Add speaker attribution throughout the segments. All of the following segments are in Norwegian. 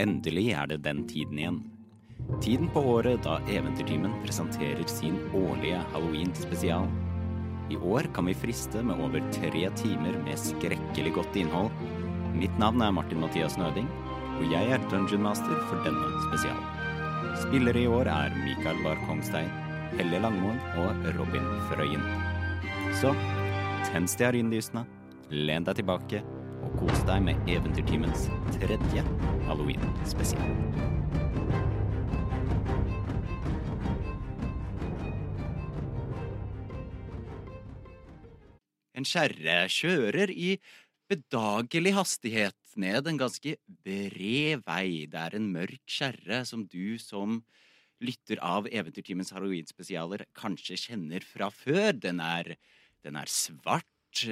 Speaker 1: Endelig er det den tiden igjen. Tiden på året da Eventyrtimen presenterer sin årlige Halloween-spesial. I år kan vi friste med over tre timer med skrekkelig godt innhold. Mitt navn er Martin Mathias Nøding, og jeg er Dungeon Master for denne spesialen. Spillere i år er Mikael Bar Kongstein, Helle Langmoen og Robin Frøyen. Så tens stearinlysene, len deg tilbake og kos deg med Eventyrtimens tredje Halloween-spesial. En kjerre kjører i bedagelig hastighet ned en ganske bred vei. Det er en mørk kjerre som du som lytter av Eventyrtimens halloweenspesialer kanskje kjenner fra før. Den er, den er svart,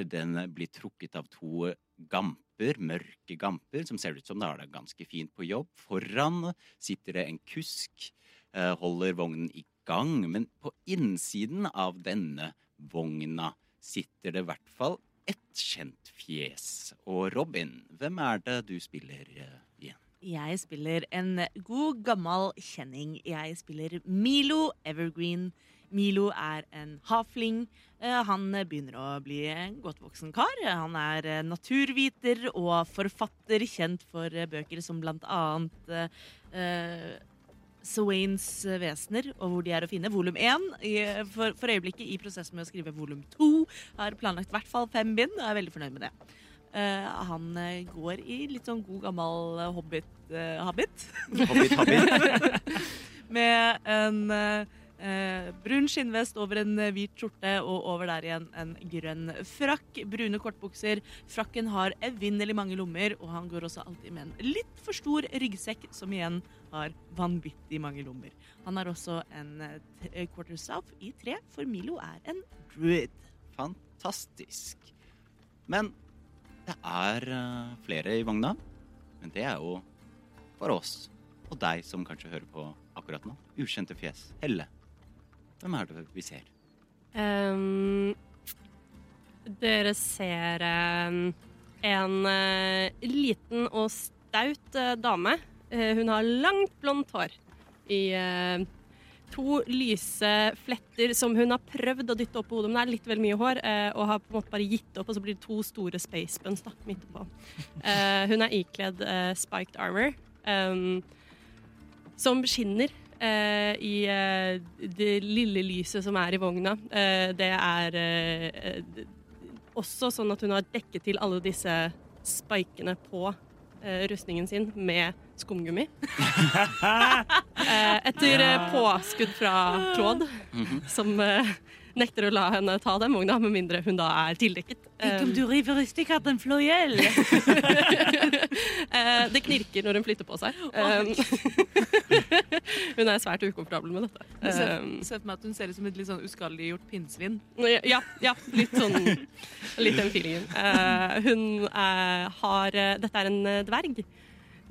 Speaker 1: den blir trukket av to gamper, mørke gamper, som ser ut som det har det ganske fint på jobb. Foran sitter det en kusk, eh, holder vognen i gang, men på innsiden av denne vogna sitter det i hvert fall ett kjent fjes. Og Robin, hvem er det du spiller eh, igjen?
Speaker 2: Jeg spiller en god, gammel kjenning. Jeg spiller Milo Evergreen. Milo er en hafling. Eh, Han begynner å bli en godt voksen kar. Han er eh, naturviter og forfatter, kjent for eh, bøker som blant annet eh, eh, Swains vesener, og hvor de er å finne. Volum 1. I, for, for øyeblikket i prosessen med å skrive volum 2. Har planlagt i hvert fall fem bind, og er veldig fornøyd med det. Eh, han eh, går i litt sånn god gammel eh, hobbit-habit.
Speaker 1: Hobbit, hobbit.
Speaker 2: med en eh, eh, brun skinnvest over en eh, hvit skjorte og over der igjen en grønn frakk. Brune kortbukser. Frakken har evinnelig mange lommer, og han går også alltid med en litt for stor ryggsekk, som igjen har vanvittig mange lommer. Han har også en eh, t- eh, quarter staff i tre, for Milo er en druid.
Speaker 1: Fantastisk. Men det er eh, flere i vogna. Men det er jo for oss og deg som kanskje hører på akkurat nå. Ukjente fjes. Helle. Hvem er det vi ser?
Speaker 3: Ehm, dere ser ehm, en eh, liten og staut eh, dame. Eh, hun har langt blondt hår i eh, to lyse fletter som hun har prøvd å dytte opp på hodet, men det er litt vel mye hår, eh, og har på en måte bare gitt opp, og så blir det to store space buns da, midt oppå. Eh, hun er ikledd eh, spiked armor, ehm, som skinner eh, i eh, det lille lyset som er i vogna. Eh, det er eh, eh, d- også sånn at hun har dekket til alle disse spikene på eh, rustningen sin med skumgummi. eh, etter eh, påskudd fra Claude, som eh, nekter å la henne ta den vogna, med mindre hun da er tildekket. Eh,
Speaker 2: du river i stykker den flå i hjel!
Speaker 3: eh, det knirker når hun flytter på seg. Eh, hun er svært ukomfortabel med dette. Eh,
Speaker 2: Se for meg at hun ser ut som et litt sånn uskadeliggjort pinnsvin.
Speaker 3: Ja, ja litt sånn Litt den feelingen. Eh, hun eh, har eh, Dette er en eh, dverg.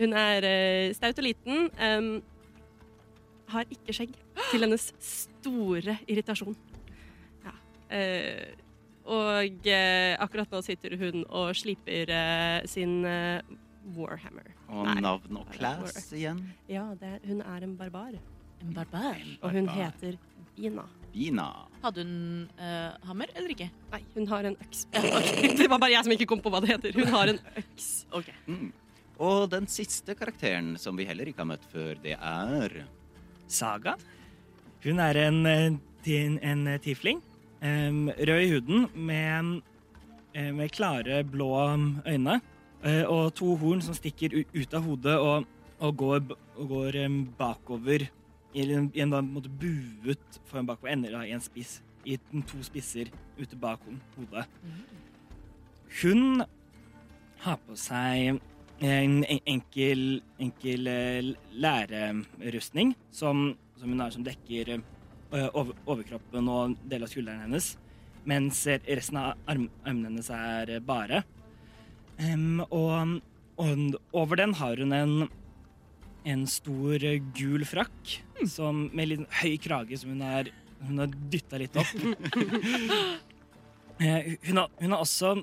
Speaker 3: Hun er eh, staut og liten. em, har ikke skjegg, til hennes store irritasjon. Ja. eh, og eh, akkurat nå sitter hun og sliper eh, sin eh, Warhammer.
Speaker 1: Og
Speaker 3: Nei.
Speaker 1: navn og class igjen.
Speaker 3: Ja, det er, hun er en barbar,
Speaker 2: En barbar.
Speaker 3: og hun
Speaker 1: Barbar.
Speaker 3: heter Bina.
Speaker 1: Bina.
Speaker 2: Hadde hun eh, hammer eller ikke?
Speaker 3: Nei, hun har en øks. Det var bare jeg som ikke kom på hva det heter. Hun har en øks.
Speaker 2: Ok.
Speaker 1: Mm. Og den siste karakteren som vi heller ikke har møtt før, det er
Speaker 4: Saga. Hun er en, eh, ti- en eh, tiefling. em, rød i huden med, eh, med klare blå em, øyne. eh, og to horn som stikker u- ut av hodet og, og går, b- og går em, bakover. I en, i en da på en måte buet form bakover. Ender da i en spiss. I den to spisser ute bak ho- hodet. Hun har på seg Eh, en en- enkel, enkel eh, lærerustning som, som hun har som dekker eh, over, overkroppen og en del av skulderen hennes, mens resten av arm, armene hennes er eh, bare. Em, og, og over den har hun en, en stor eh, gul frakk som, med litt høy krage som hun har, hun har dytta litt opp. Eh, hun, har, hun har eh, også,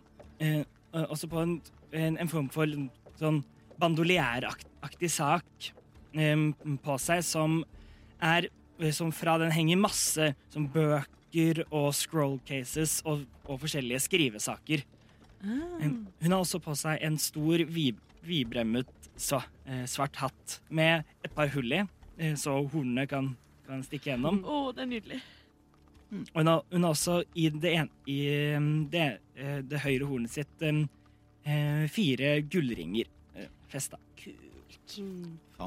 Speaker 4: eh, også på en, en, en form for sånn bandolieraktig aktig sak em, på seg som er som fra den henger masse som bøker og scroll cases og, og forskjellige skrivesaker.
Speaker 2: Ah.
Speaker 4: Em, Hun har også på seg en stor vi- vidbremmet så, eh, svart hatt med et par hull i, eh, så hornene kan, kan stikke gjennom.
Speaker 2: Å, det er nydelig.
Speaker 4: Og hun har, hun har også i det, en, i em, det, eh, det høyre hornet sitt em, eh, fire gullringer eh, festa.
Speaker 2: Kult.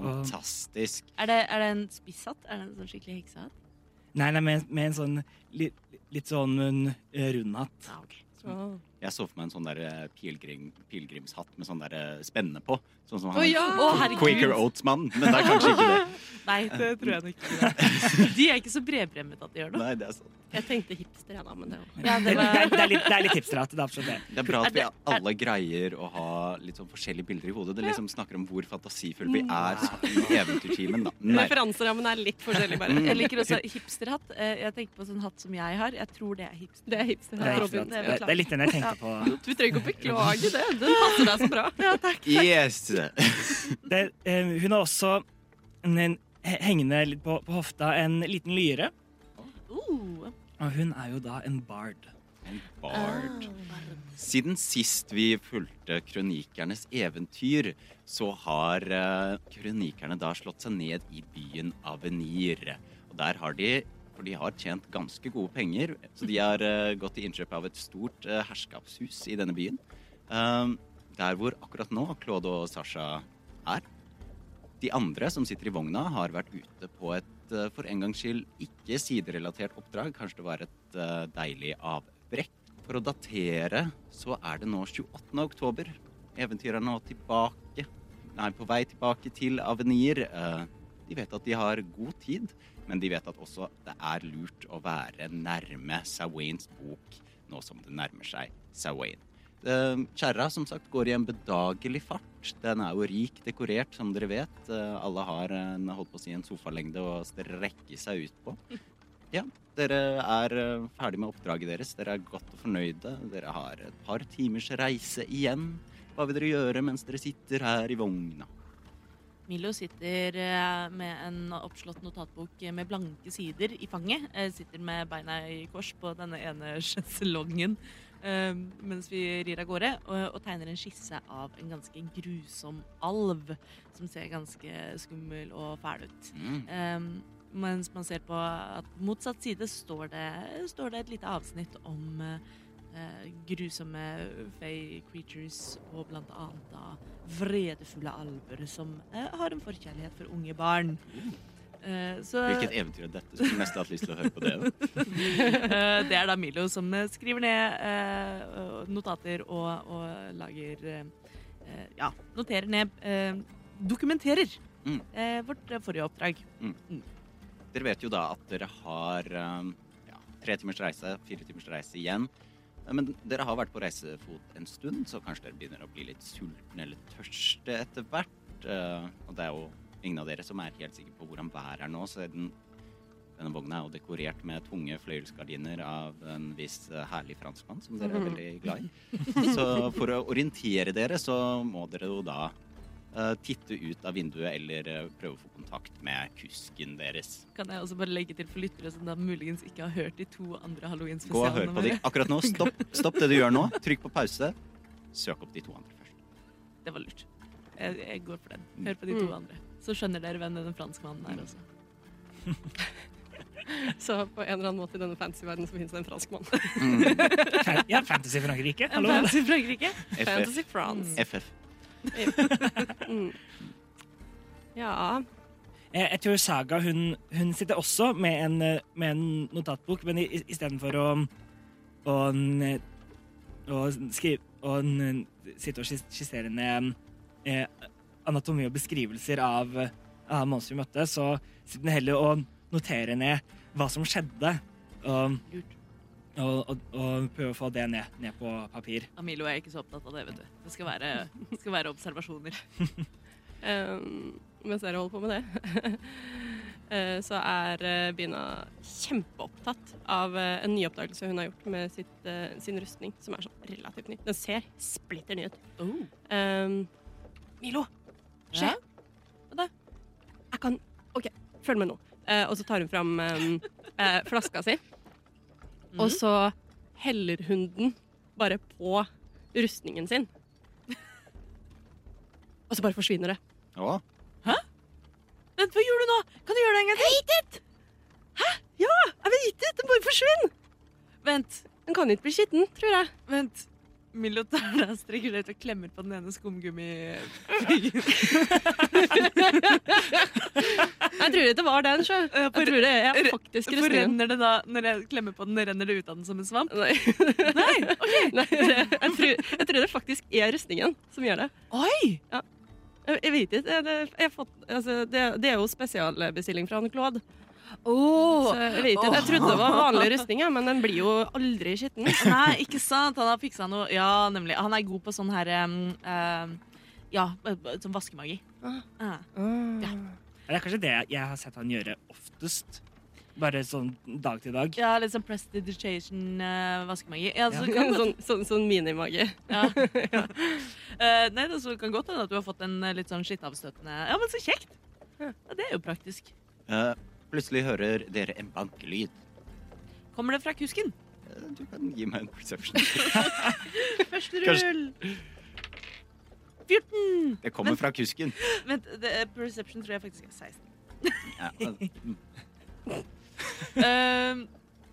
Speaker 1: Fantastisk.
Speaker 2: Er det, er det en spisshatt? Er det en sånn skikkelig heksehatt?
Speaker 4: Nei, nei, med, med en sånn litt, litt sånn eh, rund hatt.
Speaker 2: Ja, ok.
Speaker 3: Å
Speaker 1: Jeg så for meg en sånn der eh, pilgrim, pilegrimshatt med sånn der eh, spenne på. Sånn som han
Speaker 2: Å, ja! Å, herregud.
Speaker 1: Quaker Oats-mannen, men det er kanskje ikke det.
Speaker 2: Nei, det tror jeg nok ikke. De er ikke så bredbremmet at de gjør noe.
Speaker 1: Nei, det er sant.
Speaker 3: Jeg tenkte hipster, jeg, da, men det var
Speaker 2: Ja,
Speaker 4: Det,
Speaker 2: det
Speaker 4: det, er,
Speaker 2: var...
Speaker 4: det er litt, det er litt hipsterhatt. Det er absolutt det.
Speaker 1: Det er bra
Speaker 2: Er
Speaker 1: at vi
Speaker 2: det- er-
Speaker 1: alle greier å ha litt sånn forskjellige bilder i hodet. Det liksom snakker om hvor fantasifulle vi er i eventyrtimen, da. Nei.
Speaker 3: Referanserammen er litt forskjellig, bare.
Speaker 1: Mm.
Speaker 2: Jeg liker også hipsterhatt. Eh, Jeg tenker på sånn hatt som jeg har. Jeg tror det er hipster.
Speaker 3: Det er hipster.
Speaker 4: Det er,
Speaker 2: Robin, det
Speaker 4: hipsterhatt.
Speaker 2: er
Speaker 4: det, det er litt den jeg tenker på.
Speaker 3: Du trenger ikke å beklage det. Den passer deg så bra.
Speaker 1: Yes!
Speaker 4: Det, eh, hun har også en, en, he- hengende litt på, på hofta en liten lyre.
Speaker 2: Uh,
Speaker 4: Og hun er jo da en bard.
Speaker 1: En bard. Siden sist vi fulgte kronikernes eventyr, så har eh, kronikerne da slått seg ned i byen Avenir. Og der har de for de har tjent ganske gode penger, så de har eh, gått til innkjøp av et stort eh, herskapshus i denne byen. Um, der hvor akkurat nå Claude og Sasha er. De andre som sitter i vogna, har vært ute på et eh, for en gangs skyld ikke siderelatert oppdrag. Kanskje det var et eh, deilig avbrekk. For å datere så er det nå 28. oktober. Eventyret er nå tilbake Nei, på vei tilbake til Avenir. Eh, De vet at de har god tid, men de vet at også det er lurt å være nærme Sawains bok nå som det nærmer seg Sawain. Eh, Kjerra som sagt går i en bedagelig fart. Den er jo rik dekorert, som dere vet. Eh, Alle har en, holdt på å si, en sofalengde å strekke seg ut på. Ja, dere er eh, ferdig med oppdraget deres. Dere er godt og fornøyde. Dere har et par timers reise igjen. Hva vil dere gjøre mens dere sitter her i vogna?
Speaker 2: Milo sitter eh, med en oppslått notatbok med blanke sider i fanget. Eh, Sitter med beina i kors på denne ene sjeselongen eh, mens vi rir av gårde, og, og tegner en skisse av en ganske grusom alv som ser ganske skummel og fæl ut.
Speaker 1: Mm.
Speaker 2: Ehm, mens man ser på at på motsatt side står det, står det et lite avsnitt om eh, eh, grusomme fey creatures og blant annet da vredefulle alver som eh, har en forkjærlighet for unge barn. Eh, så
Speaker 1: Mm. Hvilket eventyr er dette? Skulle nesten hatt lyst til å høre på det. da.
Speaker 2: eh, det er da Milo som eh, skriver ned eh, og notater og, og lager eh, eh, Ja, noterer ned. eh, dokumenterer
Speaker 1: Mm.
Speaker 2: eh, vårt eh, forrige oppdrag.
Speaker 1: Dere vet jo da at dere har eh, ja, tre timers reise, fire timers reise igjen. Eh, Men dere har vært på reisefot en stund, så kanskje dere begynner å bli litt sultne eller tørste etter hvert. Eh, Og det er jo ingen av dere som er helt sikre på hvordan været er nå, siden denne vogna er jo dekorert med tunge fløyelsgardiner av en viss eh, herlig franskmann som dere er veldig glad i. Så for å orientere dere, så må dere jo da eh, titte ut av vinduet eller eh, prøve å få kontakt med kusken deres.
Speaker 2: Kan jeg også bare legge til for lyttere som da muligens ikke har hørt de to andre
Speaker 1: Gå og hør
Speaker 2: halloween-spesialene
Speaker 1: på de akkurat nå. Stopp, stopp det du gjør nå. Trykk på pause. Søk opp de to andre først.
Speaker 2: Det var lurt. Jeg, jeg går for den. Hør på de to andre. Så skjønner dere hvem den franskmannen
Speaker 1: Mm.
Speaker 2: er altså. også.
Speaker 3: Så på en eller annen måte i denne fancy verdenen så finnes det en franskmann.
Speaker 4: Fan- Ja, Fantasy Frankrike. Hallo.
Speaker 2: Fancy Frankrike.
Speaker 1: FF.
Speaker 3: Fantasy France.
Speaker 1: FF.
Speaker 3: Mm. Ja
Speaker 4: Jeg, jeg tror Saga hun, hun sitter også med en, eh, med en notatbok, men i- i- istedenfor å, å, eh, å skrive å eh, sitte og skis- skissere ned eh, anatomi og beskrivelser av, eh, av monstre vi møtte, så sitter hun heller og noterer ned hva som skjedde. Og,
Speaker 2: Lurt.
Speaker 4: og, og, og prøver å få det ned, ned på papir.
Speaker 2: Amilo er ikke så opptatt av det, vet du. Det skal være, det skal være observasjoner.
Speaker 3: Um, mens dere holder på med det, eh, så er eh, Bina kjempeopptatt av eh, en ny oppdagelse hun har gjort med sitt, eh, sin rustning, som er sånn
Speaker 2: Oh.
Speaker 3: relativt ny. Den ser splitter ny ut. Um, Ehm, Milo, se!
Speaker 2: Ja?
Speaker 3: Jeg kan OK, følg med nå. Eh, og så tar hun fram eh, eh, flaska si, og så heller hun den bare på rustningen sin. Og så bare forsvinner det.
Speaker 1: Å,
Speaker 2: Vent, hva gjorde du nå? Kan du gjøre det en gang til?
Speaker 3: Ja, jeg vet det! Den bare forsvinner!
Speaker 2: Vent,
Speaker 3: Den kan ikke bli skitten, tror jeg.
Speaker 2: vent. Milo tar deg strekker deg ut og klemmer på den ene skumgummi...
Speaker 3: Jeg tror ikke det var den, sjø.
Speaker 2: Ja,
Speaker 3: Jeg
Speaker 2: for-
Speaker 3: tror det er faktisk
Speaker 2: For
Speaker 3: rustningen.
Speaker 2: renner det da, når jeg klemmer på den, renner det ut av den som en svamp?
Speaker 3: Nei. Nei, det, jeg, tror, jeg tror det faktisk er rustningen som gjør det.
Speaker 2: Oi!
Speaker 3: Jeg, jeg vet ikke. Jeg, det- jeg har fått, altså, det, det er jo spesialbestilling fra han Claude.
Speaker 2: Oh.
Speaker 3: Så jeg, vet ikke, jeg trodde det var vanlig rustning, jeg, men den blir jo aldri skitten.
Speaker 2: Nei, ikke sant? Han har fiksa noe Ja, nemlig. Han er god på sånn her um, um, Ja, b- b- sånn vaskemagi.
Speaker 3: Ah.
Speaker 2: Ah.
Speaker 4: Det er kanskje det jeg har sett han gjøre oftest. Bare sånn dag til dag.
Speaker 2: Ja, litt sånn prestidigitation uh, vaskemagi. Ja, så kan det,
Speaker 3: Sånn, sånn, sånn minimage.
Speaker 2: ja. Eh, nei, det så kan godt hende at du har fått en eh, litt sånn skittavstøtende Ja, men så kjekt! Ja, det er jo praktisk.
Speaker 1: eh, plutselig hører dere en bankelyd.
Speaker 2: Kommer det fra kusken?
Speaker 1: Eh, Du kan gi meg en perception.
Speaker 2: Første rull! 14!
Speaker 1: Det kommer fra kusken.
Speaker 2: Vent, det, er- perception tror jeg faktisk er 16.
Speaker 1: Ja, eh,
Speaker 2: Eh,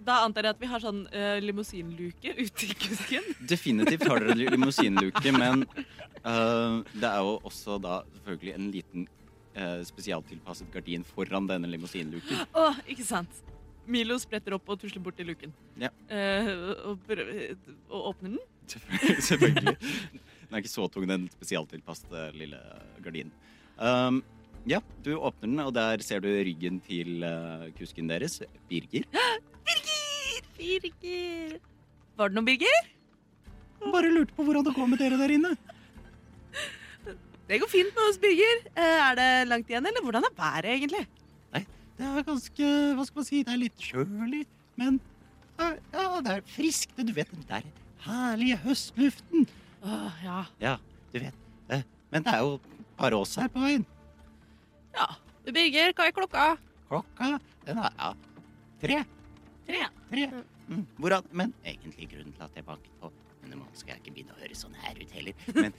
Speaker 2: da antar jeg at vi har sånn eh, limousinluke ute i kusken.
Speaker 1: definitivt har dere limousinluke, men eh, det er jo også da selvfølgelig en liten eh, spesialtilpasset gardin foran denne limousinluken.
Speaker 2: Å, ikke sant. Milo spretter opp og tusler bort til luken.
Speaker 1: Ja.
Speaker 2: Eh, og, prøver, og åpner den.
Speaker 1: Selvfølgelig. selvfølgelig. Den er ikke så tung, den spesialtilpassede lille gardinen. Um, ja, du åpner den, og der ser du ryggen til eh, kusken deres, Birger.
Speaker 2: Birger! Var det noe, Birger?
Speaker 1: Jeg bare lurte på hvordan det går med dere der inne.
Speaker 2: Det går fint med oss, Birger. Eh, er det langt igjen, eller hvordan er været, egentlig?
Speaker 1: Det er ganske Hva skal man si? Det er litt kjølig, men eh, Ja, det er friskt. Du vet den der herlige høstluften.
Speaker 2: Åh, ja.
Speaker 1: Ja, du vet. eh, Men det er jo bare oss her på veien.
Speaker 2: ja.
Speaker 3: Birger, hva er klokka?
Speaker 1: Klokka, den er ja, tre.
Speaker 2: Tre.
Speaker 1: Tre. Mm. Hvordan, men egentlig grunnen til at jeg banket på Men nå skal jeg ikke begynne å høre sånn her ut heller. Men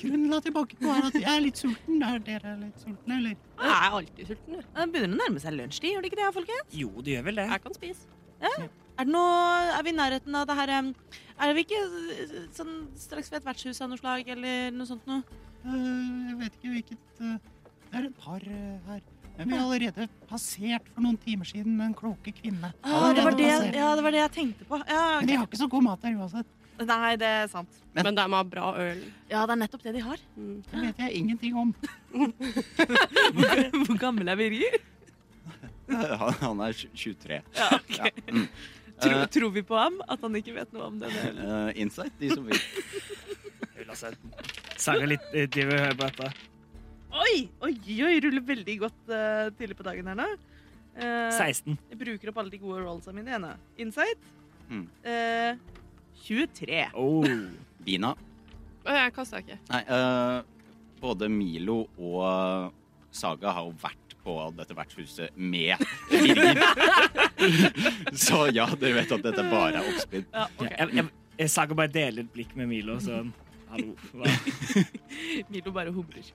Speaker 1: grunnen til at jeg banket på, er at jeg er litt sulten. Er dere litt sultne, eller?
Speaker 3: Jeg er alltid sulten. jeg.
Speaker 2: Det begynner å nærme seg lunsjtid, gjør det ikke det, folkens?
Speaker 4: Jo, det gjør vel det.
Speaker 3: Jeg kan spise.
Speaker 2: Er, det noe, er vi i nærheten av det her em, Er vi ikke eh, sånn straks ved et vertshus av noe slag, eller noe sånt noe?
Speaker 1: Eh, jeg vet ikke hvilket eh, Det er et par eh, her. Men vi har allerede passert for noen timer siden en kloke kvinne.
Speaker 2: Ah, det, var
Speaker 1: Allerede
Speaker 2: det,
Speaker 1: passert.
Speaker 2: ja, det var det jeg tenkte på. Ja,
Speaker 1: Men de har ikke så god mat der uansett.
Speaker 2: ok. Nei, det er sant.
Speaker 1: Men-
Speaker 3: Men de har bra øl.
Speaker 2: Ja, det er nettopp det de har.
Speaker 3: Mm.
Speaker 1: Det vet jeg ingenting om.
Speaker 2: Hvor gammel er Birger?
Speaker 1: Han, er 23.
Speaker 2: Ja, ok. Mm. Eh. Tror, tror vi på ham? At han ikke vet noe om denne?
Speaker 1: Eh, insight, de som vil.
Speaker 4: Saga litt eh, til vi hører på dette.
Speaker 2: Oi, oi, oi, ruller veldig godt eh, tidlig på dagen her nå. Eh,
Speaker 4: 16.
Speaker 2: jeg bruker opp alle de gode rollsa mine igjen. da. Insight
Speaker 1: Mm.
Speaker 2: eh, 23.
Speaker 4: Oh.
Speaker 1: Bina,
Speaker 3: Å, Jeg kasta ikke.
Speaker 1: Nei, eh, både Milo og eh, Saga har jo vært på dette vertshuset med Birger. så ja, dere vet at dette bare er oppspinn.
Speaker 2: Ja,
Speaker 4: Jeg, jeg, jeg, Saga bare deler et blikk med Milo, sånn Hallo. Hva?
Speaker 2: Milo bare humler.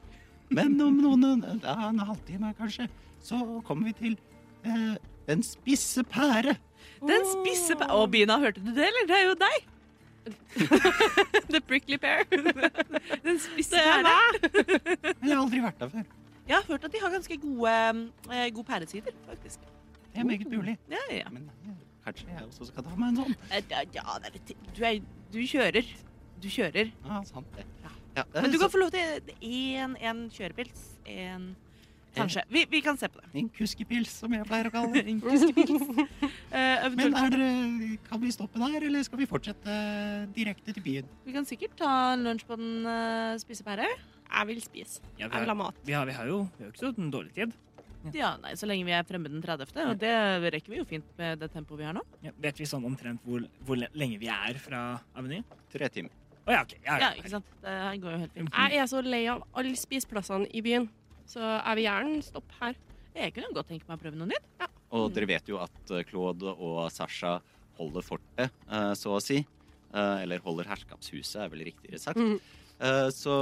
Speaker 1: Men om noen det er en halvtime kanskje, så kommer vi til eh, den spisse pære.
Speaker 2: Den spisse pa... Å, Bina, hørte du det, eller? Det er jo deg!
Speaker 3: The prickly pear.
Speaker 2: Den spisse
Speaker 3: Det er
Speaker 2: pære.
Speaker 1: Men jeg har aldri vært der før.
Speaker 2: Jeg har hørt at de har ganske gode, eh, god pæresider, faktisk.
Speaker 1: Det er meget mulig.
Speaker 2: Ja, ja, ja.
Speaker 1: Men eh, kanskje jeg også skal ta meg en sånn.
Speaker 2: Eh, Ja, ja, det er litt Du, er, du kjører. Du kjører.
Speaker 1: Ja, sant det. Ja, eh,
Speaker 2: Men du kan
Speaker 1: så-
Speaker 2: få lov til én en kjørepils. En Kanskje. Vi, vi kan se på det.
Speaker 1: En kuskepils, som jeg pleier å kalle det.
Speaker 2: En kuskepils. Eh,
Speaker 1: Men
Speaker 2: eventuelt,
Speaker 1: er dere, kan vi stoppe der, eller skal vi fortsette eh, direkte til byen?
Speaker 2: vi kan sikkert ta en lunsj på den uh, spise pære.
Speaker 3: Jeg vil spise.
Speaker 4: Ja, vi,
Speaker 3: Jeg vil
Speaker 4: har,
Speaker 3: ha mat.
Speaker 4: vi, har, vi har jo vi har jo ikke så dårlig tid.
Speaker 2: Ja, nei, Så lenge vi er fremme den 30., og det rekker vi jo fint med det tempoet vi har nå.
Speaker 4: Ja, vet vi sånn omtrent hvor, hvor le- lenge vi er fra Avenyen?
Speaker 1: Tre timer.
Speaker 4: Å ja, OK. Ja,
Speaker 2: Ja,
Speaker 4: ja.
Speaker 2: ikke sant? Det her går jo helt fint.
Speaker 3: Jeg er så lei av alle spiseplassene i byen. Så er vi gjerne stopp her.
Speaker 2: Jeg kunne godt tenke meg å prøve noe nytt.
Speaker 1: Og dere vet jo at eh, Claude og Sasha holder fortet, eh, så å si. Eh, Eller holder herskapshuset, er vel riktigere sagt.
Speaker 3: Mhm.
Speaker 1: Eh, Så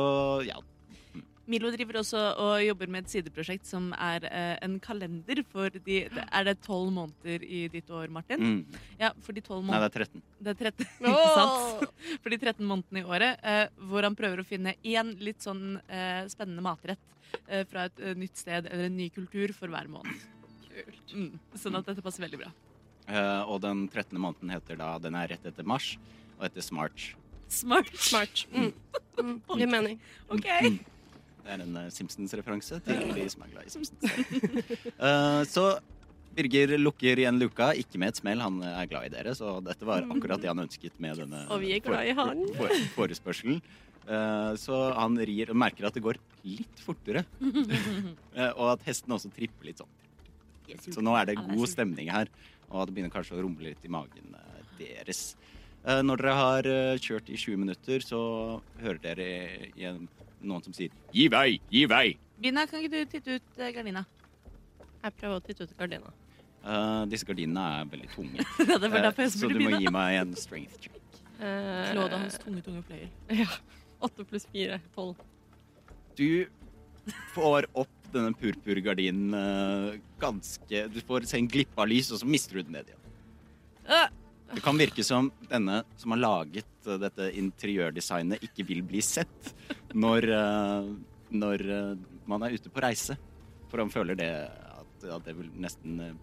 Speaker 1: ja.
Speaker 2: Milo driver også og jobber med et sideprosjekt som er eh, en kalender for de Er det tolv måneder i ditt år, Martin?
Speaker 1: Mm.
Speaker 2: Ja, for de tolv
Speaker 1: Nei,
Speaker 2: månedene
Speaker 1: det er 13.
Speaker 2: Det er 13, ikke
Speaker 3: Åh!
Speaker 2: sant? For de 13 månedene i året, eh, hvor han prøver å finne én litt sånn eh, spennende matrett eh, fra et eh, nytt sted eller en ny kultur for hver måned.
Speaker 3: Kult.
Speaker 2: Mm. Sånn at dette passer veldig bra.
Speaker 1: Eh, Og den 13. måneden heter da Den er rett etter mars, og etter Smart.
Speaker 2: Smart.
Speaker 3: Smart. Mm. Mm. Gir mening.
Speaker 2: OK.
Speaker 1: Mm. Det er en eh, Simpsons-referanse til de som er glad i Simpsons. Eh, så Birger lukker igjen luka, ikke med et smell. Han eh, er glad i dere, så dette var akkurat det han ønsket med denne
Speaker 3: Og vi er glad i han.
Speaker 1: for- forespørselen. Eh, så han rir og merker at det går litt fortere, Eh, og at hesten også tripper litt sånn. Så nå er det
Speaker 2: Han er
Speaker 1: god
Speaker 2: sulten.
Speaker 1: stemning her, og det begynner kanskje å rumle litt i magen eh, deres. Eh, Når dere har eh, kjørt i 20 minutter, så hører dere igjen noen som sier 'gi vei, gi vei'.
Speaker 2: Bina, kan ikke du titte ut eh, gardina?
Speaker 3: Jeg prøver å titte ut gardina.
Speaker 1: Eh, disse gardinene er veldig tunge,
Speaker 2: det var
Speaker 1: Eh,
Speaker 2: derfor jeg
Speaker 1: så
Speaker 2: spurte
Speaker 1: du må gi
Speaker 2: Bina.
Speaker 1: meg en strength check.
Speaker 3: Eh,
Speaker 2: Claude og hans tunge, tunge fløyel.
Speaker 3: Ja. Åtte pluss fire. Tolv.
Speaker 1: Du får opp denne purpurgardinen eh, ganske Du får se en glippe av lys, og så mister du den ned igjen.
Speaker 2: Ah.
Speaker 3: Øh,
Speaker 1: Det kan virke som denne som har laget eh, dette interiørdesignet, ikke vil bli sett når, eh, når eh, man er ute på reise. For han føler det at, at det vil nesten eh,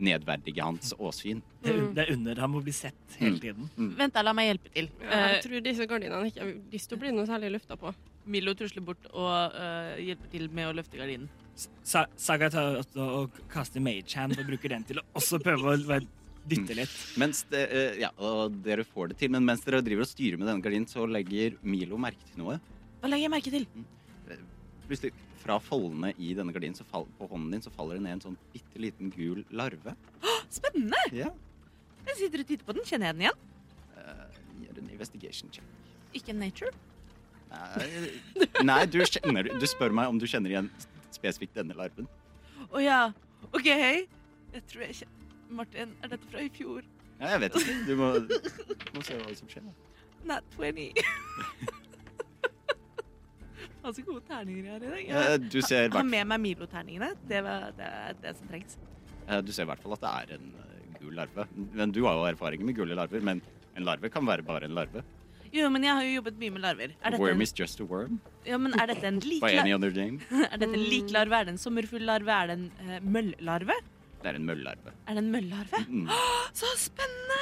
Speaker 1: nedverdige hans åsyn.
Speaker 4: Det er un- det er under ham å bli sett hele
Speaker 1: Mm.
Speaker 4: tiden.
Speaker 2: Vent, da, la meg hjelpe til.
Speaker 3: jeg
Speaker 2: Eh,
Speaker 3: tror disse gardinene ikke har lyst til å bli noe særlig lufta på.
Speaker 2: Milo tusler bort og eh, hjelper til med å løfte gardinen.
Speaker 4: Sa Saga tar også og kaster mage hand og bruker den til å også prøve å være- dytte litt.
Speaker 1: Mens det, eh, ja, og dere får det til, men mens dere driver og styrer med denne gardinen, så legger Milo merke til noe.
Speaker 2: Hva legger jeg merke til?
Speaker 1: Mm. Plutselig, fra foldene i denne gardinen, så fall, på hånden din, så faller det ned en sånn bitte liten gul larve.
Speaker 2: Spennende!
Speaker 1: Ja.
Speaker 2: Jeg sitter og titter på den. Kjenner jeg den igjen?
Speaker 1: Gjør en investigation check.
Speaker 2: Ikke nature.
Speaker 1: Nei, nei du, kjenner, du spør meg om du kjenner igjen spesifikt denne larven.
Speaker 2: Å ja. OK. Jeg tror jeg kjenner Martin, er dette fra i fjor?
Speaker 1: Ja, jeg vet ikke. Du må, må se hva som skjer. da.
Speaker 2: Nat 20. Har så gode terninger jeg har i dag.
Speaker 1: Eh, Du ser,
Speaker 2: Ha
Speaker 1: hvert,
Speaker 2: med meg Milo-terningene. Det, var- det er det som trengs.
Speaker 1: eh, du ser i hvert fall at det er en eh, gul larve. Men du har jo erfaringer med gule larver, men en larve kan være bare en larve.
Speaker 2: Jo, men jeg har jo jobbet mye med larver. Er
Speaker 1: A
Speaker 2: dette
Speaker 1: worm
Speaker 2: en,
Speaker 1: is just a worm
Speaker 2: ja, men er dette en lik
Speaker 1: by any
Speaker 2: larve?
Speaker 1: other name.
Speaker 2: Er dette en lik larve? Er det en sommerfugllarve? Er det en uh, møllarve?
Speaker 1: Det er en møllarve.
Speaker 2: Er det en møllarve?
Speaker 1: Mm.
Speaker 2: Så spennende!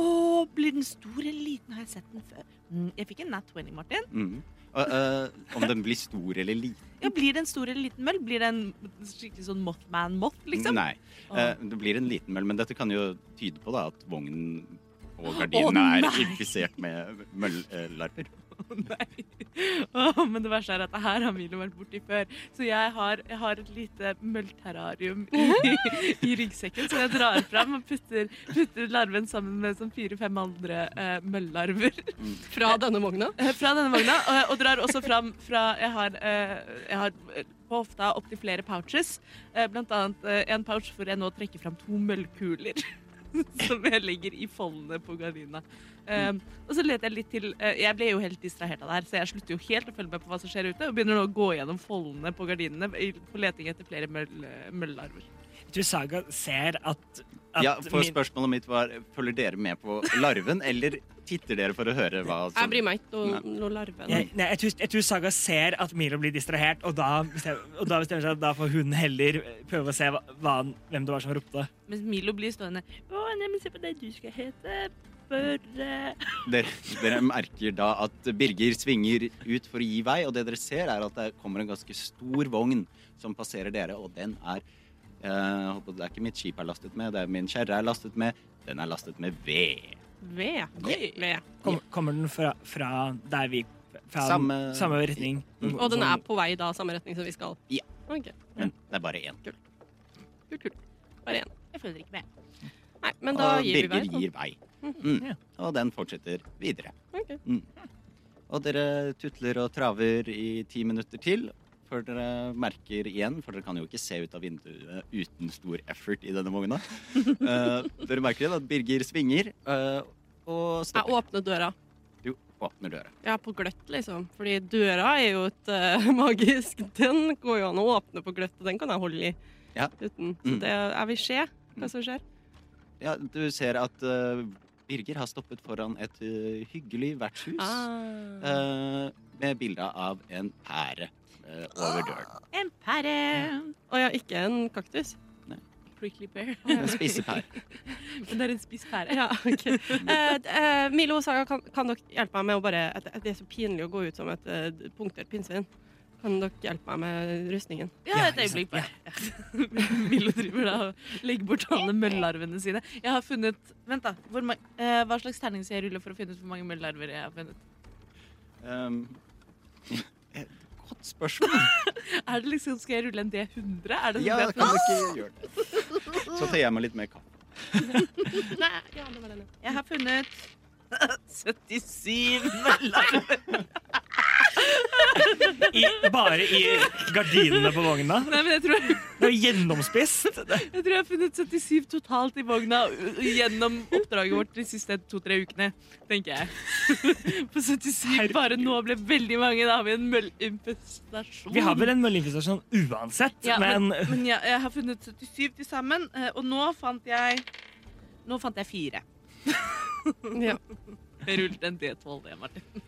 Speaker 2: Å, blir den stor eller liten? Har jeg sett den før? Mm, jeg fikk en nat 20, Martin.
Speaker 1: Mm. Og, eh, om den blir stor eller liten?
Speaker 2: Ja, Blir det en stor eller liten møll? Blir det en skikkelig sånn Mothman-moth, liksom?
Speaker 1: Nei. Eh, det blir en liten møll, men dette kan jo tyde på da, at vognen og gardinene
Speaker 2: Å,
Speaker 1: er
Speaker 2: nei!
Speaker 1: infisert med møllarver.
Speaker 2: Å, nei. Å, men det verste er at det her har Milo vært borti før. Så jeg har, jeg har et lite møllterrarium i, i ryggsekken som jeg drar fram og putter, putter larven sammen med sånn fire-fem andre eh, møllarver
Speaker 3: Fra denne vogna.
Speaker 2: eh, fra denne vogna. Og, og drar også fram fra Jeg har, eh, jeg har eh, på hofta opptil flere pouches. Eh, blant annet eh, en pouch hvor jeg nå trekker fram to møllkuler. Som jeg legger i foldene på gardina. Eh, og så leter jeg litt til eh, Jeg ble jo helt distrahert av det her, så jeg slutter jo helt å følge med på hva som skjer ute, og begynner nå å gå gjennom foldene på gardinene i- på leting etter flere møll, eh, møllarver.
Speaker 4: Jeg tror Saga ser at, at
Speaker 1: Ja, for
Speaker 4: min-
Speaker 1: spørsmålet mitt var Følger dere med på larven, eller titter dere for å høre hva som
Speaker 3: Jeg bryr meg ikke
Speaker 1: Nei.
Speaker 3: om noe larve.
Speaker 4: jeg, nei, jeg, tror, jeg tror Saga ser at Milo blir distrahert, og da bestemmer, og da bestemmer seg at da får hun heller eh, prøve å se hva, hva, han- hvem det var som ropte.
Speaker 2: Mens Milo blir stående Å, nei, men se på det du skal hete. Børre.
Speaker 1: dere, dere merker da at Birger svinger ut for å gi vei, og det dere ser, er at det kommer en ganske stor vogn som passerer dere, og den er eh, holdt på, Det er ikke mitt skip er lastet med, det er min kjerre er lastet med. Den er lastet med ved.
Speaker 3: Ved. Ved.
Speaker 4: Kom, Kommer den fra, fra der vi Fra
Speaker 1: Samme-
Speaker 4: samme, samme retning?
Speaker 1: Mm.
Speaker 3: Og den er på vei da samme retning som vi skal?
Speaker 1: Ja.
Speaker 3: Ok,
Speaker 1: Men det er bare én.
Speaker 3: kult, kult. Bare én.
Speaker 2: Jeg følger ikke med.
Speaker 3: Nei, men da
Speaker 1: Og
Speaker 3: gir vi vei. sånn.
Speaker 1: Birger
Speaker 3: da.
Speaker 1: gir vei. Mm. Og den fortsetter videre.
Speaker 3: Ok.
Speaker 1: Og dere tutler og traver i ti minutter til før dere merker igjen, for dere kan jo ikke se ut av vinduet uten stor effort i denne vogna. Eh, dere merker igjen at Birger svinger eh, og
Speaker 3: Jeg
Speaker 1: stopper.
Speaker 3: åpner døra.
Speaker 1: Du åpner døra.
Speaker 3: Ja, på gløtt, liksom. Fordi døra er jo et eh, magisk Den går jo an å åpne på gløtt, og den kan jeg holde i.
Speaker 1: Ja.
Speaker 3: Uten.
Speaker 1: Mm.
Speaker 3: Så det, jeg vil se hva som skjer.
Speaker 1: Ja, du ser at eh, Birger har stoppet foran et eh, hyggelig vertshus
Speaker 3: Ah.
Speaker 1: eh, med bilde av en pære eh, over døren.
Speaker 2: En pære.
Speaker 3: Og ja, ikke en kaktus.
Speaker 2: Prickly pear.
Speaker 1: En spisepære.
Speaker 2: Men det er en spist pære.
Speaker 3: Ja, ok. Eh, d- eh, Milo og Saga, kan, kan dere hjelpe meg med å bare at, at Det er så pinlig å gå ut som et eh, d- punktert pinnsvin. Kan dere hjelpe meg med rustningen?
Speaker 2: Ja, et
Speaker 1: Ja, ikke sant,
Speaker 2: øyeblikk bare. Milo driver da og legger bort alle møllarvene sine. Jeg har funnet Vent, da. Hvor ma eh, hva slags terning skal jeg rulle for å finne ut hvor mange møllarver jeg har funnet?
Speaker 1: Um, et godt spørsmål.
Speaker 2: Er det liksom, Skal jeg rulle en D100? Er det sånn
Speaker 1: Ja,
Speaker 2: at jeg
Speaker 1: kan
Speaker 2: har
Speaker 1: du ikke gjøre det? Så tar jeg meg litt mer kaffe.
Speaker 3: Nei, ja, det var den.
Speaker 2: funnet- Jeg har funnet 77 møllarver.
Speaker 4: I, bare i gardinene på vogna.
Speaker 2: Nei, men jeg tror
Speaker 4: Det er jo gjennomspist.
Speaker 2: Jeg tror jeg har funnet 77 totalt i vogna ø- gjennom oppdraget vårt de siste to-tre ukene, tenker jeg. På 77 bare nå ble veldig mange. Da har vi en møllinfestasjon.
Speaker 4: Vi har vel en mølleinfestasjon uansett,
Speaker 2: ja,
Speaker 4: men,
Speaker 2: Men, men ja, jeg har funnet 77 til sammen, eh, og nå fant jeg Nå fant jeg fire.
Speaker 3: Ja.
Speaker 2: Jeg rullet en D12, det, Martin.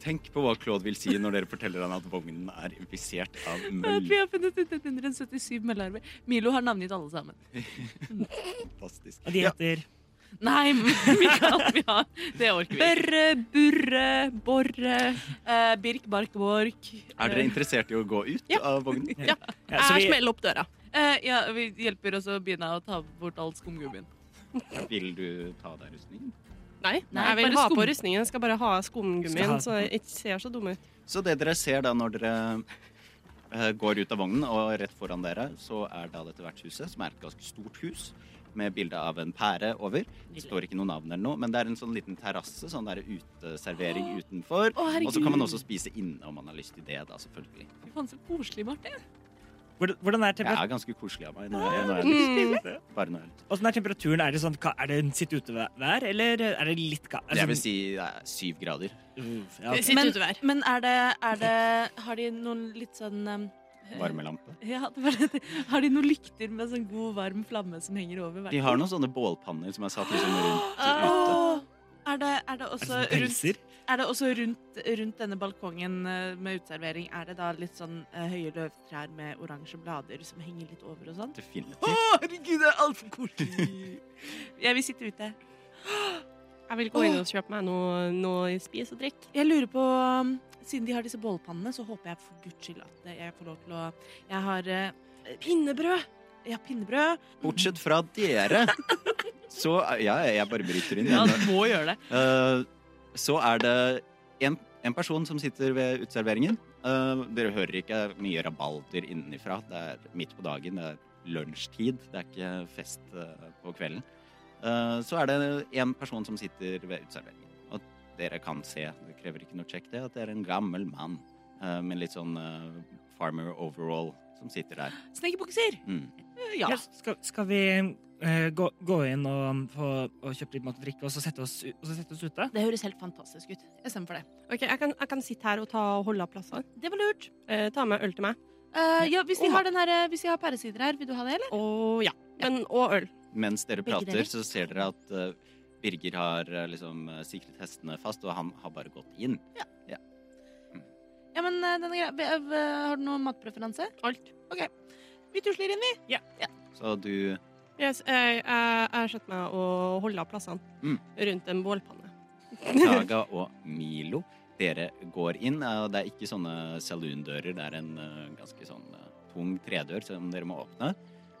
Speaker 1: Tenk på hva Claude vil si når dere forteller han at vognen er infisert av
Speaker 2: At vi
Speaker 1: møll.
Speaker 2: har funnet ut 177 møllarver. Milo har navngitt alle sammen.
Speaker 1: Fantastisk.
Speaker 4: Og de
Speaker 1: Ja,
Speaker 4: heter
Speaker 2: Nei, Mikael, vi har Det orker vi ikke.
Speaker 3: Børre, burre, borre
Speaker 2: Eh, Birk, Bark, Bork. Eh,
Speaker 1: er dere interessert i å gå ut
Speaker 3: Ja.
Speaker 1: av vognen?
Speaker 3: Ja.
Speaker 4: ja, så
Speaker 3: Jeg
Speaker 4: vi,
Speaker 3: smeller opp døra.
Speaker 2: Eh, ja, vi hjelper oss å begynne å ta bort all skumgummien.
Speaker 1: Vil du ta deg rustningen?
Speaker 3: Nei,
Speaker 2: Nei,
Speaker 3: jeg vil
Speaker 2: bare
Speaker 3: ha
Speaker 2: skum.
Speaker 3: på rustningen. Jeg skal bare ha
Speaker 4: Skal ha-
Speaker 3: skumgummien, så jeg ikke ser så dum ut.
Speaker 1: Så det dere ser da når dere eh, går ut av vognen, og rett foran dere, så er da dette vertshuset, som er et ganske stort hus, med bilde av en pære over. Det står ikke noe navn eller noe, men det er en sånn liten terrasse, sånn der uteservering utenfor.
Speaker 2: Å, herregud.
Speaker 1: Og så kan man også spise inne om man har lyst til det, da, selvfølgelig.
Speaker 2: Fy faen, så koselig, Martin.
Speaker 4: hvordan hvordan er,
Speaker 1: Det
Speaker 4: temper
Speaker 1: er ganske koselig av meg. Når jeg, når jeg har lyst.
Speaker 3: Mm.
Speaker 1: Bare når jeg har lyst.
Speaker 4: hvordan er temperaturen? Er det, sånn, ka- er det sitt utevær, eller er det litt ka- er det
Speaker 1: Jeg vil
Speaker 4: sånn-
Speaker 1: si det er syv grader.
Speaker 4: Uff, ja, ok.
Speaker 3: Sitt
Speaker 2: Men-
Speaker 3: utevær.
Speaker 2: Men er det, er det Har de noen litt sånn um,
Speaker 1: Varmelampe.
Speaker 2: Ja, det var det. Har de noen lykter med sånn god, varm flamme som henger over
Speaker 1: De
Speaker 2: hvert?
Speaker 1: har noen sånne bålpanner som er satt liksom rundt
Speaker 2: Ah.
Speaker 1: ute.
Speaker 2: Åh, er, det, er det
Speaker 4: Er det
Speaker 2: også
Speaker 4: sånn
Speaker 2: rundt,
Speaker 4: pelser?
Speaker 2: er det også rundt, rundt denne balkongen eh, med uteservering, er det da litt sånn eh, høye løvtrær med oransje blader som henger litt over og sånn?
Speaker 1: Definitivt.
Speaker 2: herregud, det er altfor koselig! Jeg vil sitte ute.
Speaker 3: Jeg vil gå inn og kjøpe meg noe, noe spis og drikk.
Speaker 2: Jeg lurer på um, Siden de har disse bålpannene, så håper jeg for guds skyld at eh, jeg får lov til å Jeg har eh,
Speaker 3: Pinnebrød!
Speaker 2: ja, pinnebrød.
Speaker 1: Bortsett fra dere, så Ja, jeg bare bryter inn. igjen.
Speaker 2: må gjøre det.
Speaker 1: Eh, så er det en, en person som sitter ved uteserveringen. Eh, dere hører ikke mye rabalder innenfra. Det er midt på dagen, det er lunsjtid, det er ikke fest eh, på kvelden. Eh, så er det en person som sitter ved uteserveringen. Og dere kan se, det krever ikke noe sjekk, det, at det er en gammel mann eh, med litt sånn eh, farmer overall som sitter der.
Speaker 2: Snekkerbukser!
Speaker 1: Mm.
Speaker 2: Eh, Ja.
Speaker 4: Ja, skal, skal vi eh, gå, gå inn og, um, få, og kjøpe litt mat og drikke, og så sette oss, u- og så sette oss ute?
Speaker 2: Det høres helt fantastisk ut. Jeg stemmer for det.
Speaker 3: Ok, jeg kan, jeg kan sitte her og ta og holde av plassene.
Speaker 2: Det var lurt.
Speaker 3: Eh, ta med øl til meg.
Speaker 2: Eh, ja, hvis, de
Speaker 3: Om-
Speaker 2: har den her, eh, hvis de har pæresider her, vil du ha det, eller?
Speaker 3: Og ja. Men, og øl.
Speaker 1: Mens dere
Speaker 2: Begge
Speaker 1: prater,
Speaker 2: deler.
Speaker 1: så ser dere at eh, Birger har eh, liksom eh, sikret hestene fast, og han har bare gått inn.
Speaker 2: Ja, men eh, den er grei. Be- eh, Har du noen matpreferanse?
Speaker 3: Alt.
Speaker 2: Vi tusler inn, vi.
Speaker 1: Så du
Speaker 3: Yes, jeg, jeg, jeg setter meg og holder av plassene
Speaker 1: Mm.
Speaker 3: rundt en bålpanne.
Speaker 1: Saga og Milo, dere går inn. eh, Det er ikke sånne saloondører, det er en eh, ganske sånn eh, tung tredør som dere må åpne.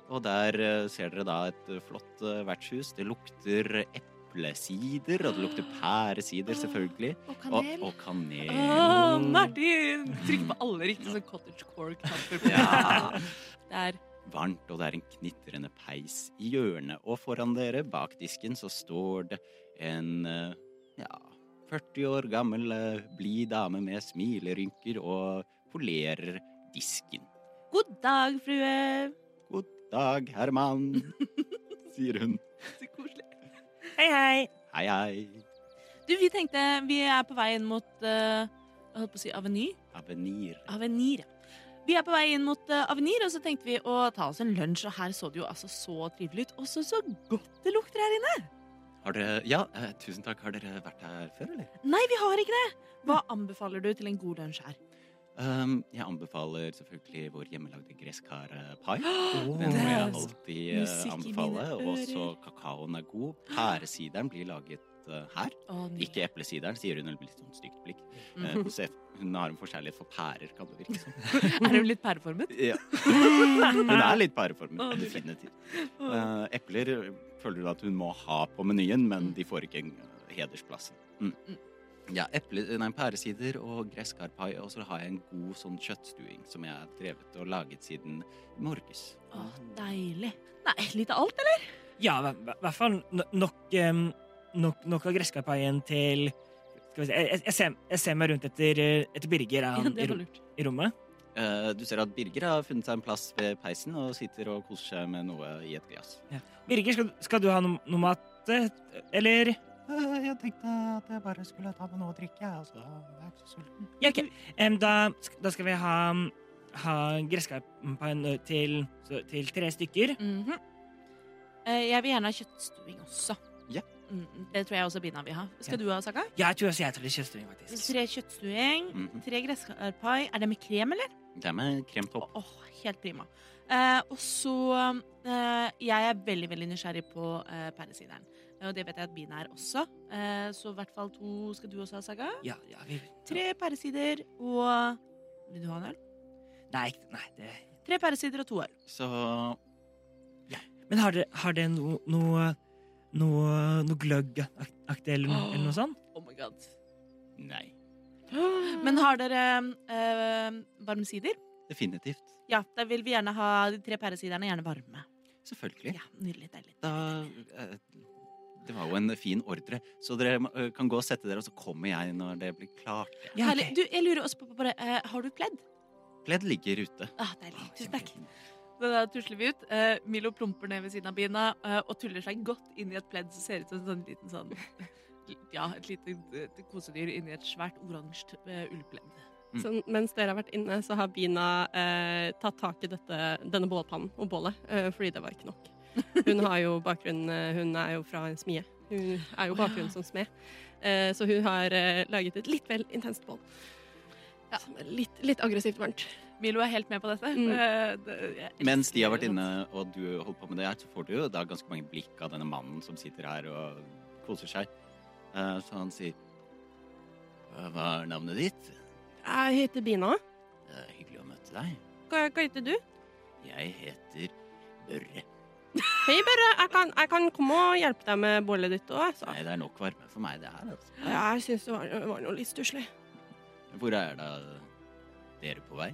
Speaker 1: Og der eh, ser dere da et eh, flott eh, vertshus. Det lukter eplesider, og det lukter pæresider, selvfølgelig.
Speaker 2: Og
Speaker 1: Og,
Speaker 2: kanel.
Speaker 1: og kanel.
Speaker 2: Åh, Martin! Trykk på alle riktige sånn cottage cork-knapper.
Speaker 1: Ja.
Speaker 2: Det er
Speaker 1: varmt, og det er en knitrende peis i hjørnet. Og foran dere, bak disken, så står det en eh, ja, 40 år gammel eh, blid dame med smilerynker og polerer disken.
Speaker 2: God dag, frue.
Speaker 1: God dag, Herman, sier hun.
Speaker 2: Så koselig.
Speaker 4: Hei, hei.
Speaker 1: Hei, hei.
Speaker 2: Du, vi tenkte vi er på vei inn mot eh, Jeg holdt på å si Aveny.
Speaker 1: Avenir.
Speaker 2: Avenir. Vi er på vei inn mot eh, Avenir, og så tenkte vi å ta oss en lunsj. Og her så det jo altså så trivelig ut. Og så så godt det lukter her inne!
Speaker 1: Har dere Ja, eh, tusen takk. Har dere vært her før, eller?
Speaker 2: Nei, vi har ikke det! Hva anbefaler du til en god lunsj her?
Speaker 1: Ehm, jeg anbefaler selvfølgelig vår hjemmelagde gresskarpai. Den
Speaker 4: Den
Speaker 1: må jeg
Speaker 2: er
Speaker 1: alltid
Speaker 2: musikk i
Speaker 1: eh,
Speaker 2: mine
Speaker 1: anbefale. Og også
Speaker 2: ører.
Speaker 1: kakaoen er god. Pæresideren blir laget eh, her.
Speaker 2: Å, nydelig.
Speaker 1: Ikke eplesideren, sier hun med litt sånn stygt blikk.
Speaker 2: Mhm.
Speaker 1: Eh, så jeg- hun har en forkjærlighet for pærer, kan det virke som.
Speaker 2: Er hun litt pæreformet?
Speaker 1: Ja. Hun er litt
Speaker 2: Å,
Speaker 1: pæreformet,
Speaker 2: nydelig.
Speaker 1: definitivt. Eh, epler føler du at hun må ha på menyen, men de får ikke hedersplassen. Mm.
Speaker 2: Mm.
Speaker 1: Ja, eple, nei, pæresider og gresskarpai, og så har jeg en god sånn kjøttstuing som jeg har drevet og laget siden i morges.
Speaker 2: Å, deilig. Nei, litt av alt, eller?
Speaker 4: Ja, i hver- hvert fall no- nok, em, nok, nok av gresskarpaien til skal vi se, jeg, jeg- jeg, ser, jeg ser meg rundt etter, eh, etter Birger er
Speaker 2: Ja,
Speaker 4: han, i,
Speaker 2: det var
Speaker 4: rom-
Speaker 2: lurt.
Speaker 4: i rommet.
Speaker 1: Eh, du ser at Birger har funnet seg en plass ved peisen og sitter og koser seg med noe i et glass.
Speaker 4: Birger, skal, skal du ha no, noe mat? eh, Eller
Speaker 1: Jeg tenkte at jeg bare skulle ta med noe å drikke, altså. Jeg er ikke så sulten.
Speaker 4: Ja, ok. Em, da, sk- da skal vi ha, um, ha gresskarpaien til, så- til tre stykker.
Speaker 2: Mhm. Eh, Jeg vil gjerne ha kjøttstuing også.
Speaker 1: Ja.
Speaker 2: Mm, Det tror jeg også Bina vil ha. Skal du ha, Saka?
Speaker 4: Ja, jeg tror også jeg tar litt kjøttstuing, faktisk.
Speaker 2: Tre kjøttstuing,
Speaker 1: Mhm.
Speaker 2: tre gresskarpai. Er det med krem, eller?
Speaker 1: Det er med kremtopp.
Speaker 2: Åh, helt prima. Eh, og så eh, Jeg er veldig veldig nysgjerrig på eh, pæresideren. Eh, Og det vet jeg at Bina er også. Eh, så i hvert fall to skal du også ha, Saga.
Speaker 4: Ja, ja, vi,
Speaker 2: Tre pæresider og Vil du ha en øl?
Speaker 4: nei, ikke- nei, det
Speaker 2: Tre pæresider og to øl.
Speaker 1: Så
Speaker 4: Men har det, har det noe noe, noe, noe gløggaktig eller, noe- eller noe sånt?
Speaker 2: Oh my god.
Speaker 1: nei.
Speaker 2: Men har dere eh, varme sider?
Speaker 1: Definitivt.
Speaker 2: Ja, da vil vi gjerne ha de tre pæresiderne gjerne varme.
Speaker 1: Selvfølgelig.
Speaker 2: Ja, nydelig, deilig.
Speaker 1: Da eh, Det var jo en fin ordre, så dere eh, kan gå og sette dere, og så kommer jeg når det blir klart.
Speaker 4: Ja, ok.
Speaker 2: Herlig. Du, jeg lurer også på, på det. eh, har du kledd?
Speaker 1: Pledd ligger ute.
Speaker 2: Ah, deilig. Tusen takk.
Speaker 1: Kjempefint.
Speaker 2: Så da tusler vi ut. Eh, Milo plumper ned ved siden av Bina eh, og tuller seg godt inn i et pledd som ser ut som en sånn liten sånn Ja, et lite et kosedyr inni et svært oransje eh, ullpledd.
Speaker 1: Mm.
Speaker 3: Så mens dere har vært inne, så har Bina eh, tatt tak i dette, denne bålpannen og bålet, eh, fordi det var ikke nok. Hun har jo bakgrunn eh, Hun er jo fra en smie. Hun er jo bakgrunn som smed. Eh, så hun har eh, laget et litt vel intenst bål.
Speaker 2: Ja.
Speaker 3: Som er litt, litt aggressivt varmt.
Speaker 2: Milo er helt med på dette.
Speaker 3: Mm.
Speaker 2: Eh, det- jeg elsker
Speaker 1: Mens de har vært
Speaker 2: det,
Speaker 1: inne,
Speaker 2: sant?
Speaker 1: og du holdt på med det her, så får du jo da ganske mange blikk av denne mannen som sitter her og koser seg. Eh, Så han sier «Hva- Hva er navnet ditt?
Speaker 3: Jeg heter Bina.
Speaker 1: Det er hyggelig å møte deg.
Speaker 3: Hva, hva heter du?
Speaker 1: Jeg heter Børre.
Speaker 3: Hei, Børre. Jeg kan, jeg kan komme og hjelpe deg med bålet ditt òg.
Speaker 1: Nei, det er nok varme for meg, det her. Altså.
Speaker 3: Jeg syns det var, var noe litt stusslig.
Speaker 1: Hvor er da dere på vei?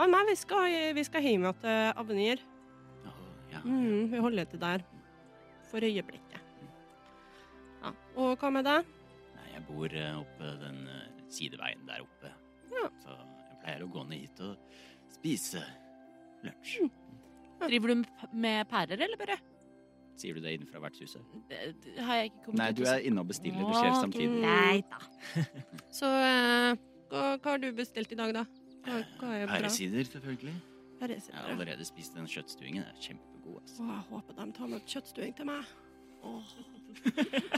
Speaker 3: Å, nei, vi skal, vi skal hjem igjen til Avenir.
Speaker 1: Ja, ja.
Speaker 3: Mm, vi holder til der for øyeblikket. Ja. Og hva med deg?
Speaker 1: Nei, jeg bor eh, oppe den eh, sideveien der oppe.
Speaker 3: Ja.
Speaker 1: Så jeg pleier å gå ned hit og spise lunsj.
Speaker 3: Mm.
Speaker 2: Driver du med- med pærer, eller bare?
Speaker 1: Sier du det innenfra vertshuset?
Speaker 2: Det, det har jeg ikke kommet
Speaker 1: Nei,
Speaker 2: til
Speaker 1: du
Speaker 2: å
Speaker 1: er inne og bestiller. Det skjer
Speaker 2: Å,
Speaker 1: samtidig.
Speaker 2: Nei da.
Speaker 3: Så eh, hva, hva har du bestilt i dag, da? Hva, hva er bra?
Speaker 1: Pæresider, selvfølgelig. Jeg har
Speaker 3: Pæresider.
Speaker 1: allerede spist den kjøttstuingen. Den er kjempegod. Altså.
Speaker 3: Å, jeg håper de tar med kjøttstuing til meg.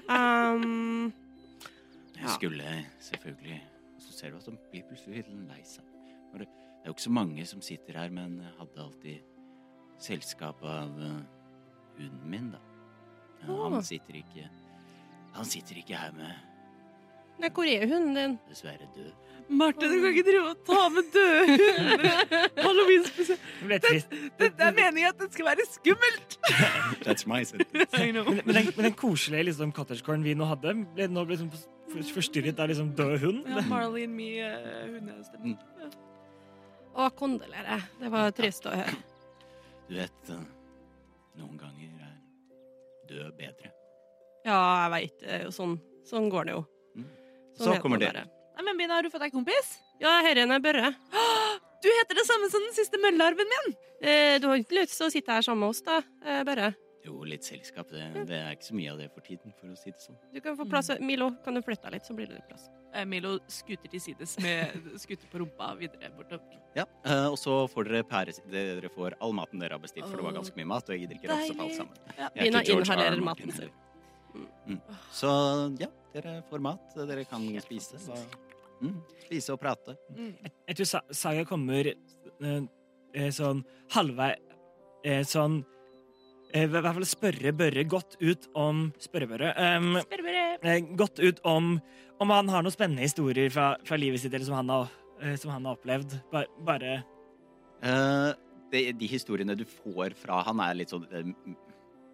Speaker 3: Um,
Speaker 1: Jeg skulle selvfølgelig Så ser du at de blir plutselig litt lei seg. For Det det er jo ikke så mange som sitter her, men jeg hadde alltid selskap av eh, hunden min, da. Eh, Han
Speaker 3: Å.
Speaker 1: sitter ikke Han sitter ikke her med
Speaker 3: nei, hvor er hunden din?
Speaker 1: dessverre død.
Speaker 2: Marte, du kan ikke drive og ta med døde hunder. Halloween spesial.
Speaker 4: Det ble trist.
Speaker 2: Det er meningen at det skal være skummelt.
Speaker 1: That's my
Speaker 4: Men, men, den, men den koselige liksom, cottagecoren vi nå hadde, ble nå ble liksom for- forstyrret av liksom død hund.
Speaker 2: Ja, Marley and me, eh, hundestemmen.
Speaker 3: Å, kondolerer. Det var trist å høre.
Speaker 1: Du vet, eh, noen ganger er død bedre.
Speaker 3: Ja, jeg veit. det er jo Sånn, sånn går det jo.
Speaker 1: Mm.
Speaker 3: Sånn
Speaker 1: Så
Speaker 3: er
Speaker 1: kommer
Speaker 3: jo
Speaker 1: det.
Speaker 3: bare.
Speaker 2: Nei, men Bina, har du fått deg kompis?
Speaker 3: Ja, herren er Børre.
Speaker 2: Du heter det samme som den siste møllearven min!
Speaker 3: Eh, Du har ikke lyst til å sitte her sammen med oss, da, eh, Børre?
Speaker 1: Jo, litt selskap. Det, det er ikke så mye av det for tiden, for å si det sånn.
Speaker 3: Du kan få plass. Milo, kan du flytte deg litt, så blir det litt plass.
Speaker 2: Eh, Milo skuter til sides med skuter på rumpa videre bortover.
Speaker 1: Ja, eh, Og så får dere pære... Dere får all maten dere har bestilt, for det var ganske mye mat. Og jeg gidder ikke ramse opp alt sammen.
Speaker 2: Ja.
Speaker 1: Jeg er
Speaker 3: Begynn å
Speaker 1: ikke George R.
Speaker 3: inhalere
Speaker 1: R.
Speaker 3: maten
Speaker 1: Martin
Speaker 3: selv.
Speaker 1: heller. Mm. Så ja, dere får mat. Dere kan spise. hva- Mm, spise og prate.
Speaker 2: Mm.
Speaker 4: Jeg tror Sa- Saga kommer eh, eh, sånn halvvei eh, Sånn eh, I hvert fall spørre Børre godt ut om Spørre Børre em,
Speaker 2: Bare, bare.
Speaker 4: eh, godt ut om om han har noen spennende historier fra, fra livet sitt eller som han har, eh, som han har opplevd. Bare, bare
Speaker 1: Eh, det, de historiene du får fra han, er litt sånn eh,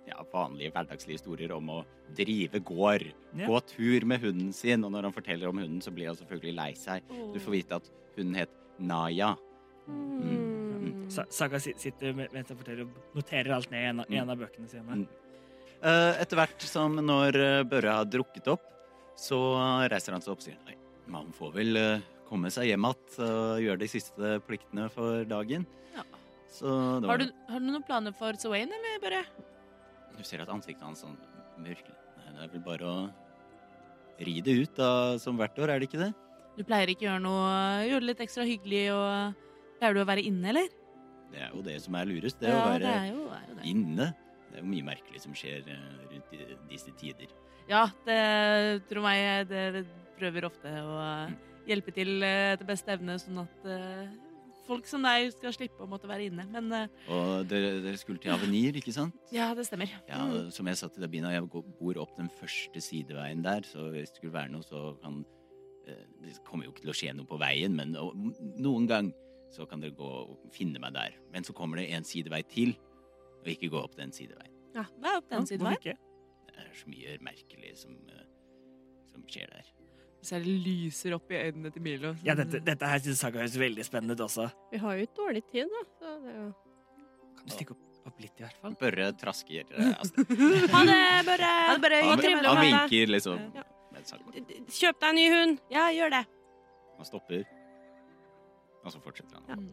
Speaker 1: ja, vanlige hverdagslige historier om å drive gård.
Speaker 4: Ja.
Speaker 1: Gå tur med hunden sin. Og når han forteller om hunden, så blir han selvfølgelig lei seg. Du får vite at hunden het Naya.
Speaker 3: Oh. Mm.
Speaker 4: Sa- Saga si- sitter med- mens han forteller og noterer alt ned i en, av- i en av bøkene sine.
Speaker 1: Mm. Eh, etter hvert som når eh, Børre har drukket opp, så reiser han seg opp og sier nei, man får vel eh, komme seg hjem igjen og gjøre de siste pliktene for dagen.
Speaker 2: Ja.
Speaker 1: Så det
Speaker 2: Har,
Speaker 1: var,
Speaker 2: du, har du noen planer for Swain, eller bare?
Speaker 1: du ser at ansiktet hans sånn mørkner. Nei, det er vel bare å ri det ut da, som hvert år, er det ikke det?
Speaker 2: Du pleier ikke å gjøre noe Gjøre det litt ekstra hyggelig og Pleier du å være inne, eller?
Speaker 1: Det er jo det som er lurest, det å
Speaker 2: ja, det
Speaker 1: være
Speaker 2: er jo, er jo det.
Speaker 1: inne. Det er jo mye merkelig som skjer eh, rundt i disse tider.
Speaker 2: Ja, det tror meg Det prøver ofte å hjelpe til eh, etter beste evne, sånn at eh, folk som deg skal slippe å måtte være inne. Men eh,
Speaker 1: Og dere, dere skulle til Avenir, ikke sant?
Speaker 2: ja, det stemmer. Mm.
Speaker 1: Ja,
Speaker 3: Mm.
Speaker 1: som jeg sa til deg, Bina, jeg går- bor opp den første sideveien der, så hvis det skulle være noe, så kan eh, Det kommer jo ikke til å skje noe på veien, men no- noen gang så kan dere gå og finne meg der. Men så kommer det en sidevei til, og ikke gå opp den sideveien.
Speaker 2: Ja, det er opp den siden her.
Speaker 4: Hvorfor ikke?
Speaker 1: Det er så mye merkelig som, eh, som skjer der.
Speaker 2: Så det lyser opp i øynene til Milo.
Speaker 4: Ja, dette, dette her synes Saga høres veldig spennende ut også.
Speaker 3: Vi har jo ikke dårlig tid, da. Så det er jo
Speaker 4: Kan du stikke opp, opp litt, i hvert fall?
Speaker 1: Børre trasker eh, av sted.
Speaker 3: Ha det, Børre!
Speaker 2: Ja, det bare,
Speaker 3: var
Speaker 1: Han,
Speaker 3: trivelig å
Speaker 1: han
Speaker 3: være
Speaker 1: vinker liksom.
Speaker 3: Ja.
Speaker 1: mens han går.
Speaker 3: Kjøp deg en ny hund!
Speaker 2: ja, gjør det.
Speaker 1: Han stopper, og så fortsetter han.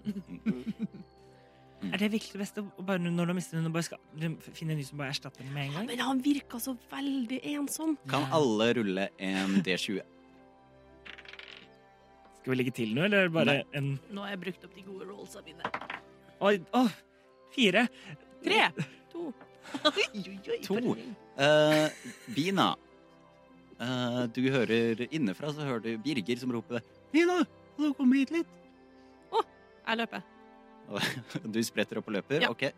Speaker 4: Er det virkelig det beste å bare når du har mistet noen, bare skal finne en ny som bare erstatter den med en gang?
Speaker 3: Men han virka så veldig ensom.
Speaker 1: Kan alle rulle en D20?
Speaker 4: Skal vi legge til noe, eller bare en
Speaker 2: Nå har jeg brukt opp de gode rollsa mine.
Speaker 4: Oi, å, fire.
Speaker 2: Tre!
Speaker 3: To.
Speaker 2: Oi, oi, oi,
Speaker 1: To.
Speaker 2: for-
Speaker 1: Eh, Bina. Eh, du hører innenfra, så hører du Birger som roper 'Bina, må du komme hit litt?'
Speaker 3: Jeg løper.
Speaker 1: Og du spretter opp og løper.
Speaker 3: Ja.
Speaker 1: Ok,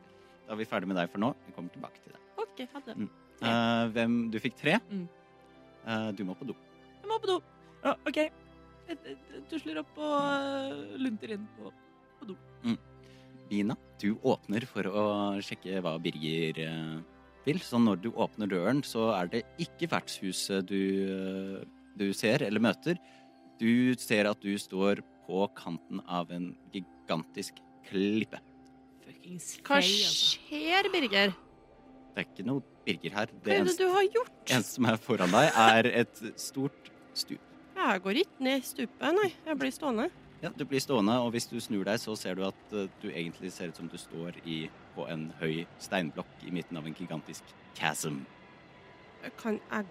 Speaker 1: da er vi ferdig med deg for nå. Jeg kommer tilbake til deg.
Speaker 2: OK, ha det.
Speaker 1: Eh, hvem Du fikk tre.
Speaker 2: Mm.
Speaker 1: Eh, du må på do.
Speaker 2: Jeg må på do.
Speaker 4: Å, OK.
Speaker 2: Jeg- jeg- jeg Tusler opp og øh, lunter inn på
Speaker 1: Bina, du åpner for å sjekke hva Birger eh, vil. Så når du åpner døren, så er det ikke vertshuset du, eh, du ser eller møter. Du ser at du står på kanten av en gigantisk klippe.
Speaker 2: fuckings
Speaker 3: Hva
Speaker 2: Faye, altså.
Speaker 3: skjer, Birger?
Speaker 1: Det er ikke noe Birger her.
Speaker 3: Hva
Speaker 1: Det
Speaker 3: er det
Speaker 1: eneste,
Speaker 3: du har gjort?
Speaker 1: eneste som er foran deg, er et stort stup.
Speaker 3: Jeg går ikke ned i stupet, nei. Jeg blir stående.
Speaker 1: Ja, du blir stående, og hvis du snur deg, så ser du at eh, du egentlig ser ut som du står i, på en høy steinblokk i midten av en gigantisk chasm.
Speaker 3: Jeg Kan jeg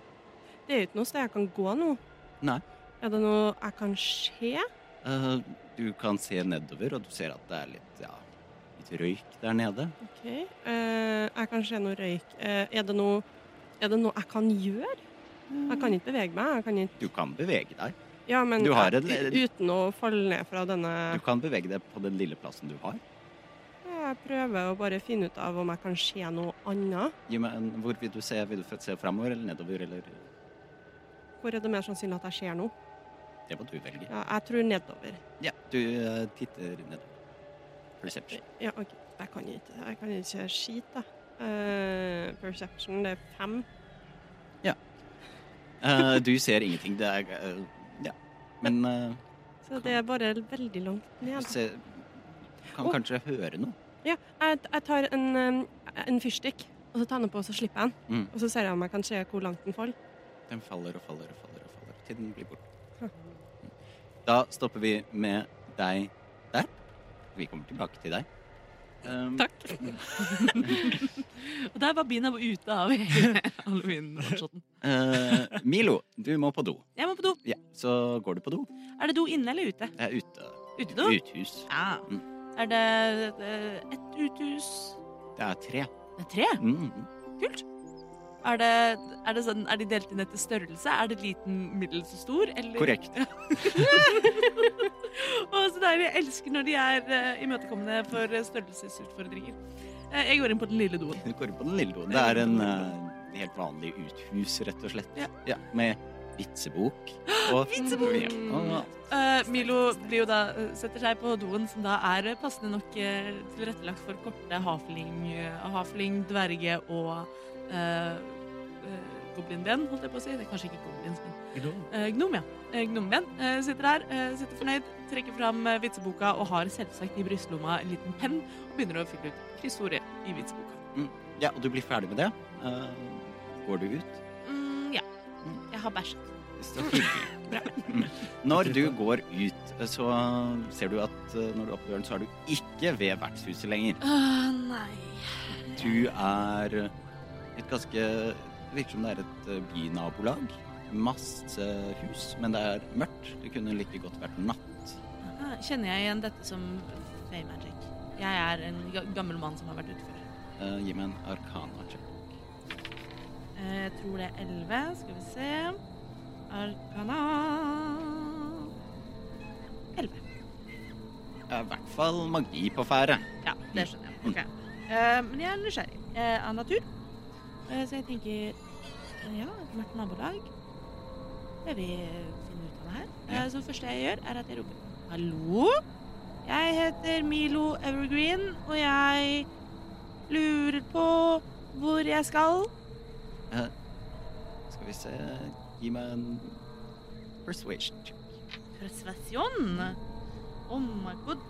Speaker 3: Det er jo ikke noe sted jeg kan gå nå.
Speaker 1: Nei.
Speaker 3: Er det noe jeg kan se?
Speaker 1: Eh, du kan se nedover, og du ser at det er litt, ja, litt røyk der nede.
Speaker 3: OK. eh, jeg kan se noe røyk. Eh, er, det noe, er det noe jeg kan gjøre? Jeg kan ikke bevege meg. Jeg kan ikke
Speaker 1: Du kan bevege deg.
Speaker 3: Ja, men
Speaker 1: Du har
Speaker 3: jeg-
Speaker 1: en-
Speaker 3: uten å falle ned fra
Speaker 1: Du
Speaker 3: denne
Speaker 1: kan bevege deg på den lille plassen du har.
Speaker 3: Jeg prøver å bare finne ut av om jeg kan se noe annet.
Speaker 1: Gi meg en, hvor vil du se? Vil du se framover eller nedover, eller
Speaker 3: Hvor er det mer sannsynlig at jeg ser noe?
Speaker 1: Det må du velge.
Speaker 3: Ja, jeg tror nedover.
Speaker 1: Ja, du eh, titter nedover. Perception.
Speaker 3: Ja, ok. Jeg kan ikke, jeg kan ikke skit, da. Eh, perception, det er fem.
Speaker 1: Eh, du ser ingenting. Det er eh, Ja. Men eh,
Speaker 3: Så det er bare veldig langt
Speaker 1: du
Speaker 3: ned.
Speaker 1: ser, kan
Speaker 3: Å.
Speaker 1: kanskje høre noe.
Speaker 3: Ja, jeg, jeg tar en, eh, en fyrstikk, og så tar jeg den på, og så slipper jeg den.
Speaker 1: Mm.
Speaker 3: Og så ser jeg om jeg kan se hvor langt den faller.
Speaker 1: Den faller og faller og faller og faller Mm. til den blir borte. Da stopper vi med deg der. Vi kommer tilbake til deg. Um,
Speaker 3: Takk.
Speaker 2: Og der var Bina ute av halloween-shoten.
Speaker 1: eh, Milo, du må på do.
Speaker 2: Jeg må på do.
Speaker 1: Ja, så går du på do.
Speaker 2: Er det do inne eller ute?
Speaker 1: Jeg er ute.
Speaker 2: Utedo?
Speaker 1: Uthus.
Speaker 2: Ja. Er det eh, ett uthus?
Speaker 1: Det er tre.
Speaker 2: Det er tre.
Speaker 1: Mm.
Speaker 2: Kult. Er, det, er, det sånn, er de delt inn etter størrelse? Er det liten, middels og stor? Eller?
Speaker 1: Korrekt.
Speaker 2: Å, så deilig. Jeg elsker når de er eh, imøtekommende for eh, størrelsesutfordringer. Eh, jeg går inn på den lille doen.
Speaker 1: Du går inn på den lille doen. Det er en eh, helt vanlig uthus, rett og slett.
Speaker 2: Ja.
Speaker 1: med vitsebok. Og,
Speaker 2: Vitsebok!
Speaker 1: Ja, og-
Speaker 2: Eh, Milo blir jo da, eh, setter seg på doen, som da er eh, passende nok eh, tilrettelagt for korte hafling, eh, hafling dverge og uh, goblinben, holdt jeg på å si. Det er kanskje ikke goblins, men eh, gnom, ja. Eh, Gnomben eh, sitter der, eh, sitter fornøyd, trekker fram eh, vitseboka og har selvsagt i brystlomma en liten penn og begynner å fylle ut kryssordet i vitseboka.
Speaker 1: ja, og du blir ferdig med det. Eh, går du ut?
Speaker 2: Mm, ja. Jeg har bæsjet.
Speaker 1: Så hyggelig. Mm. Når du går ut, så ser du at eh, når du er oppe døren, så er du ikke ved vertshuset lenger.
Speaker 2: Åh, nei.
Speaker 1: Du er eh, et ganske Det virker som det er et eh, bynabolag. Masse hus, men det er mørkt. Det kunne like godt vært natt.
Speaker 2: Ah, Kjenner jeg igjen dette som Fey Magic? Jeg er en ga- gammel mann som har vært ute før.
Speaker 1: Eh, Gi meg en arkana check.
Speaker 2: Eh, Jeg tror det er 11. Skal vi se Arkana 11.
Speaker 1: Det er i hvert fall magi på ferde.
Speaker 2: Ja, det skjønner jeg. Ok. Eh, Men jeg er nysgjerrig eh, av natur. Eh, Så jeg tenker eh, Ja, et mørkt nabolag. Jeg vil finne ut av det her. Eh,
Speaker 1: Ja.
Speaker 2: Så det første jeg gjør, er at jeg roper Hallo? Jeg heter Milo Evergreen, og jeg lurer på hvor jeg skal.
Speaker 1: Skal vi se Gi meg en persuasion. check.
Speaker 2: Persuasjon. Oh my god.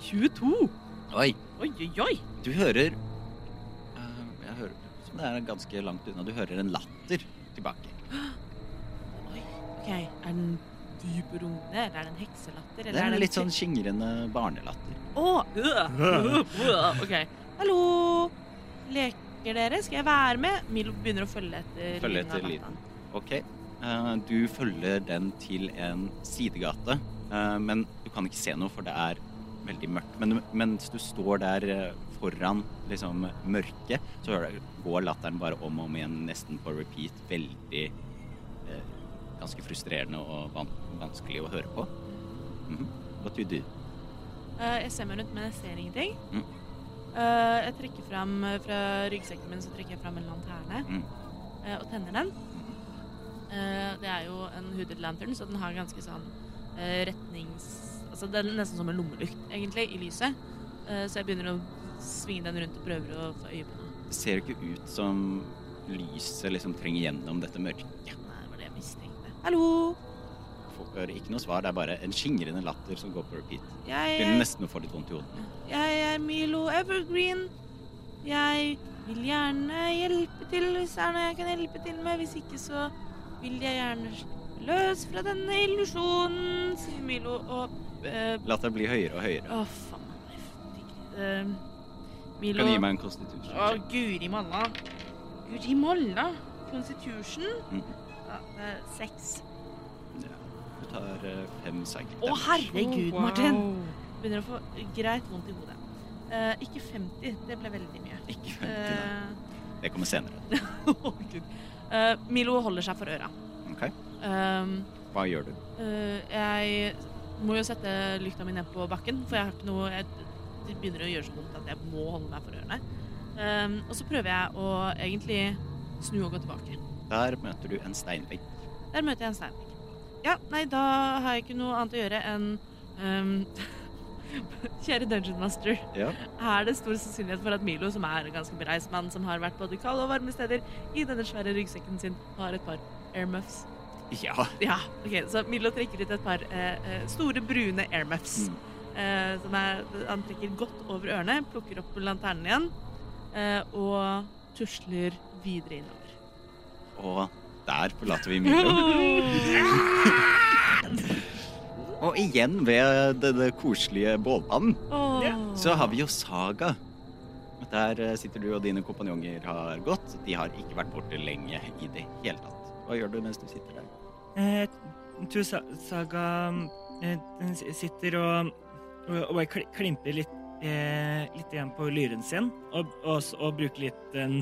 Speaker 2: 22.
Speaker 1: Oi!
Speaker 2: Oi, oi, oi.
Speaker 1: Du hører eh, Jeg hører som det er ganske langt unna. Du hører en latter tilbake.
Speaker 2: Ok, Er den dyp og rungende, eller er det en hekselatter?
Speaker 1: Det
Speaker 2: Eller
Speaker 1: er
Speaker 2: er
Speaker 1: en
Speaker 2: det
Speaker 1: litt sånn skingrende barnelatter.
Speaker 2: Å! øh, øh, OK. Hallo! Leker dere? Skal jeg være med? Milo begynner å følge etter
Speaker 1: Følge
Speaker 2: lyden av
Speaker 1: etter lyden.
Speaker 2: latteren.
Speaker 1: Ok. Eh, Du følger den til en sidegate, eh, men du kan ikke se noe, for det er veldig mørkt. Men du- mens du står der eh, foran liksom mørket, så hører du- går latteren bare om og om igjen, nesten på repeat. Veldig eh, Ganske frustrerende og van vanskelig å høre på. Mhm. What do you do?
Speaker 2: Eh, jeg ser meg rundt, men jeg ser ingenting.
Speaker 1: Mm.
Speaker 2: Eh, jeg trekker fram eh, fra ryggsekken min så trekker jeg fram en lanterne
Speaker 1: Mm.
Speaker 2: eh, og tenner den. Eh, det er jo en hooded lantern, så den har ganske sånn eh, retnings... Altså det er nesten som en lommelykt, egentlig, i lyset. Eh, så jeg begynner å svinge den rundt og prøver å få øye på noe.
Speaker 1: Det ser jo ikke ut som lyset liksom trenger gjennom dette mørket.
Speaker 2: Nei, det var det jeg mistenkte. Hallo!
Speaker 1: Får ikke noe svar, det er bare en skingrende latter som går på repeat.
Speaker 2: Jeg
Speaker 1: Begynner nesten å få litt vondt i hodet.
Speaker 2: Jeg er Milo Evergreen. Jeg vil gjerne hjelpe til hvis det er noe jeg kan hjelpe til med. Hvis ikke så vil jeg gjerne slippe løs fra denne illusjonen, sier Milo. Og eh,
Speaker 1: Latteren blir høyere og høyere.
Speaker 2: Å, faen. jeg fikk- eh,
Speaker 1: Du
Speaker 2: Milo
Speaker 1: kan gi meg en konstitusjon.
Speaker 2: Å, guri malla. Guri malla. Constitution.
Speaker 1: Mhm.
Speaker 2: Ja, det er seks.
Speaker 1: Ja. Du tar eh, fem psychic
Speaker 2: Å, herregud, Martin.
Speaker 3: Wow.
Speaker 2: Begynner å få greit vondt i hodet. Eh, ikke 50. Det ble veldig mye.
Speaker 1: Ikke vent til det.
Speaker 2: Eh,
Speaker 1: Det kommer senere.
Speaker 2: Å, Gud. Eh, Milo holder seg for øra.
Speaker 1: Ok,
Speaker 2: Um,
Speaker 1: Hva gjør du?
Speaker 2: eh, jeg må jo sette lykta mi ned på bakken, for jeg har ikke noe jeg, Det begynner å gjøre så vondt at jeg må holde meg for ørene. Um, og så prøver jeg å egentlig snu og gå tilbake.
Speaker 1: Der møter du en steinvegg.
Speaker 2: Der møter jeg en steinvegg. Ja, nei, da har jeg ikke noe annet å gjøre enn um, Kjære Dungeon Master.
Speaker 1: Ja.
Speaker 2: er det stor sannsynlighet for at Milo, som er en ganske bereist mann som har vært både kalde og varme steder, i denne svære ryggsekken sin har et par airmuffs.
Speaker 1: ja.
Speaker 2: Ja, ok, så Milo trekker ut et par eh, eh, store brune airmuffs.
Speaker 1: Mm.
Speaker 2: Eh, som er, han trekker godt over ørene, plukker opp lanternen igjen eh, og tusler videre innover.
Speaker 1: Og der forlater vi Milo. Og igjen ved denne koselige bålpannen så har vi jo Saga. Der eh, sitter du og dine kompanjonger har gått. De har ikke vært borte lenge i det hele tatt. Hva gjør du mens du sitter der?
Speaker 4: Eh, du, Sa- Saga eh, den s- sitter og, og, og bare kli- klimper litt, eh, litt igjen på lyren sin, og, og, s- og bruker litt den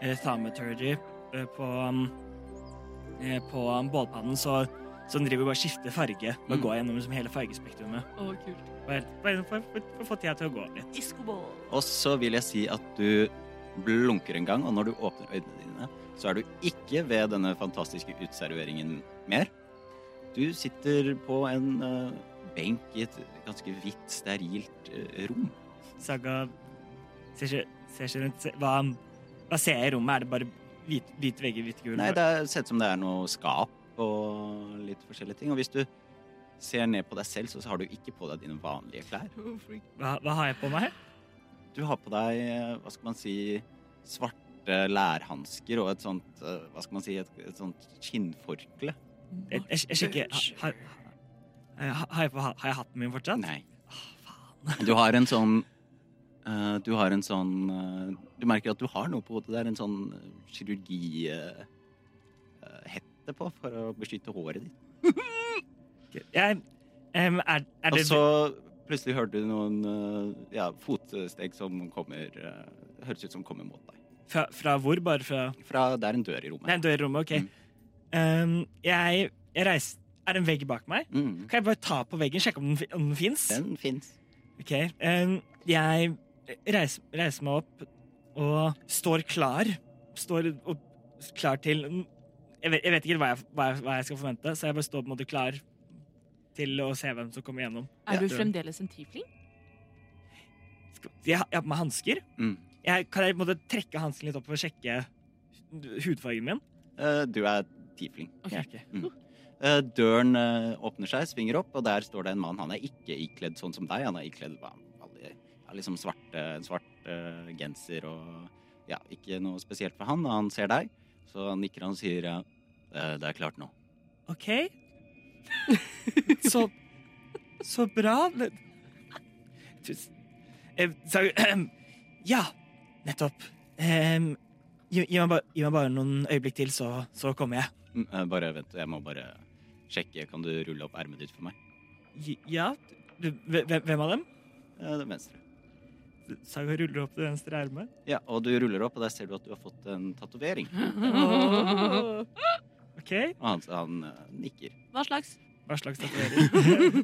Speaker 4: eh, thaumaturgy eh, på, um, eh, på bålpannen, så, så den driver bare og skifter farge og
Speaker 1: Mm.
Speaker 4: går gjennom liksom, hele fargespektrumet.
Speaker 3: Å, kult.
Speaker 4: Bare, bare for, for, for å få tida til å gå litt.
Speaker 2: Diskoball.
Speaker 1: Og så vil jeg si at du blunker en gang, og når du åpner øynene dine, så er du ikke ved denne fantastiske utserveringen mer. Du sitter på en eh, benk i et ganske hvitt, sterilt eh, rom.
Speaker 4: Saga ser seg, ser seg rundt. se- Hva, hva ser jeg i rommet? Er det bare hvit, hvit vegger, hvitt gulv?
Speaker 1: Nei, det er- ser ut som det er noe skap og litt forskjellige ting. Og hvis du ser ned på deg selv, så har du ikke på deg dine vanlige klær.
Speaker 4: Hva, hva har jeg på meg?
Speaker 1: Du har på deg, eh, hva skal man si, svarte lærhansker og et sånt, eh, hva skal man si, et, et sånt skinnforkle.
Speaker 4: Jeg, jeg, jeg sjekker har, har, eh, har, jeg på, har jeg hatten min fortsatt?
Speaker 1: Nei. Du har en sånn eh, Du har en sånn eh, Du merker at du har noe på hodet. Det er en sånn kirurgihette eh, på for å beskytte håret ditt.
Speaker 4: Jeg, em, er, er
Speaker 1: Og
Speaker 4: det
Speaker 1: så plutselig hørte du noen eh, ja, fotsteg som kommer eh, Høres ut som kommer mot deg.
Speaker 4: fra, fra hvor? Bare fra
Speaker 1: Fra Det er en dør i
Speaker 4: Det er
Speaker 1: rommet.
Speaker 4: en dør i rommet, OK.
Speaker 1: Mm.
Speaker 4: Em, jeg, jeg reiser Er det en vegg bak meg?
Speaker 1: Mm.
Speaker 4: Kan jeg bare ta på veggen, sjekke om den, fi- om den fins?
Speaker 1: Den fins.
Speaker 4: OK. em, jeg reiser, reiser meg opp og står klar. Står og, klar til jeg vet, jeg vet ikke hva jeg, hva, jeg, hva jeg skal forvente, så jeg bare står på en måte klar til å se hvem som kommer gjennom.
Speaker 1: Ja.
Speaker 5: Er du fremdeles en tiefling?
Speaker 4: Skal- Jeg, har- jeg har på meg hansker.
Speaker 1: Mm.
Speaker 4: jeg, kan jeg på en måte trekke hansken litt opp for å sjekke hudfargen min?
Speaker 1: Eh, du er tiefling. Ja.
Speaker 4: Ok.
Speaker 1: Eh, døren eh, åpner seg, svinger opp, og der står det en mann. Han er ikke ikledd sånn som deg. Han er ikledd hva, vanlig- ja, liksom svart, eh, en svart eh, genser og ja, ikke noe spesielt for han. Og han ser deg, så han nikker han og sier ja, eh, det er klart nå.
Speaker 4: Ok. Så, så bra. men- Tusen eh, så, Ja, nettopp. Em, gi, gi, meg bare, gi meg bare noen øyeblikk til, så, så kommer jeg.
Speaker 1: Mm, eh, bare vent, jeg må bare sjekke. Kan du rulle opp ermet ditt for meg?
Speaker 4: Gi- Ja, du- hve- hve- hvem av dem?
Speaker 1: Eh, den venstre.
Speaker 4: Saga ruller opp det venstre ermet.
Speaker 1: Ja, og du ruller opp, og der ser du at du har fått en tatovering.
Speaker 4: Åh. Ok,
Speaker 1: Og han, han eh, nikker.
Speaker 5: Hva slags?
Speaker 4: hva slags tatovering?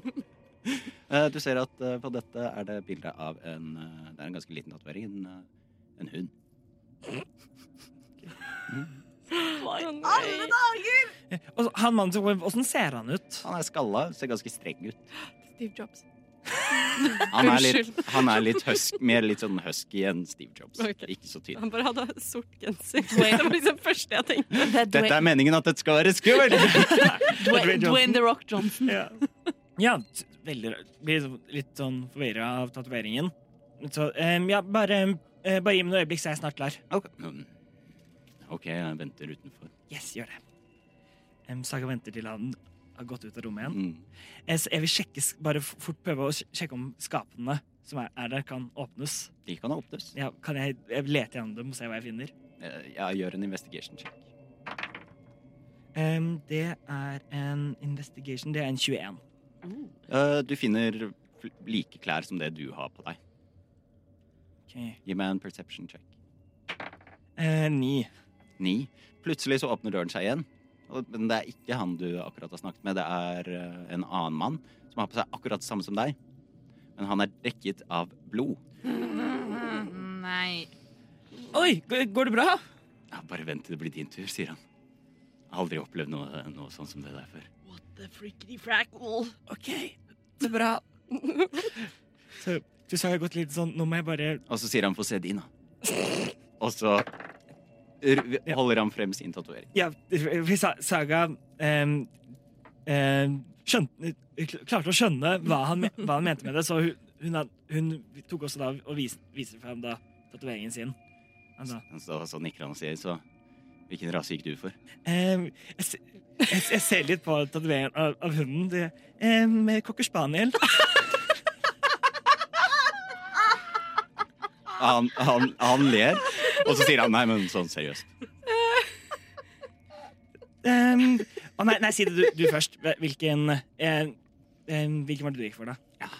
Speaker 1: Eh, Du ser at eh, på dette er det bilde av en eh, Det er en ganske liten tatovering. En, eh, en hund.
Speaker 2: Hva i
Speaker 3: Å, nei.
Speaker 2: alle dager!
Speaker 4: Og så- han mannen som kommer, åssen ser han ut?
Speaker 1: Han er skalla, ser ganske streng ut.
Speaker 3: Steve Jobs.
Speaker 1: Han er litt, han er litt husk, mer litt sånn husky enn Steve Jobs.
Speaker 3: Ok.
Speaker 1: Ikke så tydelig.
Speaker 3: Han bare hadde sort genser. Det var liksom første jeg tenkte.
Speaker 5: Det er
Speaker 1: Dette er
Speaker 5: Dwayne,
Speaker 1: meningen at dette skal være skummelt!
Speaker 4: Dwayne
Speaker 5: Dwayne,
Speaker 4: Johnson.
Speaker 5: Dwayne The Rock Johnson.
Speaker 4: Ja, ja t- veldig rart. Blir liksom litt sånn forvirra av tatoveringen. Så em, ja, bare, eh, bare gi meg noen øyeblikk, så er jeg snart klar.
Speaker 1: Ok, Mm. Ok, jeg venter utenfor.
Speaker 4: Yes, gjør det. Em, Saga venter til han har gått ut av rommet igjen.
Speaker 1: Mm.
Speaker 4: Eh, så jeg vil sjekke, s- bare f- fort prøve å sj- sjekke om skapene som er, er der, kan åpnes.
Speaker 1: De kan åpnes.
Speaker 4: Ja, kan jeg, jeg lete gjennom dem og se hva jeg finner?
Speaker 1: Eh, Jeg gjør en investigation check.
Speaker 4: Em, det er en investigation. Det er en 21.
Speaker 1: Eh, Du finner fl- like klær som det du har på deg.
Speaker 4: Okay.
Speaker 1: Gi meg en perception check.
Speaker 4: Eh, 9.
Speaker 1: Ni. Plutselig så åpner døren seg igjen. Og- Men det er ikke han du akkurat har snakket med, det er eh, en annen mann som har på seg akkurat det samme som deg. Men han er dekket av blod.
Speaker 2: Nei.
Speaker 4: Oi, g- går det bra?
Speaker 1: Ja, bare vent til det blir din tur, sier han. Jeg har aldri opplevd noe, noe sånn som det der før.
Speaker 2: What the frickety frackle?
Speaker 4: OK, så bra. så du sa jeg har gått litt sånn Nå må jeg bare
Speaker 1: Og så sier han 'få se din', da. Og så r- holder han frem sin tatovering.
Speaker 4: Ja, for Sa- Saga ehm, ehm, skjønte, kl- klarte å skjønne hva han, me- hva han mente med det, så hun, hun, had- hun tok også da og vis, viser fram da tatoveringen sin. Han sa
Speaker 1: Så, så nikker han og sier så Hvilken rase gikk du for?
Speaker 4: ehm, jeg, se- Jeg, jeg ser litt på tatoveringen av, av hunden. Det, um, Cocker spaniel.
Speaker 1: Han, han, han ler, og så sier han nei, men sånn seriøst.
Speaker 4: Em, å nei, nei, si det du, du først. Hvilken eh, em, Hvilken var det du gikk for, da?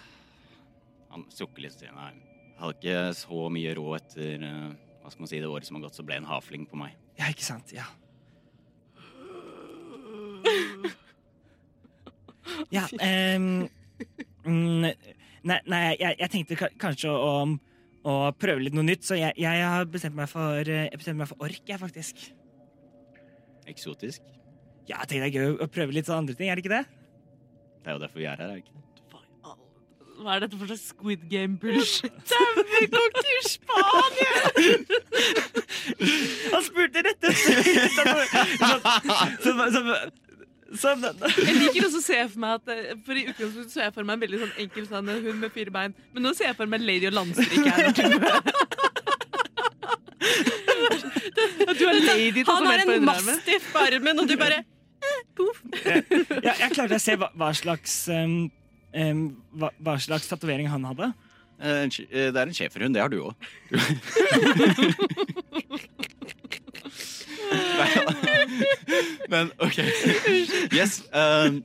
Speaker 1: Han sukker litt og sier nei. Jeg hadde ikke så mye råd etter eh, hva skal man si, det året som har gått, så ble en havfling på meg.
Speaker 4: Ja, ikke sant? Ja. Ja em, mm, Nei, nei jeg, jeg tenkte ka- kanskje å, å prøve litt noe nytt, så jeg, jeg har bestemt meg for, eh, jeg bestemte meg for ork, jeg, faktisk.
Speaker 1: Eksotisk.
Speaker 4: Ja, jeg tenkte det er gøy å prøve litt sånn andre ting, er det ikke det?
Speaker 1: Det er jo derfor vi er her, er det ikke det?
Speaker 2: Hva er dette for slags Squid Game-bullshit?
Speaker 4: Han spurte rett etter! Sånn, sånn, sånn, sånn.
Speaker 2: Jeg liker også å se for meg at eh, For i utgangspunktet så er jeg for meg en veldig sånn enkel sånn eh, hund med fire bein, men nå ser jeg for meg Lady og Landstryk her. At du har lady
Speaker 3: Han
Speaker 2: tatovert
Speaker 3: har
Speaker 2: på
Speaker 3: en
Speaker 2: underarmen.
Speaker 3: mastiff på armen, og du bare
Speaker 4: Ja, jeg klarte å se hva, hva slags um, um, hva, hva slags tatovering han hadde.
Speaker 1: Eh, en sj- eh, Det er en schæferhund, det har du òg. Men OK. Yes. ehm,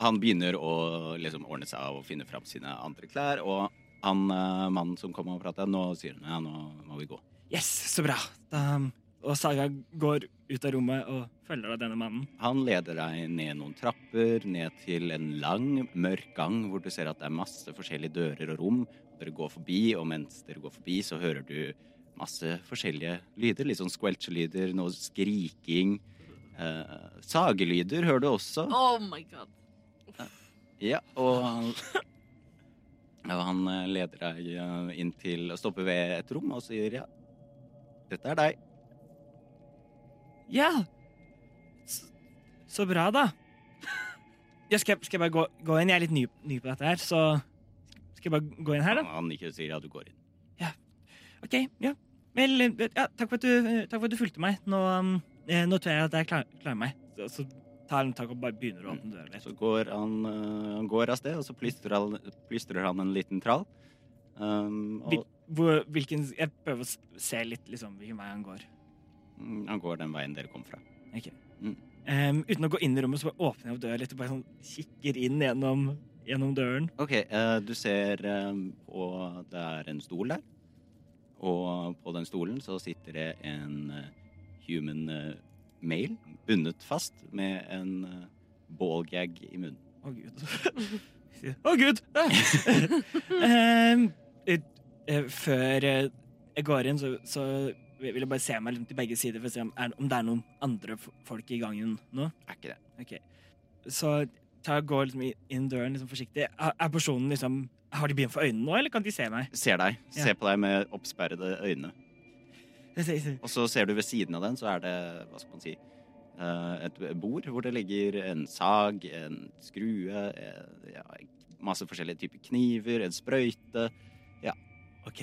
Speaker 1: han begynner å liksom ordne seg og finne fram sine andre klær, og han eh, mannen som kom og prata, nå sier han ja, nå må vi gå.
Speaker 4: Yes, så bra! Da, um, og Saga går ut av rommet og følger av denne mannen.
Speaker 1: Han leder deg ned noen trapper, ned til en lang, mørk gang hvor du ser at det er masse forskjellige dører og rom. Dere går forbi, og mens dere går forbi, så hører du masse forskjellige lyder. Litt sånn squelch-lyder, noe skriking. Eh, sagelyder hører du også.
Speaker 2: Oh my god.
Speaker 1: Ja, og han, og han eh, leder deg eh, inn til å stoppe ved et rom og sier ja, dette er deg.
Speaker 4: Ja! Så, så bra, da. Ja, skal, jeg, skal jeg bare gå, gå inn? Jeg er litt ny, ny på dette her, så skal jeg bare gå inn her, da?
Speaker 1: Han, han nikker og sier ja, du går inn.
Speaker 4: Ok, ja. Vel, ja, takk, for at du, takk for at du fulgte meg. Nå, um, eh, nå tror jeg at jeg klar, klarer meg. Så, så tar han tak og bare begynner å åpne døra litt.
Speaker 1: Så går han, eh, han går av sted, og så plystrer han, plystrer han en liten trall. Um, og
Speaker 4: Vil- Hvor, hvilken, jeg prøver å s- se litt liksom, hvilken vei han går.
Speaker 1: mm, han går den veien dere kom fra.
Speaker 4: Ok.
Speaker 1: Mm.
Speaker 4: Em, uten å gå inn i rommet, så bare åpner jeg opp døra litt og bare sånn, kikker inn gjennom, gjennom døren.
Speaker 1: Ok, eh, du ser eh, på Det er en stol der. Og på den stolen så sitter det en eh, human eh, male bundet fast med en eh, ballgag i munnen.
Speaker 4: Å, gud. Å, gud! Em, eh, eh, før eh, jeg går inn, så, så vil jeg bare se meg rundt til begge sider for å se om, er, om det er noen andre f- folk i gangen nå.
Speaker 1: Er ikke det?
Speaker 4: Ok. Så ta, går liksom i- inn døren liksom forsiktig. Er, er personen liksom Har de begynt for øynene nå, eller kan de se meg?
Speaker 1: Ser deg.
Speaker 4: Ja.
Speaker 1: Ser på deg med oppsperrede øyne.
Speaker 4: Jeg ser- jeg ser-
Speaker 1: Og så ser du ved siden av den, så er det hva skal man si eh, et bord hvor det ligger en sag, en skrue, eh, ja, masse forskjellige typer kniver, en sprøyte.
Speaker 4: Ok.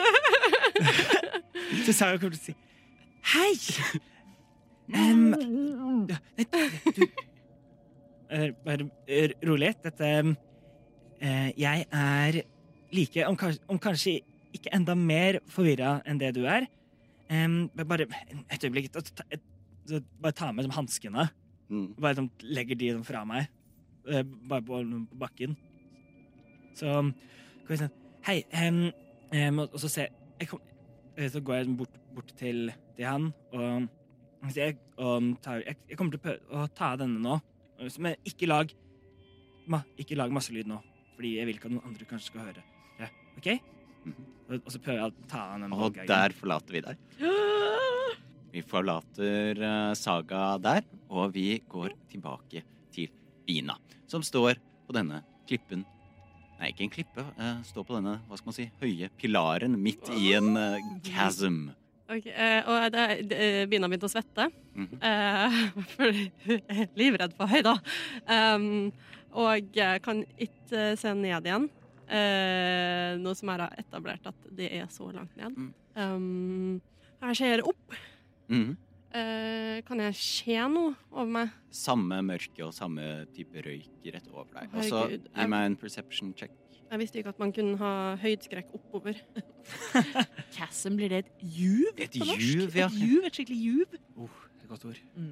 Speaker 4: så sa jeg kommer til å si Hei! Em, ja, nei, du, Eh, Bare eh, rolig. Dette eh, Jeg er like, om kanskje, om kanskje ikke enda mer forvirra enn det du er. Em, men bare et øyeblikk. ta- ta- et- så Bare ta med som hanskene.
Speaker 1: Mm.
Speaker 4: Bare sånn, legger de dem fra meg. eh, Bare på, på bakken. Så um, går jeg sånn Hei. em, em, og og så ser jeg kom, eh, Så går jeg bort, bort til, til han og så jeg, og tar, jeg, jeg kommer til å prøve å ta denne nå, men ikke lag ma, Ikke lag masse lyd nå, fordi jeg vil ikke at noen andre kanskje skal høre. Ja, OK?
Speaker 1: Mhm.
Speaker 4: Og, og så prøver jeg å ta han den
Speaker 1: Og
Speaker 4: valgeggen.
Speaker 1: der forlater vi deg. Vi forlater eh, Saga der, og vi går tilbake til Bina, som står på denne klippen. Nei, ikke en klippe. eh, står på denne hva skal man si, høye pilaren midt i en eh, chasm.
Speaker 3: Ok, eh, Og da eh, begynner jeg å svette.
Speaker 1: Mhm.
Speaker 3: Eh, for jeg er livredd for høyder. Um, og jeg kan ikke se ned igjen. Eh, nå som jeg har etablert at det er så langt ned.
Speaker 1: Mm.
Speaker 3: Um, jeg ser opp,
Speaker 1: Mhm.
Speaker 3: Eh, kan jeg skje noe over meg?
Speaker 1: Samme mørke og samme type røyk rett over deg. Og så
Speaker 3: Herregud,
Speaker 1: gi
Speaker 3: jeg-
Speaker 1: meg en perception check.
Speaker 3: Jeg visste ikke at man kunne ha høydeskrekk oppover.
Speaker 2: Chasm, blir det et juv
Speaker 1: Et
Speaker 2: på norsk?
Speaker 1: juv, ja.
Speaker 2: Et juv, et skikkelig juv?
Speaker 4: Oh, godt ord.
Speaker 2: Mm.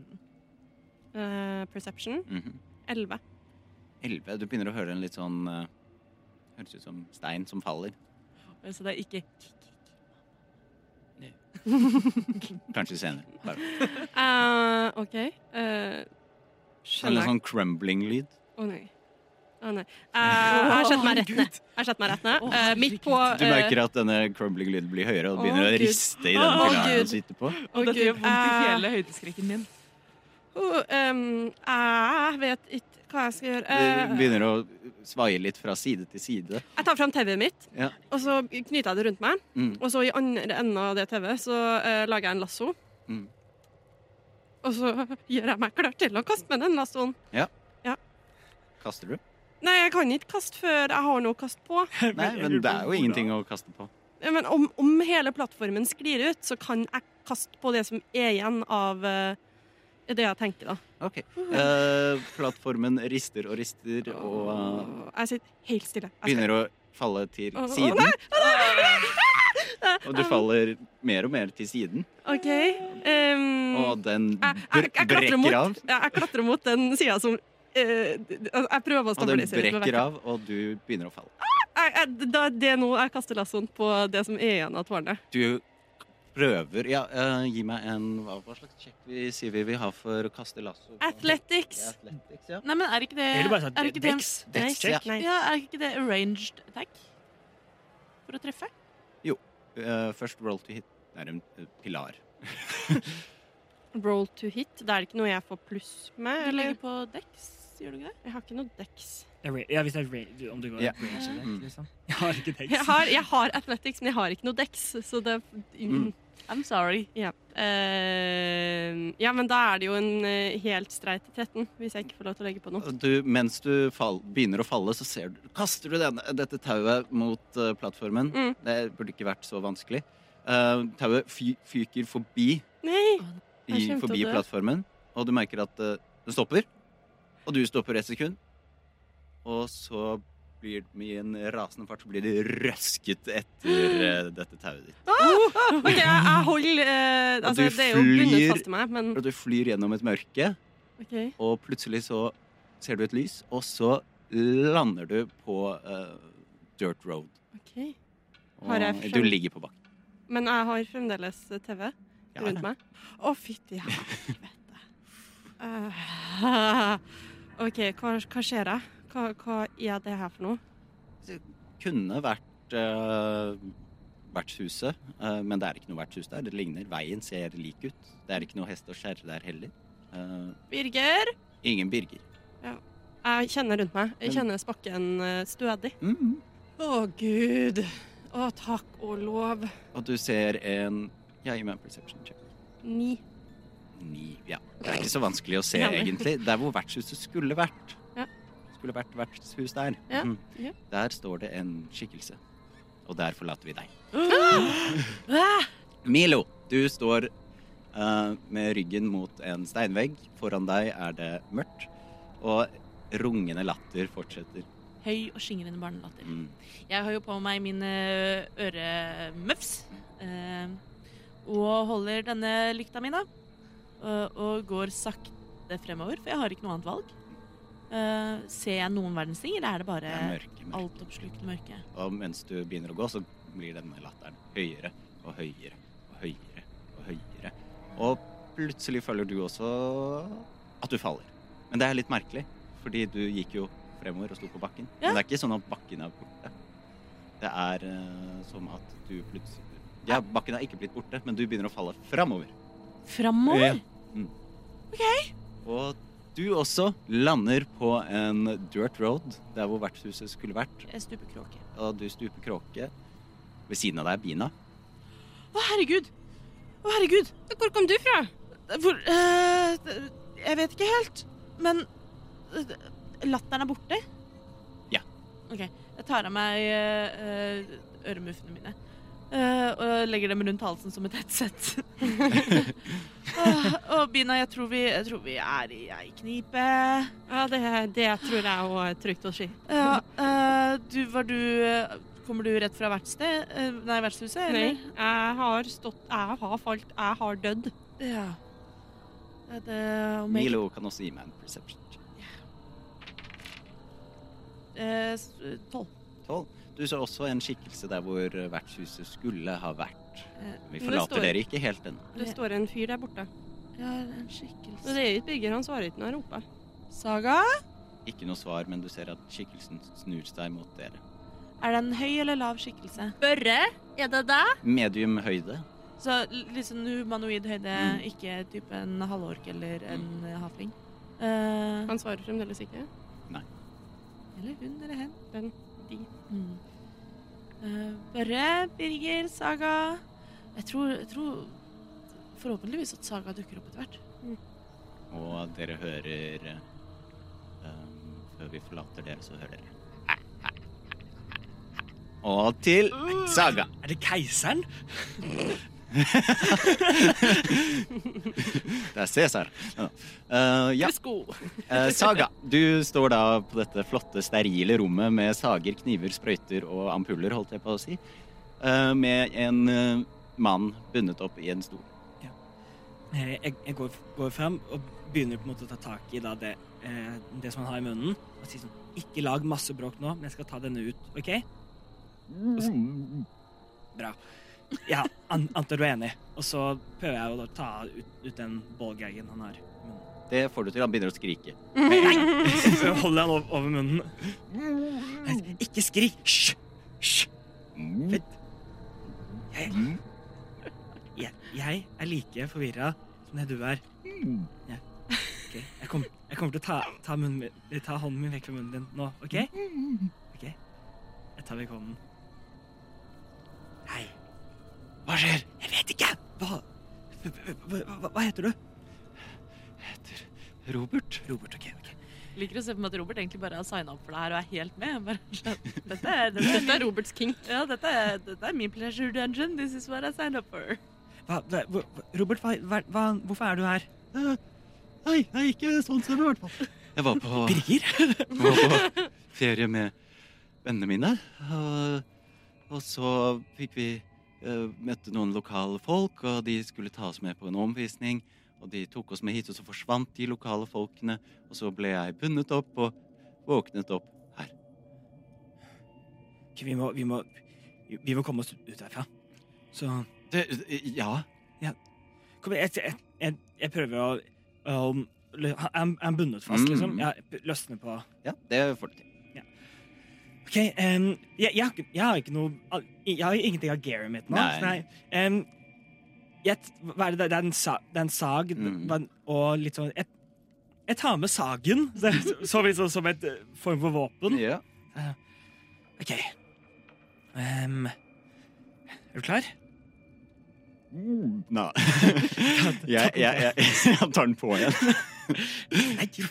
Speaker 3: Eh, perception
Speaker 1: Mhm.
Speaker 3: 11.
Speaker 1: Elleve. Du begynner å høre en litt sånn eh, Høres ut som stein som faller.
Speaker 2: Så det er ikke
Speaker 1: Kanskje senere. Bare.
Speaker 3: Eh, OK. Eh,
Speaker 1: En
Speaker 3: skjønner
Speaker 1: litt
Speaker 3: jeg.
Speaker 1: sånn crumbling-lyd.
Speaker 3: Å nei. Å nei. Eh, jeg har sett meg rett ned. Jeg har sett meg rett ned.
Speaker 2: Å,
Speaker 3: Eh, midt på
Speaker 1: Du merker at denne crumbling-lyden blir høyere, og
Speaker 3: Å,
Speaker 1: begynner å
Speaker 3: Gud.
Speaker 1: riste i
Speaker 3: Å,
Speaker 1: den pilaren
Speaker 3: Gud.
Speaker 1: du sitter på.
Speaker 3: Å,
Speaker 2: Og dette
Speaker 3: Gud.
Speaker 2: gjør vondt i
Speaker 3: Eh,
Speaker 2: hele høydeskrekken min.
Speaker 3: oh, ehm, Jeg vet ikke hva jeg skal gjøre.
Speaker 1: Du
Speaker 3: Eh,
Speaker 1: begynner å svaie litt fra side til side.
Speaker 3: jeg tar fram tauet mitt,
Speaker 1: Ja.
Speaker 3: og så knyter jeg det rundt meg.
Speaker 1: Mm.
Speaker 3: Og så i andre enden av det tauet så eh, lager jeg en lasso.
Speaker 1: Mm.
Speaker 3: Og så gjør jeg meg klar til å kaste med den lassoen.
Speaker 1: Kaster du?
Speaker 3: Nei, jeg kan ikke kaste før jeg har noe å kaste på.
Speaker 1: Nei, men det er jo ingenting å kaste på.
Speaker 3: Ja, Men om, om hele plattformen sklir ut, så kan jeg kaste på det som er igjen av eh, det jeg tenker, da.
Speaker 1: Ok. Eh, plattformen rister og rister og eh,
Speaker 3: Jeg sitter helt stille. Altså, Jeg skal-
Speaker 1: begynner å falle til
Speaker 3: Å, å,
Speaker 1: siden. Ah. Og du
Speaker 3: Au.
Speaker 1: faller mer og mer til siden,
Speaker 3: OK. ehm,
Speaker 1: og den
Speaker 3: jeg, jeg,
Speaker 1: br-
Speaker 3: jeg, klatrer
Speaker 1: brekker
Speaker 3: mot,
Speaker 1: av.
Speaker 3: jeg, jeg klatrer mot den sida som eh, d- d- altså, Jeg prøver å
Speaker 1: Og den
Speaker 3: stabilisere
Speaker 1: brekker av, og du begynner å falle.
Speaker 3: Jeg, jeg, da, det er nå jeg kaster lassoen på det som er igjen av tårnet.
Speaker 1: Du prøver Ja, eh, gi meg en Hva, hva slags check vi sier vi vil ha for å kaste lasso? på-
Speaker 3: Athletics.
Speaker 1: Ja, Athletics, ja.
Speaker 2: Nei, men er ikke det,
Speaker 4: Jeg ville bare
Speaker 2: Eh, er
Speaker 4: sagt
Speaker 2: ikke det,
Speaker 4: Dex.
Speaker 1: Dex,
Speaker 4: Dex check.
Speaker 1: ja.
Speaker 3: Nei.
Speaker 2: ja, er ikke det arranged attack? For å treffe?
Speaker 1: Eh, først roll to hit. Det er en eh, pilar.
Speaker 3: Roll to hit. Det er ikke noe jeg får pluss med.
Speaker 2: Du
Speaker 3: Eller?
Speaker 2: legger på dex, gjør du ikke det?
Speaker 3: Jeg har ikke noe dex.
Speaker 4: Ja, ra- Ja, hvis det er ra- om du går
Speaker 1: Ja.
Speaker 4: range eller
Speaker 1: Mm.
Speaker 4: liksom. Jeg har ikke dex.
Speaker 3: Jeg har, jeg har athletics, men jeg har ikke noe dex, så det
Speaker 1: Mm.
Speaker 2: I'm sorry.
Speaker 3: ja. Eh, ja, men da er det jo en eh, helt streit 13, hvis jeg ikke får lov til å legge på noe.
Speaker 1: Og Du, mens du fall, begynner å falle, så ser du, kaster du denne, dette tauet mot eh, plattformen.
Speaker 3: Mm.
Speaker 1: Det burde ikke vært så vanskelig. Eh, tauet fy, fyker forbi,
Speaker 3: Nei!
Speaker 1: i,
Speaker 3: Jeg kommer til å
Speaker 1: forbi
Speaker 3: dø.
Speaker 1: plattformen, og du merker at eh, det stopper. Og du stopper et sekund, og så blir det med en rasende fart så blir det røsket etter eh, dette tauet ditt.
Speaker 3: OK, jeg, jeg holder eh, Altså,
Speaker 1: du
Speaker 3: det er jo bundet
Speaker 1: flyr-
Speaker 3: fast til meg, men
Speaker 1: Og du flyr gjennom et mørke,
Speaker 3: OK.
Speaker 1: og plutselig så ser du et lys, og så lander du på eh, dirt road.
Speaker 3: ok.
Speaker 1: Og
Speaker 3: Har jeg
Speaker 1: du
Speaker 3: skjønt-
Speaker 1: ligger på bakken.
Speaker 3: Men jeg har fremdeles TV
Speaker 1: Ja.
Speaker 3: rundt meg. Å, fytti helvete. Eh, OK, hva, hva skjer jeg? Hva, hva er det her for noe?
Speaker 1: Kunne vært eh, vertshuset, eh, men det er ikke noe vertshus der. Det ligner. Veien ser lik ut. Det er ikke noe hest og skjerre der heller. Eh,
Speaker 3: Birger?
Speaker 1: ingen Birger.
Speaker 3: Jeg kjenner rundt meg. Jeg
Speaker 1: Men-
Speaker 3: kjenner spakken eh, stødig.
Speaker 1: Mhm.
Speaker 3: Å, gud. Å, takk og lov.
Speaker 1: Og du ser en Ja, gi meg en perception check.
Speaker 3: Ni.
Speaker 1: Ni. Ja. Det er ikke så vanskelig å se,
Speaker 3: Ja.
Speaker 1: egentlig. Der hvor vertshuset skulle vært.
Speaker 3: Ja.
Speaker 1: Skulle vært vertshus der.
Speaker 3: Ja,
Speaker 1: Mhm.
Speaker 3: ja.
Speaker 1: Der står det en skikkelse. Og der forlater vi deg.
Speaker 2: Ah!
Speaker 1: Milo, du står eh, med ryggen mot en steinvegg. Foran deg er det mørkt, og rungende latter fortsetter.
Speaker 2: Høy og skingrende barnelatter.
Speaker 1: Mm.
Speaker 2: Jeg har jo på meg mine øremøfs. eh, Og holder denne lykta mi, da. Og- Og går sakte fremover, for jeg har ikke noe annet valg. Eh, Ser jeg noen verdens ting, eller er det
Speaker 1: Det er
Speaker 2: bare
Speaker 1: mørke,
Speaker 3: Eh,
Speaker 1: mørke.
Speaker 2: altoppslukende mørke?
Speaker 1: Og mens du begynner å gå, så blir denne latteren høyere og høyere og høyere og høyere. Og plutselig føler du også at du faller. Men det er litt merkelig, fordi du gikk jo fremover og sto på bakken.
Speaker 2: Ja.
Speaker 1: Men det er ikke sånn at bakken er borte. Det er eh, som at du plutselig Ja, bakken er ikke blitt borte, men du begynner å falle framover. Ja.
Speaker 2: Framover?
Speaker 1: Mm. Og du også lander på en dirt road, der hvor vertshuset skulle vært.
Speaker 2: Jeg stuper kråke.
Speaker 1: Og du stuper kråke. Ved siden av deg er Bina.
Speaker 2: Å, herregud! Å, herregud!
Speaker 3: Hvor kom du fra?
Speaker 2: Hvor eh, d- Jeg vet ikke helt, men eh, d- Latteren er borte?
Speaker 1: Ja.
Speaker 2: OK. Jeg tar av meg eh, eh, øremuffene mine eh, og legger dem rundt halsen som et headset. Åh, og Bina, jeg tror vi, jeg tror vi er i ei knipe.
Speaker 3: Ja, det, det tror jeg òg er trygt å si.
Speaker 2: Ja, eh, du, var du eh, Kommer du rett fra vertsted? eh, nei, vertshuset,
Speaker 3: Nei,
Speaker 2: eller?
Speaker 3: jeg har stått Jeg har falt. Jeg har dødd.
Speaker 2: Ja. Er det om jeg
Speaker 1: Milo kan også gi meg en perception. check.
Speaker 2: Eh, s- Tolv.
Speaker 1: Tolv. Du så også en skikkelse der hvor eh, vertshuset skulle ha vært.
Speaker 2: Eh,
Speaker 1: Vi
Speaker 3: det
Speaker 1: forlater
Speaker 3: står-
Speaker 1: dere ikke helt ennå.
Speaker 3: Det står en fyr der borte.
Speaker 2: Ja, en
Speaker 3: Men
Speaker 2: skikkelse
Speaker 3: det er ikke bygger, han svarer ikke når jeg roper.
Speaker 2: Saga?
Speaker 1: Ikke noe svar, men du ser at skikkelsen snur seg mot dere.
Speaker 2: Er det en høy eller lav skikkelse?
Speaker 3: Børre, er det deg?
Speaker 1: Medium høyde.
Speaker 2: Så l- litt sånn humanoid høyde,
Speaker 1: Mm.
Speaker 2: ikke type en halvork eller en eh, havfling. Eh,
Speaker 3: Han svarer fremdeles ikke.
Speaker 2: eller hun eller hen.
Speaker 3: Den, de.
Speaker 2: Mm. Eh, Børre, Birger, Saga jeg tror, jeg tror forhåpentligvis at Saga dukker opp etter hvert.
Speaker 1: Og dere hører eh, um, Før vi forlater dere, så hører dere Og til
Speaker 3: Mm.
Speaker 1: Saga.
Speaker 4: Er det keiseren?
Speaker 1: Det er Cæsar. Eh, ja. Eh, saga. Du står da på dette flotte, sterile rommet med sager, kniver, sprøyter og ampuller, holdt jeg på å si, eh, med en eh, mann bundet opp i en stol.
Speaker 4: Eh, Jeg, jeg går, går frem og begynner på en måte å ta tak i da det, eh, det som han har i munnen. Og sier sånn Ikke lag masse bråk nå, men jeg skal ta denne ut. OK? Og så- Bra. Ja, an, antar du er enig. Og så prøver jeg å da ta ut, ut den ballgagen han har. i munnen.
Speaker 1: Det får du til. Han begynner å skrike.
Speaker 4: Så holder jeg den over, over munnen.
Speaker 3: Mm.
Speaker 4: Ikke skrik! Hysj! Hysj! Vent. Jeg, jeg, jeg er like forvirra som det du er. Ja. Ok, Jeg, kom, jeg kommer til å ta, ta, munnen, min- ta hånden min vekk fra munnen din nå, OK? Ok. Jeg tar vekk hånden. Hei.
Speaker 1: Hva skjer?
Speaker 4: Jeg vet ikke! Hva, hva, hva, hva heter du?
Speaker 1: Heter Robert.
Speaker 4: Robert. OK. ok.
Speaker 2: Liker å se på meg at Robert egentlig bare har signa opp for det her og er helt med. Bare, dette, er,
Speaker 3: Dette er Roberts kink.
Speaker 2: ja, dette, er, dette er min pleasure dungeon. This is what I signed up for.
Speaker 4: Hva, hva, Robert, hva, hva, hva- hvorfor er du her?
Speaker 1: Nei, det er ikke sånn som i hvert fall. Jeg var på,
Speaker 4: Birger?
Speaker 1: var på ferie med vennene mine, og, og så fikk vi eh, møtte noen lokale folk, og de skulle ta oss med på en omvisning. Og de tok oss med hit, og så forsvant de lokale folkene. Og så ble jeg bundet opp og våknet opp her.
Speaker 4: Ok, Vi må, vi må, vi må komme oss ut herfra. Så
Speaker 1: Det, ja.
Speaker 4: kom, igjen, jeg, jeg, jeg, jeg prøver å um, lø- Han han er bundet fast,
Speaker 1: Mm.
Speaker 4: liksom. Jeg løsner på
Speaker 1: ja, det får du til.
Speaker 4: OK, em, jeg, jeg, har ikke- jeg har ikke noe al- Jeg har ingenting av gearet mitt nå.
Speaker 1: Nei.
Speaker 4: så em, jeg, t- hva er det, det er en, sa, det er en sag
Speaker 1: Mm.
Speaker 4: hva- og litt sånn jeg, jeg tar med sagen, så, så vidt sånn som et eh, form for våpen.
Speaker 1: Ja.
Speaker 4: OK. Em, er du klar?
Speaker 1: Nei. Jeg, jeg, jeg, jeg tar den på igjen.
Speaker 4: Nei, jo.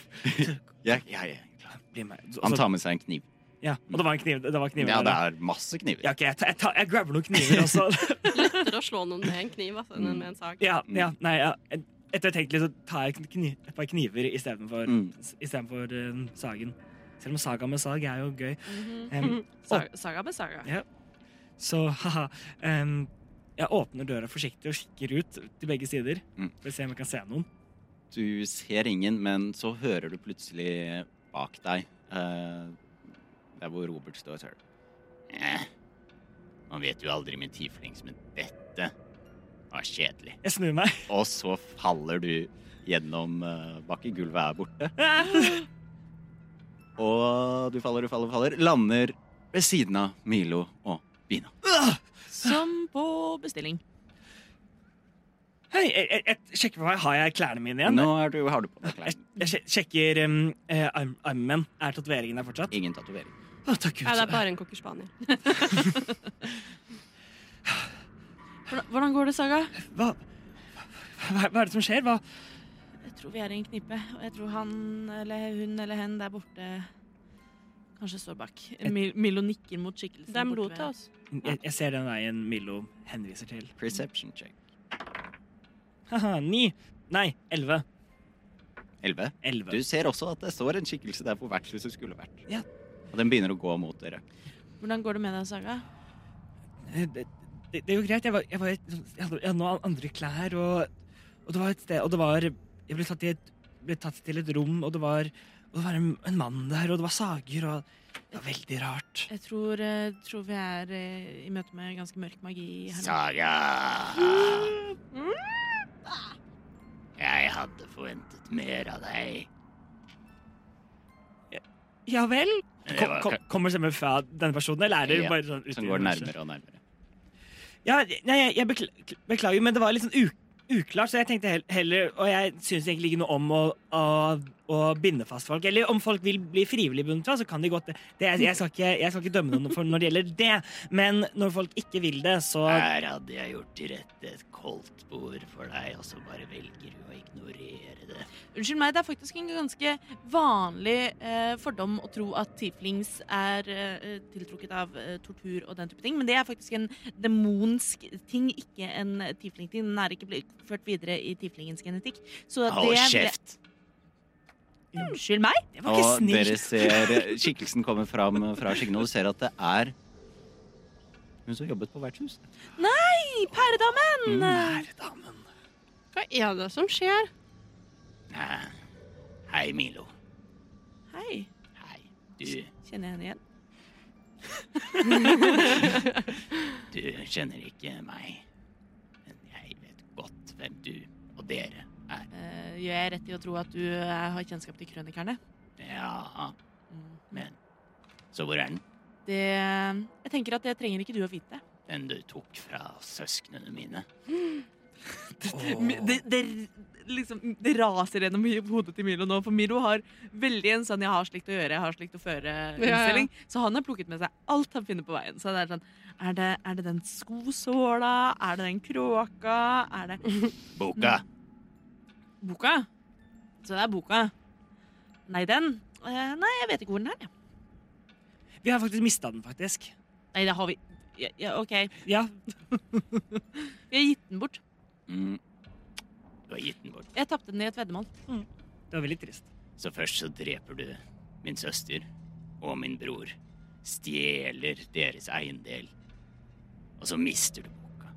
Speaker 1: Jeg, jeg, jeg.
Speaker 4: Bli med. Så-
Speaker 1: Han
Speaker 4: så-
Speaker 1: tar med seg en kniv.
Speaker 4: Ja, og det var en kniv. Det var kniv
Speaker 1: Altså, Ja, det er masse kniver.
Speaker 4: ja, ok, jeg, ta, jeg, ta, jeg grabber noen kniver, og så
Speaker 3: Lettere å slå noen med en kniv altså, enn med en sag.
Speaker 4: ja,
Speaker 1: Mm.
Speaker 4: ja, nei, ja. Etter å ha tenkt litt, så tar jeg kni, et par kniver istedenfor
Speaker 1: Mm.
Speaker 4: for um, sagen. Selv om saga med sag er jo gøy. Em,
Speaker 2: Sa- Saga med Saga.
Speaker 4: så haha. em, jeg åpner døra forsiktig og kikker ut til begge sider
Speaker 1: Mm.
Speaker 4: for å se om jeg kan se noen.
Speaker 1: Du ser ingen, men så hører du plutselig bak deg eh, Der hvor Robert står og hører eh, Man vet jo aldri med tiefling som dette. Var kjedelig.
Speaker 4: Jeg snur meg.
Speaker 1: Og så faller du gjennom eh, bakken. Gulvet er borte. Og du faller, du faller, du faller. Lander ved siden av Milo og Bina.
Speaker 2: Som på bestilling.
Speaker 4: Hei, jeg, jeg, jeg sjekker på meg. Har jeg klærne mine igjen?
Speaker 1: Nå er du, har du på deg
Speaker 4: Jeg,
Speaker 1: klær.
Speaker 4: jeg sje- sjekker em, eh, arm, armen min. Er tatoveringen der fortsatt?
Speaker 1: Ingen tatovering.
Speaker 4: Å, takk Gud.
Speaker 3: Ja, det er bare en cocker spaniel.
Speaker 2: Hvordan- Hvordan går det, Saga?
Speaker 4: Hva, hva, hva er det som skjer? Hva,
Speaker 2: Jeg tror vi er i en knipe, og jeg tror han eller hun eller hen der borte Kanskje står bak. Mil Milo nikker mot skikkelsen.
Speaker 5: Det er
Speaker 2: borte
Speaker 5: blod
Speaker 2: ved-
Speaker 5: til oss.
Speaker 4: Jeg, jeg ser den veien Milo henviser til.
Speaker 1: Perception check.
Speaker 4: Haha, ni. Nei, elleve.
Speaker 1: 11.
Speaker 4: Elleve.
Speaker 1: Du ser også at det står en skikkelse der hvor vertshuset skulle vært.
Speaker 4: Ja.
Speaker 1: Og den begynner å gå mot dere.
Speaker 2: Hvordan går det med deg, Saga?
Speaker 4: Eh, det, det, det er jo greit. Jeg, var, jeg, var, jeg hadde jeg hadde noen andre klær, og, og det var et sted Og det var Jeg ble tatt, i et, ble tatt til et rom, og det var, og det var en, en mann der, og det var sager, og det var veldig rart.
Speaker 2: Jeg tror, eh, tror vi er eh, i møte med ganske mørk magi her. nå.
Speaker 1: Saga! Jeg hadde forventet mer av deg.
Speaker 4: Ja vel?
Speaker 1: Det
Speaker 4: Kom,
Speaker 1: var-
Speaker 4: kom, kommer stemmen fra denne personen, eller er det
Speaker 1: Ja,
Speaker 4: bare sånn ut i
Speaker 1: Som går
Speaker 4: universet?
Speaker 1: nærmere og nærmere.
Speaker 4: Ja, nei, jeg, jeg bekl- beklager, men det var litt sånn u- uklart, så jeg tenkte hell- heller Og jeg syns egentlig ikke noe om å, å, å binde fast folk. Eller om folk vil bli frivillig bundet fast, så kan de godt det. det jeg, jeg, skal ikke, jeg skal ikke dømme noen for når det gjelder det, men når folk ikke vil det, så
Speaker 1: Her hadde jeg gjort til rette et koldt bord for deg, og så bare velger du å ignorere det.
Speaker 2: Unnskyld meg, det er faktisk en ganske vanlig eh, fordom å tro at tieflings er eh, tiltrukket av eh, tortur og den type ting, men det er faktisk en demonsk ting, ikke en tieflingting. Den er ikke blitt ført videre i tieflingens genetikk. Så
Speaker 1: Hold
Speaker 2: det
Speaker 1: kjeft!
Speaker 2: Ble, unnskyld meg?
Speaker 4: Det var ikke
Speaker 1: Og dere
Speaker 4: snilt.
Speaker 1: ser eh, skikkelsen komme fram fra skyggene, og du ser at det er hun som jobbet på vertshus.
Speaker 2: Hei, Pæredammen!
Speaker 4: Herredamen.
Speaker 5: Hva er det som skjer?
Speaker 1: Hei, Milo.
Speaker 2: Hei.
Speaker 1: Hei. Du,
Speaker 2: Kjenner jeg henne igjen?
Speaker 1: du kjenner ikke meg, men jeg vet godt hvem du og dere er.
Speaker 2: Eh, gjør jeg rett i å tro at du eh, har kjennskap til krønikerne?
Speaker 1: Ja, men Så hvor er den?
Speaker 2: Det Jeg tenker at det trenger ikke du å vite.
Speaker 1: Den du tok fra søsknene mine?
Speaker 2: Mi- Det, det, liksom, det raser gjennom i hodet til Milo nå, for Milo har veldig en sånn 'jeg har slikt å gjøre, jeg har slikt å føre'-innstilling. Så han har plukket med seg alt han finner på veien. Så det er sånn Er det, er det den skosåla? Er det den kråka? Er det
Speaker 1: Boka!
Speaker 2: boka? Så det er boka. Nei, den eh, Nei, jeg vet ikke hvor den er. jeg.
Speaker 4: Vi har faktisk mista den, faktisk.
Speaker 2: Nei, det har vi ja, ja, OK.
Speaker 4: Ja,
Speaker 2: Vi har gitt den bort.
Speaker 1: Mm. Du har gitt den bort.
Speaker 2: Jeg tapte den i et veddemål.
Speaker 4: det var veldig trist.
Speaker 1: Så først så dreper du min søster og min bror. Stjeler deres eiendel. Og så mister du boka.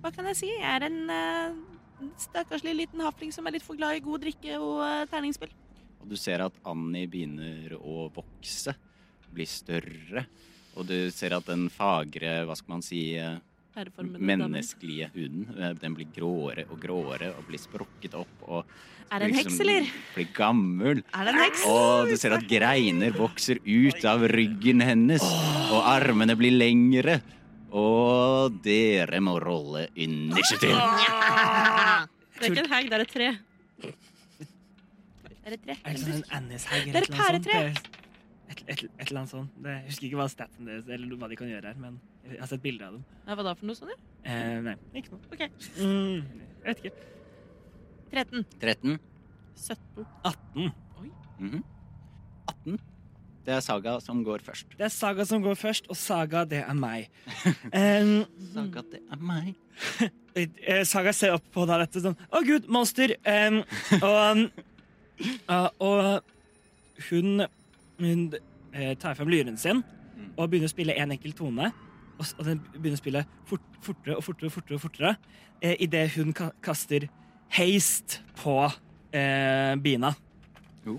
Speaker 2: Hva kan jeg si? Jeg er en eh, stakkarslig liten hafling som er litt for glad i god drikke og eh, terningspill.
Speaker 1: Og du ser at Annie begynner å vokse. Bli større. Og du ser at den fagre, hva skal man si, eh,
Speaker 2: Herreformede
Speaker 1: menneskelige huden, eh, den blir gråere og gråere og blir sprukket opp og
Speaker 2: Er det en
Speaker 1: liksom
Speaker 2: heks, eller?
Speaker 1: Blir gammel.
Speaker 2: Er det en heks?
Speaker 1: Og du ser at greiner vokser ut av ryggen hennes, og armene blir lengre. Og dere må rolle initiativ.
Speaker 3: Det er ikke en hegg, det er et tre.
Speaker 2: Er det tre?
Speaker 4: Er det sånn en Annishaug
Speaker 2: Det er
Speaker 4: eller
Speaker 2: et
Speaker 4: noe sånt?
Speaker 2: pæretre.
Speaker 4: Det er Et, et, et eller annet sånt. Det- Jeg husker ikke hva staten deres eller hva de kan gjøre her, men jeg har sett bilder av dem.
Speaker 2: Ja, hva da for noe sånt?
Speaker 4: Eh, nei, ikke noe.
Speaker 2: Ok.
Speaker 4: Mm, jeg vet ikke.
Speaker 2: 13.
Speaker 1: 13.
Speaker 3: 17.
Speaker 4: 18.
Speaker 1: Mhm. 18. Det er Saga som går først.
Speaker 4: Det er Saga som går først, og Saga, det er meg. Em,
Speaker 2: Mhm.
Speaker 1: Saga, det er meg.
Speaker 4: eh, saga ser opp på da dette sånn Å, gud, monster! Em, og, ja, og hun, hun eh, tar frem lyren sin og begynner å spille en enkel tone. Og, s- og den begynner å spille fort, fortere og fortere og fortere, og fortere eh, idet hun ka kaster haste på eh, bina.
Speaker 1: Oh.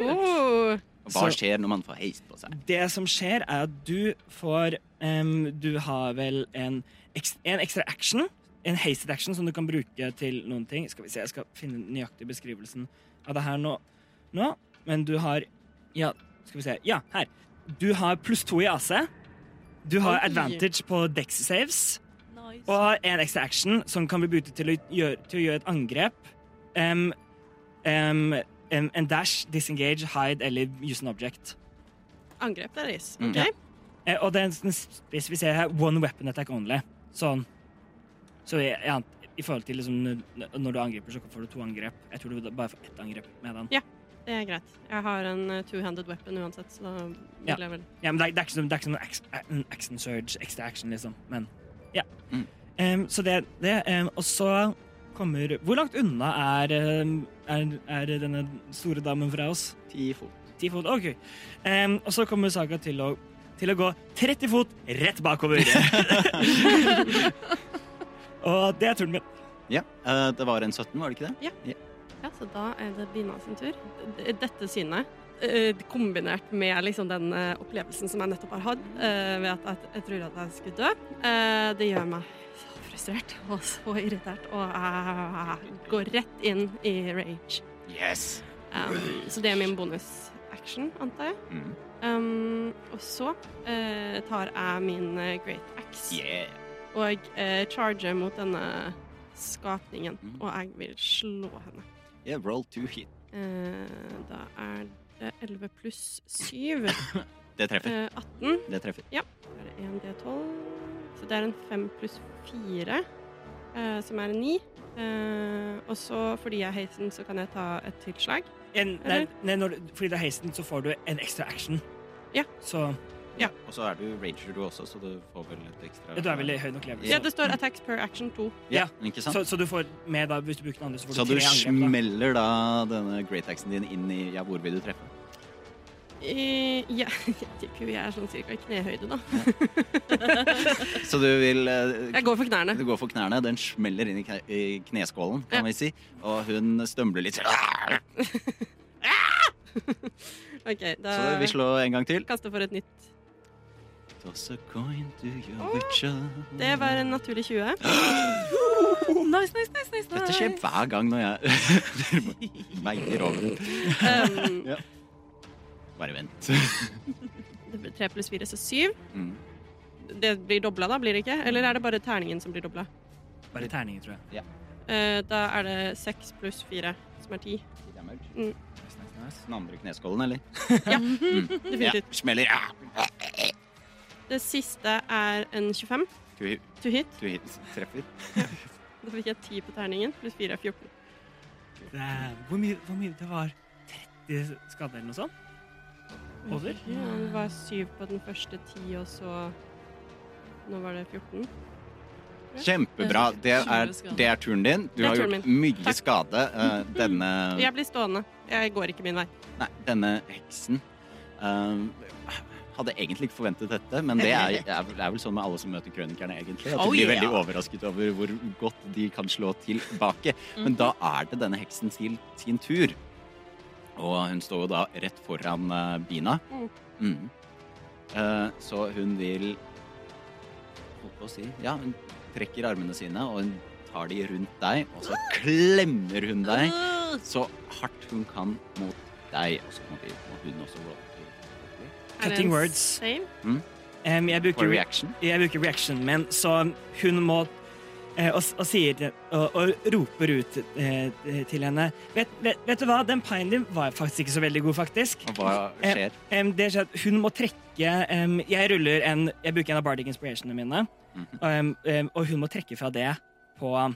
Speaker 3: Oh,
Speaker 1: Hva
Speaker 4: Så-
Speaker 1: skjer når man får heist på seg?
Speaker 4: Det som skjer, er at du får em, Du har vel en, eks- en ekstra action. En hasted action som du kan bruke til noen ting. Skal vi se, Jeg skal finne den nøyaktige beskrivelsen av det her nå. nå. Men du har Ja, skal vi se. Ja, her. Du har pluss to i AC. Du har
Speaker 5: Oi.
Speaker 4: advantage på dex saves.
Speaker 2: Nice.
Speaker 4: Og har en ekstra action som kan bli brukt til å gjøre, til å gjøre et angrep. Em, em, em, en dash, disengage, hide eller use an object.
Speaker 3: angrep der, is.
Speaker 1: Mm.
Speaker 3: Ok.
Speaker 4: Eh, og den den spesifiserer her one weapon attack only. Sånn. Så i, i, an- i forhold til liksom, n- når du angriper, så får du to angrep. Jeg tror du bare får ett angrep med den.
Speaker 3: Det er greit. Jeg har en eh, two-handed weapon uansett, så da vil
Speaker 4: Ja.
Speaker 3: jeg vel
Speaker 4: Ja, men det er, det er ikke som, det er ikke som en ax- en action surge, ekstra action, liksom. Men ja.
Speaker 1: Mm.
Speaker 4: Em, så det er det. em, og så kommer Hvor langt unna er, em, er, er denne store damen fra oss?
Speaker 1: Ti fot.
Speaker 4: Ti fot? OK. Em, og så kommer Saga til å, til å gå 30 fot rett bakover. og det er turen min.
Speaker 1: Ja. eh, det var en 17, var det ikke det?
Speaker 3: Ja, så da er det Bina sin tur. D- Dette synet, eh, kombinert med liksom den eh, opplevelsen som jeg nettopp har hatt, eh, ved at jeg, jeg tror at jeg skulle dø, eh, det gjør meg så frustrert og så irritert, og jeg går rett inn i rage.
Speaker 1: Yes.
Speaker 3: Um, så det er min bonus-action, antar jeg.
Speaker 1: Mm.
Speaker 3: Um, og så eh, tar jeg min eh, great axe
Speaker 1: Yeah.
Speaker 3: og eh, charger mot denne skapningen,
Speaker 1: Mm.
Speaker 3: og jeg vil slå henne.
Speaker 1: yeah. Roll to hit.
Speaker 3: Eh, Da er det 11 pluss 7.
Speaker 1: Det treffer.
Speaker 3: eh, 18.
Speaker 1: Det treffer.
Speaker 3: Da er det 1 D12. Så det er en 5 pluss 4, eh, som er en 9. Eh, og så, fordi jeg er heisen, så kan jeg ta et tilslag.
Speaker 4: En, nei, nei, når, du- fordi det er heisen, så får du en ekstra action.
Speaker 3: Ja.
Speaker 4: Så
Speaker 1: Ja. Og så er du rager, du også, så du får vel et ekstra
Speaker 4: ja, du er vel i høy nok level.
Speaker 3: Ja, det står 'attacks per action 2'.
Speaker 1: Ja, ikke sant?
Speaker 4: Så, så du får med da, hvis du bruker den andre, så får du
Speaker 1: Så du
Speaker 4: tre angrep. da.
Speaker 1: smeller da denne great axen din inn i Ja, hvor vil du treffe?
Speaker 3: Eh, ja, gud, jeg er sånn cirka i knehøyde, da.
Speaker 1: Så du vil eh,
Speaker 3: Jeg går for knærne.
Speaker 1: Du går for knærne, den smeller inn i kne- i kneskålen, kan
Speaker 3: Ja.
Speaker 1: vi si. Og hun stømler litt. Så
Speaker 3: OK,
Speaker 1: vi
Speaker 3: da
Speaker 1: slår en gang til.
Speaker 3: kaster for et nytt.
Speaker 1: Toss a coin to your witcher.
Speaker 3: Det var en naturlig 20.
Speaker 2: Nice, nice, nice, nice,
Speaker 1: Oh. Dette skjer
Speaker 2: nice.
Speaker 1: hver gang når jeg Dere veier over.
Speaker 3: Um,
Speaker 1: Ja. Bare vent.
Speaker 3: det blir 3 pluss 4, så 7.
Speaker 1: Mm.
Speaker 3: Det blir dobla, da? blir det ikke? Eller er det bare terningen som blir dobla?
Speaker 4: Bare terninger, tror jeg.
Speaker 3: Eh, da er det seks pluss fire, som er ti. Mm.
Speaker 1: Den andre kneskålen, eller? Ja,
Speaker 3: Definitivt.
Speaker 1: smeller. Ja.
Speaker 3: Det siste er en 25
Speaker 1: Du,
Speaker 3: to hit.
Speaker 1: du hit- treffer.
Speaker 3: Da fikk jeg ti på terningen, pluss fire er 14.
Speaker 4: Det er, hvor, mye, hvor mye det var? 30 skader eller noe sånt? Over?
Speaker 3: Ja, det var syv på den første, ti, og så Nå var det 14.
Speaker 1: Kjempebra. Det er, det er turen din. Du
Speaker 3: Det er
Speaker 1: har
Speaker 3: turen
Speaker 1: gjort
Speaker 3: min.
Speaker 1: mye
Speaker 3: Takk.
Speaker 1: skade. eh, Denne
Speaker 3: Jeg blir stående. Jeg går ikke min vei.
Speaker 1: Nei, denne heksen ehm, Hadde egentlig ikke forventet dette, men det er, er, vel- er vel sånn med alle som møter krønikerne, egentlig. At de
Speaker 2: Oh,
Speaker 1: blir
Speaker 2: yeah.
Speaker 1: veldig overrasket over hvor godt de kan slå tilbake. Men da er det denne heksen til sin tur. Og hun står jo da rett foran eh, Bina.
Speaker 3: Mm.
Speaker 1: Mm. Eh, så hun vil Holdt på å si Ja, hun trekker armene sine, og hun tar de rundt deg, og så klemmer hun deg
Speaker 2: Øh,
Speaker 1: så hardt hun kan mot deg. Og så må vi- må hun også rolle til
Speaker 3: Er det
Speaker 4: Cutting
Speaker 3: en
Speaker 4: words.
Speaker 3: save?
Speaker 4: Em, jeg,
Speaker 1: for
Speaker 4: bruker,
Speaker 1: reaction.
Speaker 4: jeg bruker reaction min, så hun må eh, og, og sier til- og, og roper ut eh, til henne vet, vet, vet du hva, den painen din var faktisk ikke så veldig god, faktisk.
Speaker 1: Og hva
Speaker 4: Eh,
Speaker 1: skjer?
Speaker 4: Em, det skjer at hun må trekke em, Jeg ruller en Jeg bruker en av bardic inspirationene mine,
Speaker 1: Mhm.
Speaker 4: og, em, em, og hun må trekke fra det på,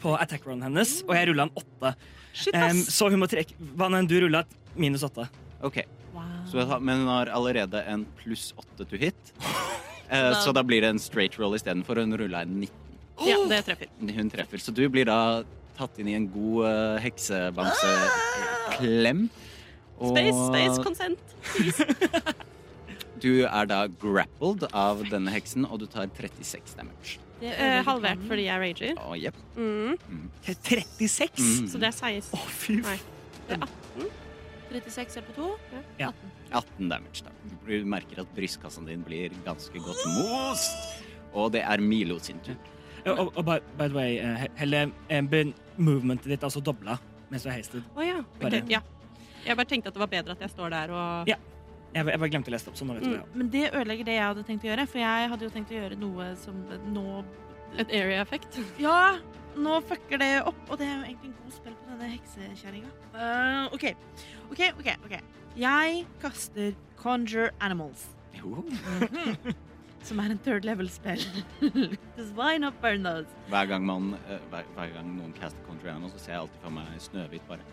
Speaker 4: på attack rollen hennes, og jeg rulla en åtte.
Speaker 3: Shit,
Speaker 4: Em,
Speaker 3: ass!
Speaker 4: så hun må trekke Hva enn du rulla, minus åtte.
Speaker 1: Ok,
Speaker 2: wow.
Speaker 1: så hun har- Men hun har allerede en pluss åtte to hit. Eh, Så da blir det en straight roll istedenfor. Hun rulla en 19.
Speaker 3: Ja, det treffer.
Speaker 1: Hun treffer. Så du blir da tatt inn i en god eh, heksebamseklem. Og
Speaker 3: Space, space, consent.
Speaker 1: du er da grappled av denne heksen, og du tar 36 damage.
Speaker 2: Det
Speaker 3: Eh,
Speaker 2: ødelegger
Speaker 3: halvert
Speaker 2: planen.
Speaker 3: fordi jeg rager.
Speaker 1: Å, jepp.
Speaker 3: Mm.
Speaker 4: Til 36?
Speaker 1: Mm.
Speaker 3: Så det er 16.
Speaker 4: Å, fy
Speaker 3: Nei.
Speaker 4: f-
Speaker 2: 36 er på to.
Speaker 1: 18 damage, da. Du merker at brystkassen din blir ganske godt most. Og det er Milo sin tur.
Speaker 4: Og, og by, by the way, eh, Helle, em, ben- movementet ditt er altså dobla mens du er hasted.
Speaker 3: Å ja.
Speaker 4: Bare-
Speaker 3: Ok, ja. Jeg bare tenkte at det var bedre at jeg står der og
Speaker 4: Ja. Jeg, jeg bare glemte å lese det opp. så nå vet du det.
Speaker 2: Men det ødelegger det jeg hadde tenkt å gjøre, for jeg hadde jo tenkt å gjøre noe som nå
Speaker 3: Et area-effekt.
Speaker 2: Ja, nå fucker det opp, og det er jo egentlig en god spill på denne heksekjerringa. Eh, OK. OK, OK. ok Jeg kaster Conjure Animals,
Speaker 1: Jo.
Speaker 2: som er en third level-spill. Just why not burn those?
Speaker 1: Hver gang, man, eh, hver, hver gang noen caster Conjure Animal, så ser jeg alltid for meg Snøhvit bare.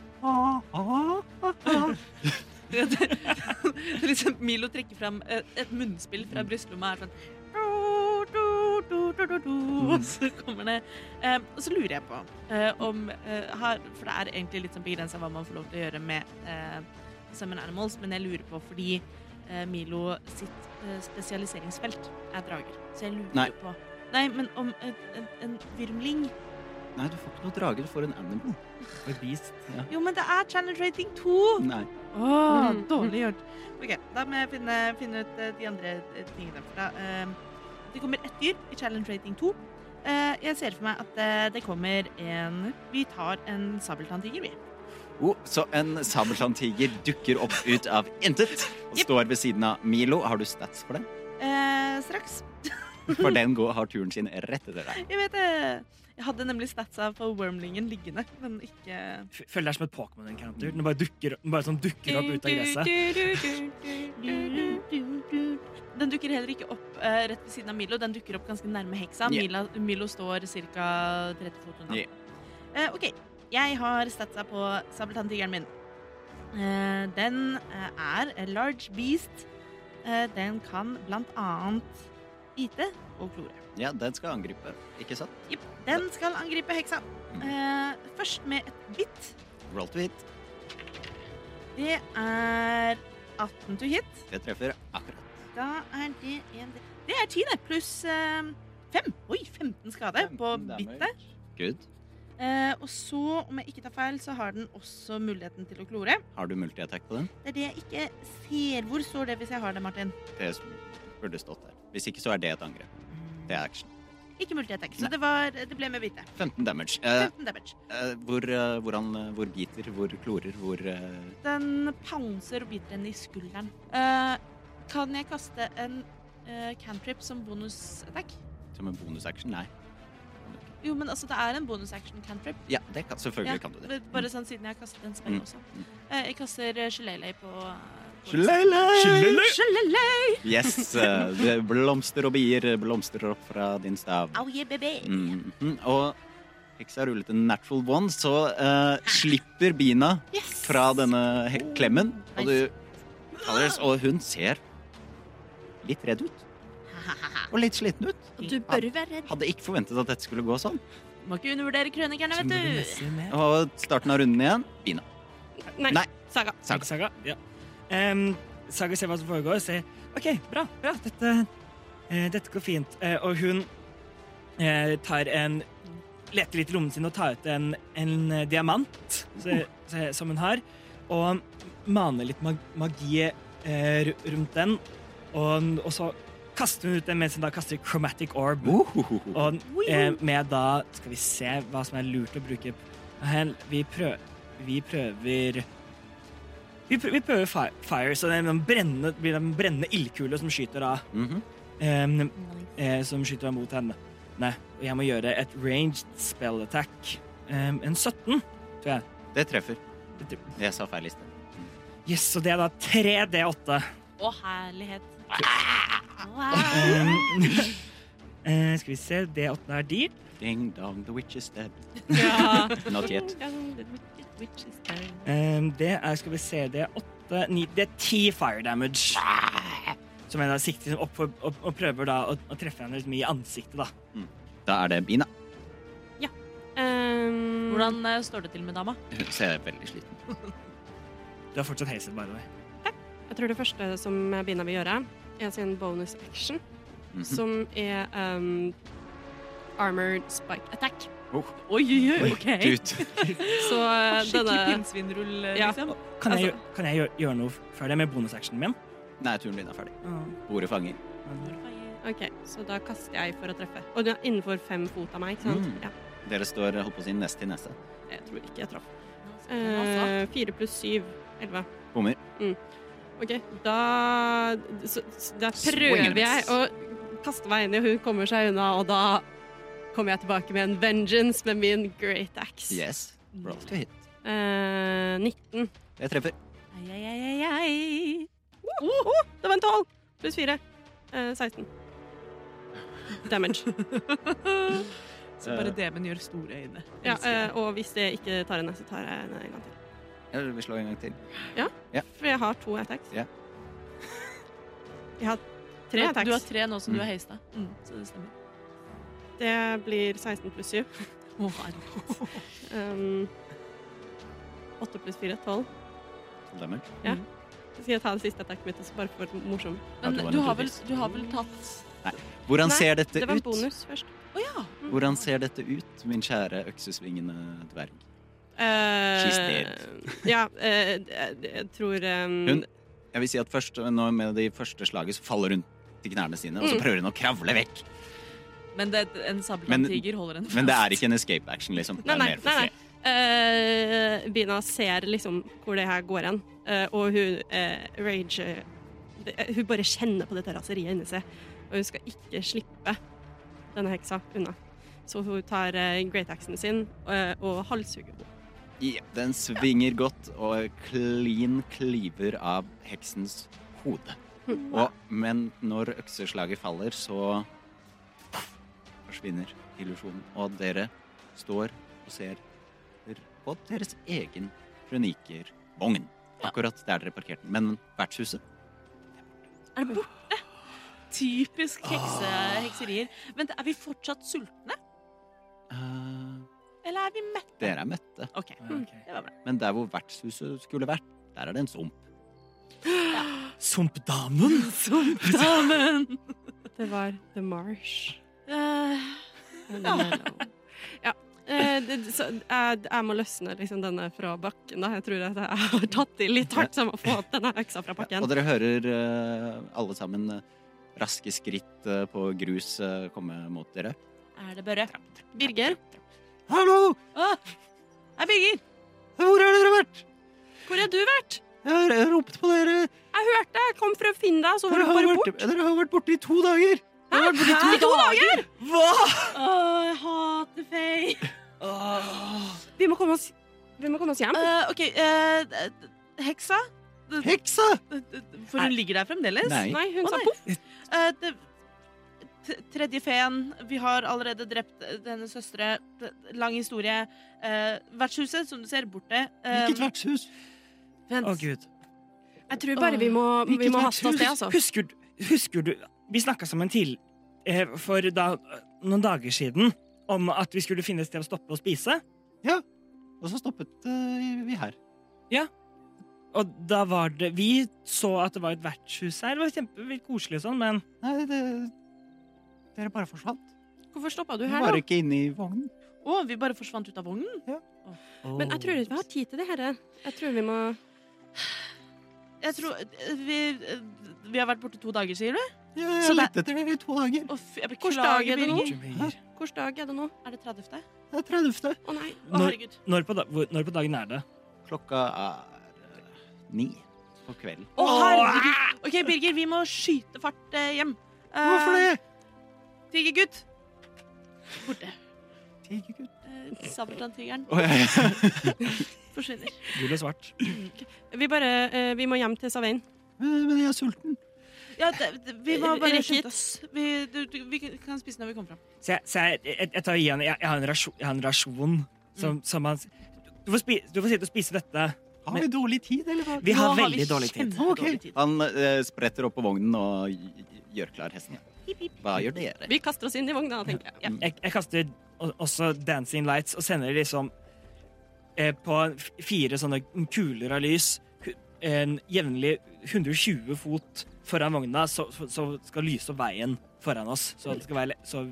Speaker 2: det, det er liksom, Milo trekker fram eh, et munnspill fra brystlomma er sånn du, du, du, du, du, du, Og så kommer det eh, Og så lurer jeg på eh, om eh, har, For det er egentlig litt sånn begrensa hva man får lov til å gjøre med eh, Summon Animals, men jeg lurer på fordi eh, Milo sitt eh, spesialiseringsfelt er drager. Så jeg lurer
Speaker 1: Nei.
Speaker 2: på Nei, men om eh, en, en virmling
Speaker 1: Nei, du får ikke noe drage, du får en animal.
Speaker 4: For beast.
Speaker 1: Ja.
Speaker 2: Jo, men det er challenge rating 2!
Speaker 1: Nei.
Speaker 2: Åh,
Speaker 5: Mm.
Speaker 2: dårlig gjort. Ok, da må jeg finne, finne ut eh, de andre eh, tingene derfra. Ehm, Det kommer ett dyr i Challenge Rating 2. Eh, Jeg ser for meg at eh, det kommer en Vi tar en sabeltanntiger, vi.
Speaker 1: Oh, så en sabeltanntiger dukker opp ut av intet og
Speaker 2: Jepp.
Speaker 1: står ved siden av Milo. Har du stats for den?
Speaker 2: Eh, Straks.
Speaker 1: For den går, har turen sin rett etter deg.
Speaker 2: Jeg vet det. Jeg hadde nemlig statsa for wormlingen liggende, men ikke
Speaker 4: F- Føler det er som et Pokémon encounter. Den bare dukker, den bare sånn dukker opp ut av gresset.
Speaker 2: Den dukker heller ikke opp eh, rett ved siden av Milo. Den dukker opp ganske nærme heksa.
Speaker 1: Ja.
Speaker 2: Mila, Milo står ca. 30 fot unna.
Speaker 1: Ja.
Speaker 2: Eh, OK. Jeg har statsa på sabeltanntigeren min. Eh, den eh, er a large beast. Eh, den kan blant annet bite og klore.
Speaker 1: Ja, den skal angripe, ikke sant?
Speaker 2: Jepp. Den skal angripe heksa.
Speaker 1: Mm.
Speaker 2: Eh, først med et bitt.
Speaker 1: Roll to hit.
Speaker 2: Det er 18 to hit.
Speaker 1: Det treffer akkurat.
Speaker 2: Da er det en Det er ti, det. Pluss eh, fem. Oi, 15 skade på
Speaker 1: 15 damage.
Speaker 2: bittet.
Speaker 1: Good.
Speaker 2: Eh, og så, om jeg ikke tar feil, så har den også muligheten til å klore.
Speaker 1: Har du multiattack på den?
Speaker 2: Det er det jeg ikke ser. Hvor står det hvis jeg har det, Martin?
Speaker 1: Det burde stått der. Hvis ikke, så er det et angrep. Det er action.
Speaker 2: Ikke multiattack. Så
Speaker 1: Nei.
Speaker 2: det, var, det ble med bite.
Speaker 1: 15 damage. Eh,
Speaker 2: 15 damage.
Speaker 1: eh, hvor, eh, hvordan, eh, hvor biter, hvor klorer, hvor eh,
Speaker 2: Den pouncer og biter henne i skulderen. Eh, kan jeg kaste en eh, cantrip som bonusattack?
Speaker 1: Som en bonusaction? Nei.
Speaker 2: Jo, men altså, det er en bonusaction cantrip.
Speaker 1: Ja, det kan, selvfølgelig kan du det.
Speaker 2: b- Bare sånn siden jeg har kastet en spell
Speaker 1: Mm.
Speaker 2: også.
Speaker 1: Mm.
Speaker 2: Eh, Jeg kaster eh, Shillelagh på eh, på-
Speaker 1: Shillelagh!
Speaker 2: Shillelagh!
Speaker 1: Yes. eh, det blomster og bier blomstrer opp fra din stav.
Speaker 2: Au, yeah, baby!
Speaker 1: Mhm. Og heksa har rullet en natural one, så eh, slipper bina
Speaker 5: Yes!
Speaker 1: fra denne hek- klemmen. Og du Anders, Og hun ser litt redd ut. Og litt sliten ut.
Speaker 5: Du bør være redd.
Speaker 1: Hadde ikke forventet at dette skulle gå sånn.
Speaker 2: Må ikke undervurdere krønikerne,
Speaker 4: Som det
Speaker 2: vet du!
Speaker 4: messer med.
Speaker 1: Og starten av runden igjen Bina.
Speaker 3: Nei,
Speaker 1: Nei.
Speaker 3: Saga.
Speaker 1: Saga.
Speaker 4: Saga. Ja. Em, saga ser hva som foregår, og sier OK, bra, bra, dette, eh, dette går fint. Eh, og hun eh, tar en Leter litt i lommene sine og tar ut en, en eh, diamant så, så, som hun har, og maner litt mag magi eh, ru- rundt den. Og, og så kaster hun ut den mens hun da kaster chromatic orb.
Speaker 1: Uhuhuhu.
Speaker 4: Og eh, med da Skal vi se hva som er lurt å bruke Hen- Vi prøver Vi prøver Vi prøver, vi prøver fi- fire Så det er en brennende, blir det en brennende ildkule Som skyter da
Speaker 1: Mhm.
Speaker 4: em, eh, Som skyter da mot henne Nei, og jeg må gjøre et ranged spell attack Em, En 17 Tror jeg
Speaker 1: Det treffer.
Speaker 4: Det treffer.
Speaker 1: Jeg sa feil i sted.
Speaker 4: Yes, så det er da 3D8
Speaker 2: Å, herlighet.
Speaker 4: Em, Ehm, eh, Skal vi se, D8 er de
Speaker 1: Ding dong, the witch is dead.
Speaker 3: Ja.
Speaker 1: Not yet.
Speaker 4: Ehm, det er, skal vi se, det er åtte, ni, det er ti fire damage. Som jeg da sikter opp for, og, og prøver da å, å treffe henne liksom i ansiktet, da.
Speaker 1: Da er det Bina.
Speaker 3: Um,
Speaker 2: Hvordan eh, står det til med dama?
Speaker 1: Hun ser veldig sliten ut.
Speaker 4: Du har fortsatt hazel, by the way.
Speaker 3: Jeg tror det første som Bina vil gjøre, er sin bonus action,
Speaker 1: Mhm.
Speaker 3: som er um, armored spike attack.
Speaker 2: Eh,
Speaker 1: Oh.
Speaker 2: Oi, oi, Eh, oi, ok.
Speaker 1: Tut.
Speaker 3: Så eh,
Speaker 2: Skikkelig
Speaker 3: denne
Speaker 2: pinnsvinrull, eh,
Speaker 3: Ja.
Speaker 2: liksom.
Speaker 4: Kan jeg, gjø- kan jeg gjøre, gjøre noe før det med bonusactionen min?
Speaker 1: Nei, turen din er ferdig. Bordet fanger.
Speaker 3: OK, så da kaster jeg for å treffe. Og du er innenfor fem fot av meg, ikke sant?
Speaker 1: Mm.
Speaker 3: Ja,
Speaker 1: Dere står holdt på å si nest til neste.
Speaker 3: jeg tror ikke jeg traff.
Speaker 2: Altså,
Speaker 3: Eh, Fire pluss syv. Elleve.
Speaker 1: Bommer.
Speaker 3: OK, da så, så Da
Speaker 1: Swing and
Speaker 3: prøver jeg
Speaker 1: miss.
Speaker 3: å kaste meg inn i, og hun kommer seg unna, og da kommer jeg tilbake med en vengeance med min great axe.
Speaker 1: Yes. Roll to hit.
Speaker 3: Eh, 19.
Speaker 1: Det treffer.
Speaker 2: Ai, ai, ai, ai, ai.
Speaker 3: Det var en 12 pluss 4. Eh, 16. Damage.
Speaker 1: Eh.
Speaker 2: Så bare demon gjør store øyne.
Speaker 3: Ja,
Speaker 2: Elsker det.
Speaker 3: eh, og hvis jeg ikke tar en, så tar jeg en en gang til.
Speaker 1: Ja, vi slår en gang til.
Speaker 3: For jeg har to attacks.
Speaker 1: Ja.
Speaker 3: Jeg har tre
Speaker 2: Du- Du har
Speaker 3: attacks.
Speaker 2: tre nå som du
Speaker 1: Mm.
Speaker 2: er høyest av. Mm, så det stemmer.
Speaker 3: Det blir 16 pluss 7.
Speaker 2: Å, herregud.
Speaker 3: Um, 8 pluss 4, 12.
Speaker 1: Tolv damage.
Speaker 3: Så skal jeg ta det siste attacket mitt, og så bare for morsom.
Speaker 1: Ja, det var
Speaker 2: Men du
Speaker 1: en
Speaker 2: har, vel,
Speaker 1: turist.
Speaker 2: du har vel tatt
Speaker 1: Hvordan
Speaker 3: Nei,
Speaker 1: ser dette
Speaker 3: Det var en
Speaker 1: ut?
Speaker 3: bonus først.
Speaker 2: Å ja!
Speaker 1: Hvordan ser dette ut, min kjære øksesvingende dverg?
Speaker 3: Eh,
Speaker 1: She's dead.
Speaker 3: ja, eh, jeg jeg tror um,
Speaker 1: Hun- Jeg vil si at først, nå Med de første slaget så faller hun til knærne sine, og så
Speaker 3: Mm.
Speaker 1: prøver hun å kravle vekk.
Speaker 2: Men det, en sabeltanntiger holder en fast.
Speaker 1: Men det er ikke en escape action, liksom. Det
Speaker 3: Nei,
Speaker 1: er
Speaker 3: nei,
Speaker 1: mer for
Speaker 3: nei,
Speaker 1: fred.
Speaker 3: nei. Eh, Bina ser liksom hvor det her går hen, eh, og hun eh, rage eh, det, eh, Hun bare kjenner på dette raseriet inni seg, og hun skal ikke slippe denne heksa unna. Så hun tar eh, great axen sin eh, og halshugger henne.
Speaker 1: Ja, den svinger godt og klin kliver av heksens hode. Og, men når økseslaget faller, så forsvinner illusjonen. Og dere står og ser på deres egen kronikervogn. Akkurat der dere parkerte den. Men vertshuset
Speaker 2: Er det borte? Typisk hekse, hekserier. Vent, er vi fortsatt sultne?
Speaker 1: eh,
Speaker 2: Eller er vi mette?
Speaker 1: Dere er mette.
Speaker 2: OK. Mm.
Speaker 4: Okay.
Speaker 2: Det var bra.
Speaker 1: Men der hvor vertshuset skulle vært, der er det en sump.
Speaker 4: Sumpdamen!
Speaker 2: Damen!
Speaker 3: Det var The Marsh.
Speaker 2: Eh,
Speaker 3: ja. Eh, det, så, jeg, jeg må løsne liksom denne fra bakken. Da. Jeg tror at jeg har tatt i litt hardt, så jeg må få opp denne øksa fra
Speaker 1: Ja,
Speaker 3: bakken.
Speaker 1: og dere hører eh, alle sammen eh, raske skritt eh, på grus eh, komme mot dere.
Speaker 2: er det bare
Speaker 3: Birger,
Speaker 1: Hallo!
Speaker 2: Å! Hei, Birger!
Speaker 1: Hvor har dere vært?
Speaker 3: hvor har du vært?
Speaker 1: Jeg har ropt på dere.
Speaker 3: Jeg hørte jeg kom for å finne deg, så var du bare bort.
Speaker 1: dere har vært borte i to dager.
Speaker 2: Hæ?
Speaker 3: I to dager!
Speaker 1: Hva?
Speaker 2: Å, jeg hater Faye.
Speaker 3: Vi må komme oss, vi må komme oss hjem.
Speaker 2: Eh, OK, eh, d- d- heksa? D-
Speaker 1: Heksa!
Speaker 2: d- d- For hun ligger der fremdeles?
Speaker 1: Nei.
Speaker 3: Nei, hun
Speaker 2: Å,
Speaker 3: sa
Speaker 2: nei.
Speaker 3: poff.
Speaker 2: Eh, det, t- tredje feen. Vi har allerede drept eh, hennes søstre. D- Lang historie. Eh, vertshuset, som du ser, borte. Eh,
Speaker 3: Um,
Speaker 1: Hvilket vertshus?
Speaker 2: vent.
Speaker 4: Å, gud.
Speaker 3: Jeg tror bare vi må, vi
Speaker 1: Hvilket
Speaker 3: må haste oss det,
Speaker 1: vertshus?
Speaker 3: altså.
Speaker 4: Husker, du- husker du Vi snakka sammen til eh, for da, noen dager siden om at vi skulle finne et sted å stoppe og spise.
Speaker 1: Og så stoppet eh, vi her.
Speaker 4: Og da var det Vi så at det var et vertshus her. Det var kjempe koselig og sånn, men
Speaker 1: Nei, det Dere bare forsvant.
Speaker 3: Hvorfor stoppa du
Speaker 1: Dere
Speaker 3: her,
Speaker 1: var
Speaker 3: da?
Speaker 1: ikke inne i vognen.
Speaker 2: Å, vi bare forsvant ut av vognen?
Speaker 3: Men jeg tror ikke vi har tid til det her. Jeg tror vi må
Speaker 2: Jeg tror eh, vi, eh, vi har vært borte to dager, sier du?
Speaker 1: Jeg,
Speaker 2: Så det-
Speaker 1: lette etter dere i to dager.
Speaker 2: Å, fy, jeg
Speaker 3: Hvilken dag
Speaker 2: beklager,
Speaker 3: er det nå?
Speaker 2: Birger.
Speaker 4: Åh.
Speaker 3: Hvilken dag er det nå?
Speaker 2: Er det 30.?
Speaker 1: Det er 30.
Speaker 3: Å nei.
Speaker 2: Å,
Speaker 4: Når-
Speaker 2: herregud.
Speaker 4: Når på, da, hvor, når på dagen er det?
Speaker 1: Klokka er eh, ni på kvelden.
Speaker 2: Å, herregud. OK, Birger, vi må skyte fart eh, hjem. Eh, Tigergutt. Borte.
Speaker 1: Tigergutt.
Speaker 2: Uh, Sabeltanntigeren
Speaker 1: Å, ja, ja.
Speaker 2: forsvinner.
Speaker 4: Gul og svart.
Speaker 3: Vi bare eh, Vi må hjem til Savein.
Speaker 1: Men men jeg er sulten.
Speaker 2: Ja, det, det, vi
Speaker 5: Eh,
Speaker 2: må bare
Speaker 3: Rekk hit.
Speaker 2: skynde oss. Vi, du, du, vi kan spise når vi kommer fram.
Speaker 4: Så jeg, så jeg, jeg, jeg tar igjen Jeg, jeg, har, en rasjon, jeg har en rasjon som, som han du får, spi, du får sitte og spise dette.
Speaker 1: Har vi dårlig tid, eller hva?
Speaker 4: Vi har
Speaker 2: Nå har vi
Speaker 4: veldig dårlig tid.
Speaker 2: kjempedårlig tid.
Speaker 1: Han eh, spretter opp på vognen og gj- gj- gjør klar hesten. Hva gjør dere?
Speaker 3: Vi kaster oss inn i vogna, tenker jeg. Ja.
Speaker 4: Jeg, jeg kaster o- også Dancing Lights og sender liksom eh, på f- fire sånne kuler av lys hu- en jevnlig 120 fot foran vogna, så, så, så skal lyse opp veien foran oss. Så det skal være le- så,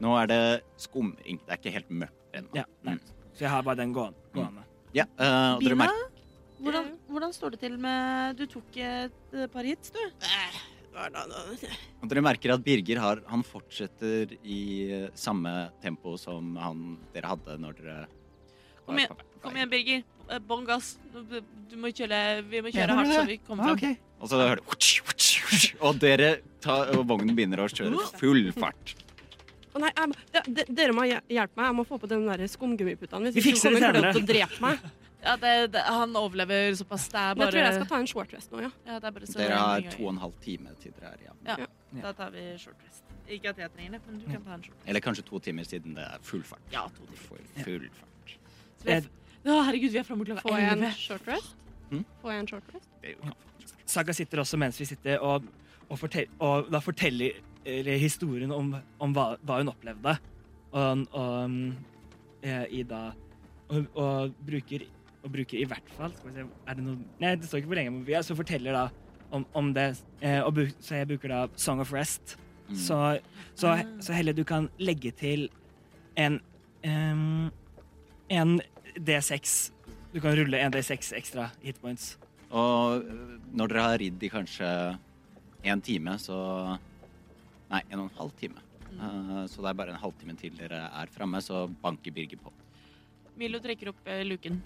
Speaker 1: Nå er det skumring. Det er ikke helt mørkt ennå.
Speaker 4: ja, nei. så jeg har bare den gående. gående.
Speaker 1: Ja, eh, og dere
Speaker 2: Bina,
Speaker 1: merker
Speaker 2: hvordan, hvordan står det til med Du tok eh, et par hits, du.
Speaker 5: Eh,
Speaker 1: og dere merker at Birger har, han fortsetter i eh, samme tempo som han dere hadde når dere
Speaker 2: Kom igjen, Kom igjen, Birger. Eh, Bånn gass. Du, du må kjøre, vi må
Speaker 1: Ja,
Speaker 2: kjøre
Speaker 1: var det
Speaker 2: hardt, så vi
Speaker 1: det?
Speaker 2: kommer
Speaker 5: Ah,
Speaker 2: fram.
Speaker 1: Og så hører du Og dere tar, og vognen begynner å kjøre full fart.
Speaker 3: Å nei, jeg, må- ja, de, dere må hje- hjelpe meg. Jeg må få på den der skumgummiputene. Hvis
Speaker 4: Vi
Speaker 3: ikke
Speaker 4: fikser det
Speaker 3: kommer Claude
Speaker 4: senere.
Speaker 3: til å drepe meg.
Speaker 2: Ja, det, det, han overlever såpass. Det er
Speaker 3: Men jeg
Speaker 2: bare
Speaker 3: tror jeg skal ta en short rest nå, ja.
Speaker 2: ja, det er bare så
Speaker 1: Dere har
Speaker 2: en gang.
Speaker 1: to og en halv time til dere er hjemme.
Speaker 2: Da tar vi short rest. Ikke at jeg trenger det, men du kan ta en short rest.
Speaker 1: Eller kanskje to timer siden det er full fart.
Speaker 2: Ja, to timer.
Speaker 1: For full fart.
Speaker 2: Så vi har-
Speaker 4: Eh,
Speaker 2: det Å, herregud, vi er framme klokka
Speaker 5: Får jeg en
Speaker 2: elleve.
Speaker 5: short rest?
Speaker 1: Mm.
Speaker 5: Får jeg en short rest?
Speaker 4: Saga sitter også mens vi sitter og, og, fortel, og da forteller eller historien om, om hva, hva hun opplevde. Og, og mm, eh, i da og, og, bruker, og bruker i hvert fall skal vi se, er det noe, Nei, det står ikke hvor lenge. men vi- Så forteller da om, om det. eh, Og bruk, så jeg bruker da Song of Rest.
Speaker 1: Mm.
Speaker 4: Så, så, så Helle, du kan legge til en em, En D6. Du kan rulle en D6 ekstra hitpoints.
Speaker 1: Og øh, når dere har ridd i kanskje en time, så Nei, en og en halv time. Eh, Så det er bare en halvtime til dere er framme, så banker Birger på.
Speaker 2: Milo trekker opp eh, luken.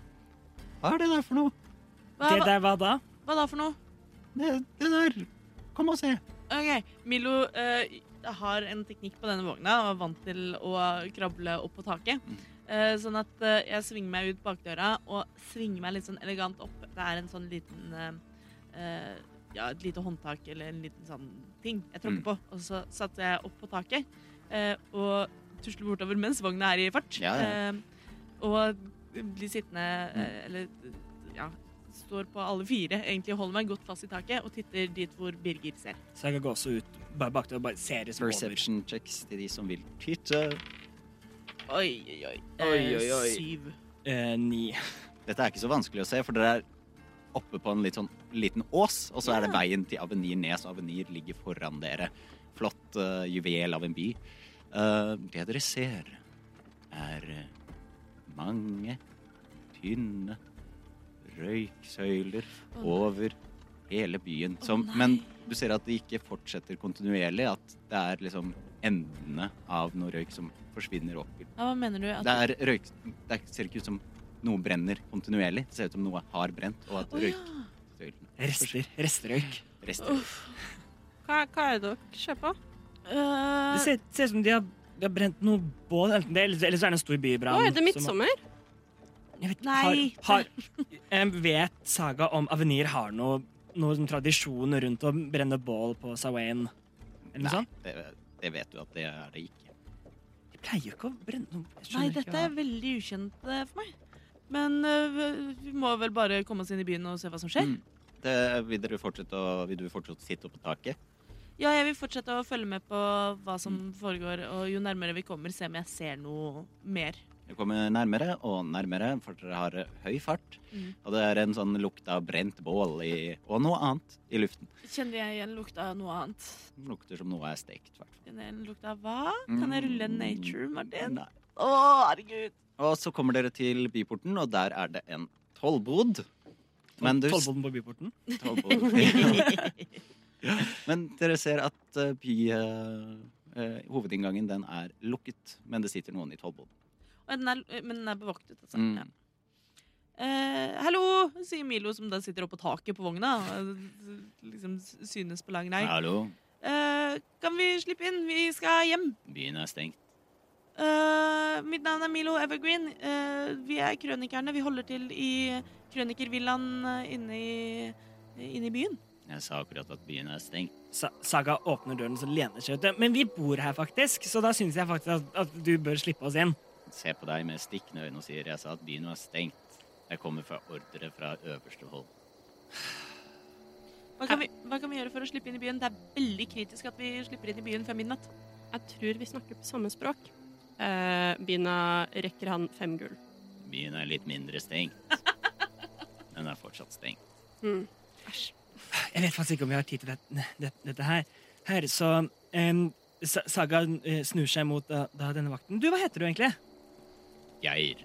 Speaker 1: Hva er det der for noe?
Speaker 2: Hva,
Speaker 4: Det
Speaker 2: hva,
Speaker 4: der, hva da?
Speaker 2: hva da for noe?
Speaker 1: Det, det der Kom og se.
Speaker 2: Ok, Milo eh, har en teknikk på denne vogna og er vant til å krable opp på taket.
Speaker 1: Mm.
Speaker 2: Eh, sånn at eh, jeg svinger meg ut bakdøra og svinger meg litt sånn elegant opp. Det er en sånn liten eh, eh, Ja, et lite håndtak eller en liten sånn ting jeg tråkker
Speaker 1: Mm.
Speaker 2: på. Og så satte jeg opp på taket eh, og tusler bortover mens vogna er i fart.
Speaker 1: Ja, ja.
Speaker 2: Eh, og blir sittende
Speaker 1: Mm.
Speaker 2: eh, eller ja, står på alle fire, egentlig holder meg godt fast i taket og titter dit hvor Birger ser.
Speaker 4: Så jeg kan gå også ut bare bak deg og bare se det som over.
Speaker 1: Perception checks til de som vil tyte.
Speaker 2: Oi, oi, oi.
Speaker 4: Oi, oi, oi.
Speaker 2: Eh, Syv.
Speaker 4: Eh, ni.
Speaker 1: Dette er ikke så vanskelig å se, for dere er oppe på en litt sånn liten ås, og så er det veien til Avenir ned, så Avenir ligger foran dere. Flott eh, juvel av en by. Eh, det dere ser, er eh, mange tynne røyksøyler
Speaker 2: Å, nei.
Speaker 1: over hele byen. Som,
Speaker 2: nei.
Speaker 1: men du ser at det ikke fortsetter kontinuerlig, at det er liksom endene av noe røyk som forsvinner opp i
Speaker 2: Ja, hva mener du? At
Speaker 1: det er røyk Det er- ser ikke ut som noe brenner kontinuerlig. Det ser ut som noe har brent, og at
Speaker 2: Å, ja.
Speaker 1: røykstøylen
Speaker 4: Rester. Resterøyk.
Speaker 1: rester.
Speaker 2: Uff.
Speaker 5: Hva, hva er det dere ser på?
Speaker 2: Eh,
Speaker 4: Det ser, ser ut som de har, de har brent noe bål, enten det, eller eller så er det en stor
Speaker 5: Å,
Speaker 4: bybrann.
Speaker 5: er det midtsommer?
Speaker 4: som- Jeg vet,
Speaker 2: Nei.
Speaker 4: Har, har, em, vet Saga om Avenir har noe, noe sånn tradisjon rundt å brenne bål på Sawain? Eller noe
Speaker 1: Nei,
Speaker 4: sånt?
Speaker 1: det, det vet du at det er det ikke.
Speaker 4: De pleier jo ikke å brenne noe. Jeg skjønner
Speaker 2: nei,
Speaker 4: ikke
Speaker 2: dette
Speaker 4: hva-
Speaker 2: er veldig ukjent eh, for meg. Men eh, vi må vel bare komme oss inn i byen og se hva som skjer.
Speaker 1: Mm. Det, vil, dere fortsette å, vil du fortsette å sitte oppe på taket?
Speaker 2: Ja, jeg vil fortsette å følge med på hva som foregår, og jo nærmere vi kommer, se om jeg ser noe mer.
Speaker 1: Dere kommer nærmere og nærmere, for dere har eh, høy fart.
Speaker 2: Mm.
Speaker 1: Og det er en sånn lukt av brent bål i, og noe annet i luften.
Speaker 2: Kjenner jeg igjen lukta av noe annet?
Speaker 1: Det lukter som noe er stekt. hvertfall.
Speaker 2: Kjenner jeg igjen lukta av hva? Kan jeg rulle en nature,
Speaker 1: Mm.
Speaker 2: Martin?
Speaker 1: Nei.
Speaker 2: Å, herregud.
Speaker 1: Og så kommer dere til byporten, og der er det en tollbod. Men du
Speaker 4: Tollboden på byporten?
Speaker 1: Men dere ser at eh, by... eh, eh, hovedinngangen den er lukket, men det sitter noen i tollboden.
Speaker 2: Og den er, men den er bevoktet, altså.
Speaker 1: Mm.
Speaker 2: Ja. Eh, hallo, sier Milo, som da sitter oppå taket på vogna. og Liksom synes på lang rei.
Speaker 1: Hallo,
Speaker 2: Eh, kan vi slippe inn? Vi skal hjem.
Speaker 1: byen er stengt.
Speaker 2: Eh, mitt navn er Milo Evergreen. Eh, vi er krønikerne. Vi holder til i krønikervillaen eh, inne i, inne i byen.
Speaker 1: Jeg sa akkurat at byen er stengt.
Speaker 4: Sa Saga åpner døren og lener seg ut. Men vi bor her, faktisk, så da syns jeg faktisk at, at du bør slippe oss inn.
Speaker 1: Se på deg med stikkende øyne og sier jeg sa at byen var stengt. Jeg kommer fra ordre fra øverste hold.
Speaker 2: Hva kan, vi, hva kan vi gjøre for å slippe inn i byen? Det er veldig kritisk at vi slipper inn i byen før midnatt.
Speaker 5: Jeg tror vi snakker på samme språk. Eh, Bina rekker han fem gull.
Speaker 1: Byen er litt mindre stengt. Den er fortsatt stengt.
Speaker 5: Æsj.
Speaker 4: Jeg vet faktisk ikke om vi har tid til det, det, dette her. her så em, Sa- Saga eh, snur seg mot da, da denne vakten. Du, hva heter du egentlig?
Speaker 1: Geir.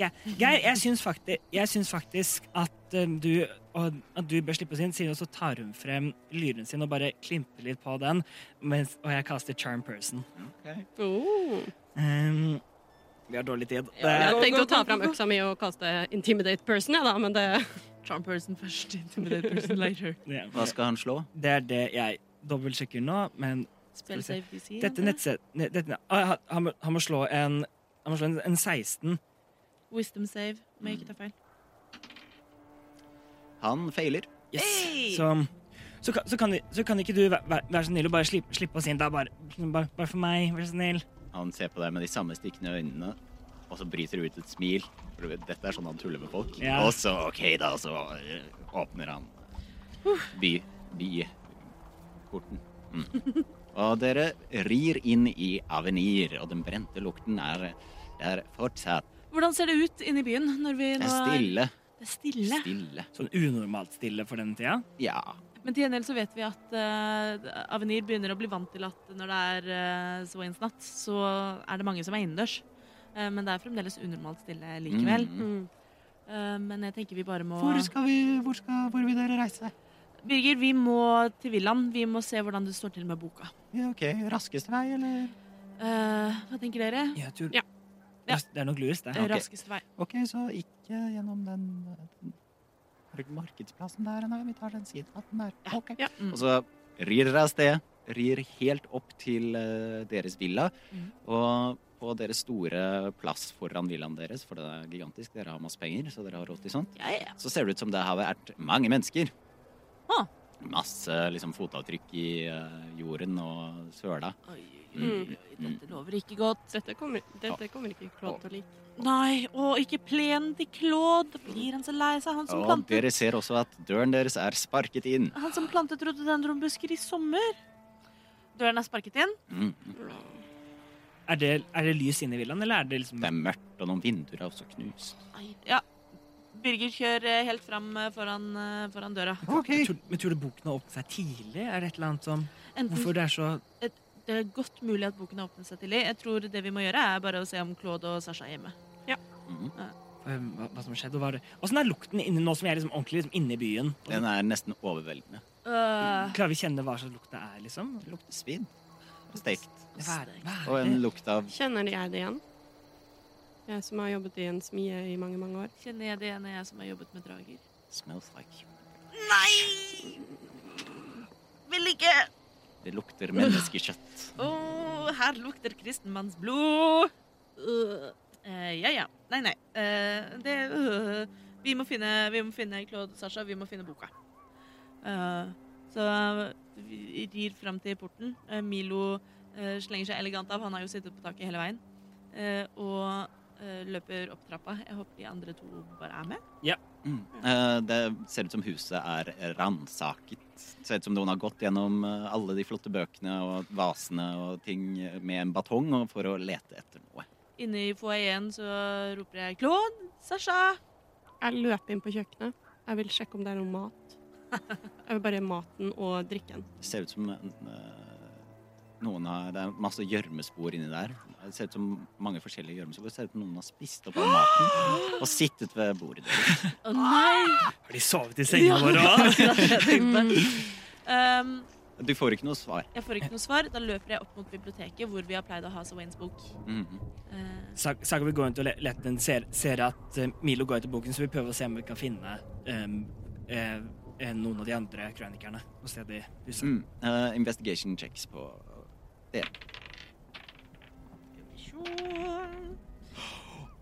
Speaker 4: Geir, Geir jeg, syns fakti, jeg syns faktisk at eh, du, og, at du bør slippe oss inn, siden så tar hun frem lyren sin og bare klimper litt på den, mens, og jeg kaster charm person.
Speaker 5: Oh.
Speaker 4: Em, vi har dårlig tid.
Speaker 5: Jeg
Speaker 4: Eh,
Speaker 5: hadde tenkt å ta fram øksa mi og kaste intimidate person, jeg, da, men det
Speaker 2: Charm person først, intimidate person later.
Speaker 4: ja.
Speaker 1: Hva skal han slå?
Speaker 4: Det er det jeg dobbeltsjekker nå, men
Speaker 2: Spill safe PC.
Speaker 4: dette nettstedet dette, ah, han- han, må- han må slå en, han må slå en, en 16.
Speaker 2: Wisdom save. Må jeg ikke ta feil.
Speaker 1: Han feiler.
Speaker 4: Yes.
Speaker 2: Hey!
Speaker 4: Så, så, kan- så, kan, så kan ikke du væ- væ- være så snill og bare slippe, liksom slippe oss inn? Da, bare, bare, bare for meg, vær så snill.
Speaker 1: Han ser på deg med de samme stikkende øynene Og så bryter det ut et smil. For du vet, dette er sånn han tuller med folk.
Speaker 4: Ja.
Speaker 1: Og så, OK, da, så eh, åpner han eh, by, byporten. Mm. Og dere rir inn i Avenir, og den brente lukten er, er fortsatt
Speaker 2: Hvordan ser det ut inne i byen når vi
Speaker 1: Det
Speaker 2: nå
Speaker 1: er stille.
Speaker 2: Det er stille.
Speaker 1: Stille.
Speaker 4: Sånn unormalt stille for denne tida.
Speaker 1: Ja.
Speaker 2: Men til gjengjeld så vet vi at eh, Avenir begynner å bli vant til at når det er uh, swainsnatt, så er det mange som er innendørs. Eh, men det er fremdeles unormalt stille likevel.
Speaker 1: Mm.
Speaker 2: Eh, men jeg tenker vi bare må
Speaker 1: skal vi Hvor, vil dere reise?
Speaker 2: Birger, vi må til villaen. Vi må se hvordan det står til med boka.
Speaker 1: OK. Raskeste vei, eller?
Speaker 2: Eh, hva tenker dere?
Speaker 4: Jeg tror...
Speaker 3: Ja.
Speaker 4: Ja, Det er nok lurest, det.
Speaker 2: Eh,
Speaker 1: ok.
Speaker 2: Raskeste vei.
Speaker 1: OK, så ikke gjennom den, markedsplassen der, nei. Vi tar den sidegaten der. OK.
Speaker 2: Ja. Mm.
Speaker 1: Og så rir dere av sted. Rir helt opp til eh, deres villa.
Speaker 2: Mhm.
Speaker 1: Og på deres store plass foran villaen deres, for det er gigantisk, dere har masse penger, så dere har råd til sånt,
Speaker 2: Ja, ja.
Speaker 1: så ser det ut som det har vært mange mennesker.
Speaker 2: Ah.
Speaker 1: Masse liksom, fotavtrykk i eh, jorden og søla.
Speaker 2: Oi, oi, oi,
Speaker 1: Mm.
Speaker 2: oi, dette lover ikke godt.
Speaker 5: Dette kommer, dette kommer ikke Claude til å like.
Speaker 2: Nei, og ikke plenen til Claude. Da blir han så lei seg, han som
Speaker 1: Og
Speaker 2: plantet,
Speaker 1: dere ser også at døren deres er sparket inn.
Speaker 2: han som plantet rhododendronbusker i sommer. Døren er sparket inn.
Speaker 1: Mm.
Speaker 4: Er det, er det lys inne i villaen, eller er det liksom
Speaker 1: Det er mørkt, og noen vinduer er også knust.
Speaker 2: Ai, Ja. Birger kjører eh, helt fram eh, foran, eh, foran døra.
Speaker 1: Ah,
Speaker 4: Jeg tror, men tror du boken har åpnet seg tidlig? Er det et eller annet som
Speaker 2: Enten
Speaker 4: Hvorfor det er så
Speaker 2: det er godt mulig at boken har åpnet seg tidlig. Jeg tror det vi må gjøre, er bare å se om Claude og Sasha er hjemme.
Speaker 1: Mm.
Speaker 4: øhm, hva, hva som skjedde? og hva er det- Åssen er lukten inne nå som vi er liksom ordentlig liksom inne i byen? Og
Speaker 1: Den er nesten overveldende.
Speaker 2: Øh,
Speaker 4: klarer vi å kjenne hva slags lukt det er, liksom?
Speaker 1: Det lukter svin. Og Stekt.
Speaker 4: Hva er det? Hva
Speaker 1: Og
Speaker 4: er
Speaker 1: en
Speaker 4: det?
Speaker 1: lukt av
Speaker 5: Kjenner jeg det igjen? Jeg som har jobbet i en smie i mange, mange år.
Speaker 2: kjenner jeg det ene jeg som har jobbet med drager?
Speaker 1: Smells like human.
Speaker 2: Nei! Vil ikke!
Speaker 1: Det lukter menneskekjøtt.
Speaker 2: Å, her lukter kristenmannsblod! Øh. Eh, ja, ja. Nei, nei. Eh, det øh. vi, må finne, vi må finne Claude og Sasha. Vi må finne boka. Eh, så vi rir fram til porten. Eh, Milo eh, slenger seg elegant av. Han har jo sittet på taket hele veien. Eh, og eh, løper opp trappa. Jeg håper de andre to bare er med.
Speaker 1: Mm. Eh, Det ser ut som huset er ransaket. Ser ut som noen har gått gjennom eh, alle de flotte bøkene og vasene og ting med en batong og for å lete etter noe.
Speaker 2: Inne i foajeen så roper jeg 'Claude! Sasha!'
Speaker 5: Jeg løper inn på kjøkkenet. Jeg vil sjekke om det er noe mat. Jeg vil bare maten og drikken.
Speaker 1: Det ser ut som eh, noen har Det er masse gjørmespor inni der. Det ser ut som mange forskjellige gjørmespor. Det ser ut som noen har spist opp all maten og sittet ved bordet deres.
Speaker 2: Å nei!
Speaker 4: Har de sovet i senga vår òg?
Speaker 2: Det var det jeg tenkte. Um,
Speaker 1: Du får ikke noe svar.
Speaker 2: jeg får ikke noe svar. Da løper jeg opp mot biblioteket, hvor vi har pleid å ha Swains bok.
Speaker 1: Mhm.
Speaker 2: Eh,
Speaker 4: Saga vil gå rundt og le- lete den ser, ser at eh, Milo går etter boken, så vi prøver å se om vi kan finne øhm, eh, eh, noen av de andre kronikerne på stedet i huset.
Speaker 1: Mm. Eh, investigation checks på det.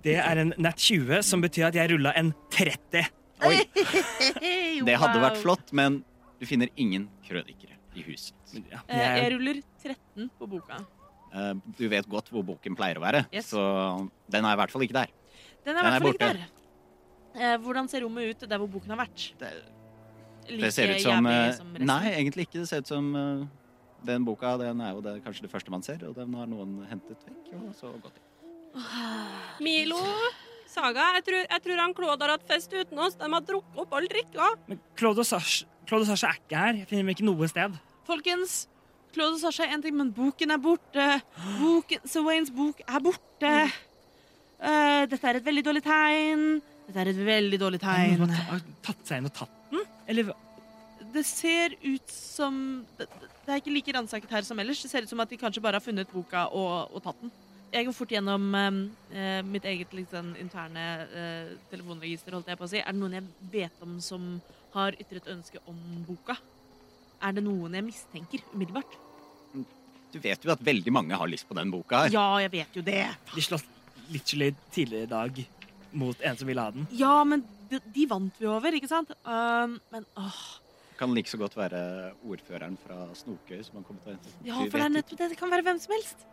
Speaker 4: Det er en nat 20, som betyr at jeg rulla en 30.
Speaker 1: Oi!
Speaker 2: hei,
Speaker 1: Det hadde
Speaker 2: wow.
Speaker 1: vært flott, men du finner ingen krønikere i huset.
Speaker 4: Men Ja,
Speaker 2: Eh, jeg
Speaker 4: jeg,
Speaker 2: ruller 13 på boka.
Speaker 1: Eh, Du vet godt hvor boken pleier å være,
Speaker 2: Yes.
Speaker 1: så den er i hvert fall ikke der.
Speaker 2: Den er i
Speaker 1: Den er
Speaker 2: hvert fall ikke
Speaker 1: borte.
Speaker 2: der. Eh, hvordan ser rommet ut der hvor boken har vært?
Speaker 1: Det,
Speaker 2: Like
Speaker 1: det ser ut som, eh,
Speaker 2: jævlig som resten.
Speaker 1: Nei, egentlig ikke. Det ser ut som eh, den boka den er jo det, kanskje det første man ser, og den har noen hentet vekk. Og så gått inn.
Speaker 3: Milo, Saga, jeg tror, jeg tror han Claude har hatt fest uten oss. De har drukket opp all drikka.
Speaker 4: men Claude og, Sasha, Claude og Sasha er ikke her. Jeg finner dem ikke noe sted.
Speaker 2: Folkens, Claude og Sasha er én ting, men boken er borte. Boken, Swains bok er borte. Eh, dette er et veldig dårlig tegn. Dette er et veldig dårlig tegn.
Speaker 4: Noen har ta- tatt seg inn og tatt den? Eller hva?
Speaker 2: Det ser ut som Det det er ikke like ransaket her som ellers. Det ser ut som at de kanskje bare har funnet boka og, og tatt den. Jeg går fort gjennom eh, mitt eget litt sånn interne eh, telefonregister, holdt jeg på å si. Er det noen jeg vet om som har ytret ønske om boka? Er det noen jeg mistenker umiddelbart?
Speaker 1: Du vet jo at veldig mange har lyst på den boka her.
Speaker 2: Ja, jeg vet jo det.
Speaker 4: de slåss literally tidligere i dag mot en som ville ha den.
Speaker 2: Ja, men de, de vant vi over, ikke sant? Um, men åh
Speaker 1: Kan like så godt være ordføreren fra Snorkøy som har kommet og hentet den.
Speaker 2: Ja,
Speaker 1: Du
Speaker 2: for
Speaker 1: vet
Speaker 2: det er
Speaker 1: ikke.
Speaker 2: nettopp det. Det kan være hvem som helst.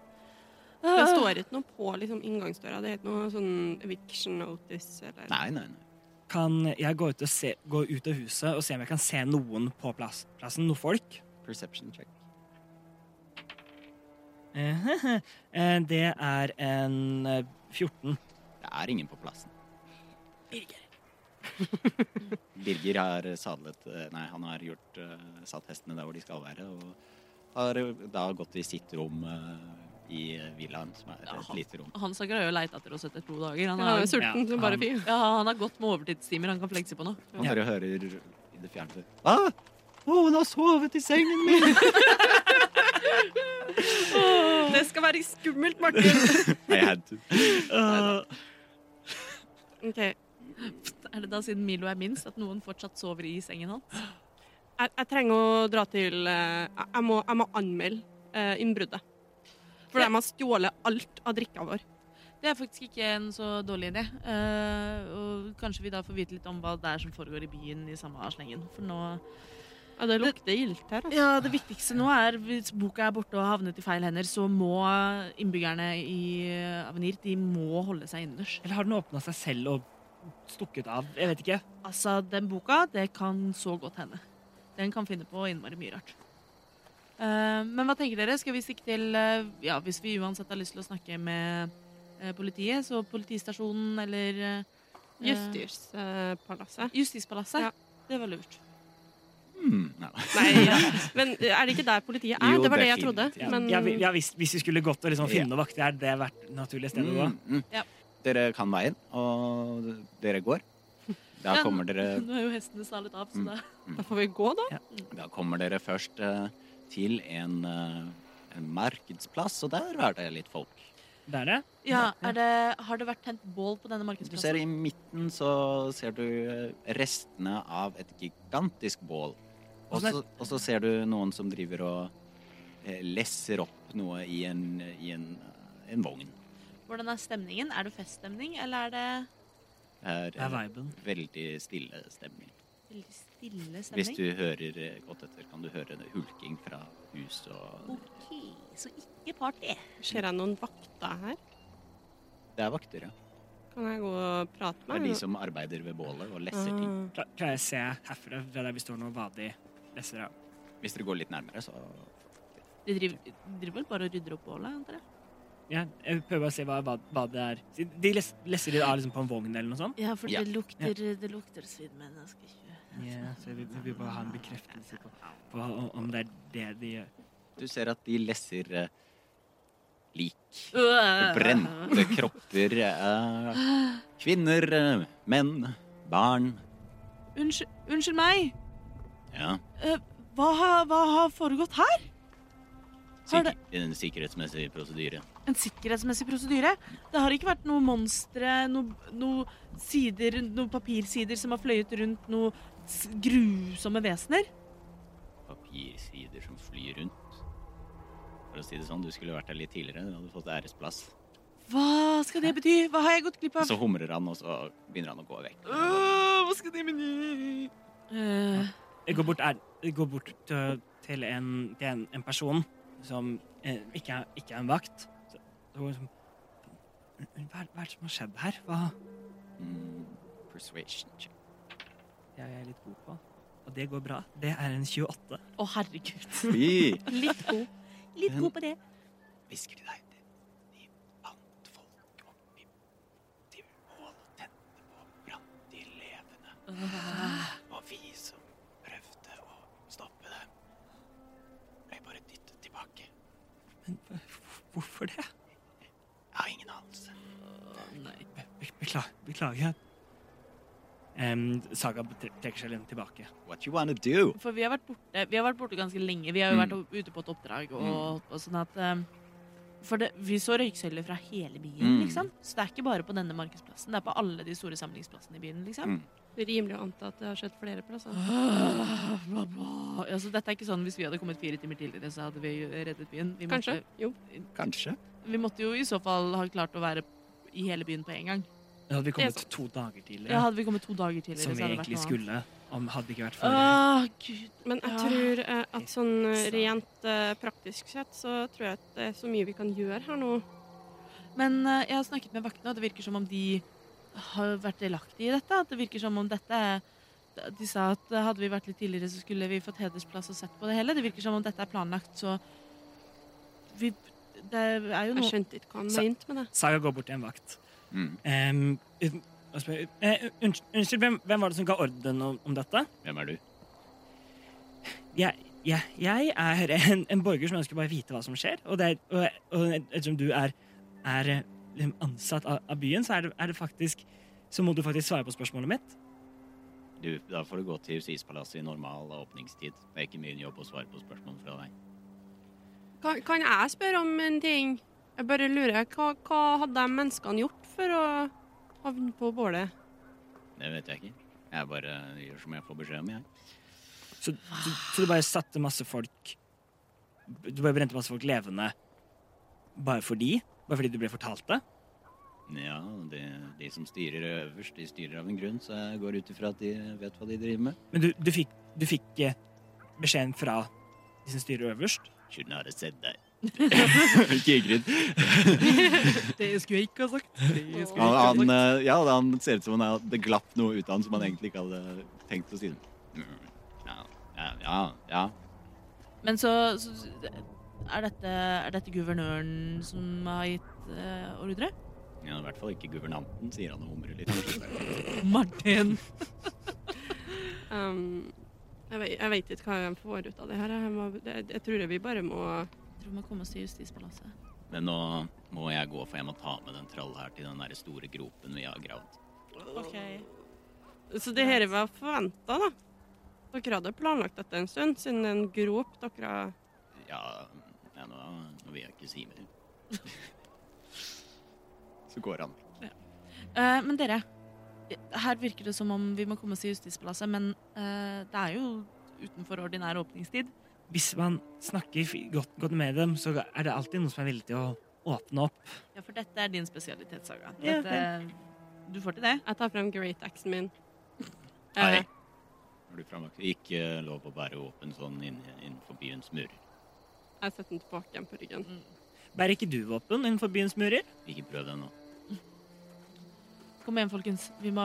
Speaker 5: Det står ikke noe på liksom, inngangsdøra. Det er ikke noe sånn eviction notice eller
Speaker 1: Nei, nei, nei.
Speaker 4: Kan jeg gå ut, og se, gå ut av huset og se om jeg kan se noen på plass, plassen? Noen folk?
Speaker 1: Perception check.
Speaker 4: Eh, eh, Det er en eh, 14.
Speaker 1: Det er ingen på plassen. Birger har sadlet eh, Nei, han har gjort eh, satt hestene der hvor de skal være, og har eh, da gått i sitt rom eh, i villaen, som er et
Speaker 2: Jaha.
Speaker 1: lite rom.
Speaker 2: Hans har greid å leite etter oss etter to dager. Han
Speaker 5: Han er
Speaker 2: har,
Speaker 5: jo sulten
Speaker 4: Ja,
Speaker 5: som bare
Speaker 4: han-
Speaker 5: fy.
Speaker 2: ja, han har gått med overtidstimer han kan flekse på nå.
Speaker 1: Han bare hører i det fjerne Hva? Ah. Å, hun har sovet i sengen min!
Speaker 5: Det skal være skummelt, Martin.
Speaker 1: I had to.
Speaker 5: Ok, jeg,
Speaker 2: Er det da siden Milo er minst, at noen fortsatt sover i sengen hans?
Speaker 5: jeg trenger å dra til eh, Jeg jeg må, jeg må anmelde eh, innbruddet. For de har stjålet alt av drikka vår.
Speaker 2: Det er faktisk ikke en så dårlig idé. Eh, og kanskje vi da får vite litt om hva det er som foregår i byen i samme slengen. For nå
Speaker 5: Ja, det lukter gildt her. Altså.
Speaker 2: Ja, det viktigste nå er hvis boka er borte og har havnet i feil hender, så må innbyggerne i Avenir de må holde seg innendørs.
Speaker 4: Eller har den åpna seg selv og stukket av? Jeg vet ikke.
Speaker 2: Altså, den boka, det kan så godt hende. Den kan finne på innmari mye rart. Eh, men hva tenker dere? Skal vi stikke til eh, Ja, hvis vi uansett har lyst til å snakke med eh, politiet, så politistasjonen eller eh,
Speaker 5: Justispalasset.
Speaker 2: Justispalasset.
Speaker 5: Ja.
Speaker 2: Det var lurt.
Speaker 1: Hmm, nei, nei.
Speaker 5: Nei, men eh, er det ikke der politiet er?
Speaker 1: Jo,
Speaker 5: det var det jeg
Speaker 1: definitivt.
Speaker 5: trodde.
Speaker 4: Ja,
Speaker 5: Men
Speaker 4: ja, vi- ja, hvis, hvis vi skulle gått og liksom
Speaker 1: Ja.
Speaker 4: finne noen vakter, er det vært det naturlige stedet å gå?
Speaker 1: Mm, mm.
Speaker 2: Ja.
Speaker 1: Dere kan veien, og dere går. Da
Speaker 2: Ja,
Speaker 1: kommer dere
Speaker 2: Nå er jo hestene salet av, så
Speaker 1: Mm.
Speaker 2: da
Speaker 5: da får vi gå, da.
Speaker 1: Da kommer dere først eh, til en, eh, en markedsplass, og der er det litt folk.
Speaker 4: Det er det?
Speaker 2: Ja, er det, Har det vært tent bål på denne
Speaker 1: Hvis du ser
Speaker 2: markedsplassen?
Speaker 1: i midten, så ser du eh, restene av et gigantisk bål. Og så- og så ser du noen som driver og eh, lesser opp noe i en, i en, eh, en vogn.
Speaker 2: Hvordan er stemningen? Er det feststemning, eller er det
Speaker 1: Det
Speaker 4: Det er
Speaker 1: er en
Speaker 4: viben.
Speaker 1: veldig stille stemning.
Speaker 2: veldig stille
Speaker 1: Hvis
Speaker 2: stemning?
Speaker 1: du hører eh, godt etter, kan du høre det hulking fra hus og
Speaker 2: OK, så ikke party.
Speaker 5: Ser jeg noen vakter her?
Speaker 1: Det er vakter, ja.
Speaker 5: Kan jeg gå og prate
Speaker 1: Det
Speaker 5: med
Speaker 1: er de
Speaker 5: dem? Ah.
Speaker 1: som arbeider ved bålet og lesser ting.
Speaker 4: Kla- Klarer jeg å se herfra, fra der vi står nå, hva de leser av?
Speaker 1: Hvis dere går litt nærmere, så
Speaker 2: De driver, de driver vel bare og rydder opp bålet, antar jeg?
Speaker 4: Ja, jeg prøver bare å se hva, hva, hva det er. De les, leser de av liksom på en vogn eller noe sånt?
Speaker 2: Ja, for
Speaker 1: Ja.
Speaker 2: det lukter, det lukter svidd, men jeg skal ikke
Speaker 4: Ja, så vi, vi bare ha en bekreftelse på, på om- om det er det de gjør.
Speaker 1: Du ser at de lesser eh, lik. Brente kropper. eh, kvinner, eh, menn, barn.
Speaker 2: Unnskyld, unnskyld meg!
Speaker 1: Ja.
Speaker 2: Eh, hva, har- hva har foregått her? Har
Speaker 1: Sik en sikkerhetsmessig prosedyre.
Speaker 2: En sikkerhetsmessig prosedyre? Det har ikke vært noe monstre, noe, noe sider, noen papirsider som har fløyet rundt noe s- grusomme vesener?
Speaker 1: Papirsider som flyr rundt. For å si det sånn, du skulle vært der litt tidligere. Du hadde fått æresplass.
Speaker 2: Hva skal det bety? Hva har jeg gått glipp
Speaker 1: Og
Speaker 2: av?
Speaker 1: så humrer han, og så begynner han å gå vekk.
Speaker 2: Øh, hva skal det bety? Eh,
Speaker 4: Jeg går bort, er, jeg går bort til, til, en, til en, en person som eh, ikke, er, ikke er en vakt. Så, så går jeg sånn, hva, er- hva er det som har skjedd her? Hva
Speaker 1: Mm, persuasion check.
Speaker 4: jeg er litt god på? Og det går bra. Det er en 28.
Speaker 2: Å, herregud.
Speaker 1: Fy!
Speaker 2: Litt god. Litt god på det.
Speaker 1: Hvisker til deg. det. De bandt folk opp i til bål og tente på brann de levende. Og vi som prøvde å stoppe dem, ble bare dyttet tilbake.
Speaker 4: Men h- hvorfor det?
Speaker 1: Jeg har ingen anelse.
Speaker 4: Be, be, beklager. beklager. Em, saga tre- trekker seg litt tilbake.
Speaker 1: What you wanna do?
Speaker 2: For vi har vært borte, vi har vært borte ganske lenge. Vi har jo
Speaker 1: Mm.
Speaker 2: vært ute på et oppdrag og,
Speaker 1: Mm.
Speaker 2: og sånn at eh, For det, vi så røyksøyler fra hele
Speaker 1: Mm.
Speaker 2: byen, liksom. Så det er ikke bare på denne markedsplassen. Det er på alle de store samlingsplassene i byen, liksom.
Speaker 1: Mm.
Speaker 5: Det er Rimelig å anta at det har skjedd flere plasser.
Speaker 2: Ah, bla, bla. Ja, så dette er ikke sånn hvis vi hadde kommet fire timer tidligere, så hadde vi jo reddet byen. Vi
Speaker 5: Kanskje? Jo.
Speaker 1: Kanskje.
Speaker 2: Måtte, vi måtte jo i så fall ha klart å være i hele byen på en gang.
Speaker 4: Da hadde vi
Speaker 5: Det er
Speaker 4: kommet to dager
Speaker 2: Ja,
Speaker 4: tidligere,
Speaker 2: hadde vi kommet to dager tidligere,
Speaker 4: som vi
Speaker 2: så hadde det vært
Speaker 4: egentlig
Speaker 2: noe annet.
Speaker 4: skulle. Om hadde det ikke vært for det.
Speaker 2: Åh, gud.
Speaker 5: Men jeg
Speaker 2: Ja.
Speaker 5: tror eh, at sånn
Speaker 4: Så.
Speaker 5: eh, rent eh, praktisk sett, så tror jeg at det er så mye vi kan gjøre her nå.
Speaker 2: Men eh, jeg har snakket med vaktene, og det virker som om de har vært delaktige i dette. At det virker som om dette er- De sa at eh, hadde vi vært litt tidligere, så skulle vi fått hedersplass og sett på det hele. Det virker som om dette er planlagt, så vi Det er jo
Speaker 5: Jeg
Speaker 2: noe
Speaker 5: skjønte ikke hva han
Speaker 4: Så-
Speaker 5: mente med det.
Speaker 4: Saga går bort til en vakt.
Speaker 1: Mm.
Speaker 4: Em, uten- og spør, eh, unnskyld, unnskyld hvem, hvem var det som ga ordren om, om dette?
Speaker 1: Hvem er du?
Speaker 4: Jeg, jeg, jeg er en, en borger som ønsker bare å vite hva som skjer. Og, det er, og, og ettersom du er, er eh, liksom ansatt av, av byen, så er det, er det faktisk så må du faktisk svare på spørsmålet mitt.
Speaker 1: du? Da får du gå til Justispalasset i normal åpningstid. Det er ikke min jobb å svare på spørsmål fra deg.
Speaker 5: Kan, kan jeg spørre om en ting? Jeg bare lurer. Hva, hva hadde de menneskene gjort for å havne på bålet?
Speaker 1: Det vet jeg ikke. Jeg bare gjør som jeg får beskjed om, jeg.
Speaker 4: Så, så, så du bare satte masse folk Du bare brente masse folk levende bare fordi? Bare fordi du ble fortalt det?
Speaker 1: Ja, de, de som styrer øverst, de styrer av en grunn, så jeg går ut ifra at de vet hva de driver med.
Speaker 4: Men du, du, fikk, du fikk eh, beskjeden fra de som styrer øverst?
Speaker 1: Kunne ha sett deg. Kikrid.
Speaker 2: Det skulle jeg ikke ha sagt. Det
Speaker 1: Han, han, eh, ja, han ser ut som han hadde glapp noe ut av han som han egentlig ikke hadde tenkt å si. Mm, Ja, ja, ja. ja.
Speaker 2: Men så, så er, dette, er dette guvernøren som har gitt eh, ordre?
Speaker 1: Ja, I hvert fall ikke guvernanten, sier han og humrer litt.
Speaker 2: Martin!
Speaker 5: Um, jeg, vet, jeg vet ikke hva jeg får ut av det her. Jeg, må, det, jeg tror vi bare må
Speaker 2: Jeg tror vi må komme oss til Justispalasset.
Speaker 1: Men nå må jeg gå, for jeg må ta med den trallen her til den der store gropen vi har gravd.
Speaker 2: Eh,
Speaker 5: Så det her var forventa, da. Dere hadde planlagt dette en stund, siden en grop dere
Speaker 1: Ja, ja nå, nå vil jeg ikke si mer. Så går han.
Speaker 2: Eh, men dere, her virker det som om vi må komme oss til Justispalasset, men eh, det er jo utenfor ordinær åpningstid.
Speaker 4: hvis man snakker fi- godt, godt med dem, så er det alltid noen som er villig til å åpne opp.
Speaker 2: Ja, for dette er din spesialitetssaga.
Speaker 4: Ja,
Speaker 2: Dette, du får til det?
Speaker 5: Jeg tar frem great axen min.
Speaker 1: Nei.
Speaker 5: Eh,
Speaker 1: Har du framlagt Ikke eh, lov å bære våpen sånn inn- innenfor byens murer.
Speaker 5: jeg setter den tilbake igjen på ryggen.
Speaker 4: Bærer ikke du våpen innenfor byens murer?
Speaker 1: Ikke prøv det nå.
Speaker 2: Kom igjen, folkens. Vi, må,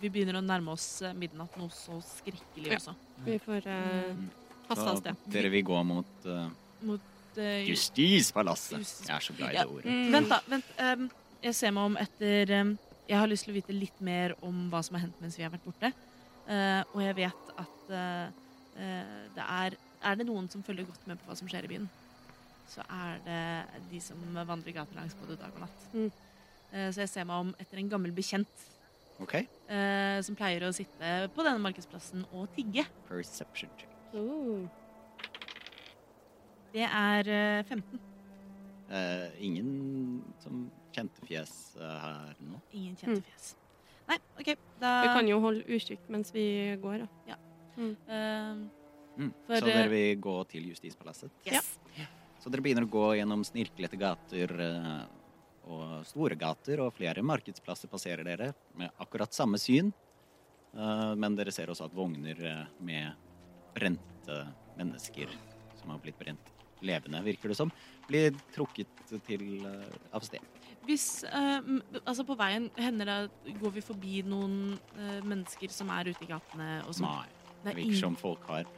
Speaker 2: vi begynner å nærme oss eh, midnatt noe så skrekkelig
Speaker 5: Ja.
Speaker 2: også.
Speaker 5: Vi får eh, haste av
Speaker 1: Så
Speaker 5: sted.
Speaker 1: dere vil gå mot uh,
Speaker 2: Det-
Speaker 1: Justispalasset.
Speaker 2: Justis-
Speaker 1: Jeg er så glad i
Speaker 2: Mm. Ja.
Speaker 1: det ordet.
Speaker 5: Mm.
Speaker 2: Vent, da. vent. ehm, jeg ser meg om etter ehm, Jeg har lyst til å vite litt mer om hva som har hendt mens vi har vært borte. Eh, og jeg vet at eh, eh, det er Er det noen som følger godt med på hva som skjer i byen, så er det de som vandrer gaten langs både dag og natt.
Speaker 5: Mm.
Speaker 2: Eh, så jeg ser meg om etter en gammel bekjent
Speaker 1: OK.
Speaker 2: eh, som pleier å sitte på denne markedsplassen og tigge.
Speaker 1: Perception check.
Speaker 5: Oh.
Speaker 2: Det er eh, 15.
Speaker 1: Eh, ingen som kjente fjes eh, her nå.
Speaker 2: Ingen
Speaker 5: Mm.
Speaker 2: kjente fjes. Nei, OK. Da
Speaker 5: Vi kan jo holde usikt mens vi går. Da. Mm.
Speaker 2: ehm, For,
Speaker 1: så dere
Speaker 2: eh,
Speaker 1: vil gå til Justispalasset?
Speaker 2: Yes.
Speaker 1: Så dere begynner å gå gjennom snirklete gater eh, og store gater, og flere markedsplasser passerer dere med akkurat samme syn. Eh, Men dere ser også at vogner eh, med brente mennesker som har blitt brent levende, virker det som, blir trukket til eh, av sted.
Speaker 2: Hvis, eh, m- altså på veien hender det at går vi forbi noen eh, mennesker som er ute i gatene og som
Speaker 1: Nei,
Speaker 2: det
Speaker 1: det
Speaker 2: er
Speaker 1: virker
Speaker 2: ingen
Speaker 1: som folk har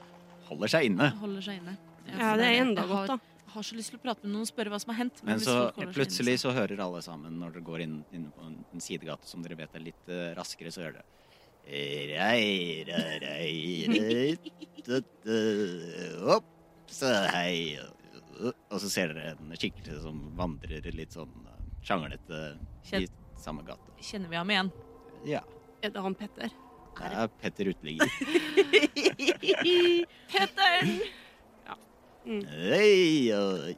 Speaker 1: holder seg inne.
Speaker 2: som holder seg inne.
Speaker 5: Ja, det er enda
Speaker 2: jeg har,
Speaker 5: godt, da.
Speaker 2: Jeg har så lyst til å prate med noen og spørre hva som har hendt.
Speaker 1: Men
Speaker 2: hvis
Speaker 1: så
Speaker 2: folk holder seg
Speaker 1: plutselig
Speaker 2: inne,
Speaker 1: så hører alle sammen når dere går inn, inn på en, en sidegate som dere vet er litt eh, raskere, så hører dere Rei, rei, rei, rei, tutte, opp, så hei. Og så ser dere en skikkelse som vandrer litt sånn eh, sjanglete i
Speaker 2: Kjent.
Speaker 1: samme gate.
Speaker 2: så Kjenner vi ham igjen?
Speaker 1: Ja.
Speaker 5: Er det han Petter?
Speaker 1: Det er Petter Uteligger.
Speaker 2: Petter!
Speaker 1: Hei, oi.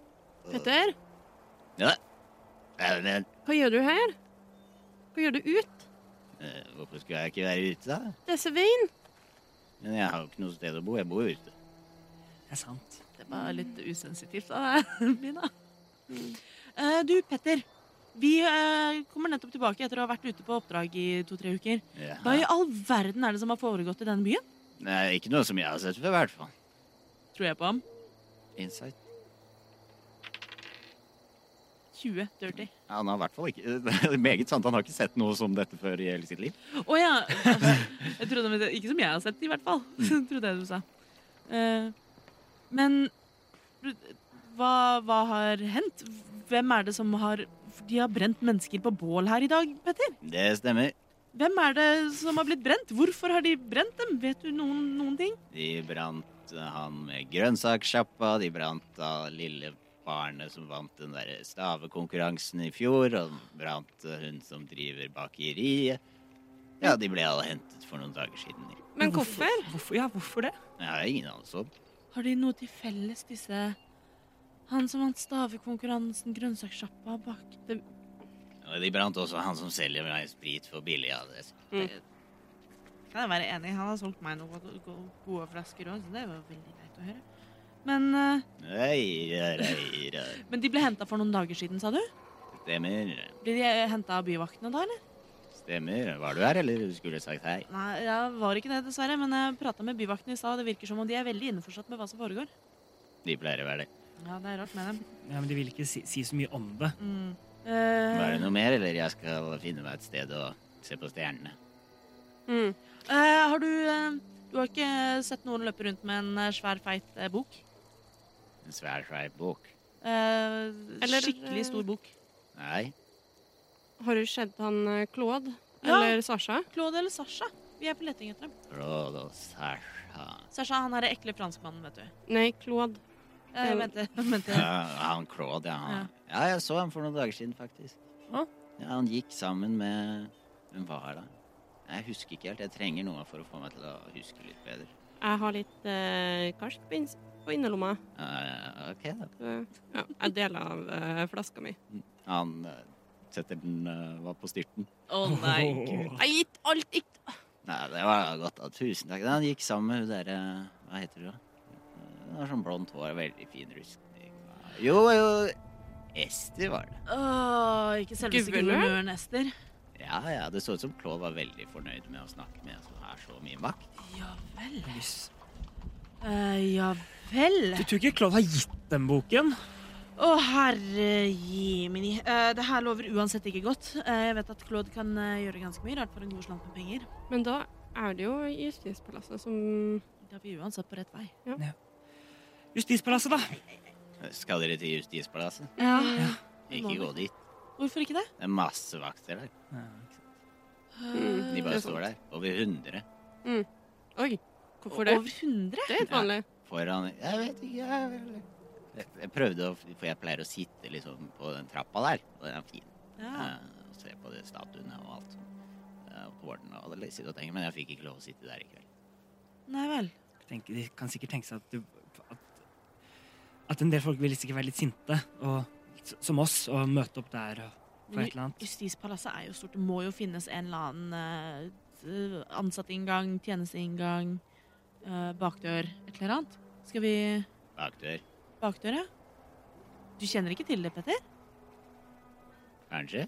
Speaker 5: Petter,
Speaker 1: Ja. Eh, Men
Speaker 5: hva gjør du her? Hva gjør du ut?
Speaker 1: eh, hvorfor skulle jeg ikke være ute, da?
Speaker 5: Det er Svein.
Speaker 1: Men jeg har jo ikke noe sted å bo. Jeg bor jo ute.
Speaker 4: Det er sant.
Speaker 2: Det var litt usensitivt av deg, Mina. Eh, du, Petter. Vi eh, kommer nettopp tilbake etter å ha vært ute på oppdrag i to-tre uker.
Speaker 1: Ja.
Speaker 2: Hva i all verden er det som har foregått i denne byen?
Speaker 1: Nei, ikke noe som jeg har sett før, i hvert fall.
Speaker 2: Tror jeg på ham.
Speaker 1: Insight.
Speaker 2: 20 dirty.
Speaker 1: Han har i hvert fall ikke det er Meget sant, han har ikke sett noe som dette før i hele sitt liv.
Speaker 2: Å ja. altså, Jeg trodde, men det- ikke som jeg har sett, i hvert fall. trodde jeg du sa. Eh, men hva, hva har hendt? Hvem er det som har De har brent mennesker på bål her i dag, Petter.
Speaker 1: Det stemmer.
Speaker 2: Hvem er det som har blitt brent? Hvorfor har de brent dem? Vet du noen, noen ting?
Speaker 1: De brant eh, han med grønnsaksjappa, de brant da lille barnet som vant den der stavekonkurransen i fjor, og de brant eh, hun som driver bakeriet. Ja, de ble alle hentet for noen dager siden.
Speaker 3: Men hvorfor?
Speaker 4: Hvorfor, ja, hvorfor det?
Speaker 1: Jeg har ingen anelse om.
Speaker 2: Har de noe til felles, disse Han som vant stavekonkurransen, grønnsakssjappa bak dem
Speaker 1: Og de brant også han som selger meg sprit for billig. Ja, det
Speaker 2: Kan jeg være enig? Han har solgt meg noen go- go- gode flasker òg, så det var veldig greit å høre. Men, eh,
Speaker 1: Nei, ja, nei, ja,
Speaker 2: men de ble henta for noen dager siden, sa du?
Speaker 1: Stemmer.
Speaker 2: Ble de henta av byvaktene da, eller?
Speaker 1: Stemmer. Var du her, eller skulle jeg sagt hei?
Speaker 2: Nei, jeg var ikke det, dessverre. Men jeg prata med byvaktene i stad, og det virker som om de er veldig innforstått med hva som foregår.
Speaker 1: De pleier å være det.
Speaker 2: Ja, det er rart med dem.
Speaker 4: Ja, men De vil ikke si, si så mye om det.
Speaker 2: Mm.
Speaker 1: Var det
Speaker 2: Eh,
Speaker 1: noe mer, eller jeg skal finne meg et sted og se på stjernene?
Speaker 3: Mm.
Speaker 2: eh, har du eh, Du har ikke sett noen løpe rundt med en eh, svær, feit eh, bok?
Speaker 1: En svær, svær bok.
Speaker 2: Eh,
Speaker 3: Eller-
Speaker 2: skikkelig stor bok.
Speaker 1: Nei.
Speaker 3: Har du sett han eh, Claude?
Speaker 2: Ja.
Speaker 3: Eller Sasha?
Speaker 2: Claude eller Sasha? Vi er på leting etter dem.
Speaker 1: Claude og Sasha.
Speaker 2: Sasha, han er den ekle franskmannen, vet du.
Speaker 3: Nei, Claude.
Speaker 2: Eh, vent, litt, vent. litt.
Speaker 1: Ja, han Claude, ja. han- Ja, jeg så ham for noen dager siden, faktisk.
Speaker 4: Å?
Speaker 1: Ja, han gikk sammen med Hvem var det? Jeg husker ikke helt. Jeg trenger noe for å få meg til å huske litt bedre.
Speaker 3: Jeg har litt eh, karsk på, inns på innerlomma.
Speaker 1: Eh, ok, da.
Speaker 3: Eh, ja, jeg deler av eh, flaska mi.
Speaker 1: Han eh, setter den eh, var på styrten.
Speaker 2: Å nei, gud.
Speaker 3: Jeg har gitt alt ikke
Speaker 1: Nei, det var godt. da. Tusen takk. Han gikk sammen med hun derre Hva heter hun, da? Hun har sånn blondt hår og veldig fin rustning. Jo, jo. Ester var det.
Speaker 2: Åh, ikke selveste
Speaker 3: Guvernør?
Speaker 2: guvernøren Ester.
Speaker 1: Ja, ja, det så ut som Claude var veldig fornøyd med å snakke med en som har så mye makt.
Speaker 2: Ja vel.
Speaker 4: Jøss.
Speaker 2: Eh, ja vel.
Speaker 4: Du tror ikke Claude har gitt dem boken?
Speaker 2: Å, herre jimini. Eh, det her lover uansett ikke godt. Eh, jeg vet at Claude kan eh, gjøre ganske mye rart for en god slant med penger.
Speaker 3: Men da er det jo Justispalasset som
Speaker 2: Da er vi uansett på rett vei.
Speaker 4: Justispalasset, da.
Speaker 1: Skal dere til Justispalasset?
Speaker 2: Ja.
Speaker 1: Ikke gå dit.
Speaker 2: Hvorfor ikke det?
Speaker 1: Det er masse vakter der.
Speaker 4: Ja.
Speaker 3: Mm,
Speaker 1: De
Speaker 3: det
Speaker 1: bare
Speaker 3: er sant.
Speaker 1: står der. Over 100.
Speaker 3: Oi, hvorfor det?
Speaker 2: Over 100?
Speaker 3: Det er helt vanlig.
Speaker 1: Foran Jeg vet ikke, jeg vel jeg, jeg prøvde å For jeg pleier å sitte liksom på den trappa der, og den er fin.
Speaker 2: Ja.
Speaker 1: Eh, Og se på de statuene og alt sånt. Eh, og Tårnene og alle sitter og tenker, men jeg fikk ikke lov å sitte der i kveld.
Speaker 2: Nei vel.
Speaker 4: Tenk, de kan sikkert tenke seg at, du, at, at en del folk vil sikkert være litt sinte, og, som oss, og møte opp der og for
Speaker 2: Men
Speaker 4: et eller annet.
Speaker 2: Justispalasset er jo stort. Det må jo finnes en eller annen uh, ansatteinngang, tjenesteinngang, eh, bakdør, et eller annet. Skal vi
Speaker 1: Bakdør,
Speaker 2: Bakdør, ja? Du kjenner ikke til det, Petter?
Speaker 1: kanskje?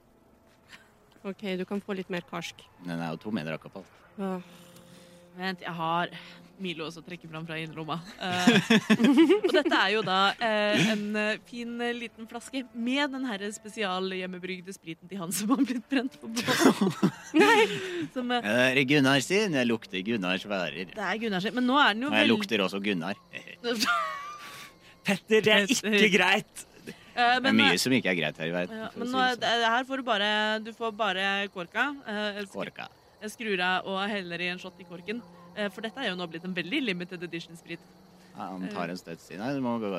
Speaker 3: OK, du kan få litt mer karsk.
Speaker 1: Den er jo tom, jeg drakk opp alt.
Speaker 3: Åh.
Speaker 2: Vent, jeg har Milo også trekker fram fra innerlomma. Eh, og dette er jo da eh, en eh, fin eh, liten flaske med den her spesialhjemmebrygde spriten til han som har blitt brent på båten. Som, eh,
Speaker 1: Ja, Det er Gunnar sin. Jeg lukter Gunnars varer.
Speaker 2: det er Gunnars Men nå er den jo
Speaker 1: Og jeg lukter også Gunnar. Det
Speaker 2: veldig
Speaker 4: Petter, det er
Speaker 2: Petter.
Speaker 4: ikke greit!
Speaker 2: Eh,
Speaker 1: er
Speaker 2: men, nå-
Speaker 1: mye som ikke er greit her i verden.
Speaker 2: ja,
Speaker 1: for å
Speaker 2: men
Speaker 1: si
Speaker 2: nå, er-
Speaker 1: det
Speaker 2: det, det her får du bare Du får bare korka. Eh, jeg
Speaker 1: sånn.
Speaker 2: skru-
Speaker 1: Korka.
Speaker 2: jeg skrur av og heller i en shot i korken. Eh, for dette er jo nå blitt en veldig limited edition-sprit.
Speaker 1: Ja, Han tar en støtt sin. Nei, du må gå,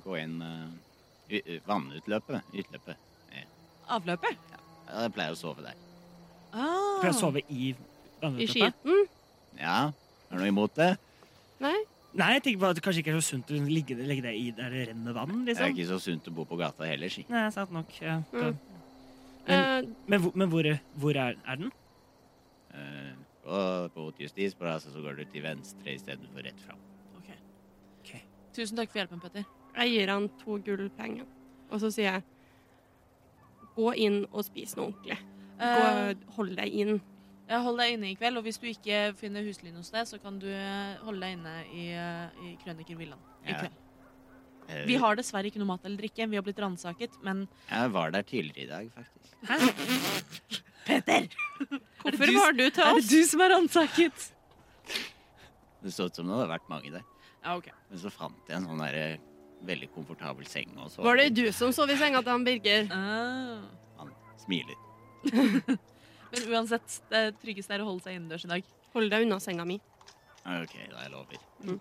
Speaker 1: gå inn eh, u- u- vannutløpet. Utløpet.
Speaker 2: Avløpet.
Speaker 1: Ja, jeg pleier å sove der.
Speaker 2: Ah.
Speaker 4: For jeg sove i
Speaker 3: I
Speaker 4: vannutøpet.
Speaker 3: skiten?
Speaker 1: Ja, er det noe imot det?
Speaker 3: Nei?
Speaker 4: Nei, jeg tenker bare at det kanskje ikke er så sunt å ligge, legge det i der det renner vann,
Speaker 1: Det er
Speaker 4: liksom.
Speaker 1: ikke så sunt å bo på gata heller, si.
Speaker 4: Nei, sant nok. Ja.
Speaker 3: Mm.
Speaker 4: Men-
Speaker 3: Eh,
Speaker 4: Men, hvor, men hvor, hvor er, er den?
Speaker 1: Eh, Gå på justisplassen, så går du til venstre istedenfor rett fram.
Speaker 2: Ok.
Speaker 4: Ok.
Speaker 2: Tusen takk for hjelpen, Petter.
Speaker 3: Eh, Jeg gir han to gullpenger, og så sier jeg Gå inn og spis noe ordentlig.
Speaker 2: Eh,
Speaker 3: Gå, hold deg inn.
Speaker 2: jeg Hold deg inne i kveld, og hvis du ikke finner huslyn hos deg, så kan du eh, holde deg inne i, eh, i Krøniker Villand i
Speaker 1: Ja.
Speaker 2: kveld.
Speaker 1: Jeg Eh,
Speaker 2: Vi har dessverre ikke noe mat eller drikke. Vi har blitt ransaket, men
Speaker 1: Jeg var der tidligere i dag, faktisk.
Speaker 2: Peter!
Speaker 5: Hvorfor var du til
Speaker 2: Er
Speaker 5: oss?
Speaker 2: det du som er ransaket?
Speaker 1: Det så ut som det hadde vært mange der.
Speaker 2: Ja, ok.
Speaker 1: Men så fant jeg en sånn derre veldig komfortabel seng, og så
Speaker 5: Var det du som sov i senga til han Birger?
Speaker 2: Ah.
Speaker 1: Han smiler.
Speaker 2: Men uansett, det tryggeste er å holde seg innendørs i dag.
Speaker 5: Hold deg unna senga mi.
Speaker 1: Ah, OK, da jeg lover.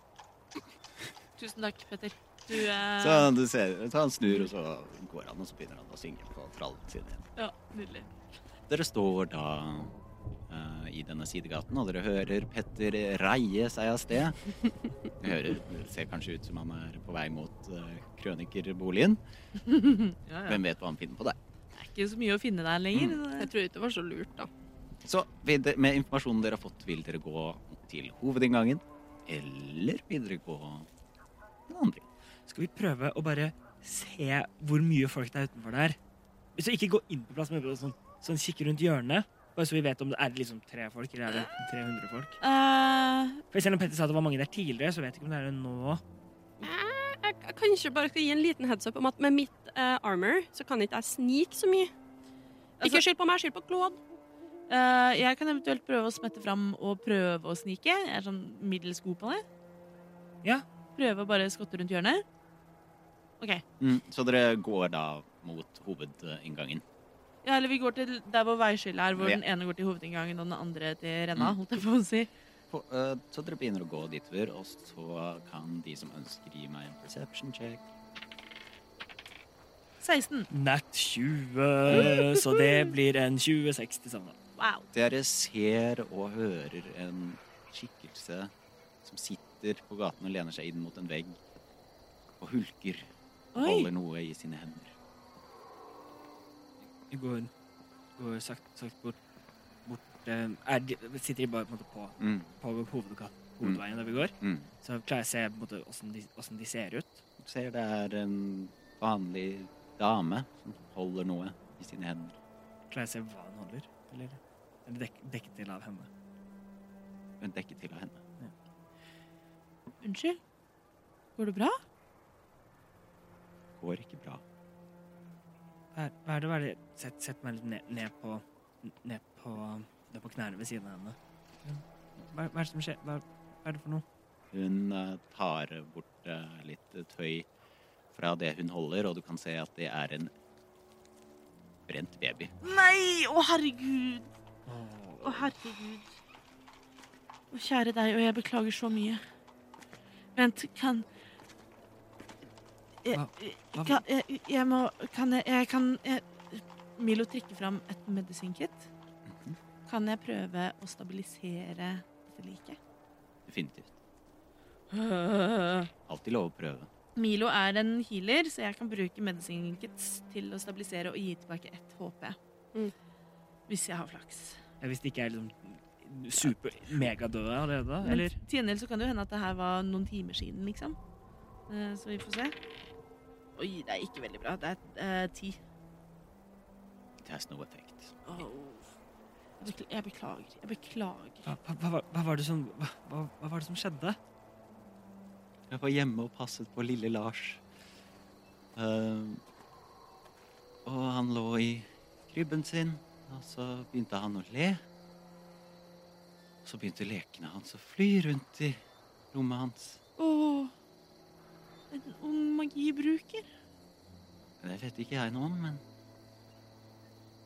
Speaker 2: Tusen takk, Petter. Du, eh,
Speaker 1: Så han, du ser, så han snur, og så går han, og så begynner han å synge på trallen sin igjen.
Speaker 2: ja, Nydelig.
Speaker 1: Dere står da eh, i denne sidegaten, og dere hører Petter reie seg av sted. Det hører, det ser kanskje ut som han er på vei mot eh, krønikerboligen.
Speaker 2: Ja, ja.
Speaker 1: Hvem vet hva han finner på der.
Speaker 2: Det er ikke så mye å finne der lenger.
Speaker 1: Mm.
Speaker 5: Jeg tror ikke det var så lurt, da.
Speaker 1: Så vil de- med informasjonen dere har fått, vil dere gå til hovedinngangen, eller vil dere gå den andre?
Speaker 4: Skal vi prøve å bare se hvor mye folk det er utenfor der? Så ikke gå inn på plass, men bare sånn, sånn kikke rundt hjørnet. Bare så vi vet om det er liksom tre folk, eller er det 300 folk.
Speaker 2: Eh,
Speaker 4: For selv om Petter sa det var mange der tidligere, så vet jeg ikke om det er det nå.
Speaker 5: Jeg, jeg kanskje bare skal gi en liten heads up om at med mitt eh, armor så kan ikke jeg snike så mye. Ikke
Speaker 2: Altså-
Speaker 5: skyld på meg, skyld på Claude.
Speaker 2: eh, jeg kan eventuelt prøve å smette fram og prøve å snike. Jeg er sånn middels god på det.
Speaker 4: Ja.
Speaker 2: Prøve å bare skotte rundt hjørnet. OK.
Speaker 1: Mm, så dere går da mot hovedinngangen.
Speaker 2: Ja, eller vi går til der hvor veiskillet er, hvor
Speaker 1: Ja.
Speaker 2: den ene går til hovedinngangen og den andre til renna,
Speaker 1: Mm.
Speaker 2: holdt jeg på å si.
Speaker 1: På, eh, så dere begynner å gå ditover, og så kan de som ønsker gi meg en perception check.
Speaker 2: 16.
Speaker 4: Nat 20, så det blir en 26 til sammen.
Speaker 2: Wow.
Speaker 1: Dere ser og hører en skikkelse som sitter på gaten og lener seg inn mot en vegg og hulker og
Speaker 2: Oi.
Speaker 1: holder noe i sine hender.
Speaker 4: Jeg går, går sakte, sakte bort. bort eh, er de, sitter de bare på, en måte, på,
Speaker 1: Mm,
Speaker 4: på hovedga- hovedveien der vi går?
Speaker 1: mm.
Speaker 4: Så klarer jeg å se på en måte, hvordan, de, hvordan de ser ut.
Speaker 1: Du ser det er en vanlig dame som holder noe i sine hender.
Speaker 4: Klarer jeg å se hva hun holder? Eller er det dek, dekket til av henne?
Speaker 1: Hun dekker til av henne.
Speaker 2: Unnskyld. Går det bra?
Speaker 1: Går ikke bra.
Speaker 4: Hva er, hva er det? Hva er det? Sett, sett meg litt ned, ned på Ned på, ned på knærne ved siden av henne. Hva, hva er det som skjer? Hva, hva er det for noe?
Speaker 1: Hun eh, tar bort eh, litt tøy fra det hun holder, og du kan se at det er en brent baby.
Speaker 2: Nei! Å, herregud.
Speaker 4: Åh.
Speaker 2: Å, herregud. Å, kjære deg, og jeg beklager så mye. Vent, kan Jeg,
Speaker 4: Hva- hva-
Speaker 2: kan, jeg, jeg må Kan jeg, jeg kan jeg, Milo trekker fram et medisinkit.
Speaker 4: Mhm.
Speaker 2: Kan jeg prøve å stabilisere dette liket?
Speaker 1: Definitivt. Alltid lov å prøve.
Speaker 2: Milo er en healer, så jeg kan bruke medicine kits til å stabilisere og gi tilbake ett HP.
Speaker 5: Mm.
Speaker 2: Hvis jeg har flaks.
Speaker 4: Ja, Hvis det ikke er liksom super-megadøde allerede,
Speaker 2: Men
Speaker 4: eller?
Speaker 2: til gjengjeld så kan det jo hende at det her var noen timer siden, liksom. Eh, Så vi får se. Oi, det er ikke veldig bra. Det er eh, ti.
Speaker 1: It has no effect.
Speaker 2: Jeg bekl- Jeg beklager. Jeg beklager.
Speaker 4: Hva, hva, hva, hva, var det som, hva, hva, hva var det som skjedde?
Speaker 1: Jeg var hjemme og passet på lille Lars. Ehm, og han lå i krybben sin, og så begynte han å le. Så begynte lekene hans å fly rundt i rommet hans.
Speaker 2: Åh, en ung magibruker.
Speaker 1: Det vet ikke jeg noe om, men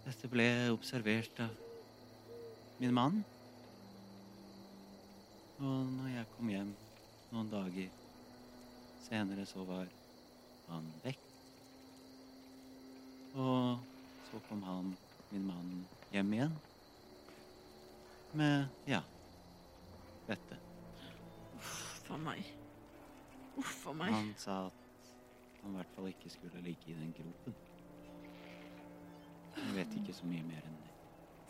Speaker 1: dette ble observert av min mann. Og når jeg kom hjem noen dager senere, så var han vekk. Og så kom han, min mann, hjem igjen. Med ja dette.
Speaker 2: Uff a meg. Uff a meg.
Speaker 1: Han sa at han i hvert fall ikke skulle ligge i den gropen. Jeg vet ikke så mye mer enn det.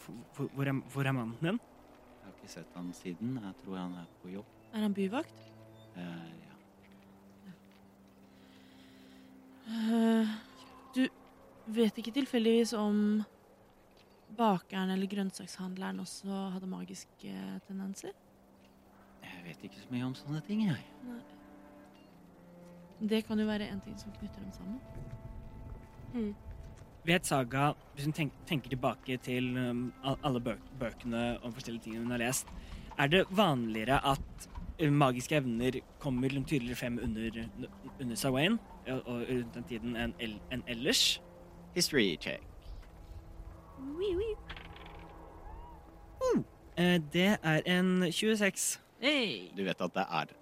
Speaker 4: Hvor, hvor, er, hvor er mannen din?
Speaker 1: Jeg har ikke sett han siden. Jeg tror han er på jobb.
Speaker 2: Er han byvakt?
Speaker 1: Eh, ja.
Speaker 2: Eh, Du vet ikke tilfeldigvis om bakeren eller grønnsakshandleren også hadde magiske tendenser?
Speaker 1: Jeg vet ikke så mye om sånne ting, jeg.
Speaker 2: Det kan jo være en ting som knytter dem sammen.
Speaker 3: Hmm.
Speaker 4: Vet Saga, hvis hun tenk, tenker tilbake til um, al- alle bøk, bøkene om forskjellige ting hun har lest, er det vanligere at uh, magiske evner kommer liksom tydeligere frem under, under Sawain og, og rundt den tiden enn el- enn ellers?
Speaker 5: History check.
Speaker 4: Eh, det er en 26.
Speaker 2: Hey.
Speaker 5: Du vet at det er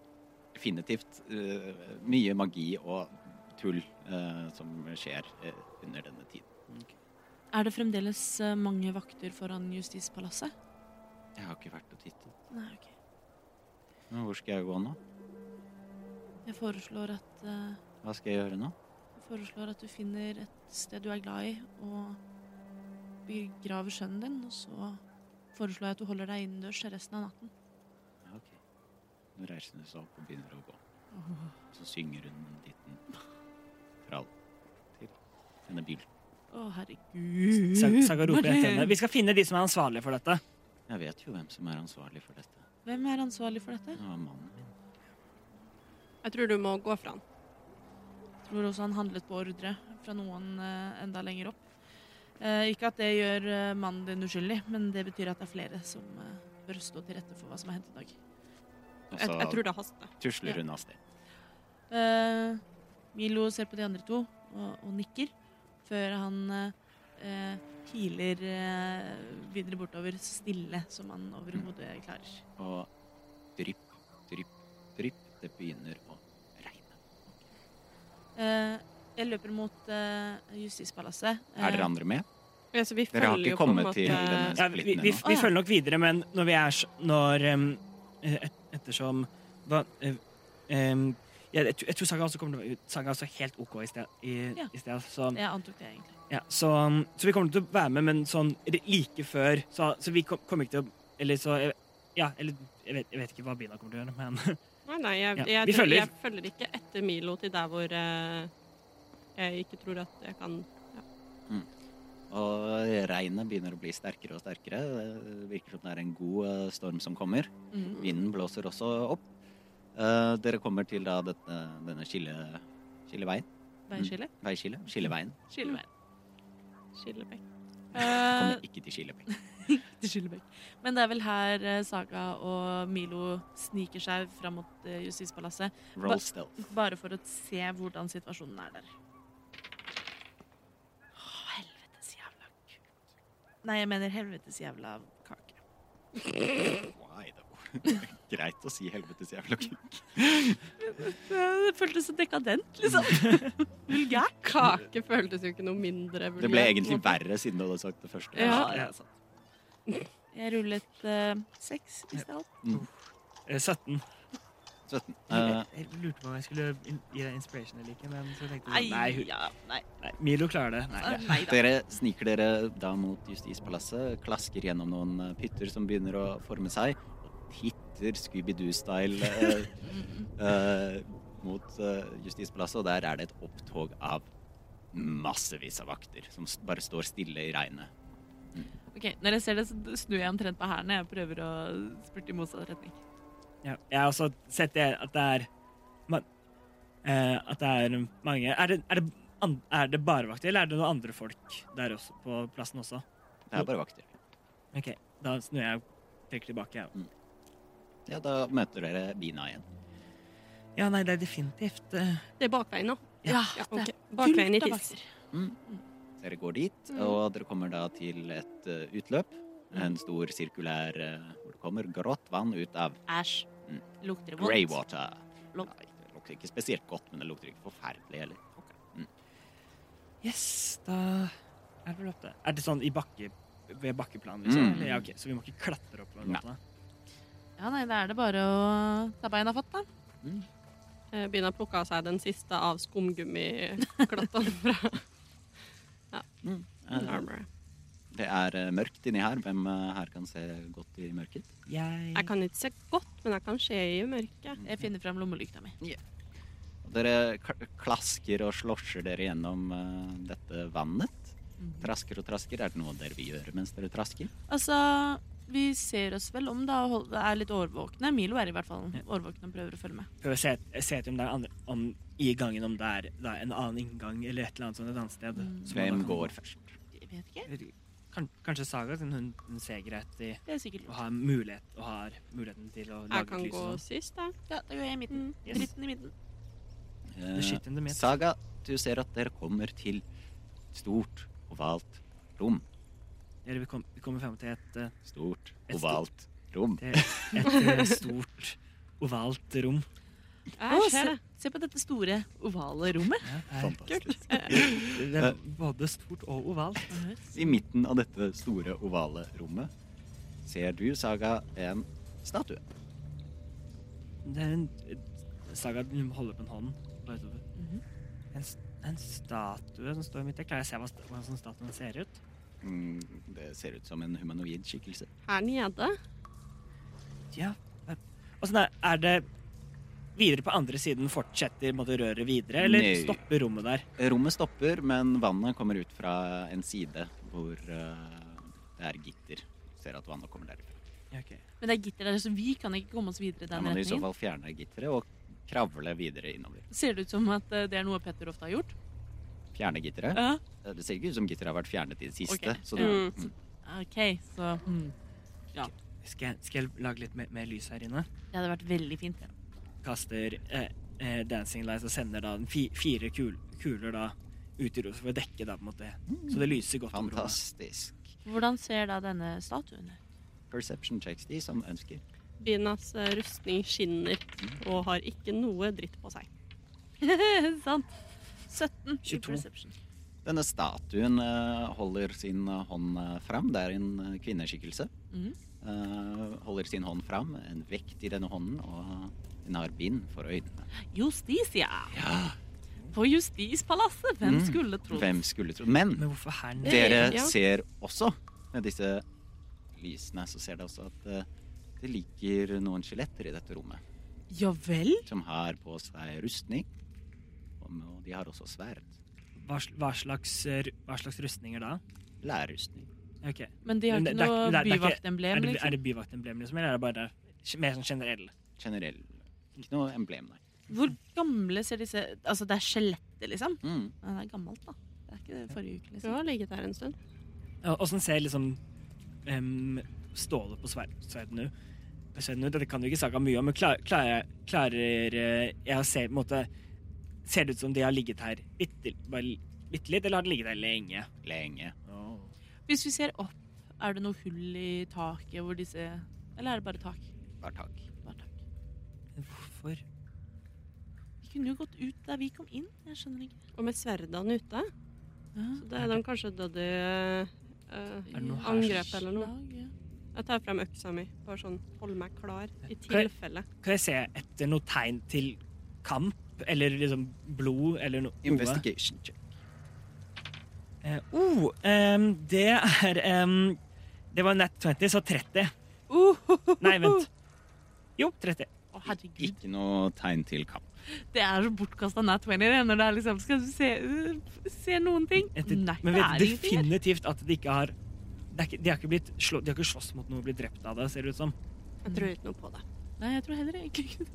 Speaker 5: definitivt eh, mye magi og tull eh, som skjer eh, under denne tiden.
Speaker 2: Er det fremdeles eh, mange vakter foran Justispalasset?
Speaker 5: Jeg har ikke vært og tittet.
Speaker 2: Nei, ok.
Speaker 5: Men hvor skal jeg gå nå?
Speaker 2: Jeg foreslår at, eh,
Speaker 5: Hva skal jeg gjøre nå?
Speaker 2: jeg foreslår at du finner et sted du er glad i, og begraver sønnen din. Og så foreslår jeg at du holder deg innendørs resten av natten.
Speaker 5: Ja, ok. Nå reiser hun seg opp og begynner å gå. Så synger hun en liten trall til denne bilen.
Speaker 2: Å, herregud.
Speaker 4: Sa- Saga roper etter henne. Vi skal finne de som er ansvarlige for dette.
Speaker 5: Jeg vet jo hvem som er ansvarlig for dette.
Speaker 2: Hvem er ansvarlig for dette?
Speaker 5: Det var mannen min.
Speaker 3: Jeg tror du må gå fra han.
Speaker 2: tror også han handlet på ordre fra noen eh, enda lenger opp. Eh, ikke at det gjør eh, mannen din uskyldig, men det betyr at det er flere som eh, bør stå til rette for hva som har hendt i dag.
Speaker 5: Og
Speaker 3: Jeg, jeg
Speaker 5: så
Speaker 3: tror det haster.
Speaker 5: tusler hun av sted.
Speaker 2: Eh, Milo ser på de andre to og, og nikker før han eh, eh, hiler eh, videre bortover stille, som han overhodet klarer.
Speaker 5: Og drypp, drypp, drypp. Det begynner å regne.
Speaker 2: Eh, jeg løper mot eh, Justispalasset.
Speaker 5: Er
Speaker 2: Eh,
Speaker 5: dere andre med?
Speaker 3: Ja, så vi
Speaker 5: Dere har
Speaker 3: følger
Speaker 5: ikke
Speaker 3: jo på en
Speaker 5: kommet
Speaker 3: måte-
Speaker 5: til denne
Speaker 4: Ja, vi, vi,
Speaker 5: splitten
Speaker 4: vi,
Speaker 5: ennå.
Speaker 2: Å, ja.
Speaker 4: følger nok videre, men når vi er s- Når em, eh, et, Ettersom hva, eh, em, ja, jeg, tr- jeg tror Saga også kommer til å Saga er også helt OK i sted, i,
Speaker 2: Ja.
Speaker 4: i sted så,
Speaker 2: Jeg antok det, egentlig.
Speaker 4: ja, så, så vi kommer til å være med, men sånn r- like før Så, så vi kom- kommer ikke til å Eller så jeg- Ja, eller jeg vet, jeg vet ikke hva Bina kommer til å gjøre, men
Speaker 3: Nei, nei, jeg,
Speaker 4: Ja,
Speaker 3: jeg, jeg,
Speaker 4: vi følger.
Speaker 3: jeg følger ikke etter Milo til der hvor eh, jeg ikke tror at jeg kan
Speaker 5: Og regnet begynner å bli sterkere og sterkere. Det virker som det er en god eh, storm som kommer.
Speaker 3: Mm.
Speaker 2: Mhm.
Speaker 5: Vinden blåser også opp. Eh, dere kommer til da dette, denne skille, skilleveien. Mm.
Speaker 2: Veiskille?
Speaker 5: Veiskille? Skilleveien.
Speaker 2: Skilleveien.
Speaker 3: Skillebekk.
Speaker 2: Eh,
Speaker 5: Kommer ikke til Skillebekk.
Speaker 2: til Skillebekk. Men det er vel her eh, Saga og Milo sniker seg fram mot eh, Justispalasset. Ba-
Speaker 5: Roll stealth.
Speaker 2: Bare for å se hvordan situasjonen er der. Å, helvetes jævla kuk. Nei, jeg mener helvetes jævla kake.
Speaker 5: Why, though? Greit å si helvetes jævla kuk.
Speaker 2: Eh, Det føltes så dekadent, liksom. Vulgært.
Speaker 3: Kake føltes jo ikke noe mindre
Speaker 5: Det ble egentlig verre siden du hadde sagt det første.
Speaker 3: Ja.
Speaker 2: det er sant. Jeg rullet eh, seks i stad.
Speaker 4: eh, 17.
Speaker 5: 17. Eh,
Speaker 4: jeg lurte på om jeg skulle gi deg inspiration eller ikke, men så tenkte
Speaker 2: Nei,
Speaker 4: jeg Nei, hun-
Speaker 2: ja, nei,
Speaker 4: nei Milo klarer det. Nei,
Speaker 2: nei da.
Speaker 5: dere sniker dere da mot Justispalasset, klasker gjennom noen eh, pytter som begynner å forme seg, og titter Scooby-Doo-style eh, eh, mot eh, Justispalasset, og der er det et opptog av massevis av vakter som s- bare står stille i regnet.
Speaker 2: Ok, Når jeg ser det, så snur jeg omtrent på hælene. Jeg prøver å spurte i motsatt retning.
Speaker 4: Ja, jeg har også sett det at det er ma- eh, At det er mange Er det, er det, an, er det bare vakter, eller er det noen andre folk der også, på plassen også?
Speaker 5: Det er bare vakter.
Speaker 4: OK, da snur jeg og trekker tilbake. jeg.
Speaker 5: Ja, da møter dere Bina igjen.
Speaker 4: Ja, nei, det er definitivt eh,
Speaker 3: Det er bakveien nå.
Speaker 4: Ja.
Speaker 3: Ja, ok. Bakveien i
Speaker 2: fullt av
Speaker 3: tiss.
Speaker 5: Dere går dit, og dere kommer da til et eh, utløp. En stor sirkulær eh, hvor det kommer grått vann ut av
Speaker 2: Æsj.
Speaker 5: Mm.
Speaker 2: Lukter det vondt?
Speaker 5: Greywater.
Speaker 2: Lov.
Speaker 5: Nei, det lukter ikke spesielt godt, men det lukter ikke forferdelig heller.
Speaker 4: Yes, da er det vel opp der. Er det sånn i bakke, ved bakkeplan, liksom?
Speaker 5: Mm.
Speaker 4: Eller, ja, ok, så vi må ikke klatre opp?
Speaker 5: Nei.
Speaker 4: Nei.
Speaker 2: Ja, nei, da er det bare å ta beina fatt, da.
Speaker 3: Eh, Begynner å plukke av seg den siste av skumgummiklottene fra
Speaker 5: Eh,
Speaker 3: armoret.
Speaker 5: Det er eh, mørkt inni her. Hvem eh, her kan se godt i mørket?
Speaker 3: Jeg
Speaker 4: Jeg
Speaker 3: kan ikke se godt, men jeg kan se i mørket.
Speaker 2: Jeg finner fram lommelykta mi.
Speaker 5: Og Dere k- klasker og slosjer dere gjennom eh, Mm. dette vannet. Trasker og trasker. Er det noe dere vil gjøre mens dere trasker?
Speaker 2: Altså, vi ser oss vel om, da, og hold- er litt årvåkne. Milo er i hvert fall årvåken og prøver å følge med.
Speaker 4: Prøv å se, se etter om det er andre, om, i gangen om det er da, en annen inngang eller et eller annet sånt et annet sted. som man
Speaker 5: Hvem
Speaker 4: da kan
Speaker 5: går
Speaker 4: gå.
Speaker 5: først?
Speaker 2: Jeg vet ikke.
Speaker 4: Kan, kanskje Saga, siden hun, hun ser greit i
Speaker 2: Det er sikkert
Speaker 4: og
Speaker 2: lurt.
Speaker 4: har, mulighet, og har muligheten til å
Speaker 3: Jeg
Speaker 4: lage
Speaker 3: kan
Speaker 4: et lys.
Speaker 3: gå
Speaker 4: og sånn.
Speaker 3: sist, jeg.
Speaker 2: Ja, da går jeg i midten.
Speaker 4: Yes.
Speaker 2: Mm. Dritten i midten.
Speaker 5: Eh,
Speaker 4: The shit in the midst.
Speaker 5: Saga, du ser at dere kommer til et stort, ovalt rom.
Speaker 4: Eller vi, kom, vi kommer frem til et, eh,
Speaker 5: Stort,
Speaker 4: Et stort-
Speaker 5: ovalt rom.
Speaker 4: til et eh, stort, ovalt rom.
Speaker 3: Jeg
Speaker 2: Å,
Speaker 3: ser
Speaker 2: se,
Speaker 3: det.
Speaker 2: se på dette store, ovale rommet.
Speaker 4: Ja, det er-
Speaker 5: Fantastisk.
Speaker 4: det er både stort og ovalt.
Speaker 5: I midten av dette store, ovale rommet ser du, Saga, en statue.
Speaker 4: Det er en Saga hun holder på en hånd. bare utover.
Speaker 2: Mhm.
Speaker 4: en, s- en statue som står midt der. Klarer jeg å se hva st- hvordan sånn statuen ser ut?
Speaker 5: Mm, det ser ut som en humanoid skikkelse.
Speaker 3: Her nede.
Speaker 4: Ja. her. Og sånn er, er det videre på andre siden fortsetter måtte røret videre, eller
Speaker 5: Nei.
Speaker 4: stopper rommet der?
Speaker 5: Rommet stopper, men vannet kommer ut fra en side hvor eh, det er gitter. Du ser at vannet kommer derfra.
Speaker 4: Ja, ok.
Speaker 2: Men det er gitter der, så vi kan ikke komme oss videre i
Speaker 5: Da
Speaker 2: den
Speaker 5: må du i så
Speaker 2: retningen.
Speaker 5: fall fjerne gitteret og kravle videre innover.
Speaker 2: Ser det ut som at eh, det er noe Petter ofte har gjort?
Speaker 5: Fjerne gitteret.
Speaker 2: Ja.
Speaker 5: Eh, Det ser ikke ut som gitteret har vært fjernet i det siste.
Speaker 2: Ok.
Speaker 5: Så du,
Speaker 3: Mm.
Speaker 2: OK, så hmm.
Speaker 4: Skal jeg, skal jeg lage litt mer, mer lys her inne?
Speaker 2: Det hadde vært veldig fint.
Speaker 4: Kaster eh, eh, dancing lights og sender da en fi, fire kul, kuler da ut i rommet for å dekke da på en måte. Så det lyser godt opp rommet.
Speaker 5: fantastisk.
Speaker 2: Hvordan ser da denne statuen ut?
Speaker 5: Perception checks de som ønsker.
Speaker 3: Binas eh, rustning skinner og har ikke noe dritt på seg.
Speaker 2: Sant. 17 i
Speaker 4: 22.
Speaker 2: perception.
Speaker 5: Denne statuen eh, holder sin eh, hånd eh, fram. Det er en eh, kvinneskikkelse.
Speaker 2: Mhm.
Speaker 5: Eh, holder sin hånd fram, en vekt i denne hånden, og hun har bind for øynene.
Speaker 2: Justitia. På Justispalasset. Hvem
Speaker 5: Mm.
Speaker 2: skulle trodd?
Speaker 5: Hvem skulle trodd? Men
Speaker 4: Men hvorfor her nede?
Speaker 5: dere
Speaker 3: Ja.
Speaker 5: ser også, med disse lysene, så ser dere også at eh, det ligger noen skjeletter i dette rommet.
Speaker 2: Ja vel?
Speaker 5: Som har på seg rustning, og de har også sverd.
Speaker 4: Hva, sl- hva, slags, eh, ru- hva slags rustninger da?
Speaker 5: Lærrustning.
Speaker 4: Ok.
Speaker 2: Men de har
Speaker 4: Men
Speaker 2: ikke
Speaker 4: det- det er ikke- det
Speaker 2: noe
Speaker 4: er- det er ikke- Er
Speaker 2: byvaktemblem,
Speaker 4: det, er
Speaker 2: liksom?
Speaker 4: det byvaktemblem, liksom, eller er det bare gen- mer sånn generell?
Speaker 5: Generell. Ikke noe emblem, nei.
Speaker 2: Hvor gamle ser disse Altså, det er skjelettet, liksom?
Speaker 5: Mm.
Speaker 2: Nei, det er gammelt, da. Det er ikke det forrige uke,
Speaker 3: Du
Speaker 2: liksom.
Speaker 3: har ligget her en stund.
Speaker 4: Åssen ser liksom em, stålet på sverd, sverdene ut? Sverdene ut? Dette kan du ikke snakke mye om, men klar, klarer, klarer eh, jeg å se på en måte Ser det ut som de har ligget her bitte, bare bitte litt, eller har de ligget her lenge?
Speaker 5: Lenge.
Speaker 2: Hvis vi ser opp, er det noe hull i taket hvor disse Eller er det bare tak?
Speaker 5: Bare tak.
Speaker 2: Bare tak.
Speaker 4: Hvorfor?
Speaker 2: Vi kunne jo gått ut der vi kom inn. Jeg skjønner ikke.
Speaker 3: Og med sverdene ute. Så det er de kanskje dødd i eh,
Speaker 4: Er det noe her
Speaker 3: angrep
Speaker 4: som-
Speaker 3: eller noe. Jeg tar frem øksa mi, bare sånn hold meg klar i tilfelle.
Speaker 4: Kan jeg se etter noe tegn til kamp? Eller liksom blod, eller no- noe?
Speaker 5: Investigation check.
Speaker 4: Eh, oh, ehm, det er ehm, Det var nett 20, så 30. Nei, vent. Jo, 30.
Speaker 2: Å, herregud.
Speaker 5: Ikke noe tegn til kamp.
Speaker 2: Det er så bortkasta nat 20 det, når det er liksom Skal du se, øh, se noen ting?
Speaker 4: Etter,
Speaker 2: Nei,
Speaker 4: men
Speaker 2: det
Speaker 4: vet
Speaker 2: er ingenting. der.
Speaker 4: definitivt at de ikke har det er ikke, de, har ikke blitt slå, de har ikke slåss mot noe og blitt drept av det, ser det ut som.
Speaker 3: Jeg tror ikke noe på det.
Speaker 2: Nei, jeg tror heller ikke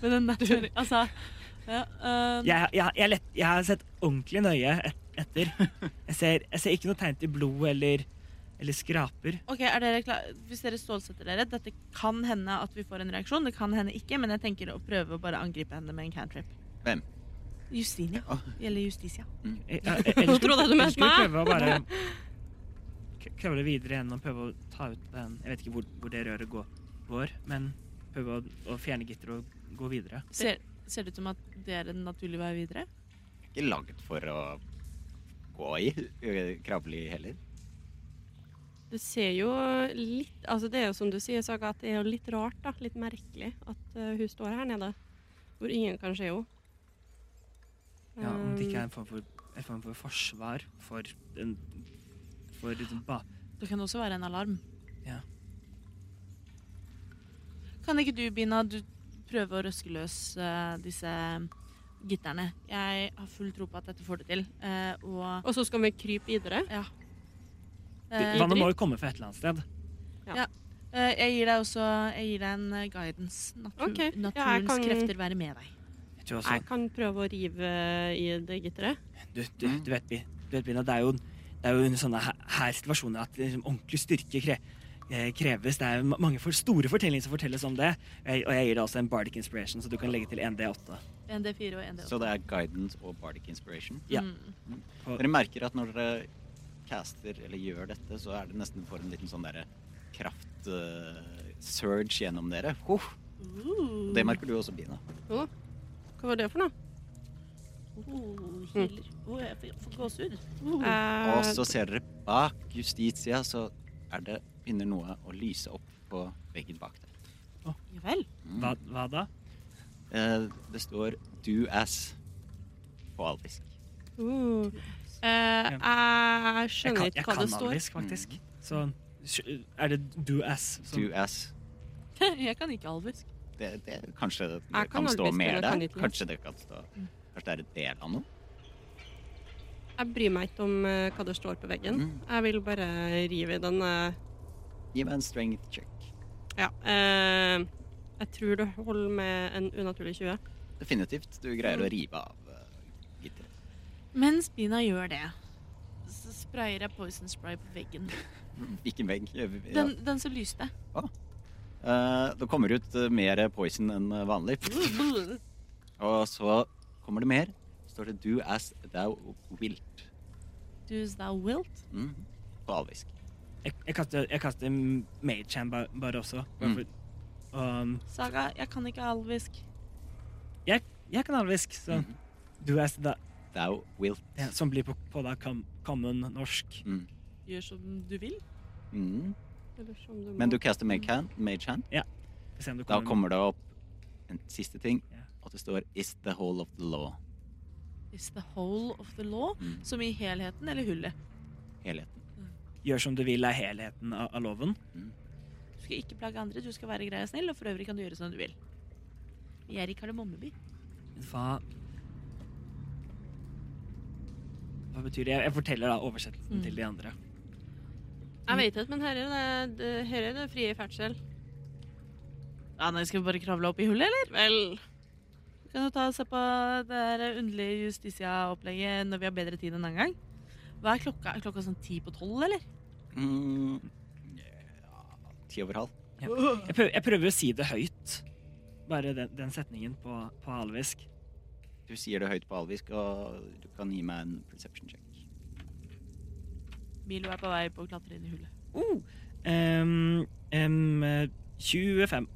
Speaker 2: Men den nat 20 Altså ja, øh, øhm,
Speaker 4: Jeg, jeg, jeg, lett, jeg har sett ordentlig nøye et, etter. Jeg ser, jeg ser ikke noe tegn til blod eller, eller skraper.
Speaker 2: Ok, er dere klar? Hvis dere stålsetter dere Dette kan hende at vi får en reaksjon. Det kan hende ikke, men jeg tenker å prøve å bare angripe henne med en cantrip.
Speaker 5: Hvem?
Speaker 2: Justinia.
Speaker 5: Åh.
Speaker 2: Eller Justitia.
Speaker 4: Jeg, jeg, jeg, jeg,
Speaker 3: trodde jeg du mente meg.
Speaker 4: prøve å bare k- kravle videre igjen og prøve å ta ut den Jeg vet ikke hvor, hvor det røret går, går men prøve å, å fjerne gitteret og gå videre.
Speaker 2: Ser, ser det ut som at det er en naturlig vei videre?
Speaker 5: Ikke laget for å gå i, ø, kravle i heller.
Speaker 3: Det ser jo litt Altså, det er jo som du sier, Saga, at det er jo litt rart, da. Litt merkelig at eh, hun står her nede. Hvor ingen kan se henne.
Speaker 4: Ja, om det ikke
Speaker 3: Um,
Speaker 4: er en form for, en form for forsvar for en For liksom ba...
Speaker 2: Det kan også være en alarm.
Speaker 4: Ja.
Speaker 2: Kan ikke du, Bina, du prøve å røske løs eh, disse gitterne? Jeg har full tro på at dette får det til. eh, og
Speaker 3: Og så skal vi krype videre.
Speaker 2: ja.
Speaker 3: Eh,
Speaker 4: Vannet må jo komme fra et eller annet sted.
Speaker 2: Eh, Jeg gir deg også jeg gir deg en eh, guidance. Natur,
Speaker 3: Ok, ja, jeg
Speaker 2: Naturens
Speaker 3: kan-
Speaker 2: krefter være med deg.
Speaker 4: Jeg tror også
Speaker 3: Jeg kan prøve å rive i det gitteret.
Speaker 4: du, du,
Speaker 3: Mm.
Speaker 4: du vet, Bi- du vet Bina, det er jo, det er jo under sånne her- her situasjoner at liksom, ordentlig styrke kre, eh, kreves. Det er jo ma- mange for, store fortellinger som fortelles om det. Jeg, og jeg gir deg også en bardic inspiration, så du kan legge til 1D8.
Speaker 2: En D4 og en D8.
Speaker 5: Så det er guidance og bardic inspiration.
Speaker 4: Ja.
Speaker 2: Mm.
Speaker 5: Dere merker at når dere caster eller gjør dette, så er det nesten for en liten sånn derre kraft eh, surge gjennom dere. Huff. Og Det merker du også, Bina.
Speaker 3: Hva var det for noe?
Speaker 2: Oh, healer.
Speaker 3: Mm.
Speaker 2: Oh, jeg får- får gåsehud. Oh.
Speaker 3: Eh,
Speaker 5: Og så ser dere bak Justitia, så er det begynner noe å lyse opp på veggen bak der.
Speaker 2: Ja vel.
Speaker 4: Hva, hva da?
Speaker 5: Eh, det står 'do as' på alvisk.
Speaker 3: uh, eh, jeg
Speaker 4: Jeg
Speaker 3: skjønner
Speaker 4: kan,
Speaker 3: ikke
Speaker 4: jeg
Speaker 3: hva det
Speaker 4: kan
Speaker 3: står.
Speaker 4: alvisk, faktisk. Så sk- er det do as? Som,
Speaker 5: Mm. Do as.
Speaker 2: Jeg kan ikke alvisk.
Speaker 5: Det, det, kanskje det
Speaker 3: Jeg
Speaker 5: kan
Speaker 3: kan
Speaker 5: stå
Speaker 3: alvisk, men
Speaker 5: mer
Speaker 3: jeg kan
Speaker 5: der?
Speaker 3: ikke
Speaker 5: Kanskje det kan stå Kanskje det er et del av noe?
Speaker 3: Jeg bryr meg ikke om eh, hva det står på veggen.
Speaker 5: Mm.
Speaker 3: Jeg vil bare rive i den. eh,
Speaker 5: Gi meg en strength check.
Speaker 3: ja. eh, jeg tror det holder med en unaturlig 20.
Speaker 5: Definitivt. Du greier
Speaker 3: Mm.
Speaker 5: å rive av eh, gitteret.
Speaker 2: Mens Bina gjør det, så sprayer jeg poison spray på veggen.
Speaker 5: Ikke vegg. Ja.
Speaker 2: Den, den som lyste.
Speaker 5: Eh, det kommer ut eh, mer poison enn eh, vanlig. Og så kommer det mer. Så står det 'do as thou wilt'.
Speaker 2: Does thou wilt?
Speaker 5: Mm. På alvisk.
Speaker 4: jeg, jeg kaster, jeg kaster Mage-hand ba- bare også. Bare
Speaker 5: Mm.
Speaker 4: for, um,
Speaker 2: Saga, jeg kan ikke alvisk.
Speaker 4: jeg, jeg kan alvisk, så
Speaker 5: Mhm.
Speaker 4: do as da,
Speaker 5: Thou wilt.
Speaker 4: ja, Som blir på, på da kam, common norsk.
Speaker 5: Mm.
Speaker 2: Gjør som du vil.
Speaker 5: Mm.
Speaker 3: Eller som du må.
Speaker 5: Men du caster mage hand. Mage hand.
Speaker 4: Skal se om du
Speaker 5: Da
Speaker 4: kommer-
Speaker 5: kommer det opp en siste ting,
Speaker 4: Mm. Ja.
Speaker 5: og det står 'is the whole of the law'.
Speaker 2: Is the whole of the law?
Speaker 5: Mm.
Speaker 2: Som i helheten eller hullet?
Speaker 5: Helheten.
Speaker 4: Gjør som du vil er helheten av, av loven.
Speaker 2: Du skal ikke plage andre, du skal være grei og snill, og for øvrig kan du gjøre som du vil. Vi er i Kardemommeby.
Speaker 4: Hva Hva betyr det? Jeg, jeg forteller da oversettelsen
Speaker 2: Mm.
Speaker 4: til de andre.
Speaker 3: Jeg vet ikke, men her er det, det- her er det frie ferdsel.
Speaker 2: Ja, nei, skal vi bare kravle opp i hullet, eller?
Speaker 3: Vel
Speaker 2: Kan du ta og se på det der underlige Justitia-opplegget når vi har bedre tid en annen gang? Hva er klokka? Er klokka sånn ti på tolv, eller?
Speaker 5: Mm. Ja, ti over halv.
Speaker 4: Jeg prøver, jeg prøver å si det høyt. Bare den, den setningen på, på alvisk.
Speaker 5: Du sier det høyt på alvisk, og du kan gi meg en perception check.
Speaker 2: Milo er på vei på å klatre inn i hullet.
Speaker 4: Uh, Em, em, eh, 25.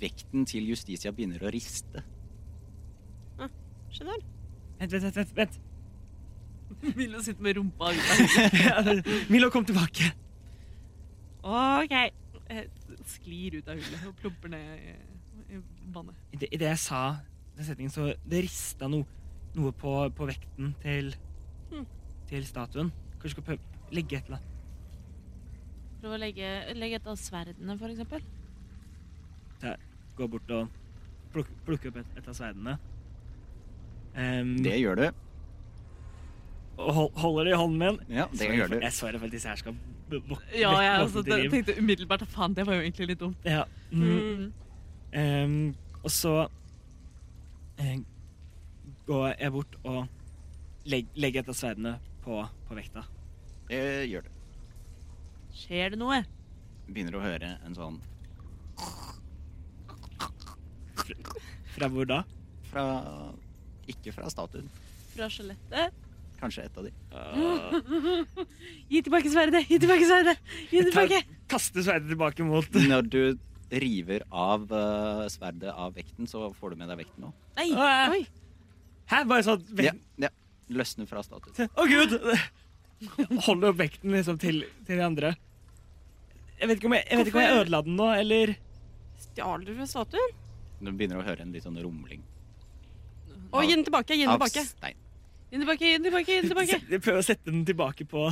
Speaker 5: Vekten til Justitia begynner å riste.
Speaker 3: Skjønner.
Speaker 4: Vent, vent, vent. vent, vent.
Speaker 2: Milo sitter med rumpa ut.
Speaker 4: Milo, kom tilbake.
Speaker 2: OK. Jeg sklir ut av hullet og plumper ned i- i vannet.
Speaker 4: Idet det jeg sa den setningen, så det rista no, noe på, på vekten til, til statuen. Kanskje du skal prøve legge et eller annet.
Speaker 2: Prøv å legge, legge et av sverdene, for eksempel.
Speaker 4: Gå bort og plukke, plukke opp et, et av sverdene. Ehm,
Speaker 5: Det gjør du.
Speaker 4: og hol- holder det i hånden min.
Speaker 5: Ja, det
Speaker 4: Sorry
Speaker 5: gjør
Speaker 4: for-
Speaker 5: du.
Speaker 4: Jeg svarer for at disse her skal b- vok-
Speaker 2: Ja, altså,
Speaker 4: vek-
Speaker 2: jeg
Speaker 4: våkne til liv.
Speaker 2: tenkte umiddelbart at faen, det var jo egentlig litt dumt.
Speaker 4: Ja. Mm. Ehm, og så eh, går jeg bort og leg, legger et av sverdene på, på vekta.
Speaker 5: Det Eh, gjør du.
Speaker 2: Skjer det noe?
Speaker 5: Begynner å høre en sånn
Speaker 4: Fra hvor da?
Speaker 5: fra Ikke fra statuen.
Speaker 2: Fra skjelettet?
Speaker 5: Kanskje et av de.
Speaker 2: Gi tilbake sverdet! Gi tilbake sverdet! Gi
Speaker 4: Jeg tar-
Speaker 2: tilbake!
Speaker 4: kaster sverdet tilbake mot
Speaker 5: Når du river av eh, sverdet av vekten, så får du med deg vekten òg.
Speaker 2: Nei!
Speaker 4: Ah.
Speaker 2: Oi!
Speaker 4: Hæ, bare sånn
Speaker 5: Ja,
Speaker 4: vekten
Speaker 5: ja. Løsner fra statuen.
Speaker 4: Å, gud! Holder opp vekten liksom til, til de andre. Jeg vet ikke om jeg, jeg, vet ikke om jeg
Speaker 3: Hvorfor-
Speaker 4: ødela den nå, eller
Speaker 3: Stjal du fra statuen?
Speaker 5: Du begynner å høre en litt sånn rumling
Speaker 3: Å, gi den tilbake! Gi den
Speaker 5: av
Speaker 3: tilbake!
Speaker 5: stein.
Speaker 2: Gi tilbake, gi tilbake, gi tilbake!
Speaker 4: Jeg prøver å sette den tilbake på,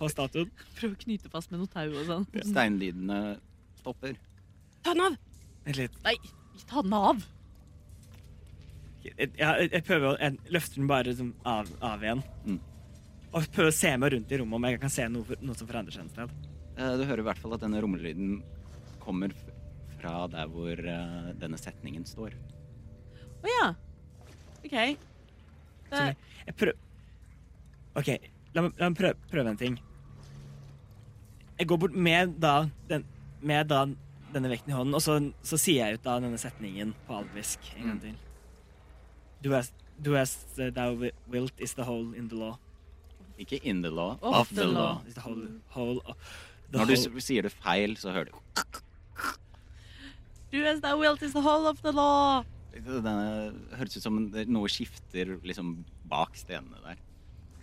Speaker 4: på statuen.
Speaker 2: Prøv å knyte fast med noe tau og sånn.
Speaker 5: Steinlydene stopper.
Speaker 3: Ta den av!
Speaker 4: Vent litt.
Speaker 2: Nei, ikke ta den av!
Speaker 4: Jeg, jeg, jeg prøver å jeg løfter den bare liksom av, av igjen.
Speaker 5: Mm.
Speaker 4: Og prøver å se meg rundt i rommet om jeg kan se noe, noe som forandrer seg. et sted.
Speaker 5: Eh, Du hører i hvert fall at denne rumlelyden kommer f- fra der hvor eh, denne setningen står.
Speaker 2: Å ja. OK.
Speaker 4: Som
Speaker 2: Det,
Speaker 4: Jeg prøv... OK, la meg, la meg prøve, prøve en ting. Jeg går bort med da, den, med da denne vekten i hånden, og så, så sier jeg ut da denne setningen på alvisk en gang
Speaker 5: Mm.
Speaker 4: til. Du as, du as thou wi- wilt is the hole in the law.
Speaker 5: Ikke in the law,
Speaker 2: Off
Speaker 5: off
Speaker 2: the
Speaker 5: the law.
Speaker 4: Is the hole, hole of, the
Speaker 5: Når du
Speaker 4: hole-
Speaker 5: s- sier det feil, så hører du
Speaker 2: do as thou wilt is the whole of the law.
Speaker 5: Denne høres ut som det- noe skifter liksom bak stenene der.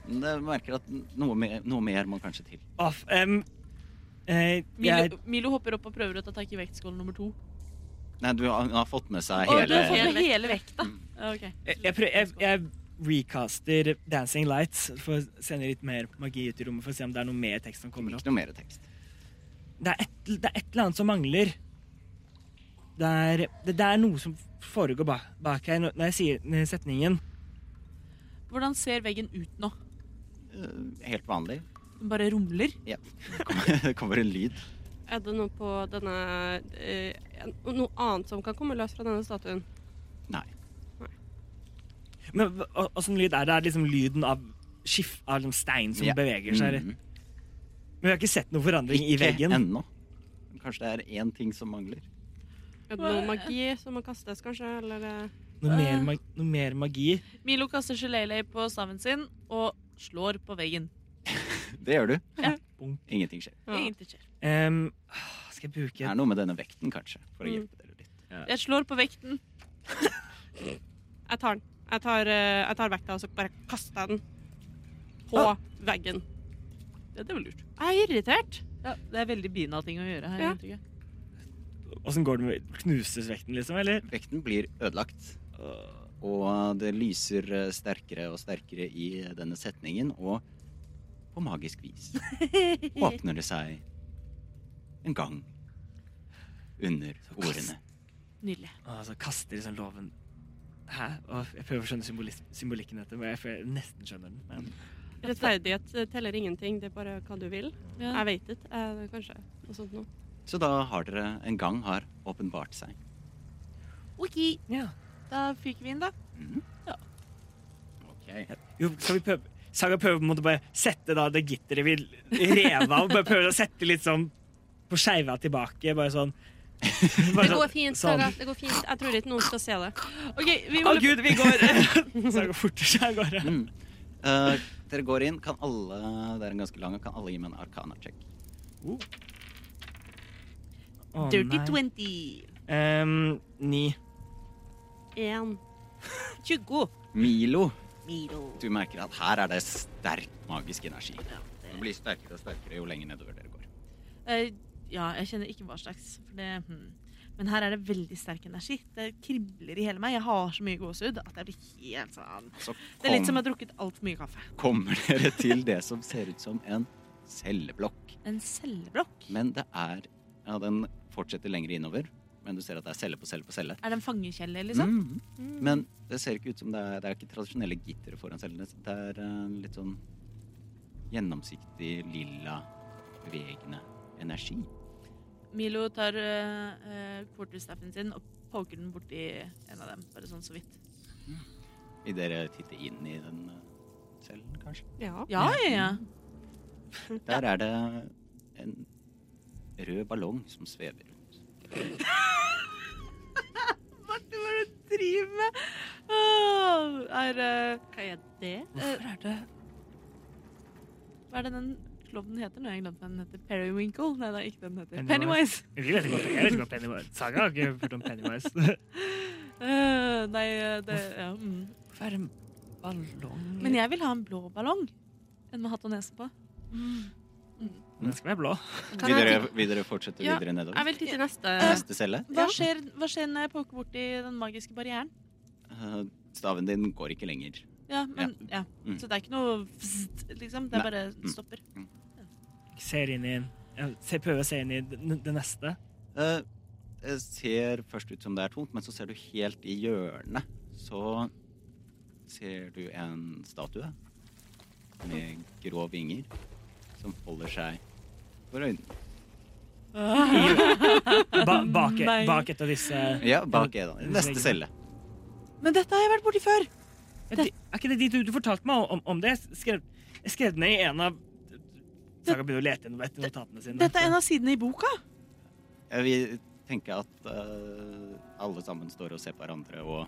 Speaker 5: Men jeg merker at noe mer, noe mer må kanskje til.
Speaker 4: off em, eh, jeg,
Speaker 2: Milo, Milo hopper opp og prøver å ta tak i vektskål nummer to.
Speaker 5: Nei, du har, hun har fått med seg
Speaker 2: Å, du har fått
Speaker 5: hele
Speaker 2: med hele Mm. vekta. Ok.
Speaker 4: jeg, jeg, prøv- jeg, jeg recaster Dancing Lights for å sende litt mer magi ut i rommet, for å se om det er noe mer tekst som kommer opp.
Speaker 5: Ikke noe mer tekst.
Speaker 4: Det er, et, det er et eller annet som mangler. Det er, det, det er noe som foregår bak, bak her. Når når jeg sier den setningen
Speaker 2: Hvordan ser veggen ut nå?
Speaker 5: Eh, Helt vanlig.
Speaker 2: Den bare rumler.
Speaker 5: Ja. Det kommer- Det kommer en lyd.
Speaker 3: Er det noe på denne eh, Noe annet som kan komme løs fra denne statuen?
Speaker 5: Nei.
Speaker 4: Men hva- hva- åssen lyd er det? Det er liksom lyden av skift av liksom stein som
Speaker 5: Ja.
Speaker 4: beveger seg.
Speaker 5: Mhm.
Speaker 4: Men vi har ikke sett noen forandring i
Speaker 5: Ikke
Speaker 4: veggen.
Speaker 5: ennå. Kanskje det er én ting som mangler.
Speaker 3: Er det noe magi som må kastes, kanskje? Eller eh,
Speaker 4: Noe mer, mag, noe mer magi.
Speaker 2: Milo kaster gelélei på staven sin og slår på veggen.
Speaker 5: Det gjør du.
Speaker 2: Ja.
Speaker 4: Bonk.
Speaker 5: Ingenting skjer.
Speaker 3: Ja.
Speaker 2: Intet skjer.
Speaker 4: Em, ah, skal jeg
Speaker 5: Det
Speaker 4: bruke
Speaker 5: er noe med denne vekten, kanskje, for å
Speaker 3: Mm.
Speaker 5: hjelpe dere litt.
Speaker 2: Jeg slår på vekten.
Speaker 3: Jeg tar den. Jeg tar, eh, jeg tar vekta, og så bare kaster jeg den på
Speaker 4: Ah.
Speaker 3: veggen.
Speaker 2: Ja, det var lurt.
Speaker 3: Jeg er irritert.
Speaker 2: Ja, det er veldig bina-ting å gjøre her.
Speaker 3: Ja.
Speaker 2: inntrykk jeg.
Speaker 4: Åssen går det med Knuses vekten, liksom? Eller?
Speaker 5: Vekten blir ødelagt,
Speaker 4: Åh,
Speaker 5: og det lyser eh, sterkere og sterkere i eh, denne setningen, og på magisk vis åpner det seg en gang under ordene.
Speaker 2: Nydelig.
Speaker 4: Og så kaster liksom loven Hæ? Åh, jeg prøver å skjønne symbolis- symbolikken i dette, men jeg føler jeg nesten skjønner den. Men
Speaker 3: Rettferdighet eh, teller ingenting. Det er bare hva du vil.
Speaker 2: Ja.
Speaker 3: Jeg vet ikke. eh, Kanskje noe sånt noe.
Speaker 5: Så da har dere en gang har åpenbart seg.
Speaker 2: OK,
Speaker 4: ja.
Speaker 2: da fyker vi inn, da.
Speaker 5: Mhm.
Speaker 2: Ja.
Speaker 5: Ok.
Speaker 4: Jo, skal vi prøve Saga prøver på en måte bare sette da det gitteret vi rev av, bare prøver å sette litt sånn på skeiva tilbake, bare sånn. Bare
Speaker 3: Det går fint,
Speaker 4: sånn.
Speaker 3: Saga. Det går fint. Jeg tror ikke noen skal se det.
Speaker 2: OK, vi
Speaker 4: Å
Speaker 2: holder
Speaker 4: gud, vi går! Saga forter seg av gårde.
Speaker 5: Mm. Eh, dere går inn. Kan alle Det er en ganske lang, kan alle gi meg en arcana-check?
Speaker 4: Å,
Speaker 2: Dirty
Speaker 4: nei.
Speaker 2: 20.
Speaker 4: Ehm, ni.
Speaker 3: Én.
Speaker 2: 20.
Speaker 5: Milo,
Speaker 2: Milo.
Speaker 5: du merker at her er det sterk magisk energi. Den blir sterkere og sterkere jo lenger nedover dere går.
Speaker 2: Eh, ja, jeg kjenner ikke hva slags. For det, hmm. Men her er det veldig sterk energi. Det kribler i hele meg. Jeg har så mye gåsehud at jeg blir helt sånn
Speaker 5: Så
Speaker 2: Det er litt som
Speaker 5: kom,
Speaker 2: jeg har drukket altfor mye kaffe.
Speaker 5: kommer dere til det som ser ut som en celleblokk.
Speaker 2: En celleblokk?
Speaker 5: Men det er Ja, den fortsetter lenger innover, men du ser at det er celle på celle på celle.
Speaker 2: Er det en fangekjelle, liksom?
Speaker 5: Mhm. Men det ser ikke ut som det er Det er ikke tradisjonelle gittere foran cellene. Det er eh, litt sånn gjennomsiktig, lilla, bevegende energi.
Speaker 2: Milo tar uh, quarterstaffen sin og poker den borti en av dem. Bare sånn så vidt.
Speaker 5: Vil dere titte inn i den eh, cellen, kanskje?
Speaker 3: Ja.
Speaker 2: Ja, ja, ja.
Speaker 5: Der er det en rød ballong som svever rundt.
Speaker 2: Martin, hva er det du driver med? Åh, er, eh,
Speaker 3: Hva er det?
Speaker 2: eh, hva er det den klovnen heter? Nå har jeg glemt hva den heter. Periwinkle? Nei, det er ikke den heter. Pennywise.
Speaker 4: Pennywise. Jeg vet ikke jeg vet ikke om Pennywise. Saga har ikke hørt om Pennywise.
Speaker 2: Eh, nei, eh, det ja, mm.
Speaker 4: Hvorfor er det en ballong?
Speaker 2: Men jeg vil ha en blå ballong. En med hatt og nese på.
Speaker 4: Den skal være blå.
Speaker 3: Kan
Speaker 5: Vil
Speaker 3: jeg
Speaker 5: dere, vil dere fortsette
Speaker 3: Ja,
Speaker 5: videre
Speaker 3: Jeg
Speaker 5: nedover? Eh,
Speaker 3: vil titte i neste.
Speaker 5: Neste celle.
Speaker 2: Hva skjer, hva skjer når jeg poker borti den magiske barrieren?
Speaker 5: Eh, Staven din går ikke lenger.
Speaker 2: Ja, men, ja.
Speaker 5: Mm.
Speaker 2: Så det er ikke noe vzzt, liksom. Det
Speaker 5: Nei.
Speaker 2: er bare stopper.
Speaker 4: Ser inn i en jeg ser- Prøver å se inn i den- det neste.
Speaker 5: Eh, Det ser først ut som det er tomt, men så ser du helt i hjørnet. Så ser du en statue med grå vinger som folder seg for øynene.
Speaker 4: Ba bak,
Speaker 3: Nei.
Speaker 4: bak et av disse
Speaker 5: Ja, bak Edan. Neste celle.
Speaker 2: Men dette har jeg vært borti før.
Speaker 4: Er det- er ikke det de du, du fortalte meg om, om det? Jeg skrev, jeg skrev det ned i en av Saga begynner å lete etter notatene sine.
Speaker 2: Dette er en av sidene i boka.
Speaker 5: Jeg vil tenke at eh, alle sammen står og ser på hverandre og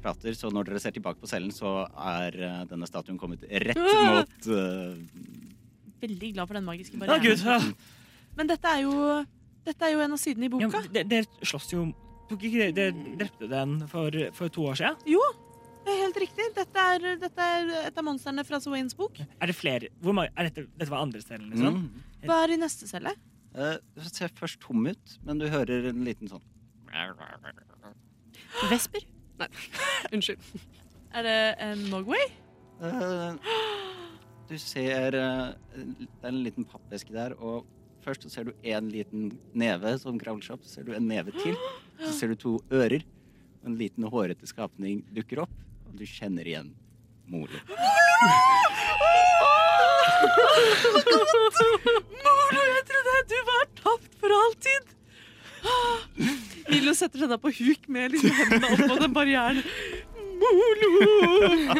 Speaker 5: prater, så når dere ser tilbake på cellen, så er eh, denne statuen kommet rett mot eh,
Speaker 2: Veldig glad for den magiske
Speaker 4: Å, gud!
Speaker 2: barrieren. Men dette er jo Dette er jo en av sidene i
Speaker 4: Ja,
Speaker 2: boka.
Speaker 4: men de- Dere slåss jo Tok ikke dere dere drepte den for, for to år siden?
Speaker 2: Jo, det er helt riktig. Dette er, dette er et av monstrene fra Swains bok.
Speaker 4: Er det flere Hvor mange, er dette, dette var andre stellen, liksom?
Speaker 5: mm.
Speaker 2: Hva er i neste celle?
Speaker 5: Eh, Det ser først tom ut, men du hører en liten sånn
Speaker 6: Vesper?
Speaker 3: Unnskyld.
Speaker 2: Er det en Mogway?
Speaker 5: Eh, Du ser eh, Det er en liten pappeske der, og først så ser du en liten neve som kravler seg opp. Så ser du en neve til. Så ser du to ører. og En liten hårete skapning dukker opp, og du kjenner igjen Molo.
Speaker 2: Molo, jeg trodde du var tapt for alltid! Ah. Milo setter seg da på huk med liksom hendene oppå den barrieren. Molo!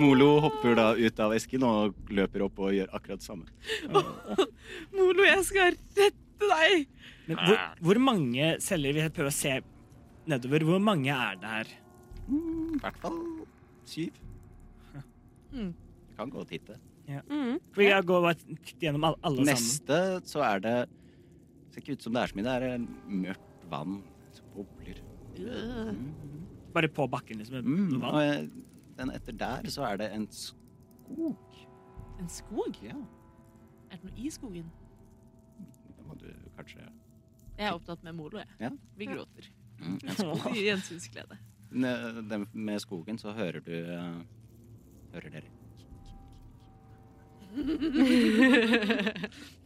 Speaker 5: Molo hopper da ut av esken og løper opp og gjør akkurat det samme.
Speaker 2: Molo, jeg skal rette deg!
Speaker 4: Men hvor, hvor mange celler Vi prøver å se nedover. Hvor mange er det her?
Speaker 5: Mm, I hvert fall syv.
Speaker 2: Mm.
Speaker 5: Du kan gå og titte.
Speaker 3: Mm.
Speaker 4: Skal vi gå bare titte gjennom alle, alle sammen?
Speaker 5: Neste så er det Ser ikke ut som det er så mye. Det er eh, mørkt vann som bobler.
Speaker 2: Mm.
Speaker 4: Bare på bakken, liksom? med
Speaker 5: Mm,
Speaker 4: noe
Speaker 5: og
Speaker 4: vann.
Speaker 5: eh, den etter der så er det en skog.
Speaker 2: En skog?
Speaker 5: Ja,
Speaker 2: Er det noe i skogen?
Speaker 5: det må du kanskje
Speaker 2: Jeg er opptatt med Molo, jeg.
Speaker 5: Ja.
Speaker 2: Vi gråter.
Speaker 5: mm.
Speaker 2: I gjensynsglede.
Speaker 5: Ne- eh, den Med skogen så hører du eh, Hører dere.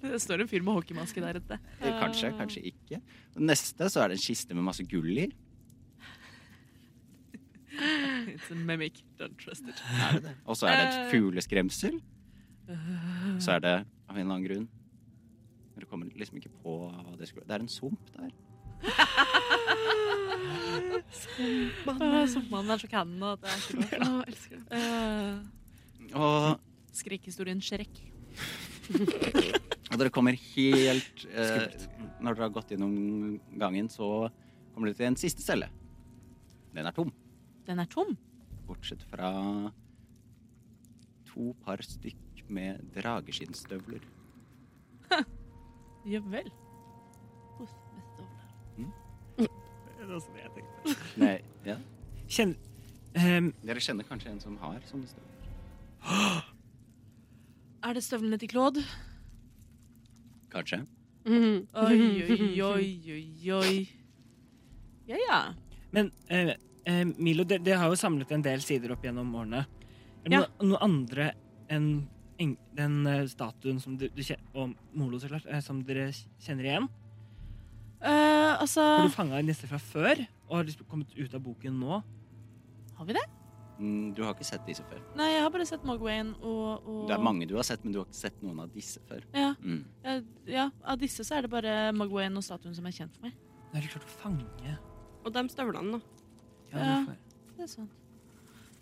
Speaker 2: Det står en fyr med hockeymaske der ute.
Speaker 5: Eh, Kanskje, kanskje ikke. Neste så er det en kiste med masse gull i.
Speaker 2: It's a mimic. Don't trust it.
Speaker 5: Er det det? Og så er det et fugleskremsel. Så er det av en eller annen grunn Dere kommer liksom ikke på hva det skulle Det er en sump der.
Speaker 2: Åh, Soppmannen er så canon at det er ikke lov.
Speaker 3: Å, elsker det.
Speaker 2: Eh,
Speaker 5: Og,
Speaker 2: Skrekkhistorien Shrek.
Speaker 5: og dere kommer helt eh, Når dere har gått gjennom gangen, så kommer dere til en siste celle. Den er tom.
Speaker 2: Den er tom.
Speaker 5: Bortsett fra to par stykk med drageskinnstøvler.
Speaker 2: Ja vel.
Speaker 4: Det er også det jeg tenkte.
Speaker 5: Nei, ja.
Speaker 4: Kjenn ehm,
Speaker 5: Dere kjenner kanskje en som har sånne støvler?
Speaker 2: Er det støvlene til Claude?
Speaker 5: Kanskje.
Speaker 2: Oi, oi, oi, oi, oi. Ja, ja.
Speaker 4: Men eh, eh, Milo, det, det har jo samlet en del sider opp gjennom årene. Er det
Speaker 3: Ja.
Speaker 4: noe, noe andre enn eng- den eh, statuen som du, du kje- og Molo, så klart, eh, som dere kjenner igjen?
Speaker 2: Eh, altså
Speaker 4: Har du fanga en nisse fra før og har liksom kommet ut av boken nå?
Speaker 2: Har vi det?
Speaker 5: Mm, Du har ikke sett disse før.
Speaker 2: Nei, jeg har bare sett Mogwayen og, og
Speaker 5: Det er mange du har sett, men du har ikke sett noen av disse før.
Speaker 2: Ja,
Speaker 5: Mm.
Speaker 2: ja, ja, av disse så er det bare Mogwayen og statuen som er kjent for meg.
Speaker 4: Nå har du klart å fange
Speaker 3: Og de støvlene, da.
Speaker 4: ja,
Speaker 2: Ja.
Speaker 4: hvorfor?
Speaker 2: Det er sant.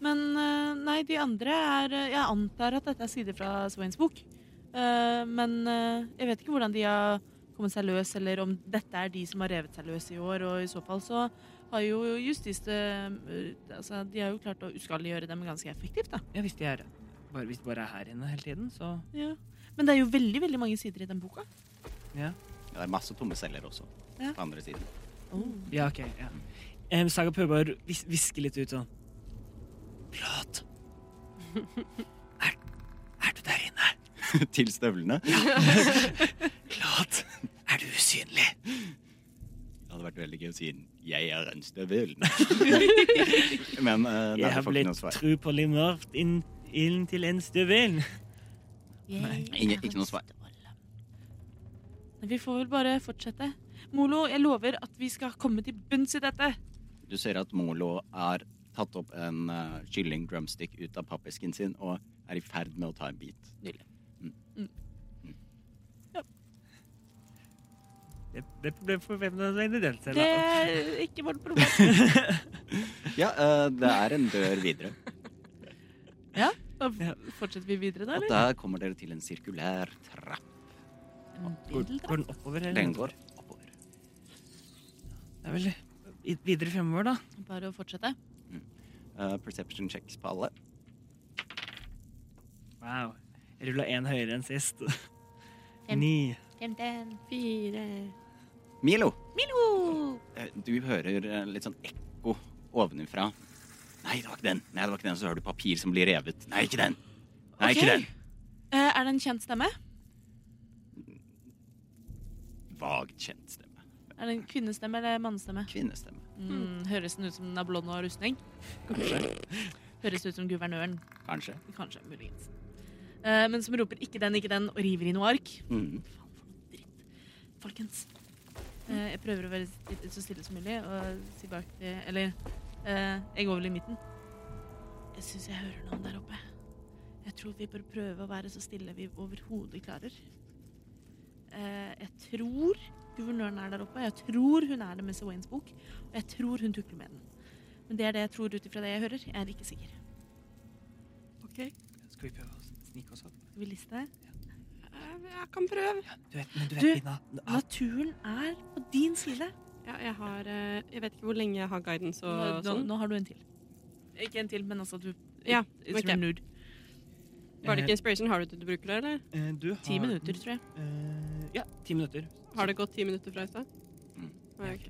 Speaker 2: Men eh, nei, de andre er eh, Jeg antar at dette er sider fra Swains bok. Eh, men eh, jeg vet ikke hvordan de har kommet seg løs, eller om dette er de som har revet seg løs i år. Og i så fall så har jo justis eh, altså, De har jo klart å uskadeliggjøre dem ganske effektivt, da.
Speaker 4: ja, hvis de er bare, Hvis de bare er her inne hele tiden, så
Speaker 2: Ja. Men det er jo veldig veldig mange sider i den boka.
Speaker 4: ja.
Speaker 5: Ja, det er masse tomme celler også.
Speaker 2: Ja.
Speaker 5: På andre siden.
Speaker 4: Ja, OK. Ja. Em, Saga prøver bare å vis hviske litt ut sånn. Plat. Er, er du der inne?
Speaker 5: Til støvlene. Det
Speaker 4: Glad, er du usynlig?
Speaker 5: hadde vært veldig gøy å si 'jeg er en støvel'. Men eh, nei,
Speaker 4: Jeg
Speaker 5: du
Speaker 4: har
Speaker 5: får ikke
Speaker 4: blitt
Speaker 5: noe svar.
Speaker 4: tru på limort inn ilden til en støvel.
Speaker 5: Ingen, ikke noe svar.
Speaker 2: Vi får vel bare fortsette. Molo, jeg lover at vi skal komme til bunns i dette.
Speaker 5: Du ser at Molo er tatt opp en uh, kylling drumstick ut av pappesken sin og er i ferd med å ta en bit.
Speaker 2: Nydelig.
Speaker 5: Mm.
Speaker 2: Mm. Ja.
Speaker 4: Det, det ble for hvem det er den selv,
Speaker 2: Det
Speaker 4: da.
Speaker 2: er ikke vårt problem.
Speaker 5: Ja, eh, det er en dør videre.
Speaker 2: Da fortsetter vi videre, da,
Speaker 5: Og
Speaker 2: eller?
Speaker 5: der kommer dere til en sirkulær trapp.
Speaker 2: En
Speaker 4: Går,
Speaker 2: bindel, da.
Speaker 4: går den oppover? eller?
Speaker 5: Den går oppover.
Speaker 4: Det er vel i- videre fremover, da.
Speaker 2: Bare å fortsette.
Speaker 5: Eh, perception checks på alle.
Speaker 4: Wow. Jeg rulla én høyere enn sist.
Speaker 2: Fem.
Speaker 4: Ni.
Speaker 3: Fire
Speaker 5: Milo,
Speaker 2: Milo!
Speaker 5: eh, du hører eh, litt sånn ekko ovenifra. Nei, det var ikke den. Nei, det var ikke den. Så hører du papir som blir revet. Nei, ikke den. Nei,
Speaker 2: Ok.
Speaker 5: ikke den.
Speaker 2: Eh, er det en kjent stemme?
Speaker 5: Vagt kjent stemme.
Speaker 2: Er det en kvinnestemme eller mannestemme?
Speaker 5: Kvinnestemme.
Speaker 2: Mm, høres den ut som den har blond og rustning? Høres ut som guvernøren.
Speaker 5: Kanskje.
Speaker 2: Kanskje. Muligens. Eh, men som roper 'ikke den, ikke den' og river i noe ark.
Speaker 5: Mhm.
Speaker 2: Folkens. Eh, jeg prøver å være litt- så stille som mulig og si bak til Eller eh, jeg går vel i midten. Jeg syns jeg hører noen der oppe. Jeg tror vi bør prøve å være så stille vi overhodet klarer. Eh, jeg tror guvernøren er der oppe. Jeg tror hun er det med Sir Waynes bok. Og jeg tror hun tukler med den. Men det er det jeg tror ut ifra det jeg hører. Jeg er ikke sikker.
Speaker 4: Skal vi prøve å snike oss opp?
Speaker 2: Skal vi liste?
Speaker 3: Jeg kan prøve.
Speaker 4: Du vet, men du
Speaker 2: Du,
Speaker 4: vet, Pina. Ah,
Speaker 2: Naturen er på din side.
Speaker 3: Ja, jeg har eh, Jeg vet ikke hvor lenge jeg har guidance
Speaker 2: Nå,
Speaker 3: og
Speaker 2: nå,
Speaker 3: sånn.
Speaker 2: nå har du en til. Ikke en til, men altså at du
Speaker 3: Ja,
Speaker 2: it's
Speaker 3: ok.
Speaker 2: renewed.
Speaker 3: Var det ikke inspiration? Har du det du bruker det, eller?
Speaker 4: eh, du har
Speaker 2: Ti minutter, tror jeg.
Speaker 4: Eh, ja, ti minutter.
Speaker 3: Har det gått ti minutter fra i stad?
Speaker 5: Mm.
Speaker 3: Ja, ok.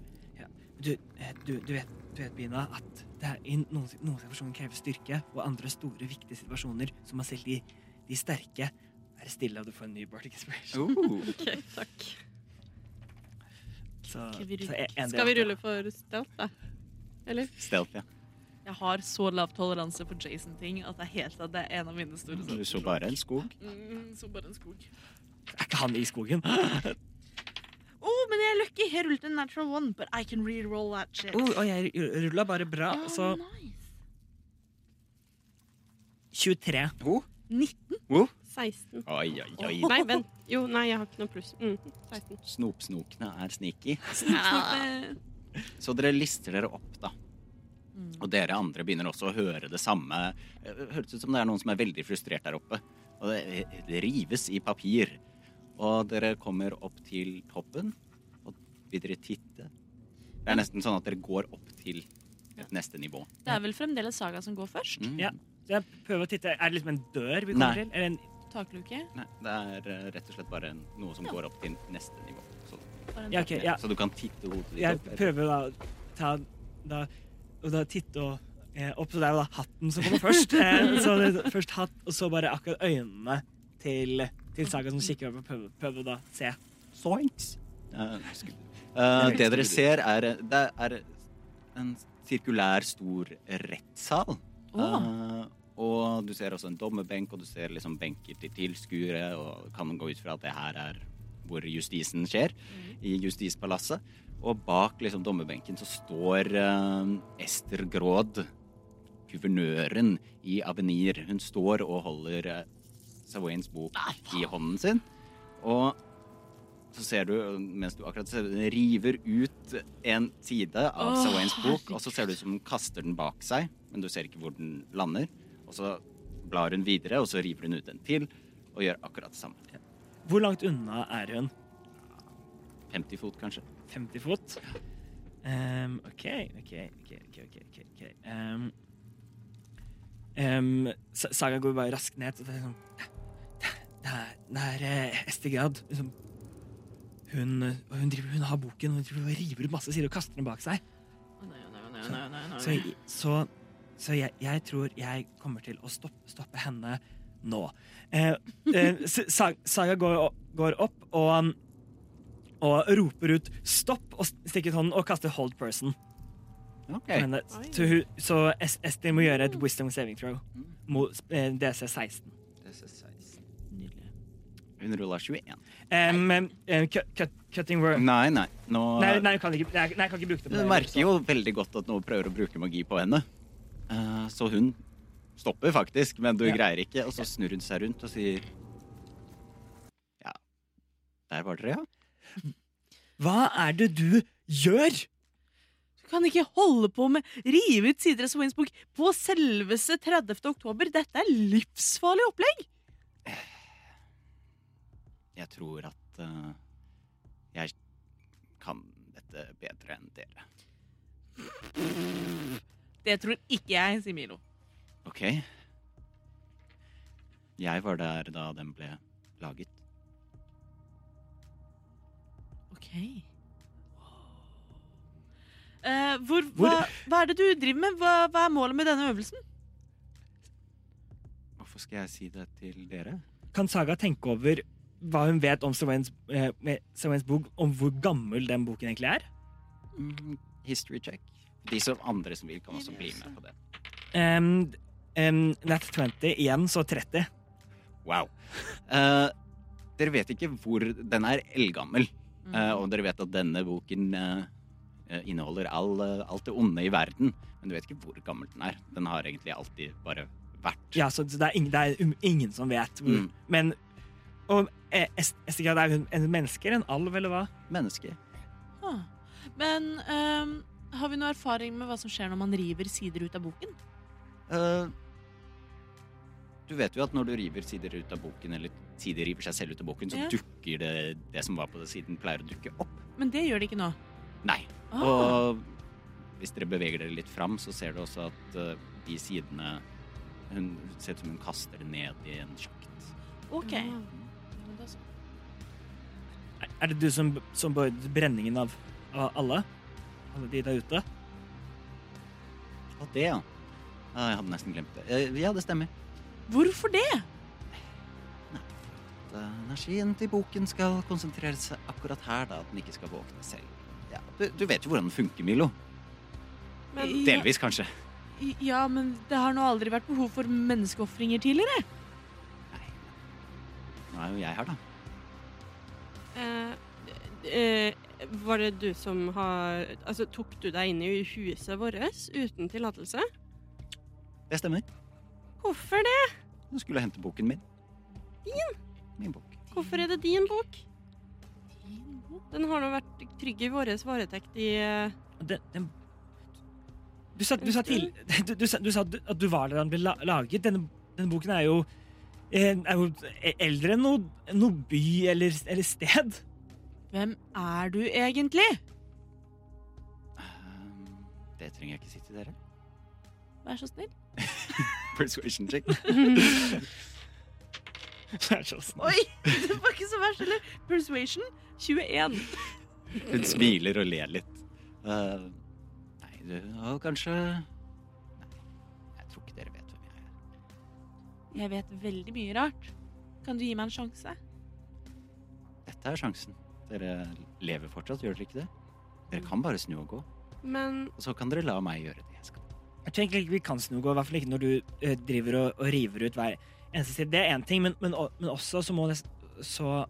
Speaker 4: Du, eh, du, du, vet, du vet, Bina, at det er i noen, noen situasjoner krever styrke, og andre store, viktige situasjoner, som er selv de, de sterke, er stille, og du får en ny Bardic Inspiration.
Speaker 5: Oh.
Speaker 3: OK, takk.
Speaker 4: Så,
Speaker 2: Oh. Skal vi rulle-
Speaker 4: så en- en
Speaker 3: Skal vi
Speaker 4: del-
Speaker 3: rulle for stealth, da? Eller?
Speaker 5: Stealth, ja.
Speaker 2: Jeg har så lav toleranse for Jason-ting at det er helt at det er en av mine store
Speaker 5: Du så bare en skog.
Speaker 2: Mm, så bare en skog.
Speaker 4: Er ikke han i skogen?
Speaker 2: Oh, men jeg er lucky! Jeg rullet en natural one, but I can reroll that shit.
Speaker 4: Oh, og jeg rulla bare bra,
Speaker 2: Ah,
Speaker 4: så
Speaker 2: nice.
Speaker 4: 23.
Speaker 5: Oh.
Speaker 2: 19.
Speaker 3: 16.
Speaker 5: Oi, oi, oi.
Speaker 3: Nei, vent. Jo, nei, jeg har ikke noe pluss. Mm. 16.
Speaker 5: Snopsnokene er sneaky.
Speaker 2: Ja.
Speaker 5: Så dere lister dere opp, da. Og dere andre begynner også å høre det samme. Eh, Høres ut som det er noen som er veldig frustrert der oppe. Og det, eh, det rives i papir. Og dere kommer opp til toppen, og vil dere titte? Det er nesten sånn at dere går opp til et neste nivå.
Speaker 2: Det er vel fremdeles Saga som går først?
Speaker 5: Mm.
Speaker 4: Ja. Så jeg prøver å titte. Er det liksom en dør vi kommer
Speaker 5: Nei.
Speaker 4: til? Eller en
Speaker 2: Takluke?
Speaker 5: Nei, det er eh, rett og slett bare noe som går opp til neste nivå. Så,
Speaker 2: Bare en
Speaker 4: Ja, ok, ja.
Speaker 5: så du kan titte hodet ditt
Speaker 4: Jeg
Speaker 5: opp. eller-
Speaker 4: prøver da å ta da, Og da titte og, eh, opp, så det er jo da hatten som kommer først. Eh, så det, først hatt, og så bare akkurat øynene til, til Saga som kikker over og prøver, prøver da å se.
Speaker 5: Eh, sku- Eh, det dere ser, er eh, Det er en sirkulær, stor rettssal.
Speaker 4: ah.
Speaker 5: Eh, og du ser også en dommerbenk, og du ser liksom benker til tilskuere, og kan gå ut fra at det her er hvor justisen skjer, i Justispalasset. Og bak liksom dommerbenken så står eh, Ester Gråd, guvernøren i Avenir. Hun står og holder eh, Savoyens bok i hånden sin. Og så ser du, mens du akkurat ser den river ut en side av
Speaker 2: Åh,
Speaker 5: Sawains bok, og så ser det ut som hun kaster den bak seg, men du ser ikke hvor den lander. Og så blar hun videre, og så river hun ut en til, og gjør akkurat det samme.
Speaker 4: Hvor langt unna er hun?
Speaker 5: 50 fot, kanskje.
Speaker 4: 50 fot? Ehm, OK, OK, OK. ok, ok, ok, ok. Ehm, ehm, Sa- Saga går bare raskt ned. Og det er sånn Det er, det er eh, Ester Grad. Liksom. Hun, eh, og hun, driver, hun har boken og hun driver og river ut masse sider og kaster den bak seg.
Speaker 2: Å, nei, å, nei, å, nei, å, nei, å, nei, å, nei.
Speaker 4: Så, så, så jeg, jeg tror jeg kommer til å stoppe, stoppe henne nå. Eh, eh, S- Sa- Saga går, o- går opp og, um, og roper ut 'stopp' og stikker ut hånden og kaster 'hold person'.
Speaker 5: Ok.
Speaker 4: på henne. Så, hun, så Es- Ester må gjøre et wisdom saving throw
Speaker 5: Mm.
Speaker 4: mot eh, DC 16.
Speaker 2: Nydelig.
Speaker 5: Hun ruller 21.
Speaker 4: Em, em, em, cut, cut, cutting word nei,
Speaker 5: Nei, nei. Nå
Speaker 4: nei, du kan ikke, nei, jeg kan ikke bruke det. sånn. på
Speaker 5: Du
Speaker 4: det.
Speaker 5: Mm. merker jo veldig godt at noen prøver å bruke magi på henne. Eh, Så hun stopper faktisk, men du
Speaker 4: Ja.
Speaker 5: greier ikke. Og så snur hun seg rundt og sier Ja, der var dere, ja?
Speaker 4: Hva er det du gjør?
Speaker 2: Du kan ikke holde på med rive ut sider av Swinsbook på selveste 30. oktober. Dette er livsfarlig opplegg.
Speaker 5: Jeg tror at eh, jeg kan dette bedre enn dere.
Speaker 2: Det tror ikke jeg, sier Milo.
Speaker 5: Ok. Jeg var der da den ble laget.
Speaker 2: Ok. Eh, hvor, hva, hva er det du driver med? Hva, hva er målet med denne øvelsen?
Speaker 5: Hvorfor skal jeg si det til dere?
Speaker 4: Kan Saga tenke over hva hun vet om Sawens eh, med Sawens bok, om hvor gammel den boken egentlig er?
Speaker 5: Mm, history check. De som andre som vil, kan også bli med på det.
Speaker 4: Um, um, Nat 20 igjen, så 30.
Speaker 5: Wow. Eh, dere vet ikke hvor Den er eldgammel. Eh, og dere vet at denne boken eh, eh, inneholder all, eh, alt det onde i verden. Men du vet ikke hvor gammel den er. Den har egentlig alltid bare vært
Speaker 4: Ja, så så det er ingen, det er um- ingen som vet. hvor-
Speaker 5: Mm.
Speaker 4: Men og, eh, es- Estika, det er hun en menneske eller en alv, eller hva?
Speaker 5: menneske.
Speaker 2: Ah. Men ehm, har vi noe erfaring med hva som skjer når man river sider ut av boken?
Speaker 5: Eh, du vet jo at når du river sider ut av boken, eller sider river seg selv ut av boken, så
Speaker 2: Ja.
Speaker 5: dukker det det som var på den siden, pleier å dukke opp.
Speaker 2: Men det gjør det ikke nå.
Speaker 5: Nei.
Speaker 2: Ah.
Speaker 5: Og hvis dere beveger dere litt fram, så ser du også at eh, de sidene Hun ser ut som hun kaster det ned i en sjakt.
Speaker 2: Ok.
Speaker 3: Ah.
Speaker 4: Er- Er det du som, som beordret brenningen av, av alle? Alle de der ute?
Speaker 5: Og det, ja. Ah, Jeg hadde nesten glemt det. Eh, Ja, det stemmer.
Speaker 2: Hvorfor det?
Speaker 5: At, eh, Energien til boken skal konsentrere seg akkurat her, da. At den ikke skal våkne selv. Ja, du, du vet jo hvordan den funker, Milo.
Speaker 2: Men-
Speaker 5: Delvis, kanskje.
Speaker 2: Ja, men det har nå aldri vært behov for menneskeofringer tidligere.
Speaker 5: Nei. Nå er jo jeg her, da.
Speaker 3: Eh, eh, var det du som har Altså, tok du deg inn i huset vårt uten tillatelse?
Speaker 5: Det stemmer.
Speaker 3: Hvorfor det?
Speaker 5: Nå skulle jeg hente boken min. Min bok.
Speaker 3: Hvorfor er det din bok?
Speaker 2: Din bok.
Speaker 3: Den har nå vært trygg i vår varetekt i eh,
Speaker 4: Den, den, du, sa, du, sa til, du, du, sa, du sa du- at du var der da den ble la- laget. Denne, denne boken er jo, eh, er jo eldre enn noe, noe by eller, eller sted.
Speaker 2: Hvem er du egentlig?
Speaker 5: Ehm, Det trenger jeg ikke si til dere.
Speaker 2: Vær så snill.
Speaker 5: Persuasion check.
Speaker 4: Det er så snill.
Speaker 2: Oi, det var ikke så verst, eller? Persuasion 21.
Speaker 5: Hun smiler og ler litt. Ehm, nei, du har kanskje Nei, jeg tror ikke dere vet hvem jeg er.
Speaker 2: Jeg vet veldig mye rart. Kan du gi meg en sjanse?
Speaker 5: Dette er sjansen. Dere lever fortsatt, gjør dere ikke det? Dere kan bare snu og gå, og
Speaker 3: Men
Speaker 5: så kan dere la meg gjøre det jeg skal.
Speaker 4: Jeg tenker ikke vi kan snu gå, i hvert fall ikke når du eh, driver og, og river ut hver eneste side. Det er én ting, men, men, o- men også så må, nest, så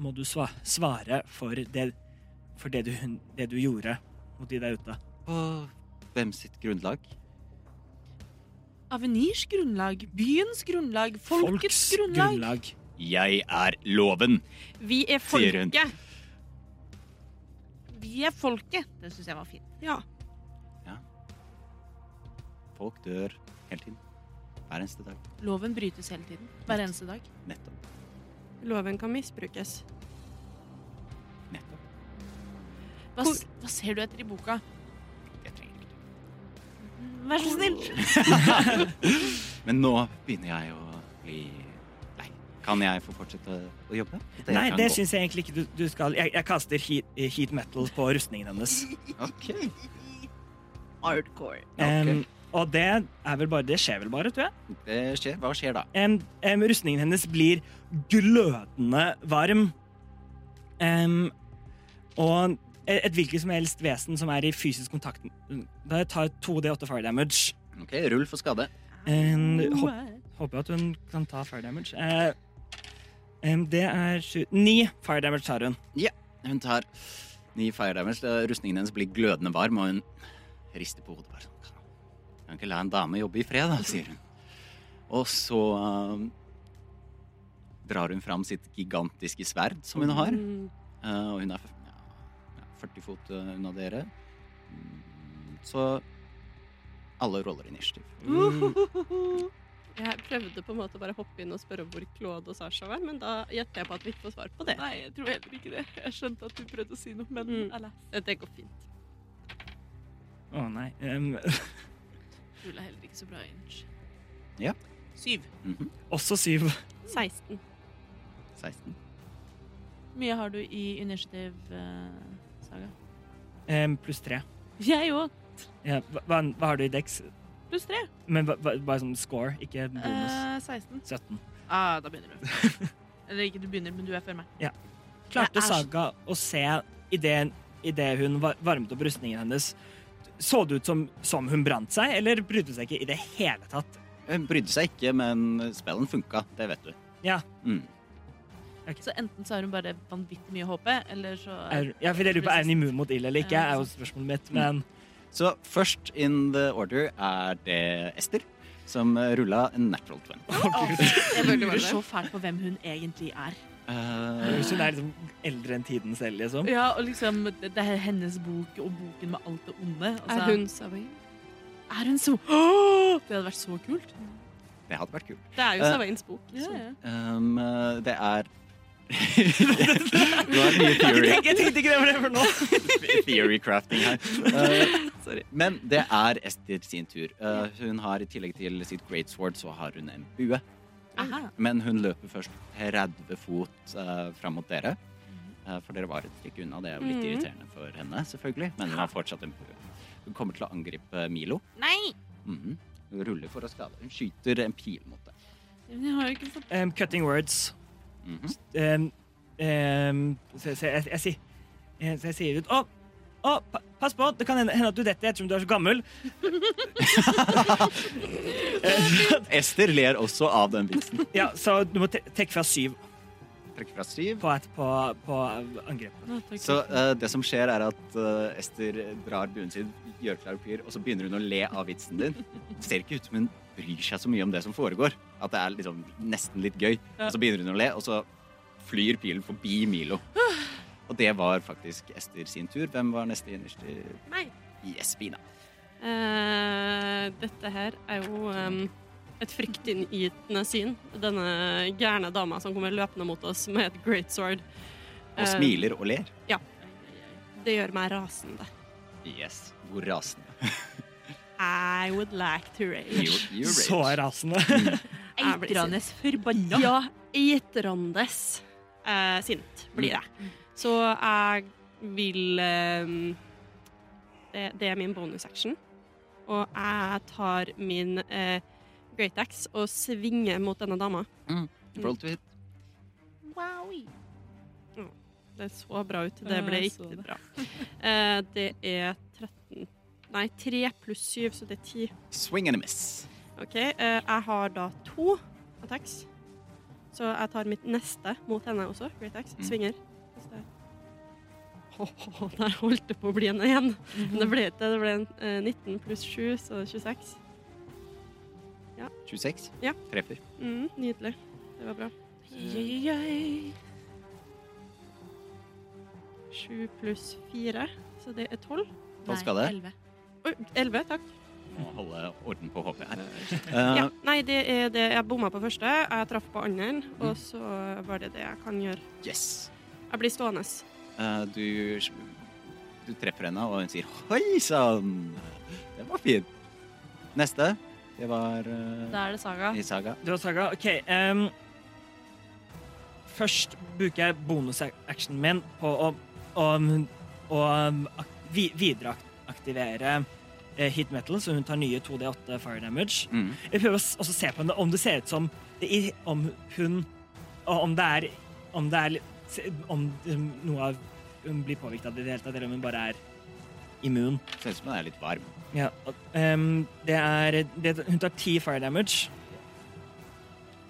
Speaker 4: må du sva, svare for, det, for det, du, det du gjorde mot de der ute.
Speaker 5: På hvem sitt grunnlag?
Speaker 2: Avenirs grunnlag, byens grunnlag, folkets grunnlag.
Speaker 5: Jeg er loven!
Speaker 3: vi er
Speaker 5: Sier hun.
Speaker 3: folket.
Speaker 2: Vi er folket. Det syns jeg var fint.
Speaker 3: Ja.
Speaker 5: Folk dør hele tiden. Hver eneste dag.
Speaker 2: Loven brytes hele tiden. Hver eneste dag.
Speaker 5: Nettopp.
Speaker 3: Loven kan misbrukes.
Speaker 5: Nettopp.
Speaker 2: Hva, s- hva ser du etter i boka?
Speaker 5: Jeg trenger ikke det.
Speaker 2: Vær så snill.
Speaker 5: Men nå begynner jeg å bli lei. Kan jeg få fortsette å jobbe? Dere
Speaker 4: Nei,
Speaker 5: kan
Speaker 4: det
Speaker 5: gå.
Speaker 4: syns jeg egentlig ikke du, du skal. Jeg, jeg kaster heat, heat metal på rustningen hennes.
Speaker 5: Ok.
Speaker 2: Hardcore.
Speaker 4: Em, og det er vel bare Det skjer vel bare, tror jeg.
Speaker 5: Det Eh, skjer. Hva skjer da?
Speaker 4: Em, em, rustningen hennes blir glødende varm. Em, og et et hvilket som helst vesen som er i fysisk kontakt Da tar 2D8 fire damage.
Speaker 5: Ok, Rull for skade.
Speaker 4: Em,
Speaker 5: Ah.
Speaker 4: håp, håper at hun kan ta fire damage. Eh, em, det er sju Ni fire damage tar hun.
Speaker 5: Hun tar ni fire damage. Da Rustningen hennes blir glødende varm, og hun rister på hodet. bare sånn. Kan- Kan ikke la en dame jobbe i fred, da, sier hun. Og så um, drar hun fram sitt gigantiske sverd som hun har.
Speaker 3: Mm.
Speaker 5: Eh, og hun er ja, 40 fot eh, unna dere. Mm, Så alle roller initiativ.
Speaker 3: Jeg prøvde på en måte bare å hoppe inn og spørre om hvor Claude og Sasha var, men da gjetter jeg på at vi ikke får svar på det.
Speaker 2: Nei, jeg tror heller ikke det. Jeg skjønte at du prøvde å si noe, men
Speaker 3: Mm.
Speaker 2: alas,
Speaker 3: Det går fint.
Speaker 4: Å nei. Um,
Speaker 2: rulla heller ikke så bra inn.
Speaker 5: Ja.
Speaker 2: Syv.
Speaker 5: Mhm.
Speaker 4: også syv.
Speaker 3: 16.
Speaker 5: 16.
Speaker 2: Mye har du i initiativ, eh, Saga?
Speaker 4: Um, pluss tre.
Speaker 2: Jeg òg.
Speaker 4: Ja, hva, hva- hva har du i dex?
Speaker 2: Pluss tre.
Speaker 4: Men hva- hva- bare sånn score, ikke bonus.
Speaker 2: Eh, 16.
Speaker 4: 17.
Speaker 2: Ah, da begynner du. Eller ikke du begynner, men du er før meg. Jeg
Speaker 4: Klarte
Speaker 2: er så-
Speaker 4: Saga å se idet det hun var- varmet opp rustningen hennes, så det ut som, som hun brant seg, eller brydde hun seg ikke i det hele tatt?
Speaker 5: Hun brydde seg ikke, men spellen funka. Det vet du.
Speaker 4: Ja.
Speaker 5: Mm.
Speaker 2: Så enten så har hun bare vanvittig mye HP, eller så
Speaker 4: Er, ja, for jeg lurer på, er hun immun mot ild eller ikke,
Speaker 2: Ja,
Speaker 4: er jo spørsmålet mitt, men
Speaker 5: Så først in the order er det Ester, som rulla en natural 20.
Speaker 4: Mm.
Speaker 2: Jeg
Speaker 3: burde være
Speaker 2: lurer
Speaker 3: det.
Speaker 2: så fælt på hvem hun egentlig er.
Speaker 5: Eh,
Speaker 4: hvis hun er liksom eldre enn tiden selv, liksom.
Speaker 2: Ja, og liksom, Det det er hennes bok og boken med alt det onde. Altså,
Speaker 3: Savoy?
Speaker 2: er hun så Åh! Det hadde vært så kult.
Speaker 5: det hadde vært kult.
Speaker 3: Det er jo
Speaker 5: Eh,
Speaker 3: Savoyens bok. så-
Speaker 5: Um, eh, det er Du har mye theory.
Speaker 4: Jeg tenkte ikke det var det for nå!
Speaker 5: theory crafting her. Eh, Men det er Ester sin tur. Eh, hun har i tillegg til sitt great sword, så har hun en bue.
Speaker 2: Aha.
Speaker 5: Men hun løper først 30 fot uh, fram mot dere. Eh, for dere var et stykke unna. Det er jo
Speaker 2: Mm.
Speaker 5: litt
Speaker 3: Mhm.
Speaker 5: irriterende for henne, selvfølgelig. Men hun har fortsatt en bue. Hun kommer til å angripe Milo.
Speaker 2: Nei!
Speaker 5: Mhm. Hun ruller for å skade. Hun skyter en pil mot deg.
Speaker 2: Men jeg har jo ikke fått
Speaker 4: Um, cutting words.
Speaker 5: Mhm.
Speaker 4: Um, um, så, så, jeg, jeg, sier- jeg, så jeg sier ut Å, å, pa- pass på, det kan hende, hende at du detter ettersom du er så gammel.
Speaker 5: Ester ler også av den vitsen.
Speaker 4: Ja, så du må tre- trekke fra syv
Speaker 5: Trekker fra syv.
Speaker 4: på, et, på, på angrepet.
Speaker 2: Nå, takk.
Speaker 5: Så eh, det som skjer, er at eh, Ester drar buen sin, gjør klar papir, og så begynner hun å le av vitsen din. Det ser ikke ut som hun bryr seg så mye om det som foregår. At det er liksom nesten litt gøy. Og så begynner hun å le, og så flyr pilen forbi Milo. Og det var faktisk Ester sin tur. Hvem var neste innerst i
Speaker 3: Meg.
Speaker 5: Yes, Bina.
Speaker 3: Eh, dette her er jo em, et fryktinngytende syn. Denne gærne dama som kommer løpende mot oss med et great sword.
Speaker 5: Og
Speaker 3: Eh,
Speaker 5: smiler og ler.
Speaker 3: Det gjør meg rasende.
Speaker 5: Yes. Hvor rasende.
Speaker 3: I would like to
Speaker 5: You,
Speaker 3: rage.
Speaker 5: you
Speaker 4: Så
Speaker 5: rage.
Speaker 4: rasende.
Speaker 2: Eitrende forbanna.
Speaker 3: Ja, eitrandes eh, sint blir jeg. Så jeg vil em, det, det er min bonus action. Og jeg tar min eh, great axe og svinger mot denne dama.
Speaker 5: Roll to hit.
Speaker 3: Det så bra ut. Det
Speaker 2: Ja,
Speaker 3: ble
Speaker 2: jeg så
Speaker 3: riktig
Speaker 2: det.
Speaker 3: bra. Eh, det er 13 Nei, 3 pluss 7, så det er 10.
Speaker 5: Swing and a miss.
Speaker 3: OK. eh, jeg har da to attacks. Så jeg tar mitt neste mot henne også. Great axe.
Speaker 5: Mm.
Speaker 3: Svinger. Hvis det er- Ho, ho, ho, der holdt det på å bli en igjen.
Speaker 2: Mhm.
Speaker 3: Men det ble ikke det. ble en eh, 19 pluss 7, så 26.
Speaker 5: 26.
Speaker 3: Ja.
Speaker 5: Treffer.
Speaker 3: Mm, nydelig. Det var bra.
Speaker 2: Jøyøyøy.
Speaker 3: 7 pluss 4, så det er 12.
Speaker 5: Hva skal
Speaker 2: Nei,
Speaker 5: det?
Speaker 2: elleve.
Speaker 3: Oi, 11, takk.
Speaker 5: Må holde orden på HP her.
Speaker 3: Ja,
Speaker 5: Eh,
Speaker 3: nei, det er det jeg bomma på første. Jeg traff på andre, og så var det det jeg kan gjøre.
Speaker 5: Yes.
Speaker 3: Jeg blir stående.
Speaker 5: Eh, du, du treffer henne, og hun sier 'hoi sann'. Det var fint. Neste. Det var uh,
Speaker 2: Da er det Saga.
Speaker 5: i Saga.
Speaker 4: Du har saga. OK. ehm, først bruker jeg bonusactionen min på å, å, å ak vi videreaktivere eh, hit metal, så hun tar nye 2D8 fire damage.
Speaker 5: Mm.
Speaker 4: Jeg prøver å s- også se på henne om det ser ut som det, i- om hun og om det er om det er litt- se- om um, noe av hun blir påvirket av det i det hele tatt, eller om hun bare er immun.
Speaker 5: Ser ut som hun er litt varm.
Speaker 4: Ja, og, ehm, det er det, Hun tar ti fire damage.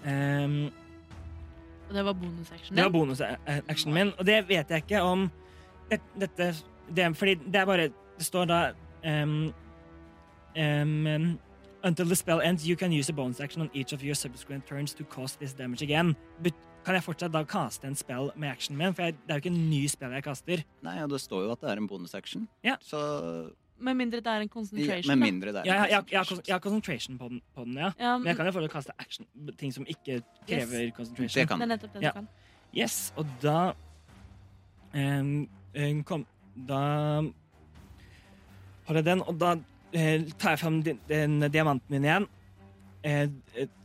Speaker 4: Ehm,
Speaker 2: Og det var bonusactionen.
Speaker 4: det var bonusactionen min, og det vet jeg ikke om det, dette det, er- Fordi det er bare Det står da ehm, ehm, ehm, Until the spell ends, you can use a bonus action on each of your subsequent turns to cause this damage again. But Kan jeg fortsatt da kaste en spell med actionen min? For jeg, det er jo ikke en ny spell jeg kaster.
Speaker 5: Nei, og det står jo at det er en bonusaction.
Speaker 4: Ja.
Speaker 5: Så
Speaker 2: Med mindre det er en
Speaker 5: ja,
Speaker 2: concentration.
Speaker 5: Med mindre det
Speaker 4: Jeg, jeg,
Speaker 5: er
Speaker 4: jeg, jeg, har- jeg har concentration på den, på den ja.
Speaker 2: da. Ja,
Speaker 4: Men jeg kan jo fortsatt kaste action, ting som ikke krever
Speaker 5: Det
Speaker 4: concentration.
Speaker 5: kan
Speaker 2: det er
Speaker 5: du.
Speaker 2: nettopp det
Speaker 4: Ja.
Speaker 2: du kan.
Speaker 4: Yes, og da em, em, kom, Da har jeg den, og da eh, tar jeg fram den, den diamanten min igjen. Eh, eh,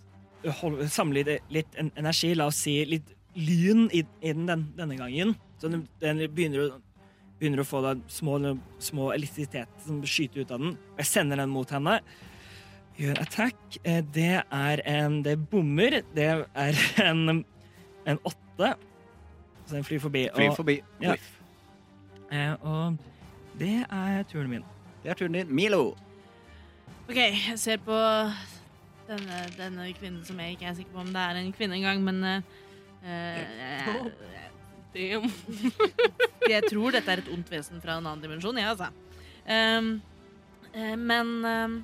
Speaker 4: hold, samler det litt en, energi, la oss si litt lyn i, i den, den denne gangen. Så den, den begynner, å, begynner å få da, små, små elektrisitet som skyter ut av den. Og jeg sender den mot henne. Gjør attack. Eh, det er en Det bommer. Det er en, en åtte. Så den flyr forbi.
Speaker 5: Fly
Speaker 4: og-
Speaker 5: forbi.
Speaker 4: Ja.
Speaker 5: Whiff.
Speaker 4: Eh, og det er turen min.
Speaker 5: Det er turen din. Milo.
Speaker 2: Ok, jeg ser på denne, denne kvinnen som jeg ikke er sikker på om det er en kvinne engang, men eh, eh,
Speaker 3: Damn.
Speaker 2: Jeg tror dette er et ondt vesen fra en annen dimensjon, jeg, altså. Ehm, eh, men ehm,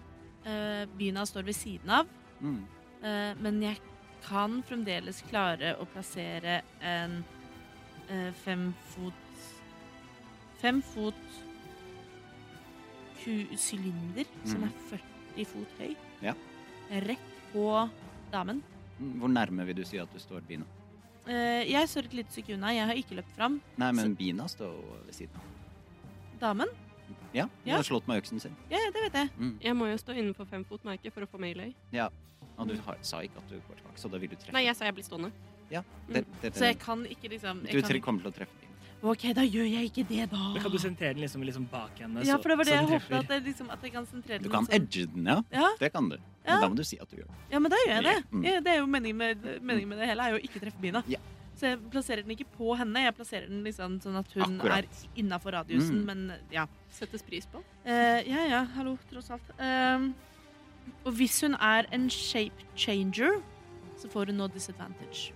Speaker 2: eh, Bina står ved siden av,
Speaker 5: Mm.
Speaker 2: eh, men jeg kan fremdeles klare å plassere en eh, fem fot Fem fot ku- sylinder, som
Speaker 5: Mhm.
Speaker 2: er 40 fot høy,
Speaker 5: Ja.
Speaker 2: rett på damen.
Speaker 5: Mm, Hvor nærme vil du si at du står Bina?
Speaker 2: Eh, jeg står et lite stykke unna, jeg har ikke løpt fram.
Speaker 5: Nei, men Bina står jo ved siden av.
Speaker 2: Damen?
Speaker 5: Ja, hun
Speaker 2: Ja.
Speaker 5: har slått med øksen sin.
Speaker 2: Ja, ja, det vet jeg.
Speaker 5: Mm.
Speaker 3: Jeg må jo stå innenfor femfotmerket for å få melee.
Speaker 5: Og du har, sa ikke at du går tilbake, så da vil du treffe.
Speaker 3: Nei, jeg sa jeg blir stående.
Speaker 5: det, det,
Speaker 2: Så jeg kan ikke liksom
Speaker 5: du
Speaker 2: jeg
Speaker 5: tre-
Speaker 2: kan...
Speaker 5: kommer til å treffe Bina.
Speaker 2: OK, da gjør jeg ikke det, da.
Speaker 4: Men kan du sentere den liksom, liksom bak henne?
Speaker 2: Ja,
Speaker 4: så-
Speaker 2: for det var det
Speaker 4: så den
Speaker 2: jeg håpet.
Speaker 4: treffer?
Speaker 2: At jeg, liksom, at jeg kan sentrere
Speaker 5: Du
Speaker 2: den
Speaker 5: kan
Speaker 2: sånn.
Speaker 5: edge den, ja.
Speaker 2: Ja,
Speaker 5: Det kan du.
Speaker 2: Ja.
Speaker 5: Men da må du si at du gjør det.
Speaker 2: ja, men da gjør jeg det.
Speaker 5: Mm.
Speaker 2: Ja, det er jo meningen med, meningen med det hele, er jo å ikke treffe bina.
Speaker 5: Ja.
Speaker 2: Så jeg plasserer den ikke på henne, jeg plasserer den liksom sånn at hun
Speaker 5: Akkurat.
Speaker 2: er innafor radiusen,
Speaker 5: Mm.
Speaker 2: men ja.
Speaker 3: Settes pris på.
Speaker 2: Eh, ja ja, hallo, tross alt. Ehm, og hvis hun er en shape changer, så får hun nå disadvantage.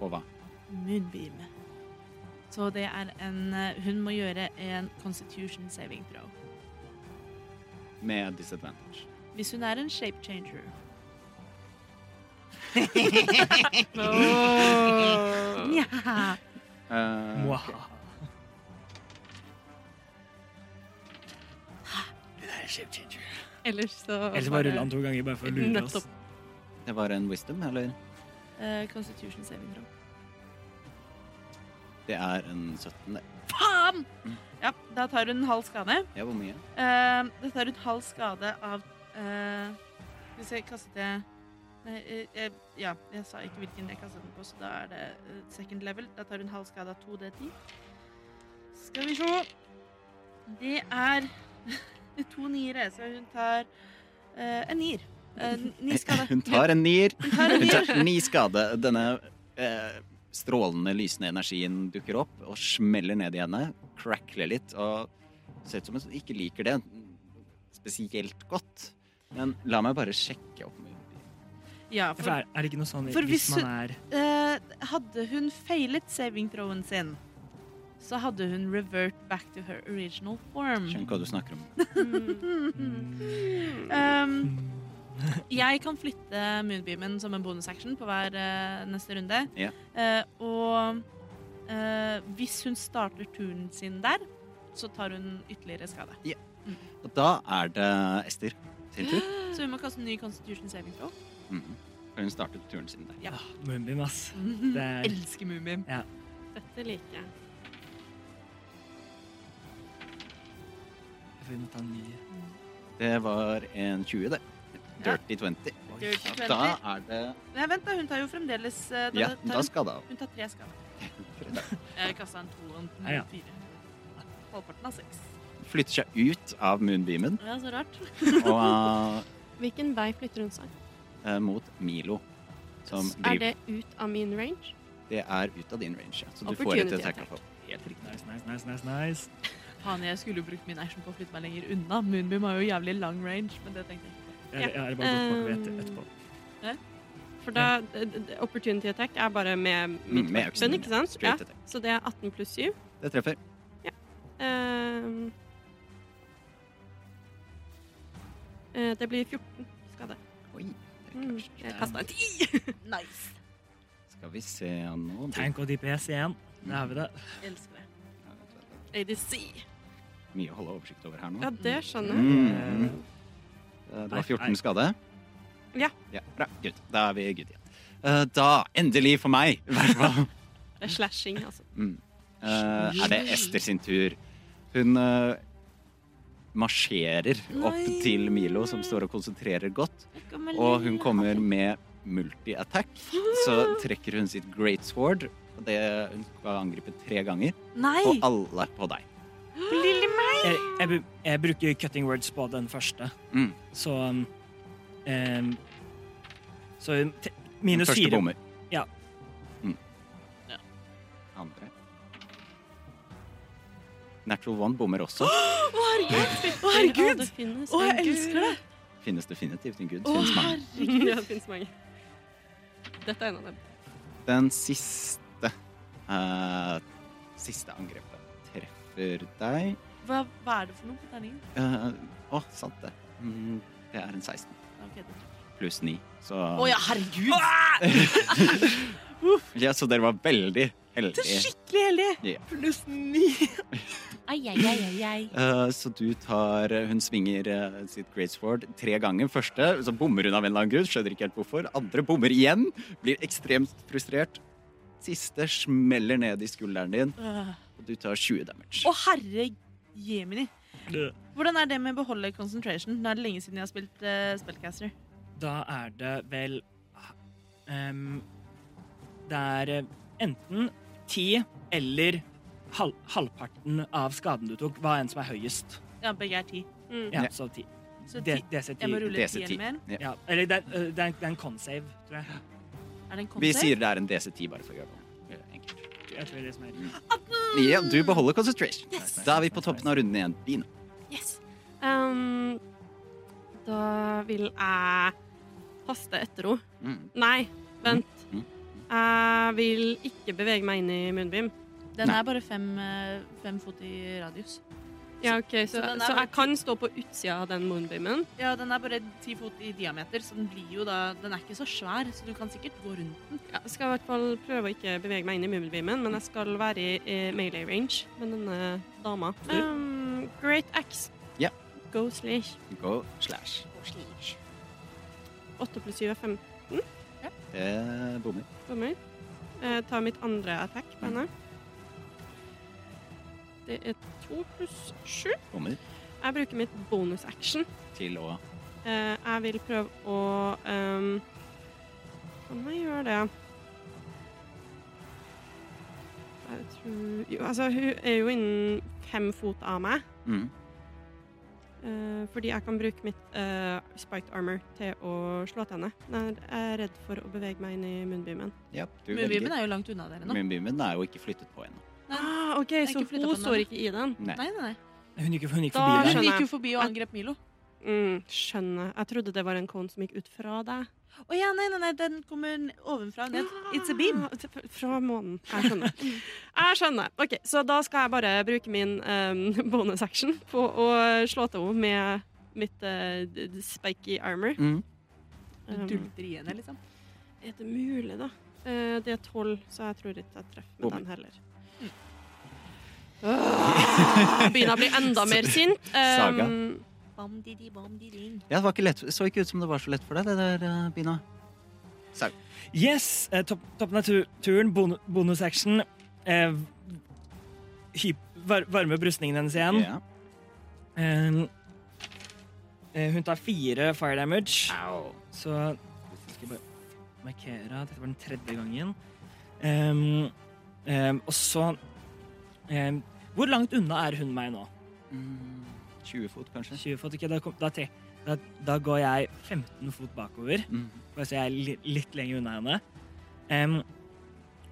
Speaker 5: Og hva?
Speaker 2: Moonbeam. Så det er en eh, Hun må gjøre en constitution saving throw.
Speaker 5: Med disadvantage.
Speaker 2: Hvis hun er en shape changer. Nja.
Speaker 5: Eh,
Speaker 4: Mwah.
Speaker 3: Ellers så
Speaker 4: Ellers bare rulle den to ganger bare for å lure oss.
Speaker 3: Nettopp.
Speaker 5: det var en wisdom, eller?
Speaker 2: Eh, Constitution saving throw.
Speaker 5: Det er en 17, det.
Speaker 2: Faen! Ja, da tar hun halv skade.
Speaker 5: Ja, hvor mye?
Speaker 2: Eh, da tar hun halv skade av eh, Hvis jeg kastet det Nei, eh, jeg, ja, jeg sa ikke hvilken jeg kastet den på, så da er det eh, second level. Da tar hun halv skade av 2D10. Skal vi se Det er to niere, så hun tar eh, en nier. Eh, ni skade.
Speaker 5: Hun tar en nier.
Speaker 2: Hun tar en
Speaker 5: Hun
Speaker 2: nier.
Speaker 5: tar ni skade. Denne eh, strålende, lysende energien dukker opp og smeller ned i henne. Crackler litt og ser ut som hun ikke liker det spesielt godt. Men la meg bare sjekke opp.
Speaker 2: Ja,
Speaker 4: For
Speaker 2: for
Speaker 4: er, er det ikke noe sånn
Speaker 2: For
Speaker 4: hvis
Speaker 2: hvis
Speaker 4: man er
Speaker 2: Eh, hadde hun feilet saving throwen sin, så hadde hun revert back to her original form.
Speaker 5: Skjønner hva du snakker om.
Speaker 2: Um, jeg kan flytte moonbeamen som en bonusaction på hver eh, neste runde.
Speaker 5: Ja.
Speaker 2: Eh, og eh, hvis hun starter turen sin der, så tar hun ytterligere skade.
Speaker 5: Og da er det Ester sin tur.
Speaker 2: Så hun må kaste en ny constitution saving throw.
Speaker 5: Mhm. For Hun startet turen sin der.
Speaker 2: Ja. Mhm.
Speaker 4: ah, Moonbeam, ass. Det er
Speaker 2: Elsker moonbeam.
Speaker 3: Dette liker jeg.
Speaker 4: Vi må ta en ny.
Speaker 5: Det var en 20, det. Dirty 20.
Speaker 2: Dirty
Speaker 5: Ja, Da
Speaker 2: 20.
Speaker 5: er det
Speaker 2: Nei, vent, da. Hun tar jo fremdeles eh, da,
Speaker 5: Ja,
Speaker 2: tar
Speaker 5: da
Speaker 2: hun,
Speaker 5: skal det av.
Speaker 2: hun tar tre skader. Jeg kasta en to og en
Speaker 4: Ja, ja.
Speaker 2: fire. Halvparten av seks.
Speaker 5: Flytter seg ut av moonbeamen
Speaker 2: Ja, så rart.
Speaker 5: og
Speaker 3: Hvilken vei flytter hun seg?
Speaker 5: eh, mot Milo. Som
Speaker 3: Er
Speaker 5: driver
Speaker 3: det ut av min range?
Speaker 5: Det er ut av din range, ja. Så du får et eh,
Speaker 3: Opportunity
Speaker 5: attack
Speaker 3: attack.
Speaker 5: of
Speaker 4: Helt riktig. Nice, nice, nice, nice, nice.
Speaker 2: Faen, jeg skulle jo brukt min action på å flytte meg lenger unna. Moonbeam har jo jævlig lang range, men det tenkte jeg ikke.
Speaker 4: Jeg,
Speaker 3: Ja.
Speaker 4: jeg har bare gått bakover etter,
Speaker 3: Um,
Speaker 4: etterpå.
Speaker 2: Eh.
Speaker 3: For da d- d- Opportunity attack er bare med mitt
Speaker 5: Mm, med øksen,
Speaker 3: weapon, ikke sant?
Speaker 5: straight
Speaker 3: ja.
Speaker 5: attack.
Speaker 3: Så det er 18 pluss 7.
Speaker 5: Det treffer.
Speaker 3: Ehm. Eh, det blir 14 skade.
Speaker 5: Oi, det er
Speaker 3: Mm.
Speaker 5: klart.
Speaker 3: Jeg kasta en 10.
Speaker 2: Nice.
Speaker 5: Skal vi se nå
Speaker 4: Tank og DPS igjen. Der har vi det.
Speaker 2: Elsker det.
Speaker 3: ADC.
Speaker 5: Mye å holde oversikt over her nå.
Speaker 3: Ja, det skjønner jeg.
Speaker 5: Mm. Det
Speaker 4: Nei,
Speaker 5: var 14
Speaker 4: nei.
Speaker 5: skade.
Speaker 3: Ja.
Speaker 5: ja. Bra. Good. Da er vi good igjen. Eh, Da, endelig for meg, i hvert fall.
Speaker 3: Det er slashing, altså.
Speaker 5: Mm. Eh, er det Ester sin tur? Hun eh, marsjerer opp
Speaker 2: Nei.
Speaker 5: til Milo, som står og konsentrerer godt.
Speaker 2: Jeg kommer
Speaker 5: Og hun
Speaker 2: lenge.
Speaker 5: kommer med multi-attack. Så trekker hun sitt great sword. og Det, hun skal angripe tre ganger,
Speaker 2: Nei!
Speaker 5: og alle på deg.
Speaker 2: Lille meg!
Speaker 4: Jeg, jeg, bru- jeg bruker cutting words på den første,
Speaker 5: Mm.
Speaker 4: så um, em, Så te- minus
Speaker 5: Første
Speaker 4: fire.
Speaker 5: bommer.
Speaker 4: Ja.
Speaker 5: Mm.
Speaker 2: Ja.
Speaker 5: Andre. Natural one bommer også.
Speaker 2: Å, herregud!
Speaker 3: Ja, det finnes
Speaker 2: Å,
Speaker 3: en
Speaker 2: jeg
Speaker 3: gud.
Speaker 2: elsker det!
Speaker 5: Finnes definitivt en gud.
Speaker 2: Å,
Speaker 5: Finnes mange.
Speaker 2: herregud.
Speaker 3: Ja, det finnes mange. Dette er en av dem.
Speaker 5: Den siste eh, Siste angrepet treffer deg.
Speaker 2: Hva, hva er det for noe på terningen?
Speaker 5: Eh, Å, sant det. Mm, det er en 16
Speaker 2: Ok, det- Ah,
Speaker 5: pluss 9, så
Speaker 2: Å ja, herregud!
Speaker 5: Ja, Så dere var veldig
Speaker 2: Det er
Speaker 5: heldige.
Speaker 2: skikkelig heldig!
Speaker 5: Ja.
Speaker 2: Pluss ni.
Speaker 7: Ai, ai, ai, ai, ai.
Speaker 5: Eh, så du tar Hun svinger eh, sitt great sword tre ganger. Første så bommer hun av en eller annen grunn. Skjønner ikke helt hvorfor. Andre bommer igjen. Blir ekstremt frustrert. Siste smeller ned i skulderen din,
Speaker 2: Å,
Speaker 5: og du tar 20 damage.
Speaker 2: herre Ah. jemini. Hvordan er det med å beholde concentration? Nå er det lenge siden jeg har spilt eh, spellcaster.
Speaker 4: Da er det vel em, Det er eh, enten ti eller hal halvparten av skaden du tok, hva enn som er høyest.
Speaker 2: Ja, begge er ti.
Speaker 4: Ja,
Speaker 5: Ja.
Speaker 4: så ti.
Speaker 2: Så ti.
Speaker 4: D- DC
Speaker 2: Jeg må
Speaker 4: ti.
Speaker 2: rulle
Speaker 5: DC10.
Speaker 2: tieren mer.
Speaker 5: Ja.
Speaker 4: Ja, eller det, er- øh, det er en- det er en con-save, tror jeg.
Speaker 2: Er det en
Speaker 5: Vi
Speaker 2: concept?
Speaker 5: sier det er en DC10 bare for å gjøre det enkelt.
Speaker 4: jeg tror det liksom er.
Speaker 5: Ja, du beholder concentration.
Speaker 3: Yes.
Speaker 5: Da er vi på toppen av runden igjen. Bina.
Speaker 3: Yes. Um, da vil jeg haste etter henne.
Speaker 5: Mm.
Speaker 3: Nei, vent.
Speaker 5: Mm.
Speaker 3: Jeg vil ikke bevege meg inn i munnbim.
Speaker 2: Den
Speaker 5: Nei.
Speaker 2: er bare fem, eh, fem fot i radius.
Speaker 3: Ja, ok, så,
Speaker 2: Så den er
Speaker 3: så
Speaker 2: bare
Speaker 3: jeg kan stå på utsida av den moonbeamen.
Speaker 2: Ja, den er bare ti fot i diameter, så den blir jo da Den er ikke så svær, så du kan sikkert gå rundt den.
Speaker 3: Ja, jeg skal i hvert fall prøve å ikke bevege meg inn i munnbeamen, men jeg skal være i, i melee range med denne dama. Um, great axe.
Speaker 5: Ja.
Speaker 3: Go slash.
Speaker 5: Go slash.
Speaker 3: Åtte pluss syv er fem
Speaker 5: Det Eh, bommer.
Speaker 3: dommer. Jeg tar Eh, mitt andre attack på henne. Det er to pluss sju.
Speaker 5: Bommer
Speaker 3: Jeg bruker mitt bonus action.
Speaker 5: til å
Speaker 3: Eh, jeg vil prøve å ehm, Kan jeg gjøre det? Jeg tror Jo, altså, hun er jo innen fem fot av meg.
Speaker 5: mm.
Speaker 3: eh, fordi jeg kan bruke mitt eh, spiked armor til å slå til henne. Når jeg er redd for å bevege meg inn i munnbimen.
Speaker 5: Ja, du
Speaker 2: Moonbeamen er jo langt unna dere nå.
Speaker 5: Moonbeamen er jo ikke flyttet på ennå.
Speaker 3: Ah, OK,
Speaker 2: jeg er
Speaker 3: så
Speaker 2: ikke flyttet på
Speaker 3: hun
Speaker 2: den
Speaker 3: står
Speaker 2: ennå.
Speaker 3: ikke i den.
Speaker 5: Nei.
Speaker 2: Nei, nei, nei.
Speaker 4: Hun gikk, hun gikk
Speaker 3: Da
Speaker 4: forbi
Speaker 2: Hun
Speaker 4: deg.
Speaker 3: skjønner
Speaker 2: gikk
Speaker 3: jeg.
Speaker 2: jo forbi og angrep Milo.
Speaker 3: Mm, skjønner. Jeg trodde det var en cone som gikk ut fra deg.
Speaker 2: Å ja, nei, nei, nei, den kommer n- ovenfra og ned. It's a beam.
Speaker 3: Ah, t- Fra månen. Jeg skjønner. Jeg skjønner. Ok, Så da skal jeg bare bruke min um, bonus action på å slå til henne med mitt eh, d- d- spiky armor.
Speaker 5: Mm.
Speaker 2: Du
Speaker 3: Um,
Speaker 2: dulter i henne, liksom.
Speaker 3: er det mulig, da? Eh, det er tolv, så jeg tror ikke jeg treffer med
Speaker 5: Bom.
Speaker 3: den heller. Ah, begynner å bli enda mer sint.
Speaker 5: Saga.
Speaker 3: Um,
Speaker 2: Bam, didi, bam, didi.
Speaker 5: Ja, det var ikke lett. Det så ikke ut som det var så lett for deg, det der, eh, Bina.
Speaker 4: Yes! eh, Topp, toppen av tu- turen, bon bonus-action. Eh, hyp- var varme brystningen hennes igjen.
Speaker 5: Ja.
Speaker 4: Eh, eh, hun tar fire fire damage,
Speaker 5: Au.
Speaker 4: så Hvis jeg skal bare markere at dette var den tredje gangen. Em, em, og så em, Hvor langt unna er hun meg nå?
Speaker 5: Mm. 20 fot, kanskje.
Speaker 4: 20 fot, ok, da, kom, da, tre, da, da går jeg 15 fot bakover,
Speaker 5: Mm.
Speaker 4: bare så jeg er li, litt lenger unna henne. Em,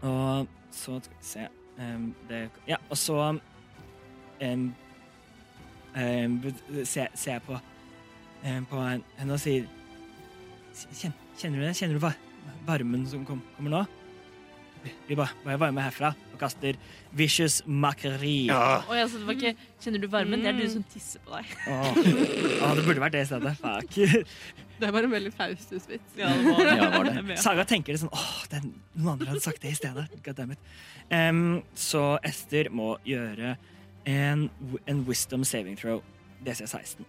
Speaker 4: og så skal vi se Em, det, Ja, og så em, em, b- ser ser jeg på, em, på en- henne og sier "Kjen- Kjenner du det? Kjenner du va- varmen som kom, kommer nå? Vi bare må jeg varme herfra og kaster vicious macri.
Speaker 5: Ah.
Speaker 2: Oi, altså, det var ikke, kjenner du varmen? Det er du som tisser på deg.
Speaker 4: Åh. Åh, det burde vært det i stedet. Fuck.
Speaker 3: Det var en veldig Faustus-vits.
Speaker 2: Ja, det var
Speaker 5: Ja, var det.
Speaker 4: Saga tenker litt sånn åh, det er noen andre hadde sagt det i stedet. Goddammit. Em, så Ester må gjøre en, en wisdom saving throw. DC 16.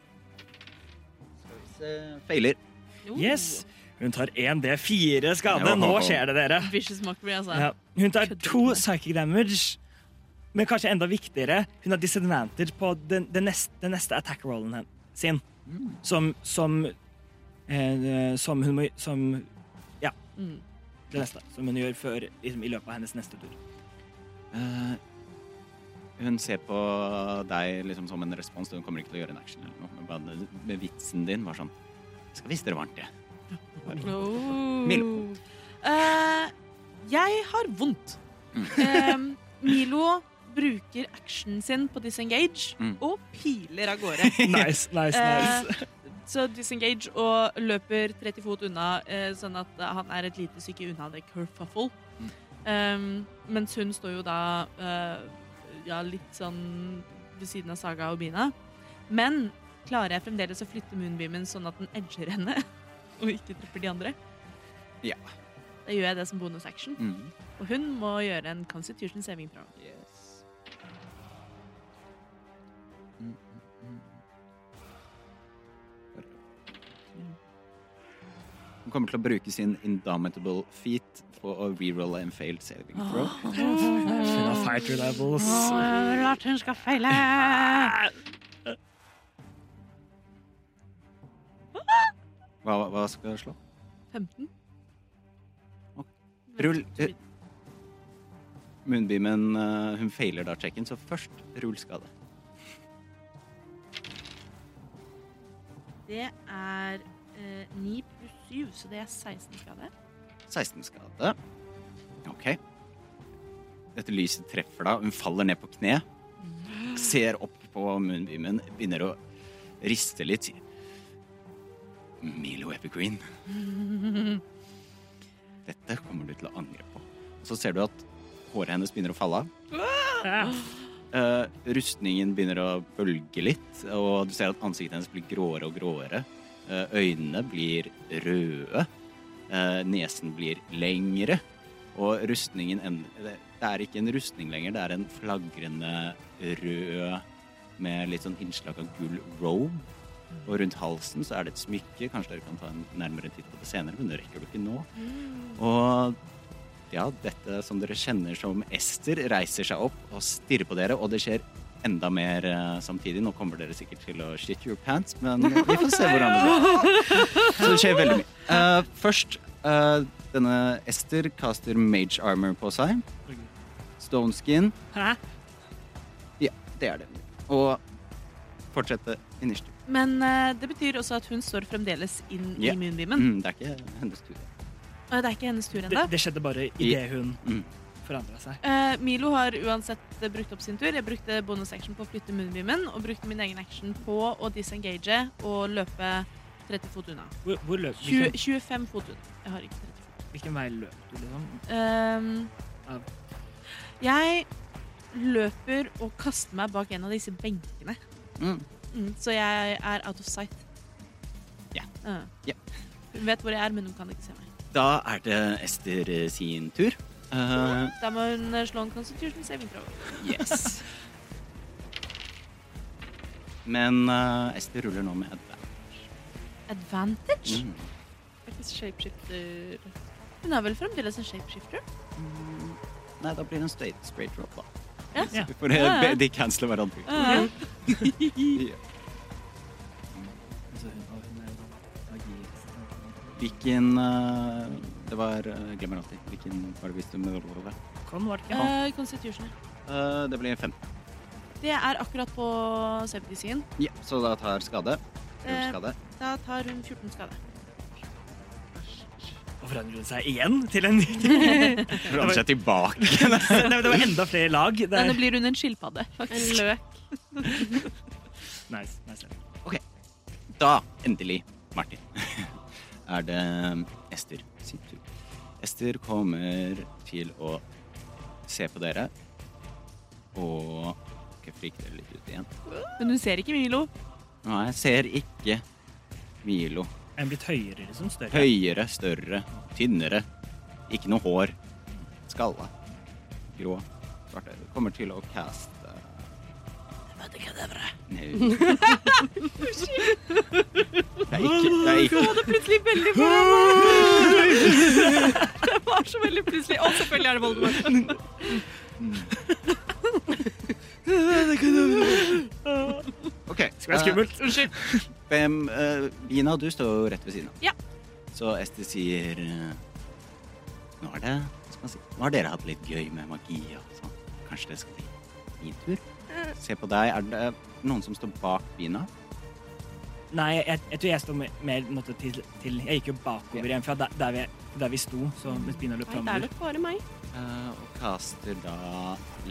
Speaker 5: Feiler.
Speaker 2: Oh.
Speaker 4: Yes! Hun tar 1D4 skade.
Speaker 5: Ja.
Speaker 4: Nå skjer det, dere.
Speaker 2: Vicious mockery, altså.
Speaker 4: Ja. Hun tar to psychic damage, men kanskje enda viktigere, hun har disadvantage på den, den, neste, den neste attack-rollen hen- sin. Som, som, eh, som hun må Som Ja.
Speaker 2: Mm.
Speaker 4: Det neste. Som hun gjør før, liksom, i løpet av hennes neste tur.
Speaker 5: Eh, hun ser på deg liksom som en respons. Hun kommer ikke til å gjøre en action eller noe. men Bare med vitsen din var sånn Skal vise dere varmt, jeg. Milo.
Speaker 2: Oh. Eh, jeg har vondt.
Speaker 5: Mm.
Speaker 2: Eh, Milo bruker actionen sin på disengage
Speaker 5: Mm.
Speaker 2: og piler av gårde.
Speaker 4: Nice, nice, nice.
Speaker 2: Eh, så disengage og løper 30 fot unna, eh, sånn at eh, han er et lite stykke unna det kerfuffle.
Speaker 5: Mm.
Speaker 2: Eh, mens hun står jo da eh, ja, litt sånn ved siden av Saga og Bina. Men klarer jeg fremdeles å flytte moonbeamen sånn at den edger henne og ikke treffer de andre?
Speaker 5: Ja.
Speaker 2: Da gjør jeg det som bonusaction.
Speaker 5: Mm.
Speaker 2: Og hun må gjøre en Constitution saving throw.
Speaker 5: Yes. Mm, mm, mm. Hun kommer til å bruke sin indomitable feet for å rerolle en failed saving throw.
Speaker 4: Hun har fighter levels.
Speaker 2: jeg vil at hun skal feile!
Speaker 5: Hva, hva skal jeg slå?
Speaker 2: 15.
Speaker 5: Rull eh, Moonbeamen eh, Hun feiler da checken, så først rull skade.
Speaker 2: Det er eh, 9 pluss 7, så det er 16 skade.
Speaker 5: 16 skade. OK. Dette lyset treffer da. Hun faller ned på kne. Ser opp på moonbeamen, begynner å riste litt. sier, Milo Evergreen. Dette kommer du til å angre på. Så ser du at håret hennes begynner å falle av. Eh, rustningen begynner å bølge litt, og du ser at ansiktet hennes blir gråere og gråere. Eh, øynene blir røde. Eh, nesen blir lengre. Og rustningen en- Det det er ikke en rustning lenger, det er en flagrende rød med litt sånn innslag av gull robe. Og rundt halsen så er det et smykke. Kanskje dere kan ta en nærmere titt på det senere, men det rekker du ikke nå. Og ja, dette som dere kjenner som Ester, reiser seg opp og stirrer på dere, og det skjer enda mer eh, samtidig. Nå kommer dere sikkert til å shit your pants, men vi får se hvordan det går. Så det skjer veldig mye. Eh, først, eh, denne Ester kaster mage armor på seg. Stone skin.
Speaker 4: Hæ?
Speaker 5: Ja, det er det. Og fortsette initiativ.
Speaker 2: Men eh, det betyr også at hun står fremdeles inn
Speaker 5: Ja.
Speaker 2: i moonbeamen.
Speaker 5: Mm, det er ikke hennes tur.
Speaker 2: Eh, Det er ikke hennes tur
Speaker 4: Det,
Speaker 2: ennå.
Speaker 4: det skjedde bare idet hun
Speaker 5: Mm.
Speaker 4: forandra seg.
Speaker 2: Eh, Milo har uansett eh, brukt opp sin tur. Jeg brukte bonusaction på å flytte moonbeamen og brukte min egen action på å disengage og løpe 30 fot unna.
Speaker 4: Hvor, hvor løp,
Speaker 2: Tjue-
Speaker 4: hvilken,
Speaker 2: 25 fot unna. Jeg har ikke 30 fot.
Speaker 4: hvilken vei løp du, liksom?
Speaker 2: Ehm,
Speaker 4: Ja.
Speaker 2: jeg løper og kaster meg bak en av disse benkene.
Speaker 5: Mm.
Speaker 2: Mm, så jeg er out of sight.
Speaker 5: Ja.
Speaker 2: Ja.
Speaker 5: Ja.
Speaker 2: Hun vet hvor jeg er, men hun kan ikke se meg.
Speaker 5: Da er det Ester eh, sin tur. Eh,
Speaker 2: Da må hun eh, slå en constitution saving throw.
Speaker 5: Yes. Men eh, Ester ruller nå med advantage.
Speaker 2: Advantage?
Speaker 5: Mm.
Speaker 3: Shapeshifter
Speaker 2: Hun er vel fremdeles en shapeshifter?
Speaker 5: Nei, da blir det en straight, straight drop, da.
Speaker 2: Ja.
Speaker 4: Ja.
Speaker 5: Vi får, eh,
Speaker 2: Ja, ja.
Speaker 5: be- De canceler hverandre. ut.
Speaker 2: Ja.
Speaker 5: Ja.
Speaker 4: Altså, hun, og hun er jo da liksom. magi-
Speaker 5: Hvilken eh, Det var eh, Glemmer alltid. Hvilken var det visste om det? var?
Speaker 4: Kon, var det ikke?
Speaker 2: Eh, constitution.
Speaker 5: Eh, det blir fem.
Speaker 2: Det er akkurat på safety-siden.
Speaker 5: Ja, så da tar skade.
Speaker 2: Eh,
Speaker 5: Rull skade.
Speaker 2: Da tar hun 14 skade.
Speaker 4: Og forandrer hun seg igjen til en ny
Speaker 5: Ruller seg tilbake.
Speaker 4: Nei, men det var enda flere lag. Der.
Speaker 2: Denne blir hun en skilpadde.
Speaker 3: En løk.
Speaker 4: Nice, nice.
Speaker 5: Da, endelig, Martin, er det Ester um, sin tur. Ester kommer til å se på dere og Ok, frike dere litt ut igjen.
Speaker 2: Men hun ser ikke Milo.
Speaker 5: Nei, jeg ser ikke Milo.
Speaker 4: Er den blitt høyere, liksom? Større?
Speaker 5: Høyere, større, tynnere. Ikke noe hår. Skalla. Grå. Svarte. Kommer til å caste Nei. Det er ikke, det er ikke
Speaker 3: Plutselig veldig bra. Det var så veldig plutselig. Og selvfølgelig er det Voldemort.
Speaker 5: OK.
Speaker 4: Det er skummelt. Unnskyld.
Speaker 5: Eh, Hvem eh, Vina, du står jo rett ved siden av.
Speaker 3: Ja.
Speaker 5: Så Ester sier eh, Nå er det hva skal man si, Nå har dere hatt litt gøy med magi og sånn. Kanskje det skal bli min tur? Se på deg. Er det noen som står bak Vina?
Speaker 4: Nei, jeg, jeg tror jeg står mer, mer på en måte, til, til Jeg gikk jo bakover igjen fra der, der, vi, der vi sto, så mens Bina løp
Speaker 3: Nei, det er
Speaker 4: framover.
Speaker 3: nok bare meg.
Speaker 5: Eh, og kaster da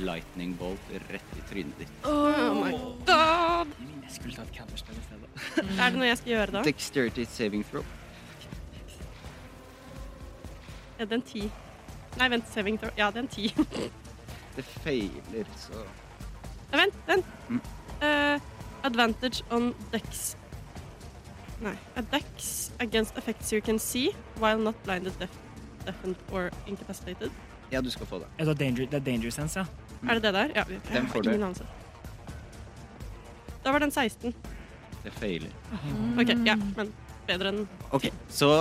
Speaker 5: lightning bolt rett i trynet ditt.
Speaker 3: Oh my god.
Speaker 4: Jeg skulle tatt Counterstone i stedet.
Speaker 3: Er det noe jeg skal gjøre da?
Speaker 5: Dexterity saving throw.
Speaker 3: Er det en ti? Nei, vent. Saving throw. Ja, det er en ti.
Speaker 5: Det feiler, så
Speaker 3: Nei, Vent, vent.
Speaker 5: Mm.
Speaker 3: Eh, advantage on dex. Nei. A dex against effects you can see while not blinded, deaf, deafened or incapacitated.
Speaker 5: Ja, du skal få det.
Speaker 4: Jeg tar danger, det er danger sense, ja.
Speaker 3: Er det det der? Ja. jeg har
Speaker 5: Mm. Den får du.
Speaker 3: ingen anelse. Da var den 16.
Speaker 5: Det feiler.
Speaker 3: OK, ja, men bedre enn
Speaker 5: Ok, så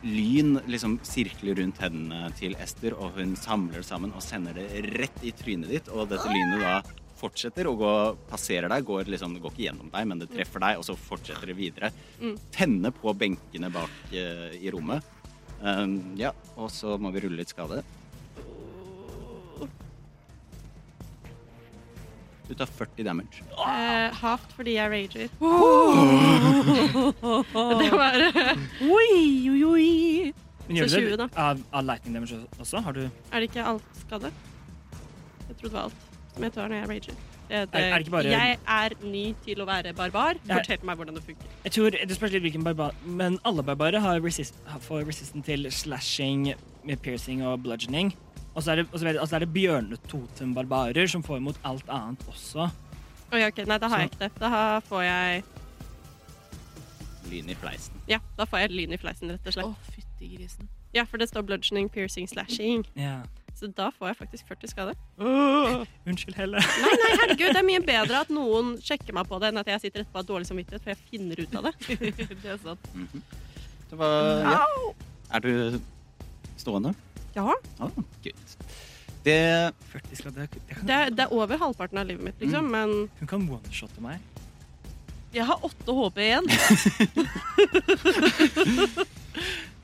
Speaker 5: lyn liksom sirkler rundt hendene til Ester, og hun samler det sammen og sender det rett i trynet ditt, og dette lynet da fortsetter å gå, passerer deg, går liksom, det går ikke gjennom deg, men det treffer deg, og så fortsetter det videre.
Speaker 3: Mm.
Speaker 5: Tenner på benkene bak eh, i rommet. Um, ja, og så må vi rulle litt skade. Du tar 40 damage.
Speaker 3: eh, halvt fordi jeg rager. Det var Er
Speaker 2: Oi, oi, oi.
Speaker 4: Men
Speaker 3: Så
Speaker 4: gjør du
Speaker 3: 20
Speaker 4: det
Speaker 3: da.
Speaker 4: av, av lightning damage også? Har du, er,
Speaker 3: det ikke alt skade? Jeg trodde det var alt som jeg tar når jeg rager. Det, det,
Speaker 4: er det ikke bare
Speaker 3: Jeg er ny til å være barbar.
Speaker 4: Ja.
Speaker 3: Fortell meg hvordan det funker.
Speaker 4: Jeg tror, Det spørs litt hvilken barbar Men alle barbarer har resist, har- får resistant til slashing, med piercing og bludgeoning. Og så er det, og så vet jeg- altså er det bjørnetotem-barbarer som får imot alt annet også.
Speaker 3: Oi, ok, Nei, da har jeg ikke det. Da har- får jeg
Speaker 5: Lyn i fleisen.
Speaker 3: Ja, da får jeg lyn i fleisen, rett
Speaker 2: Å,
Speaker 3: og slett.
Speaker 2: fytti grisen.
Speaker 3: Ja, for det står bludgeoning, piercing, slashing.
Speaker 4: Ja.
Speaker 3: Så da får jeg faktisk 40 skade.
Speaker 4: Unnskyld, Helle.
Speaker 3: Nei, nei, herregud, det er mye bedre at noen sjekker meg på det, enn at jeg sitter etterpå og har dårlig samvittighet, for jeg finner ut av det.
Speaker 2: det er sant.
Speaker 5: Det var, ja. Er du stående?
Speaker 3: Ja,
Speaker 5: Ja, good. Det
Speaker 4: 40 skal det, det kan,
Speaker 3: det er, det er over halvparten av livet mitt, liksom,
Speaker 4: Mm.
Speaker 3: men
Speaker 4: Hun kan oneshotte meg.
Speaker 2: Jeg har åtte HP igjen.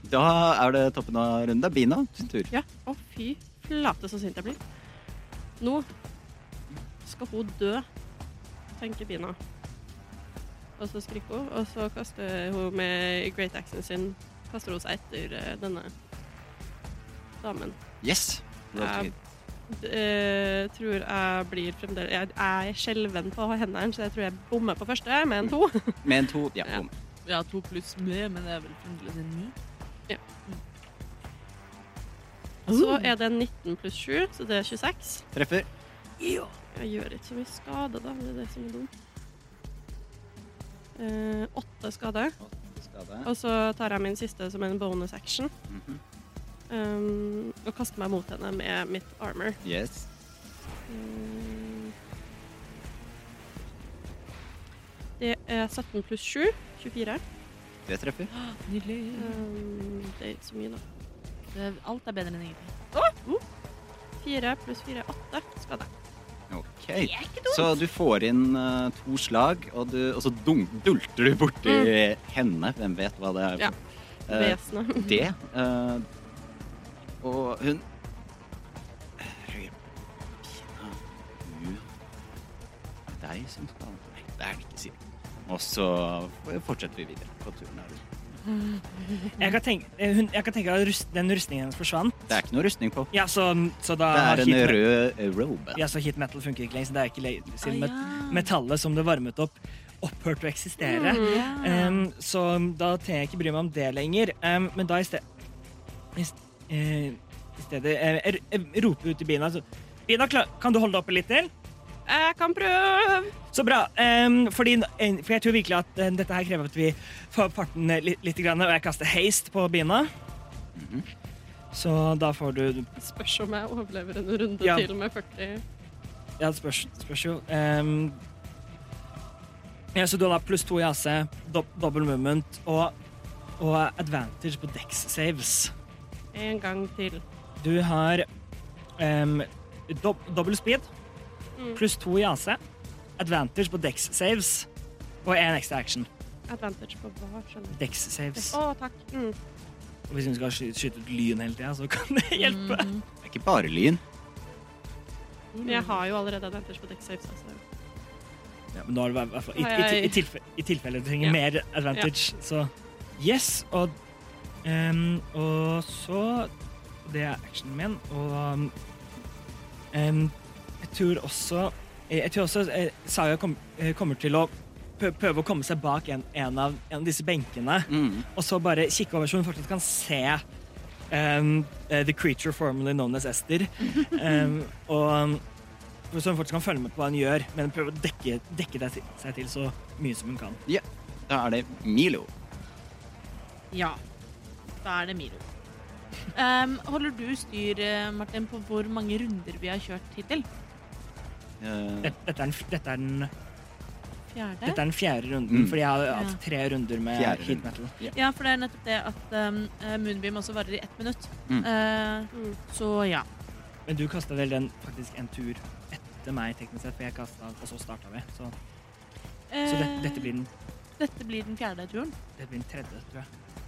Speaker 5: Da er det toppen av runden. Det er Bina sin tur.
Speaker 3: ja. Å, fy flate så sint jeg blir. Nå skal hun dø, tenker Bina. Og så skriker hun, og så kaster hun med great axen sin Kaster hun seg etter eh, denne damen.
Speaker 5: Yes. Det er
Speaker 3: Ja.
Speaker 5: fint.
Speaker 3: D- eh, tror jeg blir fremdeles Jeg er skjelven på hendene, så jeg tror jeg bommer på første med en to.
Speaker 5: Med en to. Ja,
Speaker 3: Ja.
Speaker 5: bom.
Speaker 2: Vi har to pluss med, men det er vel fremdeles en ni. Mm. Oh.
Speaker 3: Så er det 19 pluss 7, så det er 26.
Speaker 5: Treffer.
Speaker 3: Jeg gjør ikke så mye skade, da. Det er det som er dumt. Eh, åtte skade.
Speaker 5: Skade.
Speaker 3: Og så tar jeg min siste som en bonus action.
Speaker 5: Mhm.
Speaker 3: Um, og kaster meg mot henne med mitt armor. Eh,
Speaker 5: Yes.
Speaker 3: Mm. Det er 17 pluss 7. 24.
Speaker 5: Det treffer.
Speaker 2: Nydelig.
Speaker 3: Um, det er ikke så mye, da.
Speaker 2: Det er- Eh, Alt er bedre enn ingenting.
Speaker 3: 4 pluss 4 8 skade.
Speaker 5: OK. Så du får inn eh, to slag, og, du, og så dunk, dulter du borti henne. Hvem vet hva det er.
Speaker 3: Mm. Ja.
Speaker 5: Eh,
Speaker 3: Vesenet.
Speaker 5: det. eh, og hun Herregud. Pina, du Deg som skal Nei, det er det ikke, sier hun. Og så fortsetter vi videre på turen. her.
Speaker 4: Jeg kan tenke, eh, hun, jeg kan tenke at rust, den rustningen hennes forsvant.
Speaker 5: Det er ikke noe rustning på.
Speaker 4: Ja, så, så da
Speaker 5: Det er en
Speaker 4: hit-
Speaker 5: rød eh, robe.
Speaker 4: Ja, så hit metal funker ikke lenger, så det er ikke le- siden
Speaker 2: Ah,
Speaker 4: met-
Speaker 2: ja.
Speaker 4: metallet som det varmet opp, opphørte å
Speaker 3: Mm,
Speaker 4: eksistere.
Speaker 2: Ja.
Speaker 4: Um, så da trenger jeg ikke bry meg om det lenger. Um, men da i sted I st- eh, i stedet eh, jeg, jeg roper ut til Bina. Så, Bina, kla- kan du holde det oppe litt til?
Speaker 3: Jeg kan prøve!
Speaker 4: Så bra. em, fordi, eh, for jeg tror virkelig at eh, dette her krever at vi får parten litt, litt grann, og jeg kaster haste på Bina. Så da får du
Speaker 3: Spørs om jeg overlever en runde
Speaker 4: Ja.
Speaker 3: til med 40.
Speaker 4: Ja, det spørs, spørs jo. Ehm, ja, så du har da pluss to i AC, dob double movement og, og advantage på dex saves.
Speaker 3: En gang til.
Speaker 4: Du har ehm, dob dobbel speed, pluss to i AC, advantage på dex saves og én ekstra action.
Speaker 3: Advantage på hva, skjønner jeg.
Speaker 4: Dex saves.
Speaker 3: Å, takk. Mm.
Speaker 4: Og hvis hun skal sky skyte ut lyn hele tida, så kan det hjelpe.
Speaker 3: Mm.
Speaker 5: Det er ikke bare lyn.
Speaker 3: Men Jeg har jo allerede advantage på deck saves. Altså.
Speaker 4: Ja, men nå har du i hvert fall I,
Speaker 3: Ai,
Speaker 4: i,
Speaker 3: ai.
Speaker 4: i, tilfe, i tilfelle du trenger
Speaker 3: Ja.
Speaker 4: mer advantage, så Yes, og ehm, Og så Det er actionen min, og ehm, Jeg tror også Jeg jeg tror også eh, Saya kom, eh, kommer til å prø- prøve å komme seg bak en, en, av, en av disse benkene,
Speaker 5: Mm.
Speaker 4: og så bare kikke over så hun fortsatt kan se ehm, eh, The Creature Formerly Known as Esther. Ehm, og for så hun fortsatt kan følge med på hva hun gjør, men prøve å dekke, dekke det til- seg til så mye som hun kan.
Speaker 5: Da er det Milo.
Speaker 2: Ja. Da er det Milo. Ehm, holder du styr, eh, Martin, på hvor mange runder vi har kjørt hittil?
Speaker 5: Eh,
Speaker 4: Dette, dette, er, den, f- dette, er, den,
Speaker 2: Fjerde?
Speaker 4: dette er den fjerde runden,
Speaker 5: Mm.
Speaker 4: fordi jeg har
Speaker 2: Ja.
Speaker 4: hatt tre runder med
Speaker 5: Fjerde
Speaker 4: heat
Speaker 5: runde.
Speaker 4: metal.
Speaker 2: Ja, for det er nettopp det at ehm, eh, Moonbeam også varer i ett minutt.
Speaker 5: Mm.
Speaker 2: Eh,
Speaker 3: Mm.
Speaker 2: så ja.
Speaker 4: Men du kasta vel den faktisk en tur etter meg, teknisk sett, for jeg kasta, og så starta vi. Så, så det,
Speaker 2: Eh,
Speaker 4: dette, blir den,
Speaker 2: dette blir den fjerde turen.
Speaker 4: dette blir den tredje, tror jeg.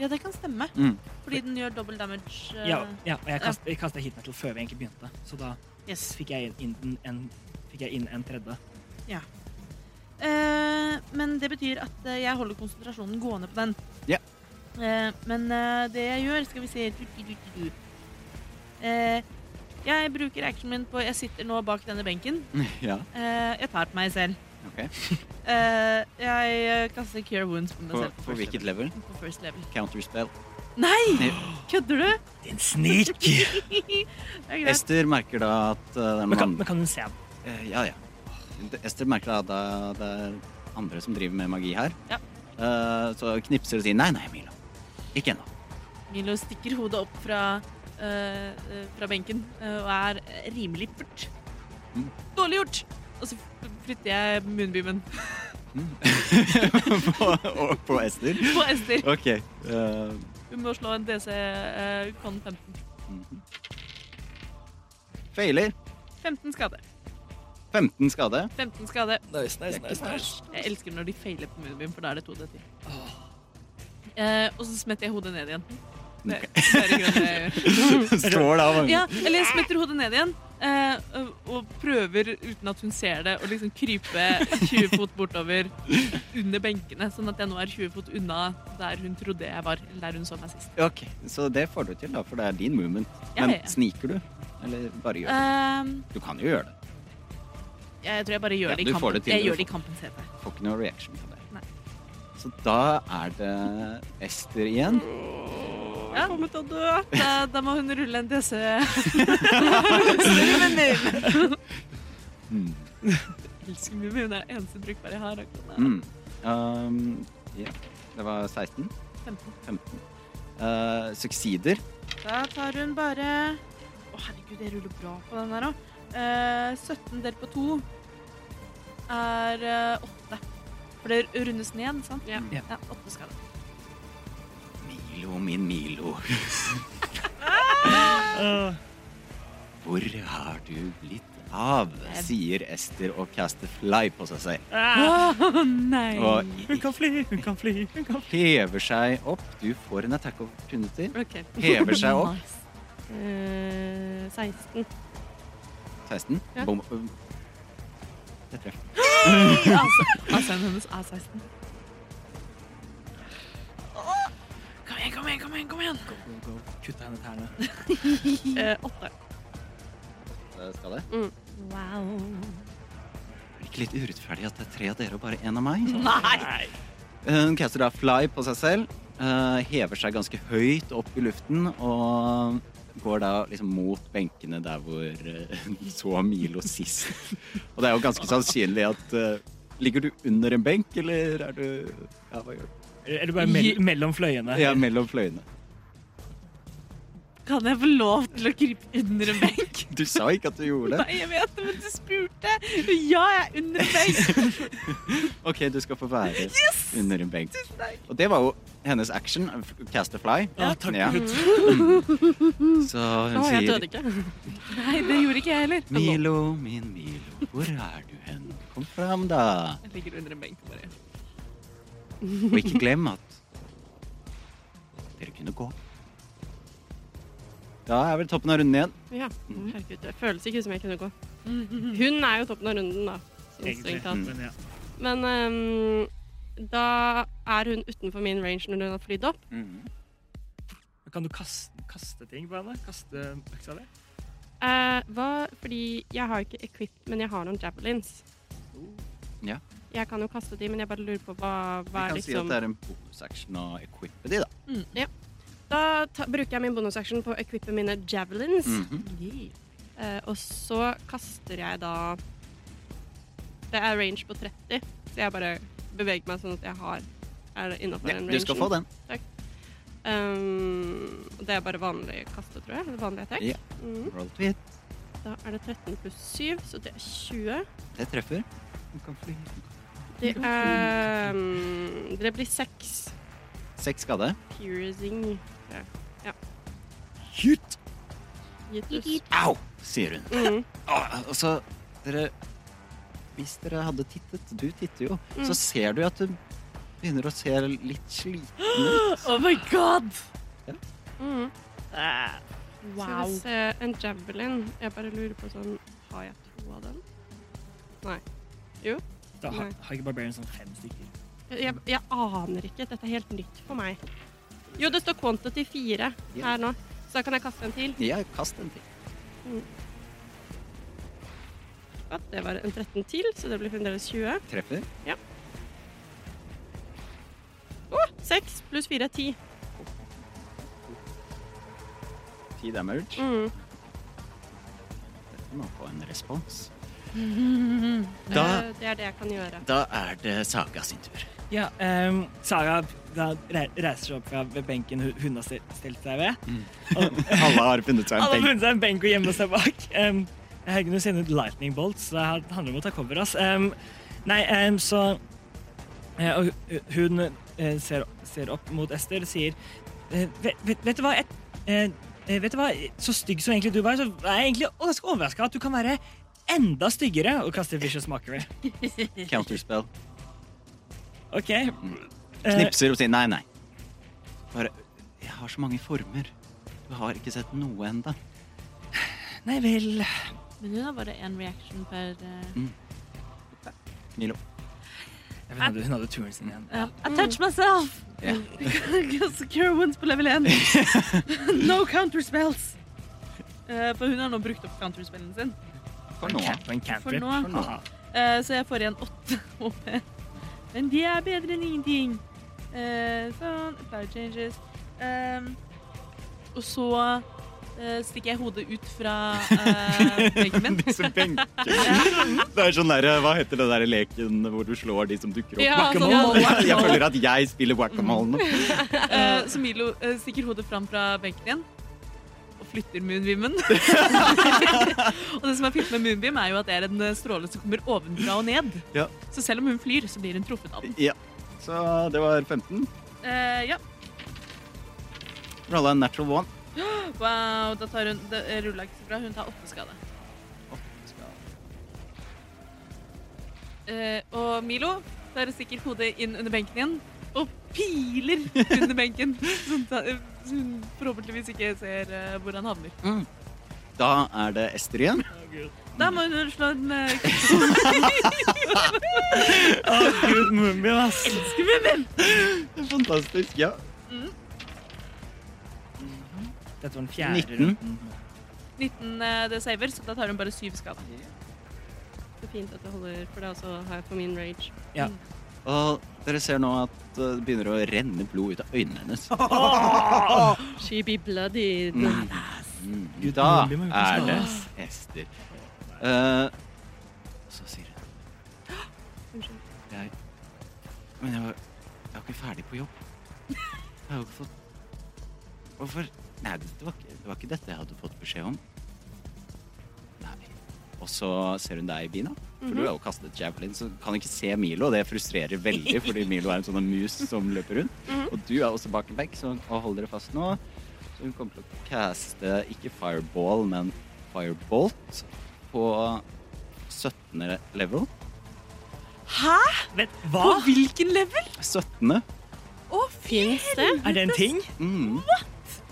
Speaker 2: Ja, det kan stemme.
Speaker 5: Mm.
Speaker 2: Fordi den gjør double damage. eh,
Speaker 4: Ja, ja og jeg kast- jeg kasta heat metal før vi egentlig begynte, så da
Speaker 2: Yes.
Speaker 4: fikk jeg inn en, en, fikk jeg inn en tredje.
Speaker 2: Eh, men det betyr at eh, jeg holder konsentrasjonen gående på den.
Speaker 5: Ja.
Speaker 2: Eh, men eh, det jeg gjør, skal vi se du, du, du, du, du. Eh, Jeg bruker actionen min på Jeg sitter nå bak denne benken.
Speaker 5: Ja,
Speaker 2: Eh, jeg tar på meg selv.
Speaker 5: ok.
Speaker 2: Eh, jeg eh, kaster Cure Wounds på meg
Speaker 5: På,
Speaker 2: selv.
Speaker 5: på hvilket level?
Speaker 2: På first level.
Speaker 5: Counterspell.
Speaker 2: Nei! Kødder du?
Speaker 4: Din snik!
Speaker 2: det er greit.
Speaker 5: Ester merker da at eh, det er
Speaker 4: men,
Speaker 5: noen
Speaker 4: kan,
Speaker 5: andre
Speaker 4: men kan hun se den?
Speaker 5: Eh, Ja, ja. Ester merker da at det er andre som driver med magi her.
Speaker 2: Ja.
Speaker 5: Eh, Så knipser og sier nei, nei, Milo. Ikke ennå.
Speaker 2: Milo stikker hodet opp fra, eh, eh, fra benken eh, og er eh, rimelig pert.
Speaker 5: Mm.
Speaker 2: Dårlig gjort! Og så flytter jeg moonbeamen
Speaker 5: på, og på Ester.
Speaker 2: på Ester.
Speaker 5: OK. eh,
Speaker 2: Hun må slå en DC eh, con 15.
Speaker 5: mhm. Feiler.
Speaker 2: 15 skade.
Speaker 5: 15 skade.
Speaker 2: 15 skade.
Speaker 4: Nice,
Speaker 5: nice, nice, nice.
Speaker 2: Jeg elsker når de feiler på moonbeam, for da er det 2D10. Eh, og så smetter jeg hodet ned igjen. Det, det er i grunnen eh, det jeg gjør.
Speaker 5: Står da mange
Speaker 2: Ja, eller jeg smetter hodet ned igjen. eh, og- og prøver, uten at hun ser det, å liksom krype 20 fot bortover under benkene. Sånn at jeg nå er 20 fot unna der hun trodde jeg var. Eller der hun så meg sist.
Speaker 5: Ok, så det får du til da, for det er din movement.
Speaker 2: Ja,
Speaker 5: Men
Speaker 2: ja.
Speaker 5: sniker du? Eller bare gjør det?
Speaker 2: Ehm,
Speaker 5: Du kan jo gjøre det.
Speaker 2: jeg tror jeg bare gjør
Speaker 5: Ja,
Speaker 2: det i
Speaker 5: du får
Speaker 2: kampen.
Speaker 5: det til,
Speaker 2: jeg
Speaker 5: du
Speaker 2: gjør det i
Speaker 5: får-
Speaker 2: kampens hete.
Speaker 5: Får ikke noe reaction på det.
Speaker 2: Nei.
Speaker 5: Så da er det Ester igjen.
Speaker 2: Ja.
Speaker 3: Jeg kommer til å dø.
Speaker 2: Da, da må hun rulle en DC.
Speaker 5: Mm.
Speaker 2: Elsker mye, men hun er den eneste brukbare jeg har. akkurat nå.
Speaker 5: Mm. Um, ja. Det var 16.
Speaker 2: 15.
Speaker 5: 15. Uh, succeeder.
Speaker 2: Da tar hun bare Å, herregud, jeg ruller bra på den her òg. Eh, 17 delt på 2 er eh, 8. For det rundes ned, sant?
Speaker 3: Ja.
Speaker 4: Ja.
Speaker 2: ja 8 skal det.
Speaker 5: Milo, min Milo.
Speaker 4: Åh.
Speaker 5: Hvor har du blitt av? Sier Ester og caster fly på seg selv.
Speaker 2: Å nei!
Speaker 5: Og
Speaker 4: Hun kan fly, hun kan fly, hun kan fly.
Speaker 5: hever seg opp. Du får en attack opportunity.
Speaker 3: Ok.
Speaker 5: Hever seg opp.
Speaker 2: Nice.
Speaker 3: Eh, 16.
Speaker 5: 16.
Speaker 3: Ja.
Speaker 5: Bom. Det treffer.
Speaker 2: Altså, altså, hennes er 16. Åh! Kom igjen, kom igjen, kom igjen! kom igjen.
Speaker 4: Kutta henne tærne.
Speaker 3: Eh, 8.
Speaker 5: Det skal det.
Speaker 3: Wow.
Speaker 5: Er det ikke litt urettferdig at det er tre av dere og bare én av meg?
Speaker 2: Nei!
Speaker 5: Hun caster da fly på seg selv. eh, hever seg ganske høyt opp i luften og går da liksom mot benkene der hvor eh, hun så Milo sist. Og det er jo ganske sannsynlig at eh, Ligger du under en benk, eller er du Ja, hva gjør du?
Speaker 4: Eller bare mell mellom fløyene.
Speaker 5: Ja, mellom fløyene.
Speaker 2: Kan jeg få lov til å krype under en benk?
Speaker 5: Du sa ikke at du gjorde det.
Speaker 2: Nei, jeg vet det, men du spurte. Ja, jeg er under en benk.
Speaker 5: OK, du skal få være under en benk. Og det var jo hennes action. Cast a fly.
Speaker 4: Å, takk
Speaker 5: Ja.
Speaker 4: Gud.
Speaker 5: Så hun
Speaker 3: Mm. Å, jeg
Speaker 5: sier
Speaker 3: døde ikke.
Speaker 2: Nei, det gjorde ikke jeg heller.
Speaker 5: Milo, min Milo, hvor er du hen? Kom fram, da.
Speaker 2: Jeg ligger under en benk bare.
Speaker 5: Og ikke glem at dere kunne gå. Da er vel toppen av runden igjen.
Speaker 3: Ja. Herregud, det føles ikke som jeg kunne gå. Hun er jo toppen av runden, da. Sånn
Speaker 4: Egentlig.
Speaker 3: strengt tatt.
Speaker 4: Men ja.
Speaker 5: Mm.
Speaker 3: Men ehm, da er hun utenfor min range når hun har flydd opp.
Speaker 4: Kan du kaste, kaste ting på henne? Kaste øksa di?
Speaker 3: Eh, hva, fordi jeg har ikke equip, men jeg har noen javelins.
Speaker 5: Ja.
Speaker 3: Jeg kan jo kaste de, men jeg bare lurer på hva,
Speaker 5: Vi
Speaker 3: hva er
Speaker 5: kan si at
Speaker 3: liksom
Speaker 5: det er en bonusaction å equippe de, da.
Speaker 3: Da ta, bruker jeg min bonusaction på å equippe mine javelins.
Speaker 5: Mhm.
Speaker 3: Eh, og så kaster jeg da Det er range på 30, så jeg bare beveger meg sånn at jeg har er innafor
Speaker 5: Ja,
Speaker 3: den
Speaker 5: du skal få den.
Speaker 3: Um, det er bare vanlig kaste, tror jeg. Eller vanlig attack.
Speaker 5: Ja.
Speaker 3: Mhm.
Speaker 5: Roll to hit.
Speaker 3: Da er det 13 pluss 7, så det er 20.
Speaker 5: Det treffer. Du kan fly.
Speaker 3: Det er um, Det blir 6
Speaker 5: Seks skade.
Speaker 3: piercing.
Speaker 5: Hit!
Speaker 3: Gitus.
Speaker 5: Au! sier hun.
Speaker 3: Mhm.
Speaker 5: Åh, Og så dere Hvis dere hadde tittet, du titter jo,
Speaker 3: Mm.
Speaker 5: så ser du at du begynner å se litt sliten ut.
Speaker 2: Oh my god! Ah.
Speaker 3: Mhm. Skal vi
Speaker 2: Wow.
Speaker 3: se eh, en javelin. Jeg bare lurer på sånn Har jeg to av dem?
Speaker 4: Da har,
Speaker 3: Nei.
Speaker 4: har ikke barberen sånn fem stykker.
Speaker 3: Jeg, jeg aner ikke. Dette er helt nytt for meg. Jo, det står quantity 4
Speaker 5: Ja.
Speaker 3: her nå, så da kan jeg kaste en til.
Speaker 5: Ja, kast en til.
Speaker 3: Ja, det var en 13 til, så det blir fremdeles 20.
Speaker 5: Treffer.
Speaker 3: 6 pluss 4 er 10.
Speaker 5: Ti damage.
Speaker 3: Mm.
Speaker 5: Dette må få en respons. Da,
Speaker 3: Eh, Det er det jeg kan gjøre.
Speaker 5: da er det Saga sin tur.
Speaker 4: Ja, ehm, Sara da re- reiser seg opp fra ved benken hun- hun har stel- stelt seg ved.
Speaker 5: Alle har funnet seg
Speaker 4: Alle har
Speaker 5: en benk.
Speaker 4: funnet seg en benk og gjemmer seg bak. Um, jeg kunne sende ut lightning bolts, så det her handler om å ta cover. Ass. Em, nei, em, så eh, og hu- Hun eh, ser, ser opp mot Ester og sier eh, vet, vet, vet du hva? Jeg, eh, eh, vet du hva? Så stygg som egentlig du var, så er jeg egentlig ganske overraska at du kan være enda styggere og kaste vicious mockery.
Speaker 5: Counterspell.
Speaker 4: OK. Eh,
Speaker 5: Knipser og sier nei, nei. Bare Jeg har så mange former. Du har ikke sett noe enda.
Speaker 4: nei vel.
Speaker 2: Men hun har bare én reaction per eh,
Speaker 5: Milo.
Speaker 4: Hun hadde, hun hadde turen sin igjen.
Speaker 2: ja. I touch myself!
Speaker 5: Ja.
Speaker 2: Secure wounds på level 1. no counterspells. Eh, for hun har nå brukt opp counterspellen sin.
Speaker 5: For nå.
Speaker 4: På en
Speaker 2: For
Speaker 4: cantrip.
Speaker 2: nå.
Speaker 5: For nå.
Speaker 2: Eh, så jeg får igjen åtte HP. Men de er bedre enn ingenting. Eh, sånn. Power changes. Ehm, og så eh, stikker jeg hodet ut fra eh, veggen min.
Speaker 5: Disse benkene. Det er sånn derre Hva heter det derre leken hvor du slår de som dukker opp?
Speaker 3: Ja, sånn,
Speaker 2: altså,
Speaker 5: Whack-a-mole.
Speaker 3: ja,
Speaker 4: altså-
Speaker 3: whack-a-mole.
Speaker 5: Jeg føler at jeg spiller whack-a-mole nå.
Speaker 2: Eh, så Milo eh, stikker hodet fram fra benken igjen og flytter moonbeamen. og det som er fint med moonbeam, er jo at det er en eh, stråle som kommer ovenfra og ned.
Speaker 5: Ja.
Speaker 2: Så selv om hun flyr, så blir hun truffet av den.
Speaker 5: Ja. Så det var 15.
Speaker 2: Eh, ja.
Speaker 5: Rolla en natural one.
Speaker 2: Wow, da tar hun Det rulla ikke så bra. Hun tar åtte skade. Eh, og Milo der stikker hodet inn under benken igjen og piler under benken. Så hun, tar, så hun forhåpentligvis ikke ser eh, hvor han havner.
Speaker 5: Da er det Ester igjen.
Speaker 2: Da må hun slå en eh,
Speaker 4: Å, Gud, Mumien, ass.
Speaker 5: Fantastisk. Ja.
Speaker 4: Dette var den fjerde
Speaker 5: 19.
Speaker 4: runden.
Speaker 2: 19 eh, det saver, så da tar hun bare 7 skade.
Speaker 3: Det er fint at jeg holder, for det også har jeg på min rage.
Speaker 4: Ja.
Speaker 5: Og dere ser nå at eh, det begynner å renne blod ut av øynene hennes.
Speaker 3: She be bloodied.
Speaker 5: Mm. Mm.
Speaker 4: Gud,
Speaker 5: Da
Speaker 4: mulig, men vi kan
Speaker 5: er
Speaker 4: slå
Speaker 5: det Ester. Eh, så sier hun jeg, Men jeg var, jeg var ikke ferdig på jobb. Jeg har jo ikke fått Hvorfor Nei, det var, ikke, det var ikke dette jeg hadde fått beskjed om. Nei. Og så ser hun deg, Bina. For du har jo kastet javelin, så kan ikke se Milo. Og det frustrerer veldig, fordi Milo er en sånn mus som løper rundt. Og du er også bak en vegg, så og hold dere fast nå. Så hun kommer til å caste ikke fireball, men firebolt på 17. level.
Speaker 8: Hæ?
Speaker 4: Vent,
Speaker 8: På
Speaker 4: hva?
Speaker 8: hvilken level?
Speaker 5: 17.
Speaker 8: Å, fy
Speaker 3: Fins det?
Speaker 4: Er det en ting?
Speaker 5: Mm.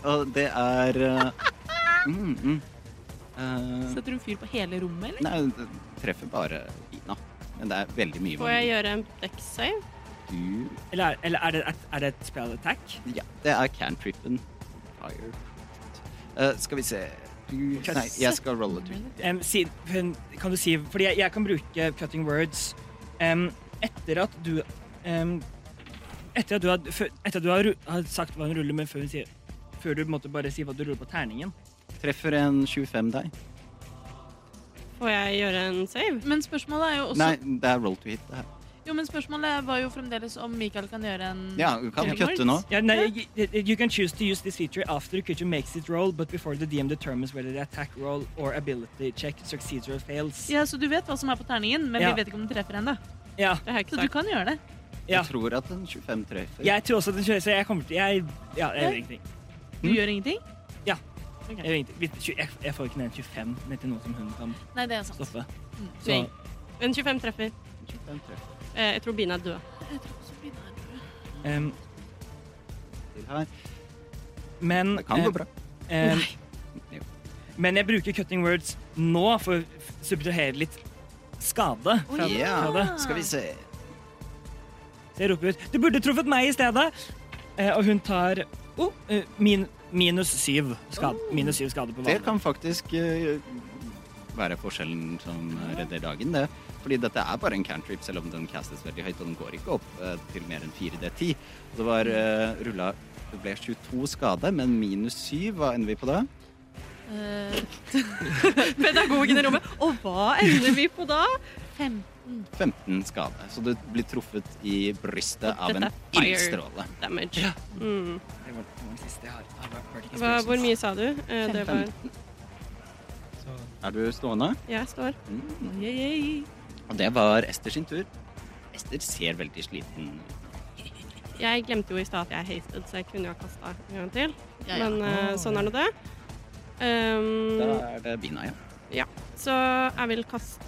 Speaker 5: Og det er eh, mm, mm. Eh,
Speaker 8: Setter hun fyr på hele rommet, eller?
Speaker 5: Nei, det treffer bare Ina. Men det er veldig mye
Speaker 3: Får jeg
Speaker 5: vanlig.
Speaker 3: gjøre en dex save?
Speaker 5: Du
Speaker 4: Eller, er- eller er, det et, er det et spell attack?
Speaker 5: Ja, det er cantrippen. Fire. Eh, skal vi se du, Nei, jeg skal rolle to.
Speaker 4: Em, si, hun- kan du si Fordi jeg, jeg kan bruke cutting words Em, etter at du em, Etter at du, har, før- etter at du har, ru- har sagt hva hun ruller, men før, hun sier, før du måtte bare si hva du ruller på terningen.
Speaker 5: Treffer en 25 deg?
Speaker 3: Får jeg gjøre en save?
Speaker 2: Men spørsmålet er jo også
Speaker 5: Nei, det er roll to hit. Det her.
Speaker 4: Mm.
Speaker 2: Jo, men spørsmålet var jo fremdeles om Mikael kan gjøre en
Speaker 5: Ja, du kan
Speaker 2: Cutting words?
Speaker 5: kutte nå.
Speaker 4: Ja, nei, you- you can choose to use this feature after the creature makes its roll, but before the DM determines whether the attack roll or ability check succeeds or fails.
Speaker 2: Ja, så du vet hva som er på terningen, men
Speaker 4: Ja.
Speaker 2: vi vet ikke om den treffer ennå.
Speaker 4: Ja,
Speaker 3: Det har jeg
Speaker 2: Så
Speaker 3: ikke
Speaker 2: du
Speaker 3: sagt.
Speaker 2: kan gjøre det.
Speaker 4: Ja.
Speaker 5: Jeg tror at en 25 treffer.
Speaker 4: jeg tror også at den kjører, så jeg kommer til Jeg, ja, jeg gjør ingenting.
Speaker 2: Du
Speaker 5: Mm.
Speaker 2: gjør ingenting?
Speaker 4: Jeg, gjør ingenting. Hvis- tju- jeg, jeg får ikke ned 25 ned til noe som hun kan
Speaker 2: Nei, det er sant.
Speaker 4: stoppe.
Speaker 2: Mm.
Speaker 4: Så
Speaker 3: En 25 treffer.
Speaker 5: 25 treffer
Speaker 3: Eh, jeg tror Bina er død.
Speaker 4: em,
Speaker 5: til her.
Speaker 4: Men
Speaker 5: Det kan gå
Speaker 4: em,
Speaker 5: bra.
Speaker 4: em,
Speaker 5: Jo.
Speaker 4: Men jeg bruker cutting words nå for å f- subtrahere litt skade. Fra,
Speaker 5: Ja,
Speaker 4: fra det.
Speaker 5: skal vi se.
Speaker 4: Så jeg roper ut Du burde truffet meg i stedet! Eh, og hun tar oh, eh, min, minus syv skade,
Speaker 3: Oh.
Speaker 4: minus syv skade på
Speaker 5: Det
Speaker 4: vanlig.
Speaker 5: kan faktisk eh, være forskjellen som redder dagen, det. Fordi dette er bare en cantrip, selv om den castes veldig høyt, og den går ikke opp eh, til mer enn 4D10. Det var uh, rulla Det ble 22 skade, men minus 7, hva ender vi på da?
Speaker 2: Eh,
Speaker 3: Pedagogen i rommet. Og hva ender vi på da?
Speaker 5: 15 skade. Så du blir truffet i brystet
Speaker 3: Og
Speaker 5: av en
Speaker 3: dette er fire.
Speaker 5: ildstråle.
Speaker 3: Damage. Mm.
Speaker 4: Det var- det var den siste jeg har. Jeg har bare ikke
Speaker 3: Hva,
Speaker 4: spørsmål.
Speaker 3: hvor mye sa du? Eh, det var
Speaker 5: Er du stående?
Speaker 3: Jeg står.
Speaker 5: Mm.
Speaker 8: Oi, oi, oi.
Speaker 5: Og det var Ester sin tur. Ester ser veldig sliten ut.
Speaker 3: Jeg glemte jo i stad at jeg er hasted, så jeg kunne jo ha kasta en gang til. Men
Speaker 4: Ah.
Speaker 3: eh, sånn er nå det. Um,
Speaker 5: Da er det Bina, ja.
Speaker 3: Så jeg vil kaste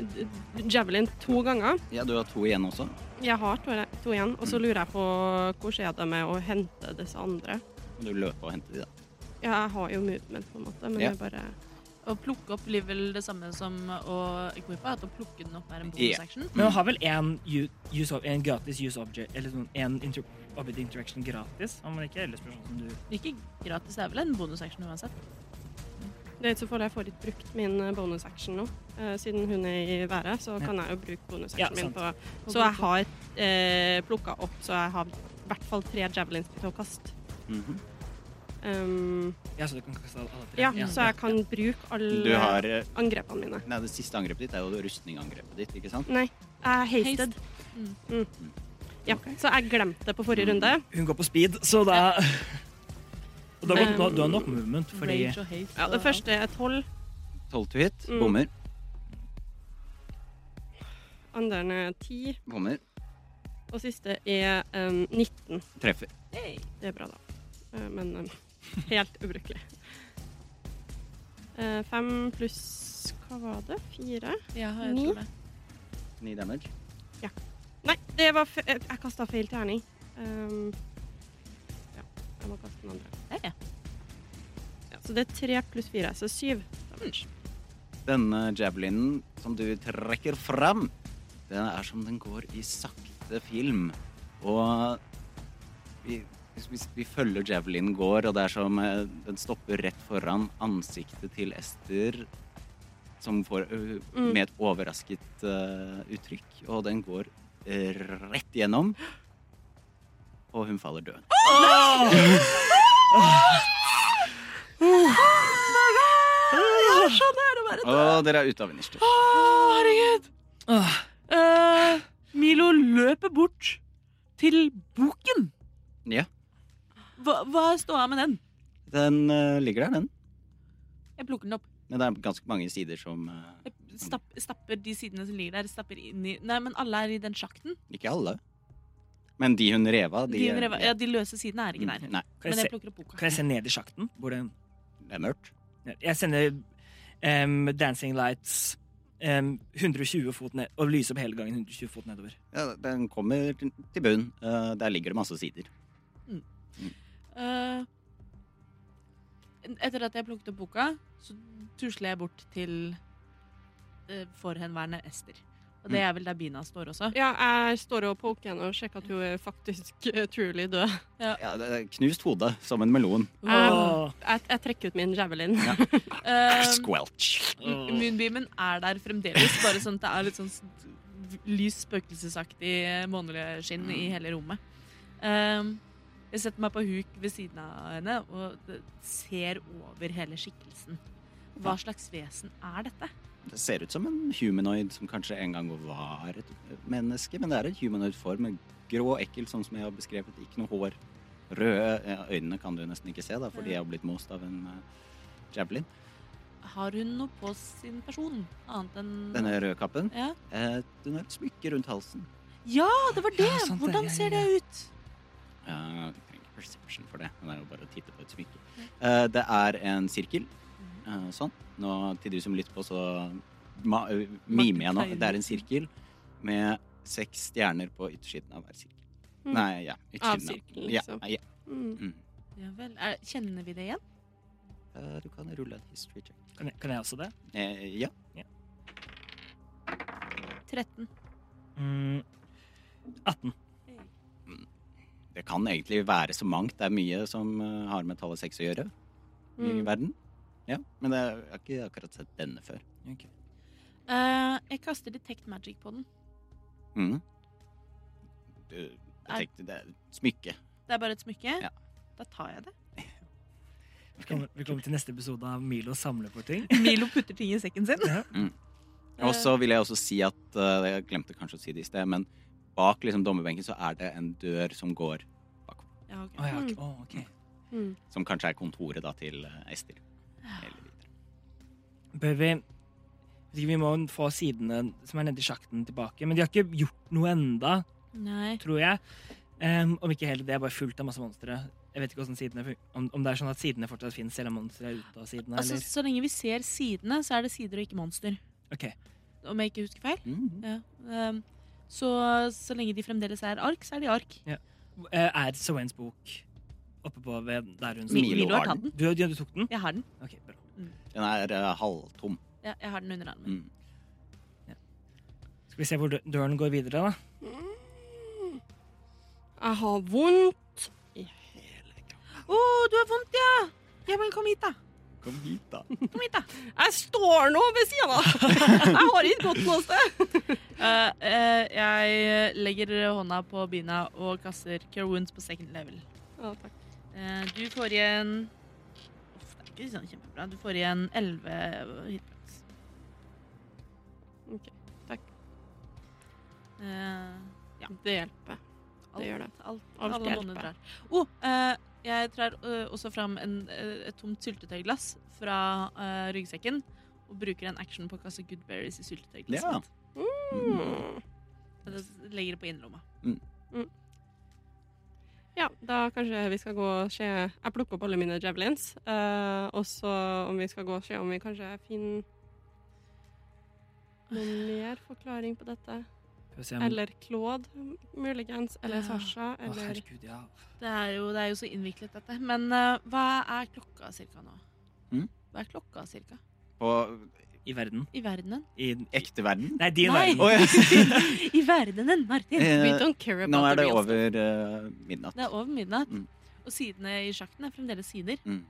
Speaker 3: d- d- javelin to ganger.
Speaker 5: Ja, Du har to igjen også.
Speaker 3: Jeg har to, to igjen, og så lurer jeg på hvor skjer det med å hente disse andre.
Speaker 5: Du løper og henter de, da.
Speaker 3: Ja, jeg har jo movement, på en måte, men
Speaker 5: Ja.
Speaker 3: jeg bare
Speaker 2: Å plukke opp blir vel det samme som å equippe, at å plukke den opp er en
Speaker 5: Ja.
Speaker 2: bonus action.
Speaker 4: Men hun har vel en, u- use of, en gratis use object Eller sånn en inter object interaction gratis? Om man ikke ellers spørsmål som du
Speaker 2: Ikke gratis, det er vel en bonus action uansett.
Speaker 3: Det er ikke så farlig, jeg får ikke brukt min eh, bonus action nå. Eh, Siden hun er i været, så
Speaker 4: Ja.
Speaker 3: kan jeg jo bruke bonus
Speaker 4: Ja,
Speaker 3: action min
Speaker 4: sant.
Speaker 3: på Så jeg har eh, plukka opp, så jeg har i hvert fall tre javelins til å kaste.
Speaker 5: Mhm.
Speaker 3: Um,
Speaker 4: Ja, så du kan kaste alle tre?
Speaker 3: ja, så jeg kan bruke
Speaker 5: Du
Speaker 3: alle
Speaker 5: har eh,
Speaker 3: angrepene mine.
Speaker 5: Nei, det siste angrepet ditt er jo rustningangrepet ditt, ikke sant?
Speaker 3: Nei, jeg er hasted.
Speaker 2: Mm.
Speaker 3: Mm. Ja, så jeg glemte det på forrige runde.
Speaker 4: Hun går på speed, så da Og da går,
Speaker 3: Um,
Speaker 4: da- du har nok movement, fordi
Speaker 2: Rage og hate.
Speaker 3: Ja, det
Speaker 2: og-
Speaker 3: første er tolv,
Speaker 5: 12 to hit.
Speaker 3: Mm.
Speaker 5: Bommer.
Speaker 3: andre er ti,
Speaker 5: Bommer.
Speaker 3: og siste er um, 19.
Speaker 5: Treffer.
Speaker 3: Det er bra, da. Eh, Men um, helt ubrukelig. Eh, Fem pluss Hva var det? Fire?
Speaker 2: Ja, jeg tror det.
Speaker 5: 9 damage.
Speaker 3: Nei, det var fe eh, jeg kasta feil terning. Um, ja, jeg må kaste den andre.
Speaker 2: Ja, ja.
Speaker 3: Ja, så det er tre pluss fire, så syv. damage.
Speaker 5: Denne javelinen som du trekker fram, den er som den går i sakte film. Og vi, hvis vi, vi følger javelinen går, og det er som eh, den stopper rett foran ansiktet til Ester. som får, øh,
Speaker 3: Mm.
Speaker 5: med et overrasket øh, uttrykk. Og den går øh, rett gjennom. Og hun faller død. Og dere er ute av innerste.
Speaker 9: Eh, Milo løper bort til boken.
Speaker 5: Ja.
Speaker 9: Hva, hva står jeg med den?
Speaker 5: Den øh, ligger der, den.
Speaker 2: Jeg plukker den opp.
Speaker 5: Men det er ganske mange sider som øh,
Speaker 2: Jeg stapp, stapper de sidene som ligger der, stapper inn i Nei, men alle er i den sjakten.
Speaker 5: Ikke alle. Men de hun rev av, de,
Speaker 2: De, reva- ja, de løse sidene er ikke der.
Speaker 5: Mm, Nei,
Speaker 2: Men
Speaker 4: Kan jeg,
Speaker 2: jeg
Speaker 4: se,
Speaker 2: plukker opp boka.
Speaker 4: kan jeg se ned i sjakten? Hvor den
Speaker 5: det er mørkt.
Speaker 4: Jeg sender em, Dancing Lights em, 120 fot ned og lyser opp hele gangen 120 fot nedover.
Speaker 5: Ja, den kommer til til bunn. Eh, Der ligger det masse sider.
Speaker 2: Eh, etter at jeg plukket opp boka, så tusler jeg bort til eh, forhenværende Ester. Og
Speaker 4: Mm.
Speaker 2: det er vel der Bina står også.
Speaker 3: Ja, jeg står og poker henne og sjekker at hun er faktisk eh, truly død.
Speaker 5: Ja, det er knust hode som en melon.
Speaker 4: Åh.
Speaker 3: Jeg, jeg trekker ut min javelin.
Speaker 2: Eh,
Speaker 5: Squelch.
Speaker 2: M- Moonbeamen er der fremdeles, bare sånn at det er litt sånn s- lys spøkelsesaktig måneskinn
Speaker 4: Mm.
Speaker 2: i hele rommet. Ehm, jeg setter meg på huk ved siden av henne og d- ser over hele skikkelsen. Hva slags vesen er dette?
Speaker 5: Det ser ut som en humanoid som kanskje en gang var et menneske, men det er en humanoid form. en Grå og ekkel, sånn som jeg har beskrevet. Ikke noe hår. Røde eh, øynene kan du nesten ikke se, da, for de er jo blitt most av en eh, javelin.
Speaker 2: Har hun noe på sin person annet enn
Speaker 5: Denne røde kappen.
Speaker 2: Ja.
Speaker 5: eh, Den har et smykke rundt halsen.
Speaker 2: ja, det var det!
Speaker 4: Ja, sant det.
Speaker 2: Hvordan
Speaker 4: Ja,
Speaker 2: ser
Speaker 4: ja,
Speaker 2: det ut?
Speaker 5: Eh, Du trenger ikke perception for det. Det er jo bare å titte på et smykke. Eh, Det er en sirkel.
Speaker 3: Mhm.
Speaker 5: Eh, Sånn. Nå, til de som lytter på, så ma eh, mimer jeg nå. Det er en sirkel med seks stjerner på yttersiden av hver sirkel.
Speaker 3: Mm.
Speaker 5: Nei, ja.
Speaker 3: Av
Speaker 5: Yttersiden
Speaker 3: sirkelen,
Speaker 5: Ja,
Speaker 3: liksom.
Speaker 5: ja.
Speaker 3: Mm.
Speaker 5: Mm.
Speaker 2: Ja vel. Er, kjenner vi det igjen?
Speaker 5: Eh, Du kan rulle en history check.
Speaker 4: Kan, jeg- kan jeg også det?
Speaker 5: Eh, Ja.
Speaker 2: 13.
Speaker 4: Mm, 18.
Speaker 5: Det kan egentlig være så mangt. Det er mye som eh, har med tallet seks å gjøre i
Speaker 3: Mm.
Speaker 5: verden. Ja, Men jeg har ikke akkurat sett denne før.
Speaker 2: Eh, jeg kaster detect magic på den.
Speaker 5: Mm. Du, jeg
Speaker 2: Er-
Speaker 5: tenkte det er et smykke.
Speaker 2: Det er bare et smykke.
Speaker 5: Ja.
Speaker 2: Da tar jeg det.
Speaker 4: Velkommen, velkommen til neste episode av Milo samler på ting.
Speaker 9: Milo putter ting i sekken sin.
Speaker 5: Og så vil jeg også si at eh, Jeg glemte kanskje å si det i sted, men bak liksom dommerbenken så er det en dør som går
Speaker 2: Ja, ok.
Speaker 4: Å, ja, ok. Å, ok.
Speaker 5: Som kanskje er kontoret da til eh, Ester. Eller videre.
Speaker 4: Bør vi vet ikke, Vi må få sidene som er nedi sjakten, tilbake. Men de har ikke gjort noe enda,
Speaker 2: Nei.
Speaker 4: tror jeg. Em, om ikke heller det er bare fullt av masse monstre. Jeg vet ikke hvordan sidene fun- om, om det er sånn at sidene fortsatt finnes, selv om monstre er ute av sidene.
Speaker 2: Altså,
Speaker 4: Eller?
Speaker 2: så lenge vi ser sidene, så er det sider og ikke monster.
Speaker 4: Ok.
Speaker 2: Om jeg ikke husker feil.
Speaker 5: Mhm.
Speaker 2: Ja. Ehm, så, så lenge de fremdeles er ark, så er de ark.
Speaker 4: Eh, Er Sowains bok oppe på ved der hun
Speaker 5: Mi- Milo
Speaker 2: Milo
Speaker 5: har
Speaker 2: har tatt den.
Speaker 4: Du, ja, du tok den?
Speaker 2: Jeg har den.
Speaker 4: Ok, bra.
Speaker 5: Den er eh, halvtom.
Speaker 2: Ja, jeg har den under armen.
Speaker 5: Mm.
Speaker 4: Skal vi se hvor dø- døren går videre, da?
Speaker 3: Jeg har vondt.
Speaker 2: Å, du har vondt, ja! Ja, men kom hit, da.
Speaker 5: Kom hit, da.
Speaker 2: Kom hit, da.
Speaker 3: Jeg står nå ved siden av! Jeg har ikke gått noe sted.
Speaker 2: Eh, eh, jeg legger hånda på bina og kaster Cure Wounds på second level.
Speaker 3: Å, takk.
Speaker 2: Eh, du får igjen Uff, Det er ikke sånn kjempebra. Du får igjen 11 hitpoints.
Speaker 3: Ok, takk.
Speaker 2: Eh,
Speaker 3: Det hjelper. Det gjør det.
Speaker 2: Alt,
Speaker 3: Alt
Speaker 2: alle
Speaker 3: hjelper.
Speaker 2: båndene drar. Oh, eh, jeg trar eh, også fram en, eh, et tomt syltetøyglass fra eh, ryggsekken og bruker en action på å kaste good berries i syltetøyglasset.
Speaker 5: Ja.
Speaker 2: mitt.
Speaker 3: Mm.
Speaker 2: Så det legger det på innerlomma.
Speaker 3: Ja, da kanskje vi skal gå og se Jeg plukker opp alle mine javelins. eh, og så om vi skal gå og se om vi kanskje finner noen mer forklaring på dette.
Speaker 4: Skal vi se om-
Speaker 3: Eller Claude, muligens. Eller
Speaker 2: Ja.
Speaker 3: Sasha.
Speaker 4: Å,
Speaker 3: Eller
Speaker 4: herregud, ja.
Speaker 2: Det er jo, det er jo så innviklet, dette. Men eh, hva er klokka cirka nå?
Speaker 5: Mm?
Speaker 2: Hva er klokka cirka?
Speaker 5: På
Speaker 4: I verden.
Speaker 2: I verdenen?
Speaker 4: I,
Speaker 5: ekte verden.
Speaker 4: nei, din
Speaker 2: Nei.
Speaker 4: verden.
Speaker 5: Å, ja.
Speaker 2: I verdenen, Martin!
Speaker 3: We
Speaker 5: Eh,
Speaker 3: don't care about
Speaker 5: Nå
Speaker 3: the
Speaker 5: er det
Speaker 3: real stuff.
Speaker 5: over eh, midnatt.
Speaker 2: Det er over midnatt.
Speaker 5: Mm.
Speaker 2: Og sidene i sjakten er fremdeles sider.
Speaker 5: Mm.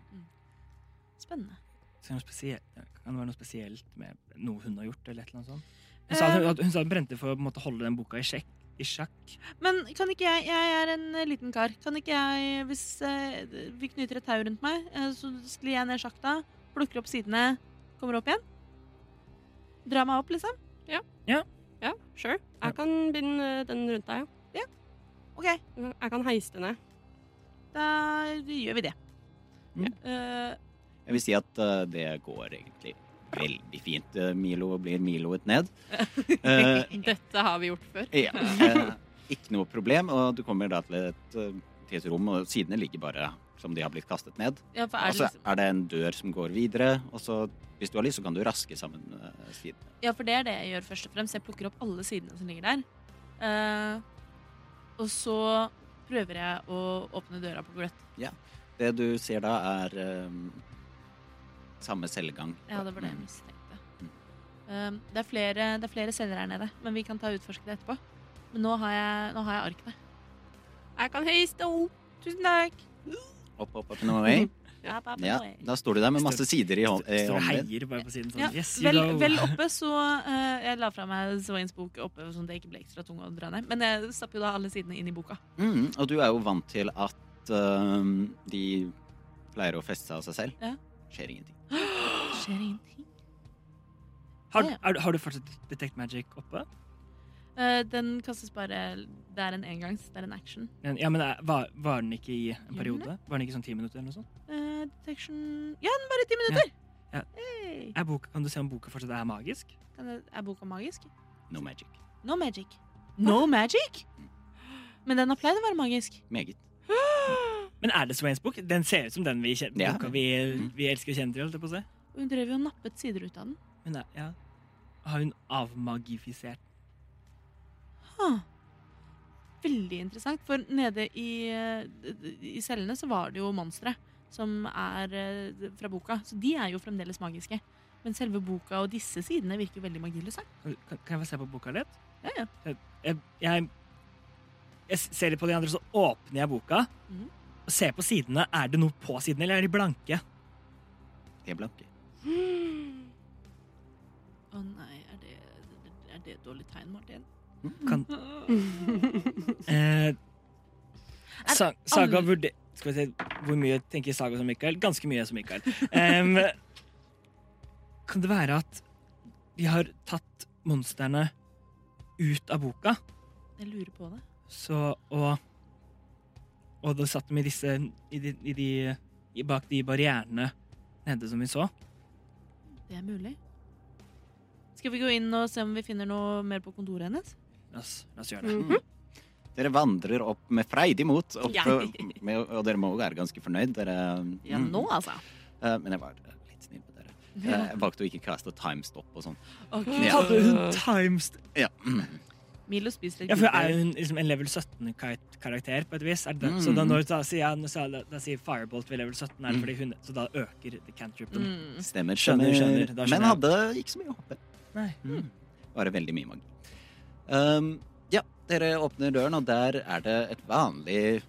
Speaker 2: Spennende.
Speaker 4: Så er det noe spesielt- Kan det være noe spesielt med noe hun har gjort? eller et eller annet sånt? Hun
Speaker 2: Eh.
Speaker 4: sa at hun, at hun, sa hun brente for å på en måte, holde den boka i, sjekk, i sjakk.
Speaker 10: Men kan ikke jeg Jeg er en eh, liten kar. Kan ikke jeg, hvis eh, vi knyter et tau rundt meg, eh, så sklir jeg ned sjakta, plukker opp sidene, kommer opp igjen? Dra meg opp, liksom?
Speaker 3: Ja, sure.
Speaker 4: Ja.
Speaker 3: Jeg kan binde den rundt deg,
Speaker 10: OK,
Speaker 3: ja. Jeg kan heise den ned.
Speaker 10: da gjør vi det.
Speaker 2: Eh,
Speaker 5: Jeg vil si at eh, det går egentlig veldig fint. Eh, Milo blir miloet ned. Eh,
Speaker 2: dette har vi gjort før.
Speaker 5: ja. eh, ikke noe problem, og du kommer da til et, eh, til et rom, og sidene ligger bare som de har blitt kastet ned.
Speaker 2: Ja, for er
Speaker 5: Og
Speaker 2: det
Speaker 5: så
Speaker 2: liksom,
Speaker 5: er det en dør som går videre, og så, hvis du har lyst, så kan du raske sammen eh, sidene.
Speaker 2: ja, for det er det jeg gjør først og fremst. Jeg plukker opp alle sidene som ligger der. Eh, og så prøver jeg å åpne døra på gløtt.
Speaker 5: Det du ser da, er eh, samme cellegang.
Speaker 2: Ja, det var det jeg
Speaker 5: Mm.
Speaker 2: mistenkte. Um, det, er flere, det er flere celler her nede, men vi kan ta og utforske det etterpå. Men nå har jeg, nå har jeg arkene.
Speaker 3: Jeg kan heise deg opp.
Speaker 2: Tusen takk!
Speaker 5: Opp, opp, opp, and away.
Speaker 2: Ja, ba, ba,
Speaker 5: Ja,
Speaker 2: ba.
Speaker 5: da står du der med masse sider i
Speaker 4: Står
Speaker 5: hånd- i
Speaker 4: står og
Speaker 5: hånden din.
Speaker 4: heier bare på siden sånn.
Speaker 2: Ja,
Speaker 4: yes, you
Speaker 2: vel,
Speaker 4: go.
Speaker 2: vel oppe, så eh, Jeg la fra meg Swains bok oppe, sånn at jeg ikke ble ekstra tung å dra ned. Men jeg stapp jo da alle sidene inn i boka.
Speaker 5: Mm, og du er jo vant til at øhm, de pleier å feste seg av seg selv.
Speaker 2: Ja.
Speaker 5: Skjer ingenting.
Speaker 2: Skjer ingenting.
Speaker 4: har, er, du- har du fortsatt Detect Magic oppe?
Speaker 2: Eh, den kastes bare Det er en engangs. Det er en action.
Speaker 4: Men- Ja, men er- var, var den ikke i en
Speaker 2: Gjør den
Speaker 4: periode? Var den ikke sånn ti minutter eller noe sånt?
Speaker 2: Eh, detection Ja, den bare i ti minutter!
Speaker 4: Ja.
Speaker 2: Hey.
Speaker 4: Er boka, kan du se om boka fortsatt er magisk?
Speaker 2: Kan det, er boka magisk?
Speaker 5: No magic.
Speaker 2: No magic. No magic? Men den har pleid å være magisk.
Speaker 5: Meget.
Speaker 4: Men er det Swains bok? Den ser ut som den vi, kjen-
Speaker 5: Ja.
Speaker 4: boka vi, vi elsker og kjenner til. holdt jeg på å si.
Speaker 2: Og hun drev jo og nappet sider ut av den.
Speaker 4: Men er, ja. Har hun avmagifisert
Speaker 2: Ah. Veldig interessant, for nede i, eh, i cellene så var det jo monstre som er eh, fra boka. Så de er jo fremdeles magiske. Men selve boka og disse sidene virker jo veldig magiløse.
Speaker 4: Kan, kan kan jeg få se på boka litt?
Speaker 2: Ja, ja.
Speaker 4: Jeg, jeg, jeg ser litt på de andre, så åpner jeg boka.
Speaker 2: Mhm.
Speaker 4: Og ser på sidene. Er det noe på sidene, eller er de blanke?
Speaker 5: De er blanke.
Speaker 3: Hmm.
Speaker 2: Å nei, er det, er det et dårlig tegn, Martin? Mm.
Speaker 4: Kan, Mm.
Speaker 3: Nei,
Speaker 4: eh, sa, saga
Speaker 2: alle-
Speaker 4: vurder... Skal vi se, hvor mye tenker Saga som Mikael? Ganske mye som Mikael. Em, kan det være at de har tatt monstrene ut av boka,
Speaker 2: Jeg lurer på det.
Speaker 4: så og Og da satt de i disse i de, i de, i Bak de barrierene nede som vi så.
Speaker 2: Det er mulig. Skal vi gå inn og se om vi finner noe mer på kontoret hennes?
Speaker 4: La oss, la oss gjøre det.
Speaker 5: Dere vandrer opp med freidig mot, opp,
Speaker 2: Ja.
Speaker 5: med, og dere må jo være ganske fornøyd. Dere,
Speaker 2: Ja,
Speaker 5: mm.
Speaker 2: nå altså.
Speaker 5: Eh, men jeg var litt snill med dere. Eh, Jeg valgte å ikke kaste timestop og sånn.
Speaker 2: Ok.
Speaker 5: Ja.
Speaker 4: Hadde hun times
Speaker 5: Ja.
Speaker 2: Milo spiser litt
Speaker 4: Ja, for er
Speaker 2: gullbrød.
Speaker 4: hun liksom en level 17-karakter på et vis? Er det det?
Speaker 5: Mm.
Speaker 4: Så da, når, da, sier jeg, når sier jeg, da sier Firebolt ved level 17, er det fordi hun Så da øker det cantripen.
Speaker 2: Mm.
Speaker 5: Stemmer,
Speaker 4: Skjønner,
Speaker 5: skjønner.
Speaker 4: skjønner. Da skjønner
Speaker 5: Men
Speaker 4: jeg.
Speaker 5: hadde ikke så mye å håpe.
Speaker 4: Nei.
Speaker 5: Mm. Bare veldig mye magi. Um, ja, dere åpner døren, og der er det et vanlig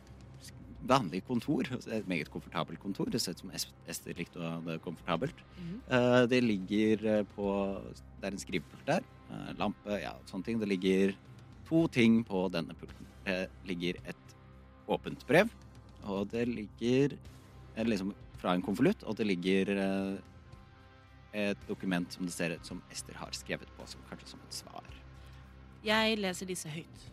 Speaker 5: vanlig kontor. Et meget komfortabelt kontor. Det ser ut som Es- Ester likte å ha det komfortabelt. Uh, det ligger eh, på Det er en skrivepult der. eh, lampe, ja, sånne ting. Det ligger to ting på denne pulten. Det ligger et åpent brev, og det ligger eh, liksom fra en konvolutt, og det ligger eh, et dokument som det ser ut som Ester har skrevet på, som kanskje som et svar.
Speaker 2: Jeg leser disse høyt.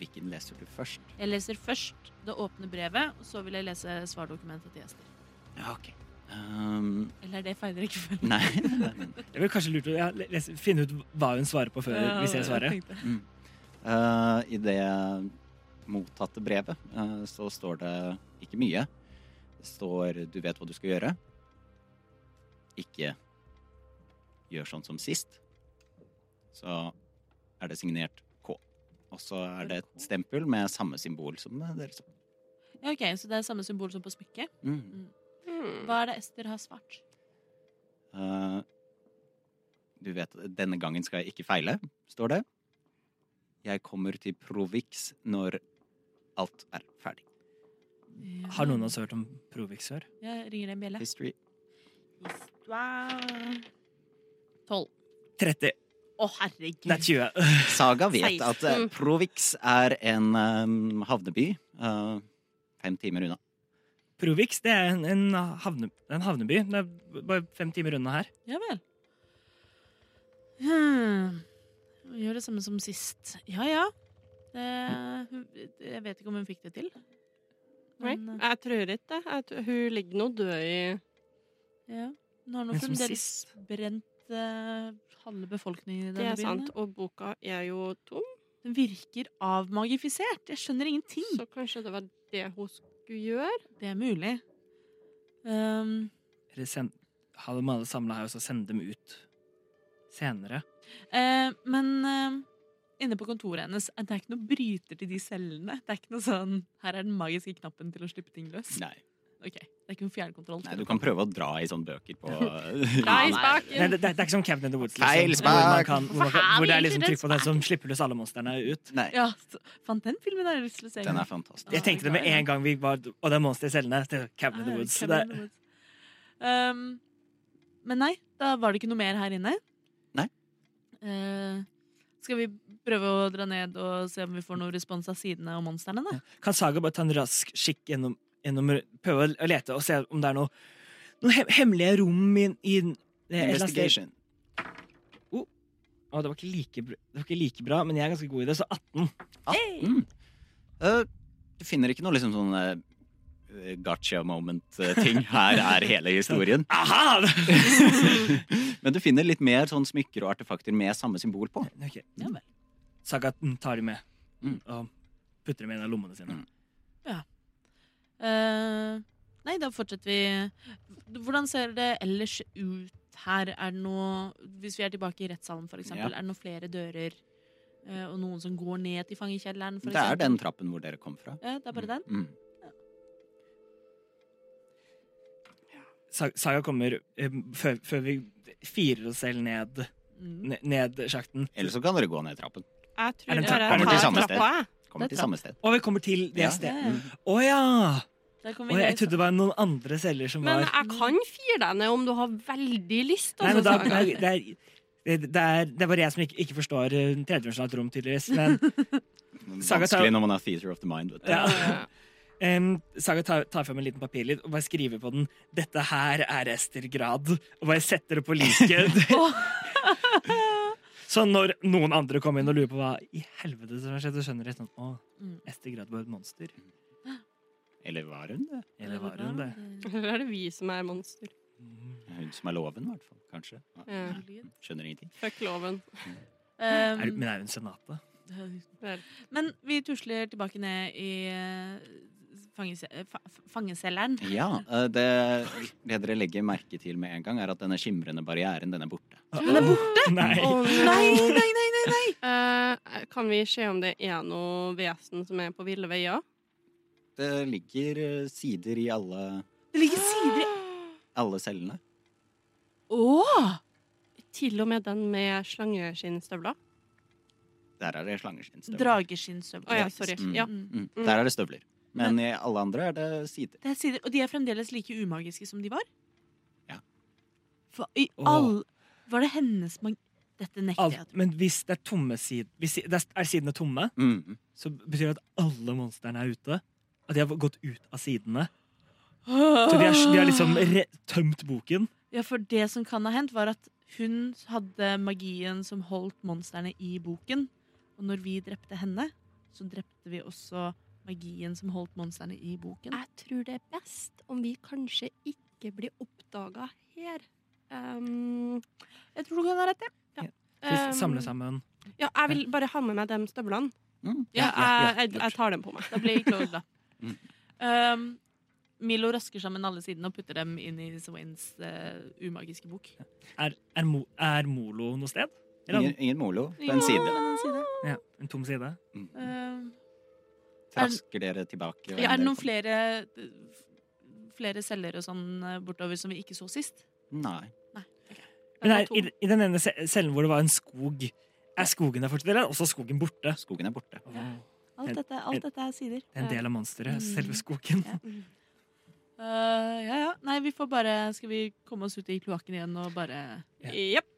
Speaker 5: Hvilken leser du først?
Speaker 2: Jeg leser først det åpne brevet, og så vil jeg lese svardokumentet til Ester.
Speaker 5: Ja, ok. Um,
Speaker 2: Eller er det feil rekkefølge?
Speaker 5: nei, nei, men
Speaker 4: Det blir kanskje lurt å ja, lese, finne ut hva hun svarer på før vi ser svaret.
Speaker 5: Mm. Eh, I det mottatte brevet eh, så står det ikke mye. Det står 'du vet hva du skal gjøre'. Ikke gjør sånn som sist. Så er det signert K. Og så er det et stempel med samme symbol som eh, dere så.
Speaker 2: Ja, ok, Så det er samme symbol som på smykket?
Speaker 5: Mm.
Speaker 2: Hva er det Ester har svart?
Speaker 5: Eh, du vet 'denne gangen skal jeg ikke feile', står det. Jeg kommer til Provix når alt er ferdig.
Speaker 4: Har noen av oss hørt om Provix før?
Speaker 2: Jeg ringer en bjelle.
Speaker 5: History.
Speaker 11: Du er
Speaker 2: Tolv.
Speaker 4: 30.
Speaker 11: Å, herregud.
Speaker 4: Det er 20.
Speaker 5: Saga vet at eh, Provix er en eh, havneby eh, fem timer unna.
Speaker 4: Provix det er en, en, havne, en havneby. Det er bare fem timer unna her.
Speaker 2: Ja vel. Hmm. Vi Gjør det samme som sist. Ja ja. Det, hun- jeg vet ikke om hun fikk det til.
Speaker 3: Nei,
Speaker 2: Men,
Speaker 3: jeg tror ikke det. Jeg tror- Hun ligger nå død i
Speaker 2: eh, ja. Hun har nå
Speaker 4: Men som
Speaker 2: fremdeles brent eh, halve befolkningen i
Speaker 3: Det
Speaker 2: denne
Speaker 3: er
Speaker 2: byen.
Speaker 3: sant. Og boka er jo tom,
Speaker 2: Den virker avmagifisert. Jeg skjønner ingenting.
Speaker 3: så kanskje det var det hun skulle gjøre.
Speaker 2: Det er mulig. Um,
Speaker 4: Eller send, ha dem alle samla her, og så sende dem ut senere.
Speaker 2: eh, men eh, inne på kontoret hennes eh, det er ikke noe bryter til de cellene. Det er ikke noe sånn Her er den magiske knappen til å slippe ting løs.
Speaker 5: Nei.
Speaker 2: Ok, Det er ikke noe fjernkontroll.
Speaker 5: Nei, du kan prøve å dra i sånne bøker på
Speaker 3: Nei,
Speaker 11: nei.
Speaker 3: spaken.
Speaker 4: Nei, det, det er ikke sånn Cabin in the Woods.
Speaker 5: Feil
Speaker 4: hvor, man
Speaker 5: smak.
Speaker 4: kan, hvor, man
Speaker 11: Hvorfor
Speaker 4: kan,
Speaker 11: har
Speaker 4: hvor det
Speaker 11: vi
Speaker 4: er liksom
Speaker 11: egentlig
Speaker 4: trykk på den som slipper løs alle monstrene ut.
Speaker 5: Nei,
Speaker 2: Ja, så- fant den filmen har jeg lyst til å se.
Speaker 5: den er fantastisk.
Speaker 4: Jeg tenkte det med en gang vi var Og det er monster i cellene. Det er Cabin in the Woods.
Speaker 2: Cabin
Speaker 4: Det,
Speaker 2: in the Woods. Um, men nei, da var det ikke noe mer her inne.
Speaker 5: Nei.
Speaker 2: Eh, skal vi prøve å dra ned og se om vi får noen respons av sidene og monstrene, da?
Speaker 4: kan Saga bare ta en rask skikk gjennom, gjennom Prøve å lete og se om det er noe, noe he- hemmelige rom i, i et eller annet sted.
Speaker 5: Investigation.
Speaker 4: Å, det, var ikke like, br- det var ikke like bra, men jeg er ganske god i det, så 18.
Speaker 5: Ah, 18. Eh, du finner ikke noe liksom sånn eh, gotcha moment-ting. Her er hele historien.
Speaker 4: Aha!
Speaker 5: Men du finner litt mer sånn smykker og artefakter med samme symbol på.
Speaker 4: Ok.
Speaker 2: Ja vel.
Speaker 4: Saga mm, tar de med
Speaker 5: Mm.
Speaker 4: og putter dem i en av lommene sine.
Speaker 5: Mm.
Speaker 2: Eh, nei, da fortsetter vi. Hvordan ser det ellers ut her? Er det noe Hvis vi er tilbake i rettssalen, for eksempel,
Speaker 5: Ja.
Speaker 2: er det noen flere dører? eh, og noen som går ned til fangekjelleren, for
Speaker 5: Det er
Speaker 2: eksempel?
Speaker 5: den trappen hvor dere kom fra.
Speaker 2: Ja, det er bare den?
Speaker 5: Mm.
Speaker 4: Sa- Saga kommer eh, før, før vi firer oss selv ned,
Speaker 2: Mm.
Speaker 4: ne- ned sjakten.
Speaker 5: Eller så kan dere gå ned trappen.
Speaker 3: Jeg
Speaker 4: Er
Speaker 3: tror bare
Speaker 4: den trappa?
Speaker 3: jeg
Speaker 4: Kommer
Speaker 5: til
Speaker 3: tar
Speaker 5: samme
Speaker 3: trappa, jeg.
Speaker 2: Det
Speaker 5: Kommer
Speaker 2: er
Speaker 5: til samme sted.
Speaker 4: Og vi kommer til det
Speaker 5: Ja.
Speaker 4: stedet.
Speaker 2: Ja.
Speaker 4: Å ja!
Speaker 2: Der kommer
Speaker 4: Mm. Å,
Speaker 2: vi
Speaker 4: jeg
Speaker 2: ned.
Speaker 4: trodde det var noen andre celler som
Speaker 3: Men
Speaker 4: var
Speaker 3: jeg kan fire deg ned om du har veldig lyst.
Speaker 4: Nei,
Speaker 3: Altså,
Speaker 4: men da,
Speaker 3: Saga.
Speaker 4: nei, det, er, det, er, det er bare jeg som ikke, ikke forstår eh, tredimensjonalt rom, tydeligvis. Men Saga tar-
Speaker 5: Vanskelig når man er theater of the mind. Vet du.
Speaker 4: ja. Em, Saga tar, tar frem en liten papirlyd og bare skriver på den 'Dette her er Ester-grad', og bare setter det på liket. så når noen andre kommer inn og lurer på hva i helvete som har skjedd, så skjønner de sånn 'Å,
Speaker 2: Mm.
Speaker 4: Ester-grad var et monster'.
Speaker 5: Eller var hun det?
Speaker 4: Eller var hun det?
Speaker 2: Mm,
Speaker 3: Eller er det vi som er monster?
Speaker 5: Hun som er loven, i hvert fall. Kanskje. Ja.
Speaker 3: Ja.
Speaker 5: Skjønner ingenting.
Speaker 3: Fuck loven.
Speaker 4: Er,
Speaker 2: Um,
Speaker 4: men er hun senate?
Speaker 3: Vel.
Speaker 2: men vi tusler tilbake ned i eh, fangece- eh, fa- fangecelleren.
Speaker 5: Ja, eh, det, det dere legger merke til med en gang, er at denne skimrende barrieren, den er borte.
Speaker 4: Hun er borte! Nei.
Speaker 3: Å,
Speaker 2: Nei,
Speaker 3: no.
Speaker 2: nei, nei, nei!
Speaker 3: Eh, kan vi se om det er noe vesen som er på ville veier?
Speaker 5: Det ligger eh, sider i alle,
Speaker 2: Det ligger sider i
Speaker 5: alle cellene.
Speaker 2: Åh!
Speaker 3: Til og med den med slangeskinnstøvler.
Speaker 5: Der er det slangeskinnstøvler.
Speaker 2: Drageskinnstøvler.
Speaker 3: Å ja, sorry.
Speaker 5: Mm.
Speaker 3: Ja.
Speaker 2: Mm.
Speaker 5: Mm. Der er det støvler. Men i alle andre er det sider.
Speaker 2: Det er sider, og de er fremdeles like umagiske som de var?
Speaker 5: Ja.
Speaker 2: For i
Speaker 4: Åh.
Speaker 2: all Var det hennes mag... Dette nekter jeg. å
Speaker 4: Alt,
Speaker 2: tro.
Speaker 4: men hvis det er tomme sider Hvis si- det er er sidene tomme,
Speaker 5: Mm.
Speaker 4: så betyr det at alle monstrene er ute. At de har gått ut av sidene.
Speaker 2: Åh.
Speaker 4: Så de har, de har liksom re tømt boken.
Speaker 2: Ja, for det som kan ha hendt, var at hun hadde magien som holdt monstrene i boken. Og når vi drepte henne, så drepte vi også magien som holdt monstrene i boken.
Speaker 3: Jeg tror det er best om vi kanskje ikke blir oppdaga her. Um,
Speaker 2: Jeg tror du kan ha rett, ja.
Speaker 4: Så de
Speaker 3: Ehm,
Speaker 4: samler sammen.
Speaker 3: Ja, jeg vil bare ha med meg de støvlene.
Speaker 5: Mm.
Speaker 3: Ja,
Speaker 4: ja,
Speaker 3: jeg, jeg, jeg tar dem på meg.
Speaker 2: Da blir jeg ikke glad.
Speaker 5: Mm.
Speaker 2: Um, Milo rasker sammen alle sidene og putter dem inn i Swains eh, umagiske bok.
Speaker 4: Er, er, Mo er Molo noe sted? Eller
Speaker 5: Ingen, ingen molo på en side.
Speaker 2: På en side.
Speaker 4: ja, en tom side?
Speaker 5: Mm.
Speaker 2: Um,
Speaker 5: Trasker dere tilbake.
Speaker 2: Ja, er det noen flere Flere celler og sånn eh, bortover som vi ikke så sist?
Speaker 5: Nei.
Speaker 4: Men er, i, I den ene ce- cellen hvor det var en skog, er skogen der fortsatt? Eller er også skogen borte?
Speaker 5: Skogen er borte.
Speaker 4: Åh, Det
Speaker 2: Alt dette, alt dette er sider. Mm.
Speaker 4: er en del av monsteret. Selve skogen.
Speaker 2: Eh, ja, ja. Nei, vi får bare Skal vi komme oss ut i kloakken igjen og bare
Speaker 4: Ja.
Speaker 3: Jepp.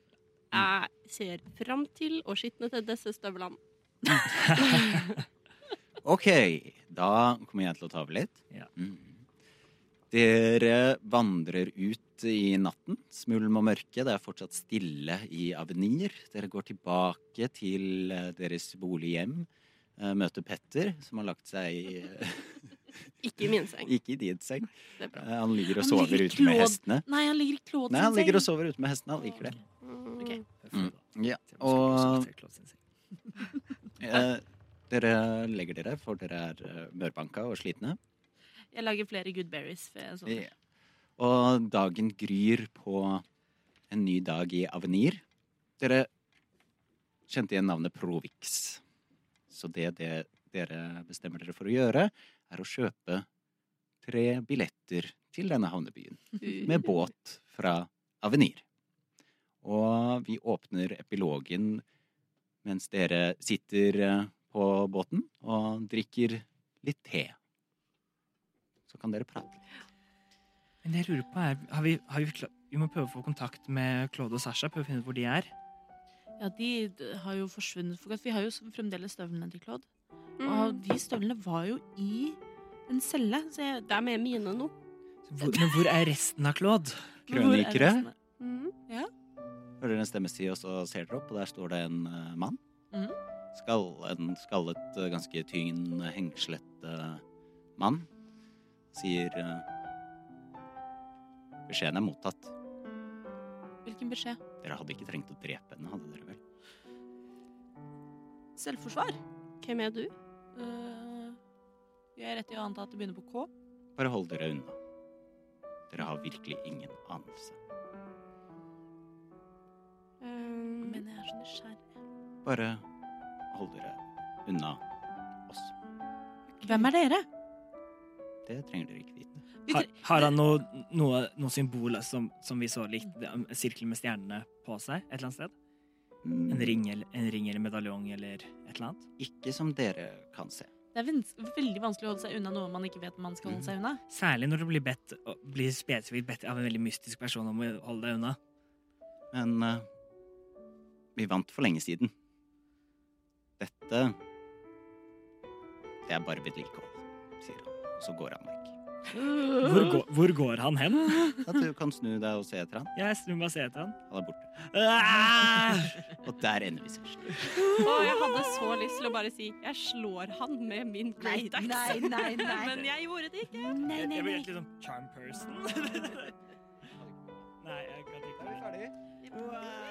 Speaker 3: Jeg ser fram til å skitne til disse støvlene.
Speaker 5: Ok, da kommer jeg til å ta over litt.
Speaker 4: Ja.
Speaker 5: Mm. Dere vandrer ut i natten. Smulm og mørke. Det er fortsatt stille i avenir. Dere går tilbake til eh, deres bolighjem. eh, Møter Petter, som har lagt seg i-
Speaker 3: Ikke i min seng.
Speaker 5: Ikke i din seng.
Speaker 3: Det er bra.
Speaker 5: Eh, Han ligger og
Speaker 2: Han ligger
Speaker 5: sover
Speaker 2: i
Speaker 5: ute med
Speaker 2: klåd.
Speaker 5: hestene.
Speaker 2: Nei, han ligger i Claude
Speaker 5: Nei, han ligger og sover ute med hestene. Han liker det.
Speaker 3: Mm.
Speaker 5: Mm. Ja, og eh, dere legger dere, for dere er eh, mørbanka og slitne.
Speaker 2: Jeg lager flere good berries. før jeg sånn. sovner.
Speaker 5: Ja. Og dagen gryr på en ny dag i Avenir. Dere kjente igjen navnet Provix. Så det, det dere bestemmer dere for å gjøre, er å kjøpe tre billetter til denne havnebyen med båt fra Avenir. Og vi åpner epilogen mens dere sitter eh, på båten og drikker litt te. Så kan dere prate.
Speaker 4: Men jeg lurer på, er, har vi, har vi, kla- vi må prøve å få kontakt med Claude og Sasha, prøve å finne ut hvor de er.
Speaker 2: Ja, de d- har jo forsvunnet for godt. Vi har jo s- fremdeles støvlene til Claude.
Speaker 12: Mm.
Speaker 2: Og de støvlene var jo i en celle. Så jeg,
Speaker 3: Det er med mine nå.
Speaker 4: Så Hvor, men hvor er resten av Claude?
Speaker 2: Men hvor er
Speaker 5: Kronikere.
Speaker 2: resten av-
Speaker 5: Hører dere en stemme si, og så ser dere opp, og der står det en eh, mann.
Speaker 2: Mhm.
Speaker 5: Skall, en skallet, eh, ganske tynn, hengslet eh, mann. Sier eh, Beskjeden er mottatt.
Speaker 2: Hvilken beskjed?
Speaker 5: Dere hadde ikke trengt å drepe henne, hadde dere vel?
Speaker 2: Selvforsvar.
Speaker 3: Hvem er du?
Speaker 2: Eh, jeg er rett i å anta at det begynner på K.
Speaker 5: Bare hold dere unna. Dere har virkelig ingen anelse.
Speaker 3: Ehm,
Speaker 2: Men jeg er så nysgjerrig.
Speaker 5: Bare hold dere unna oss.
Speaker 2: Hvem er dere?
Speaker 5: Det trenger dere ikke vite.
Speaker 2: Vi
Speaker 4: Har,
Speaker 2: tre-
Speaker 4: har han noe, noe, noe symbol som, som vi så likt, en sirkel med stjernene på seg et eller annet sted?
Speaker 5: Mm,
Speaker 4: En ring, eller- en ring eller medaljong eller et eller annet?
Speaker 5: Ikke som dere kan se.
Speaker 2: Det er vins- veldig vanskelig å holde seg unna noe man ikke vet man skal holde seg unna.
Speaker 4: Særlig når du blir bedt, blir spesifikt bedt av en veldig mystisk person om å holde deg unna.
Speaker 5: Men eh, vi vant for lenge siden. Dette Det er bare vedlikehold, sier han. Og så går han vekk.
Speaker 4: Hvor, går- hvor går han hen?
Speaker 5: At du kan snu deg og se etter han.
Speaker 4: Jeg snur meg og ser etter han.
Speaker 5: Han er borte.
Speaker 4: Ah!
Speaker 5: Og der ender vi sørst.
Speaker 3: Og jeg hadde så lyst til å bare si jeg slår han med min
Speaker 12: Nei,
Speaker 3: great axe.
Speaker 12: nei, nei, nei.
Speaker 3: Men jeg gjorde det ikke.
Speaker 12: Nei, nei,
Speaker 4: Jeg blir
Speaker 12: nei.
Speaker 4: helt liksom charm person. Nei, jeg kan ikke.
Speaker 5: ferdige?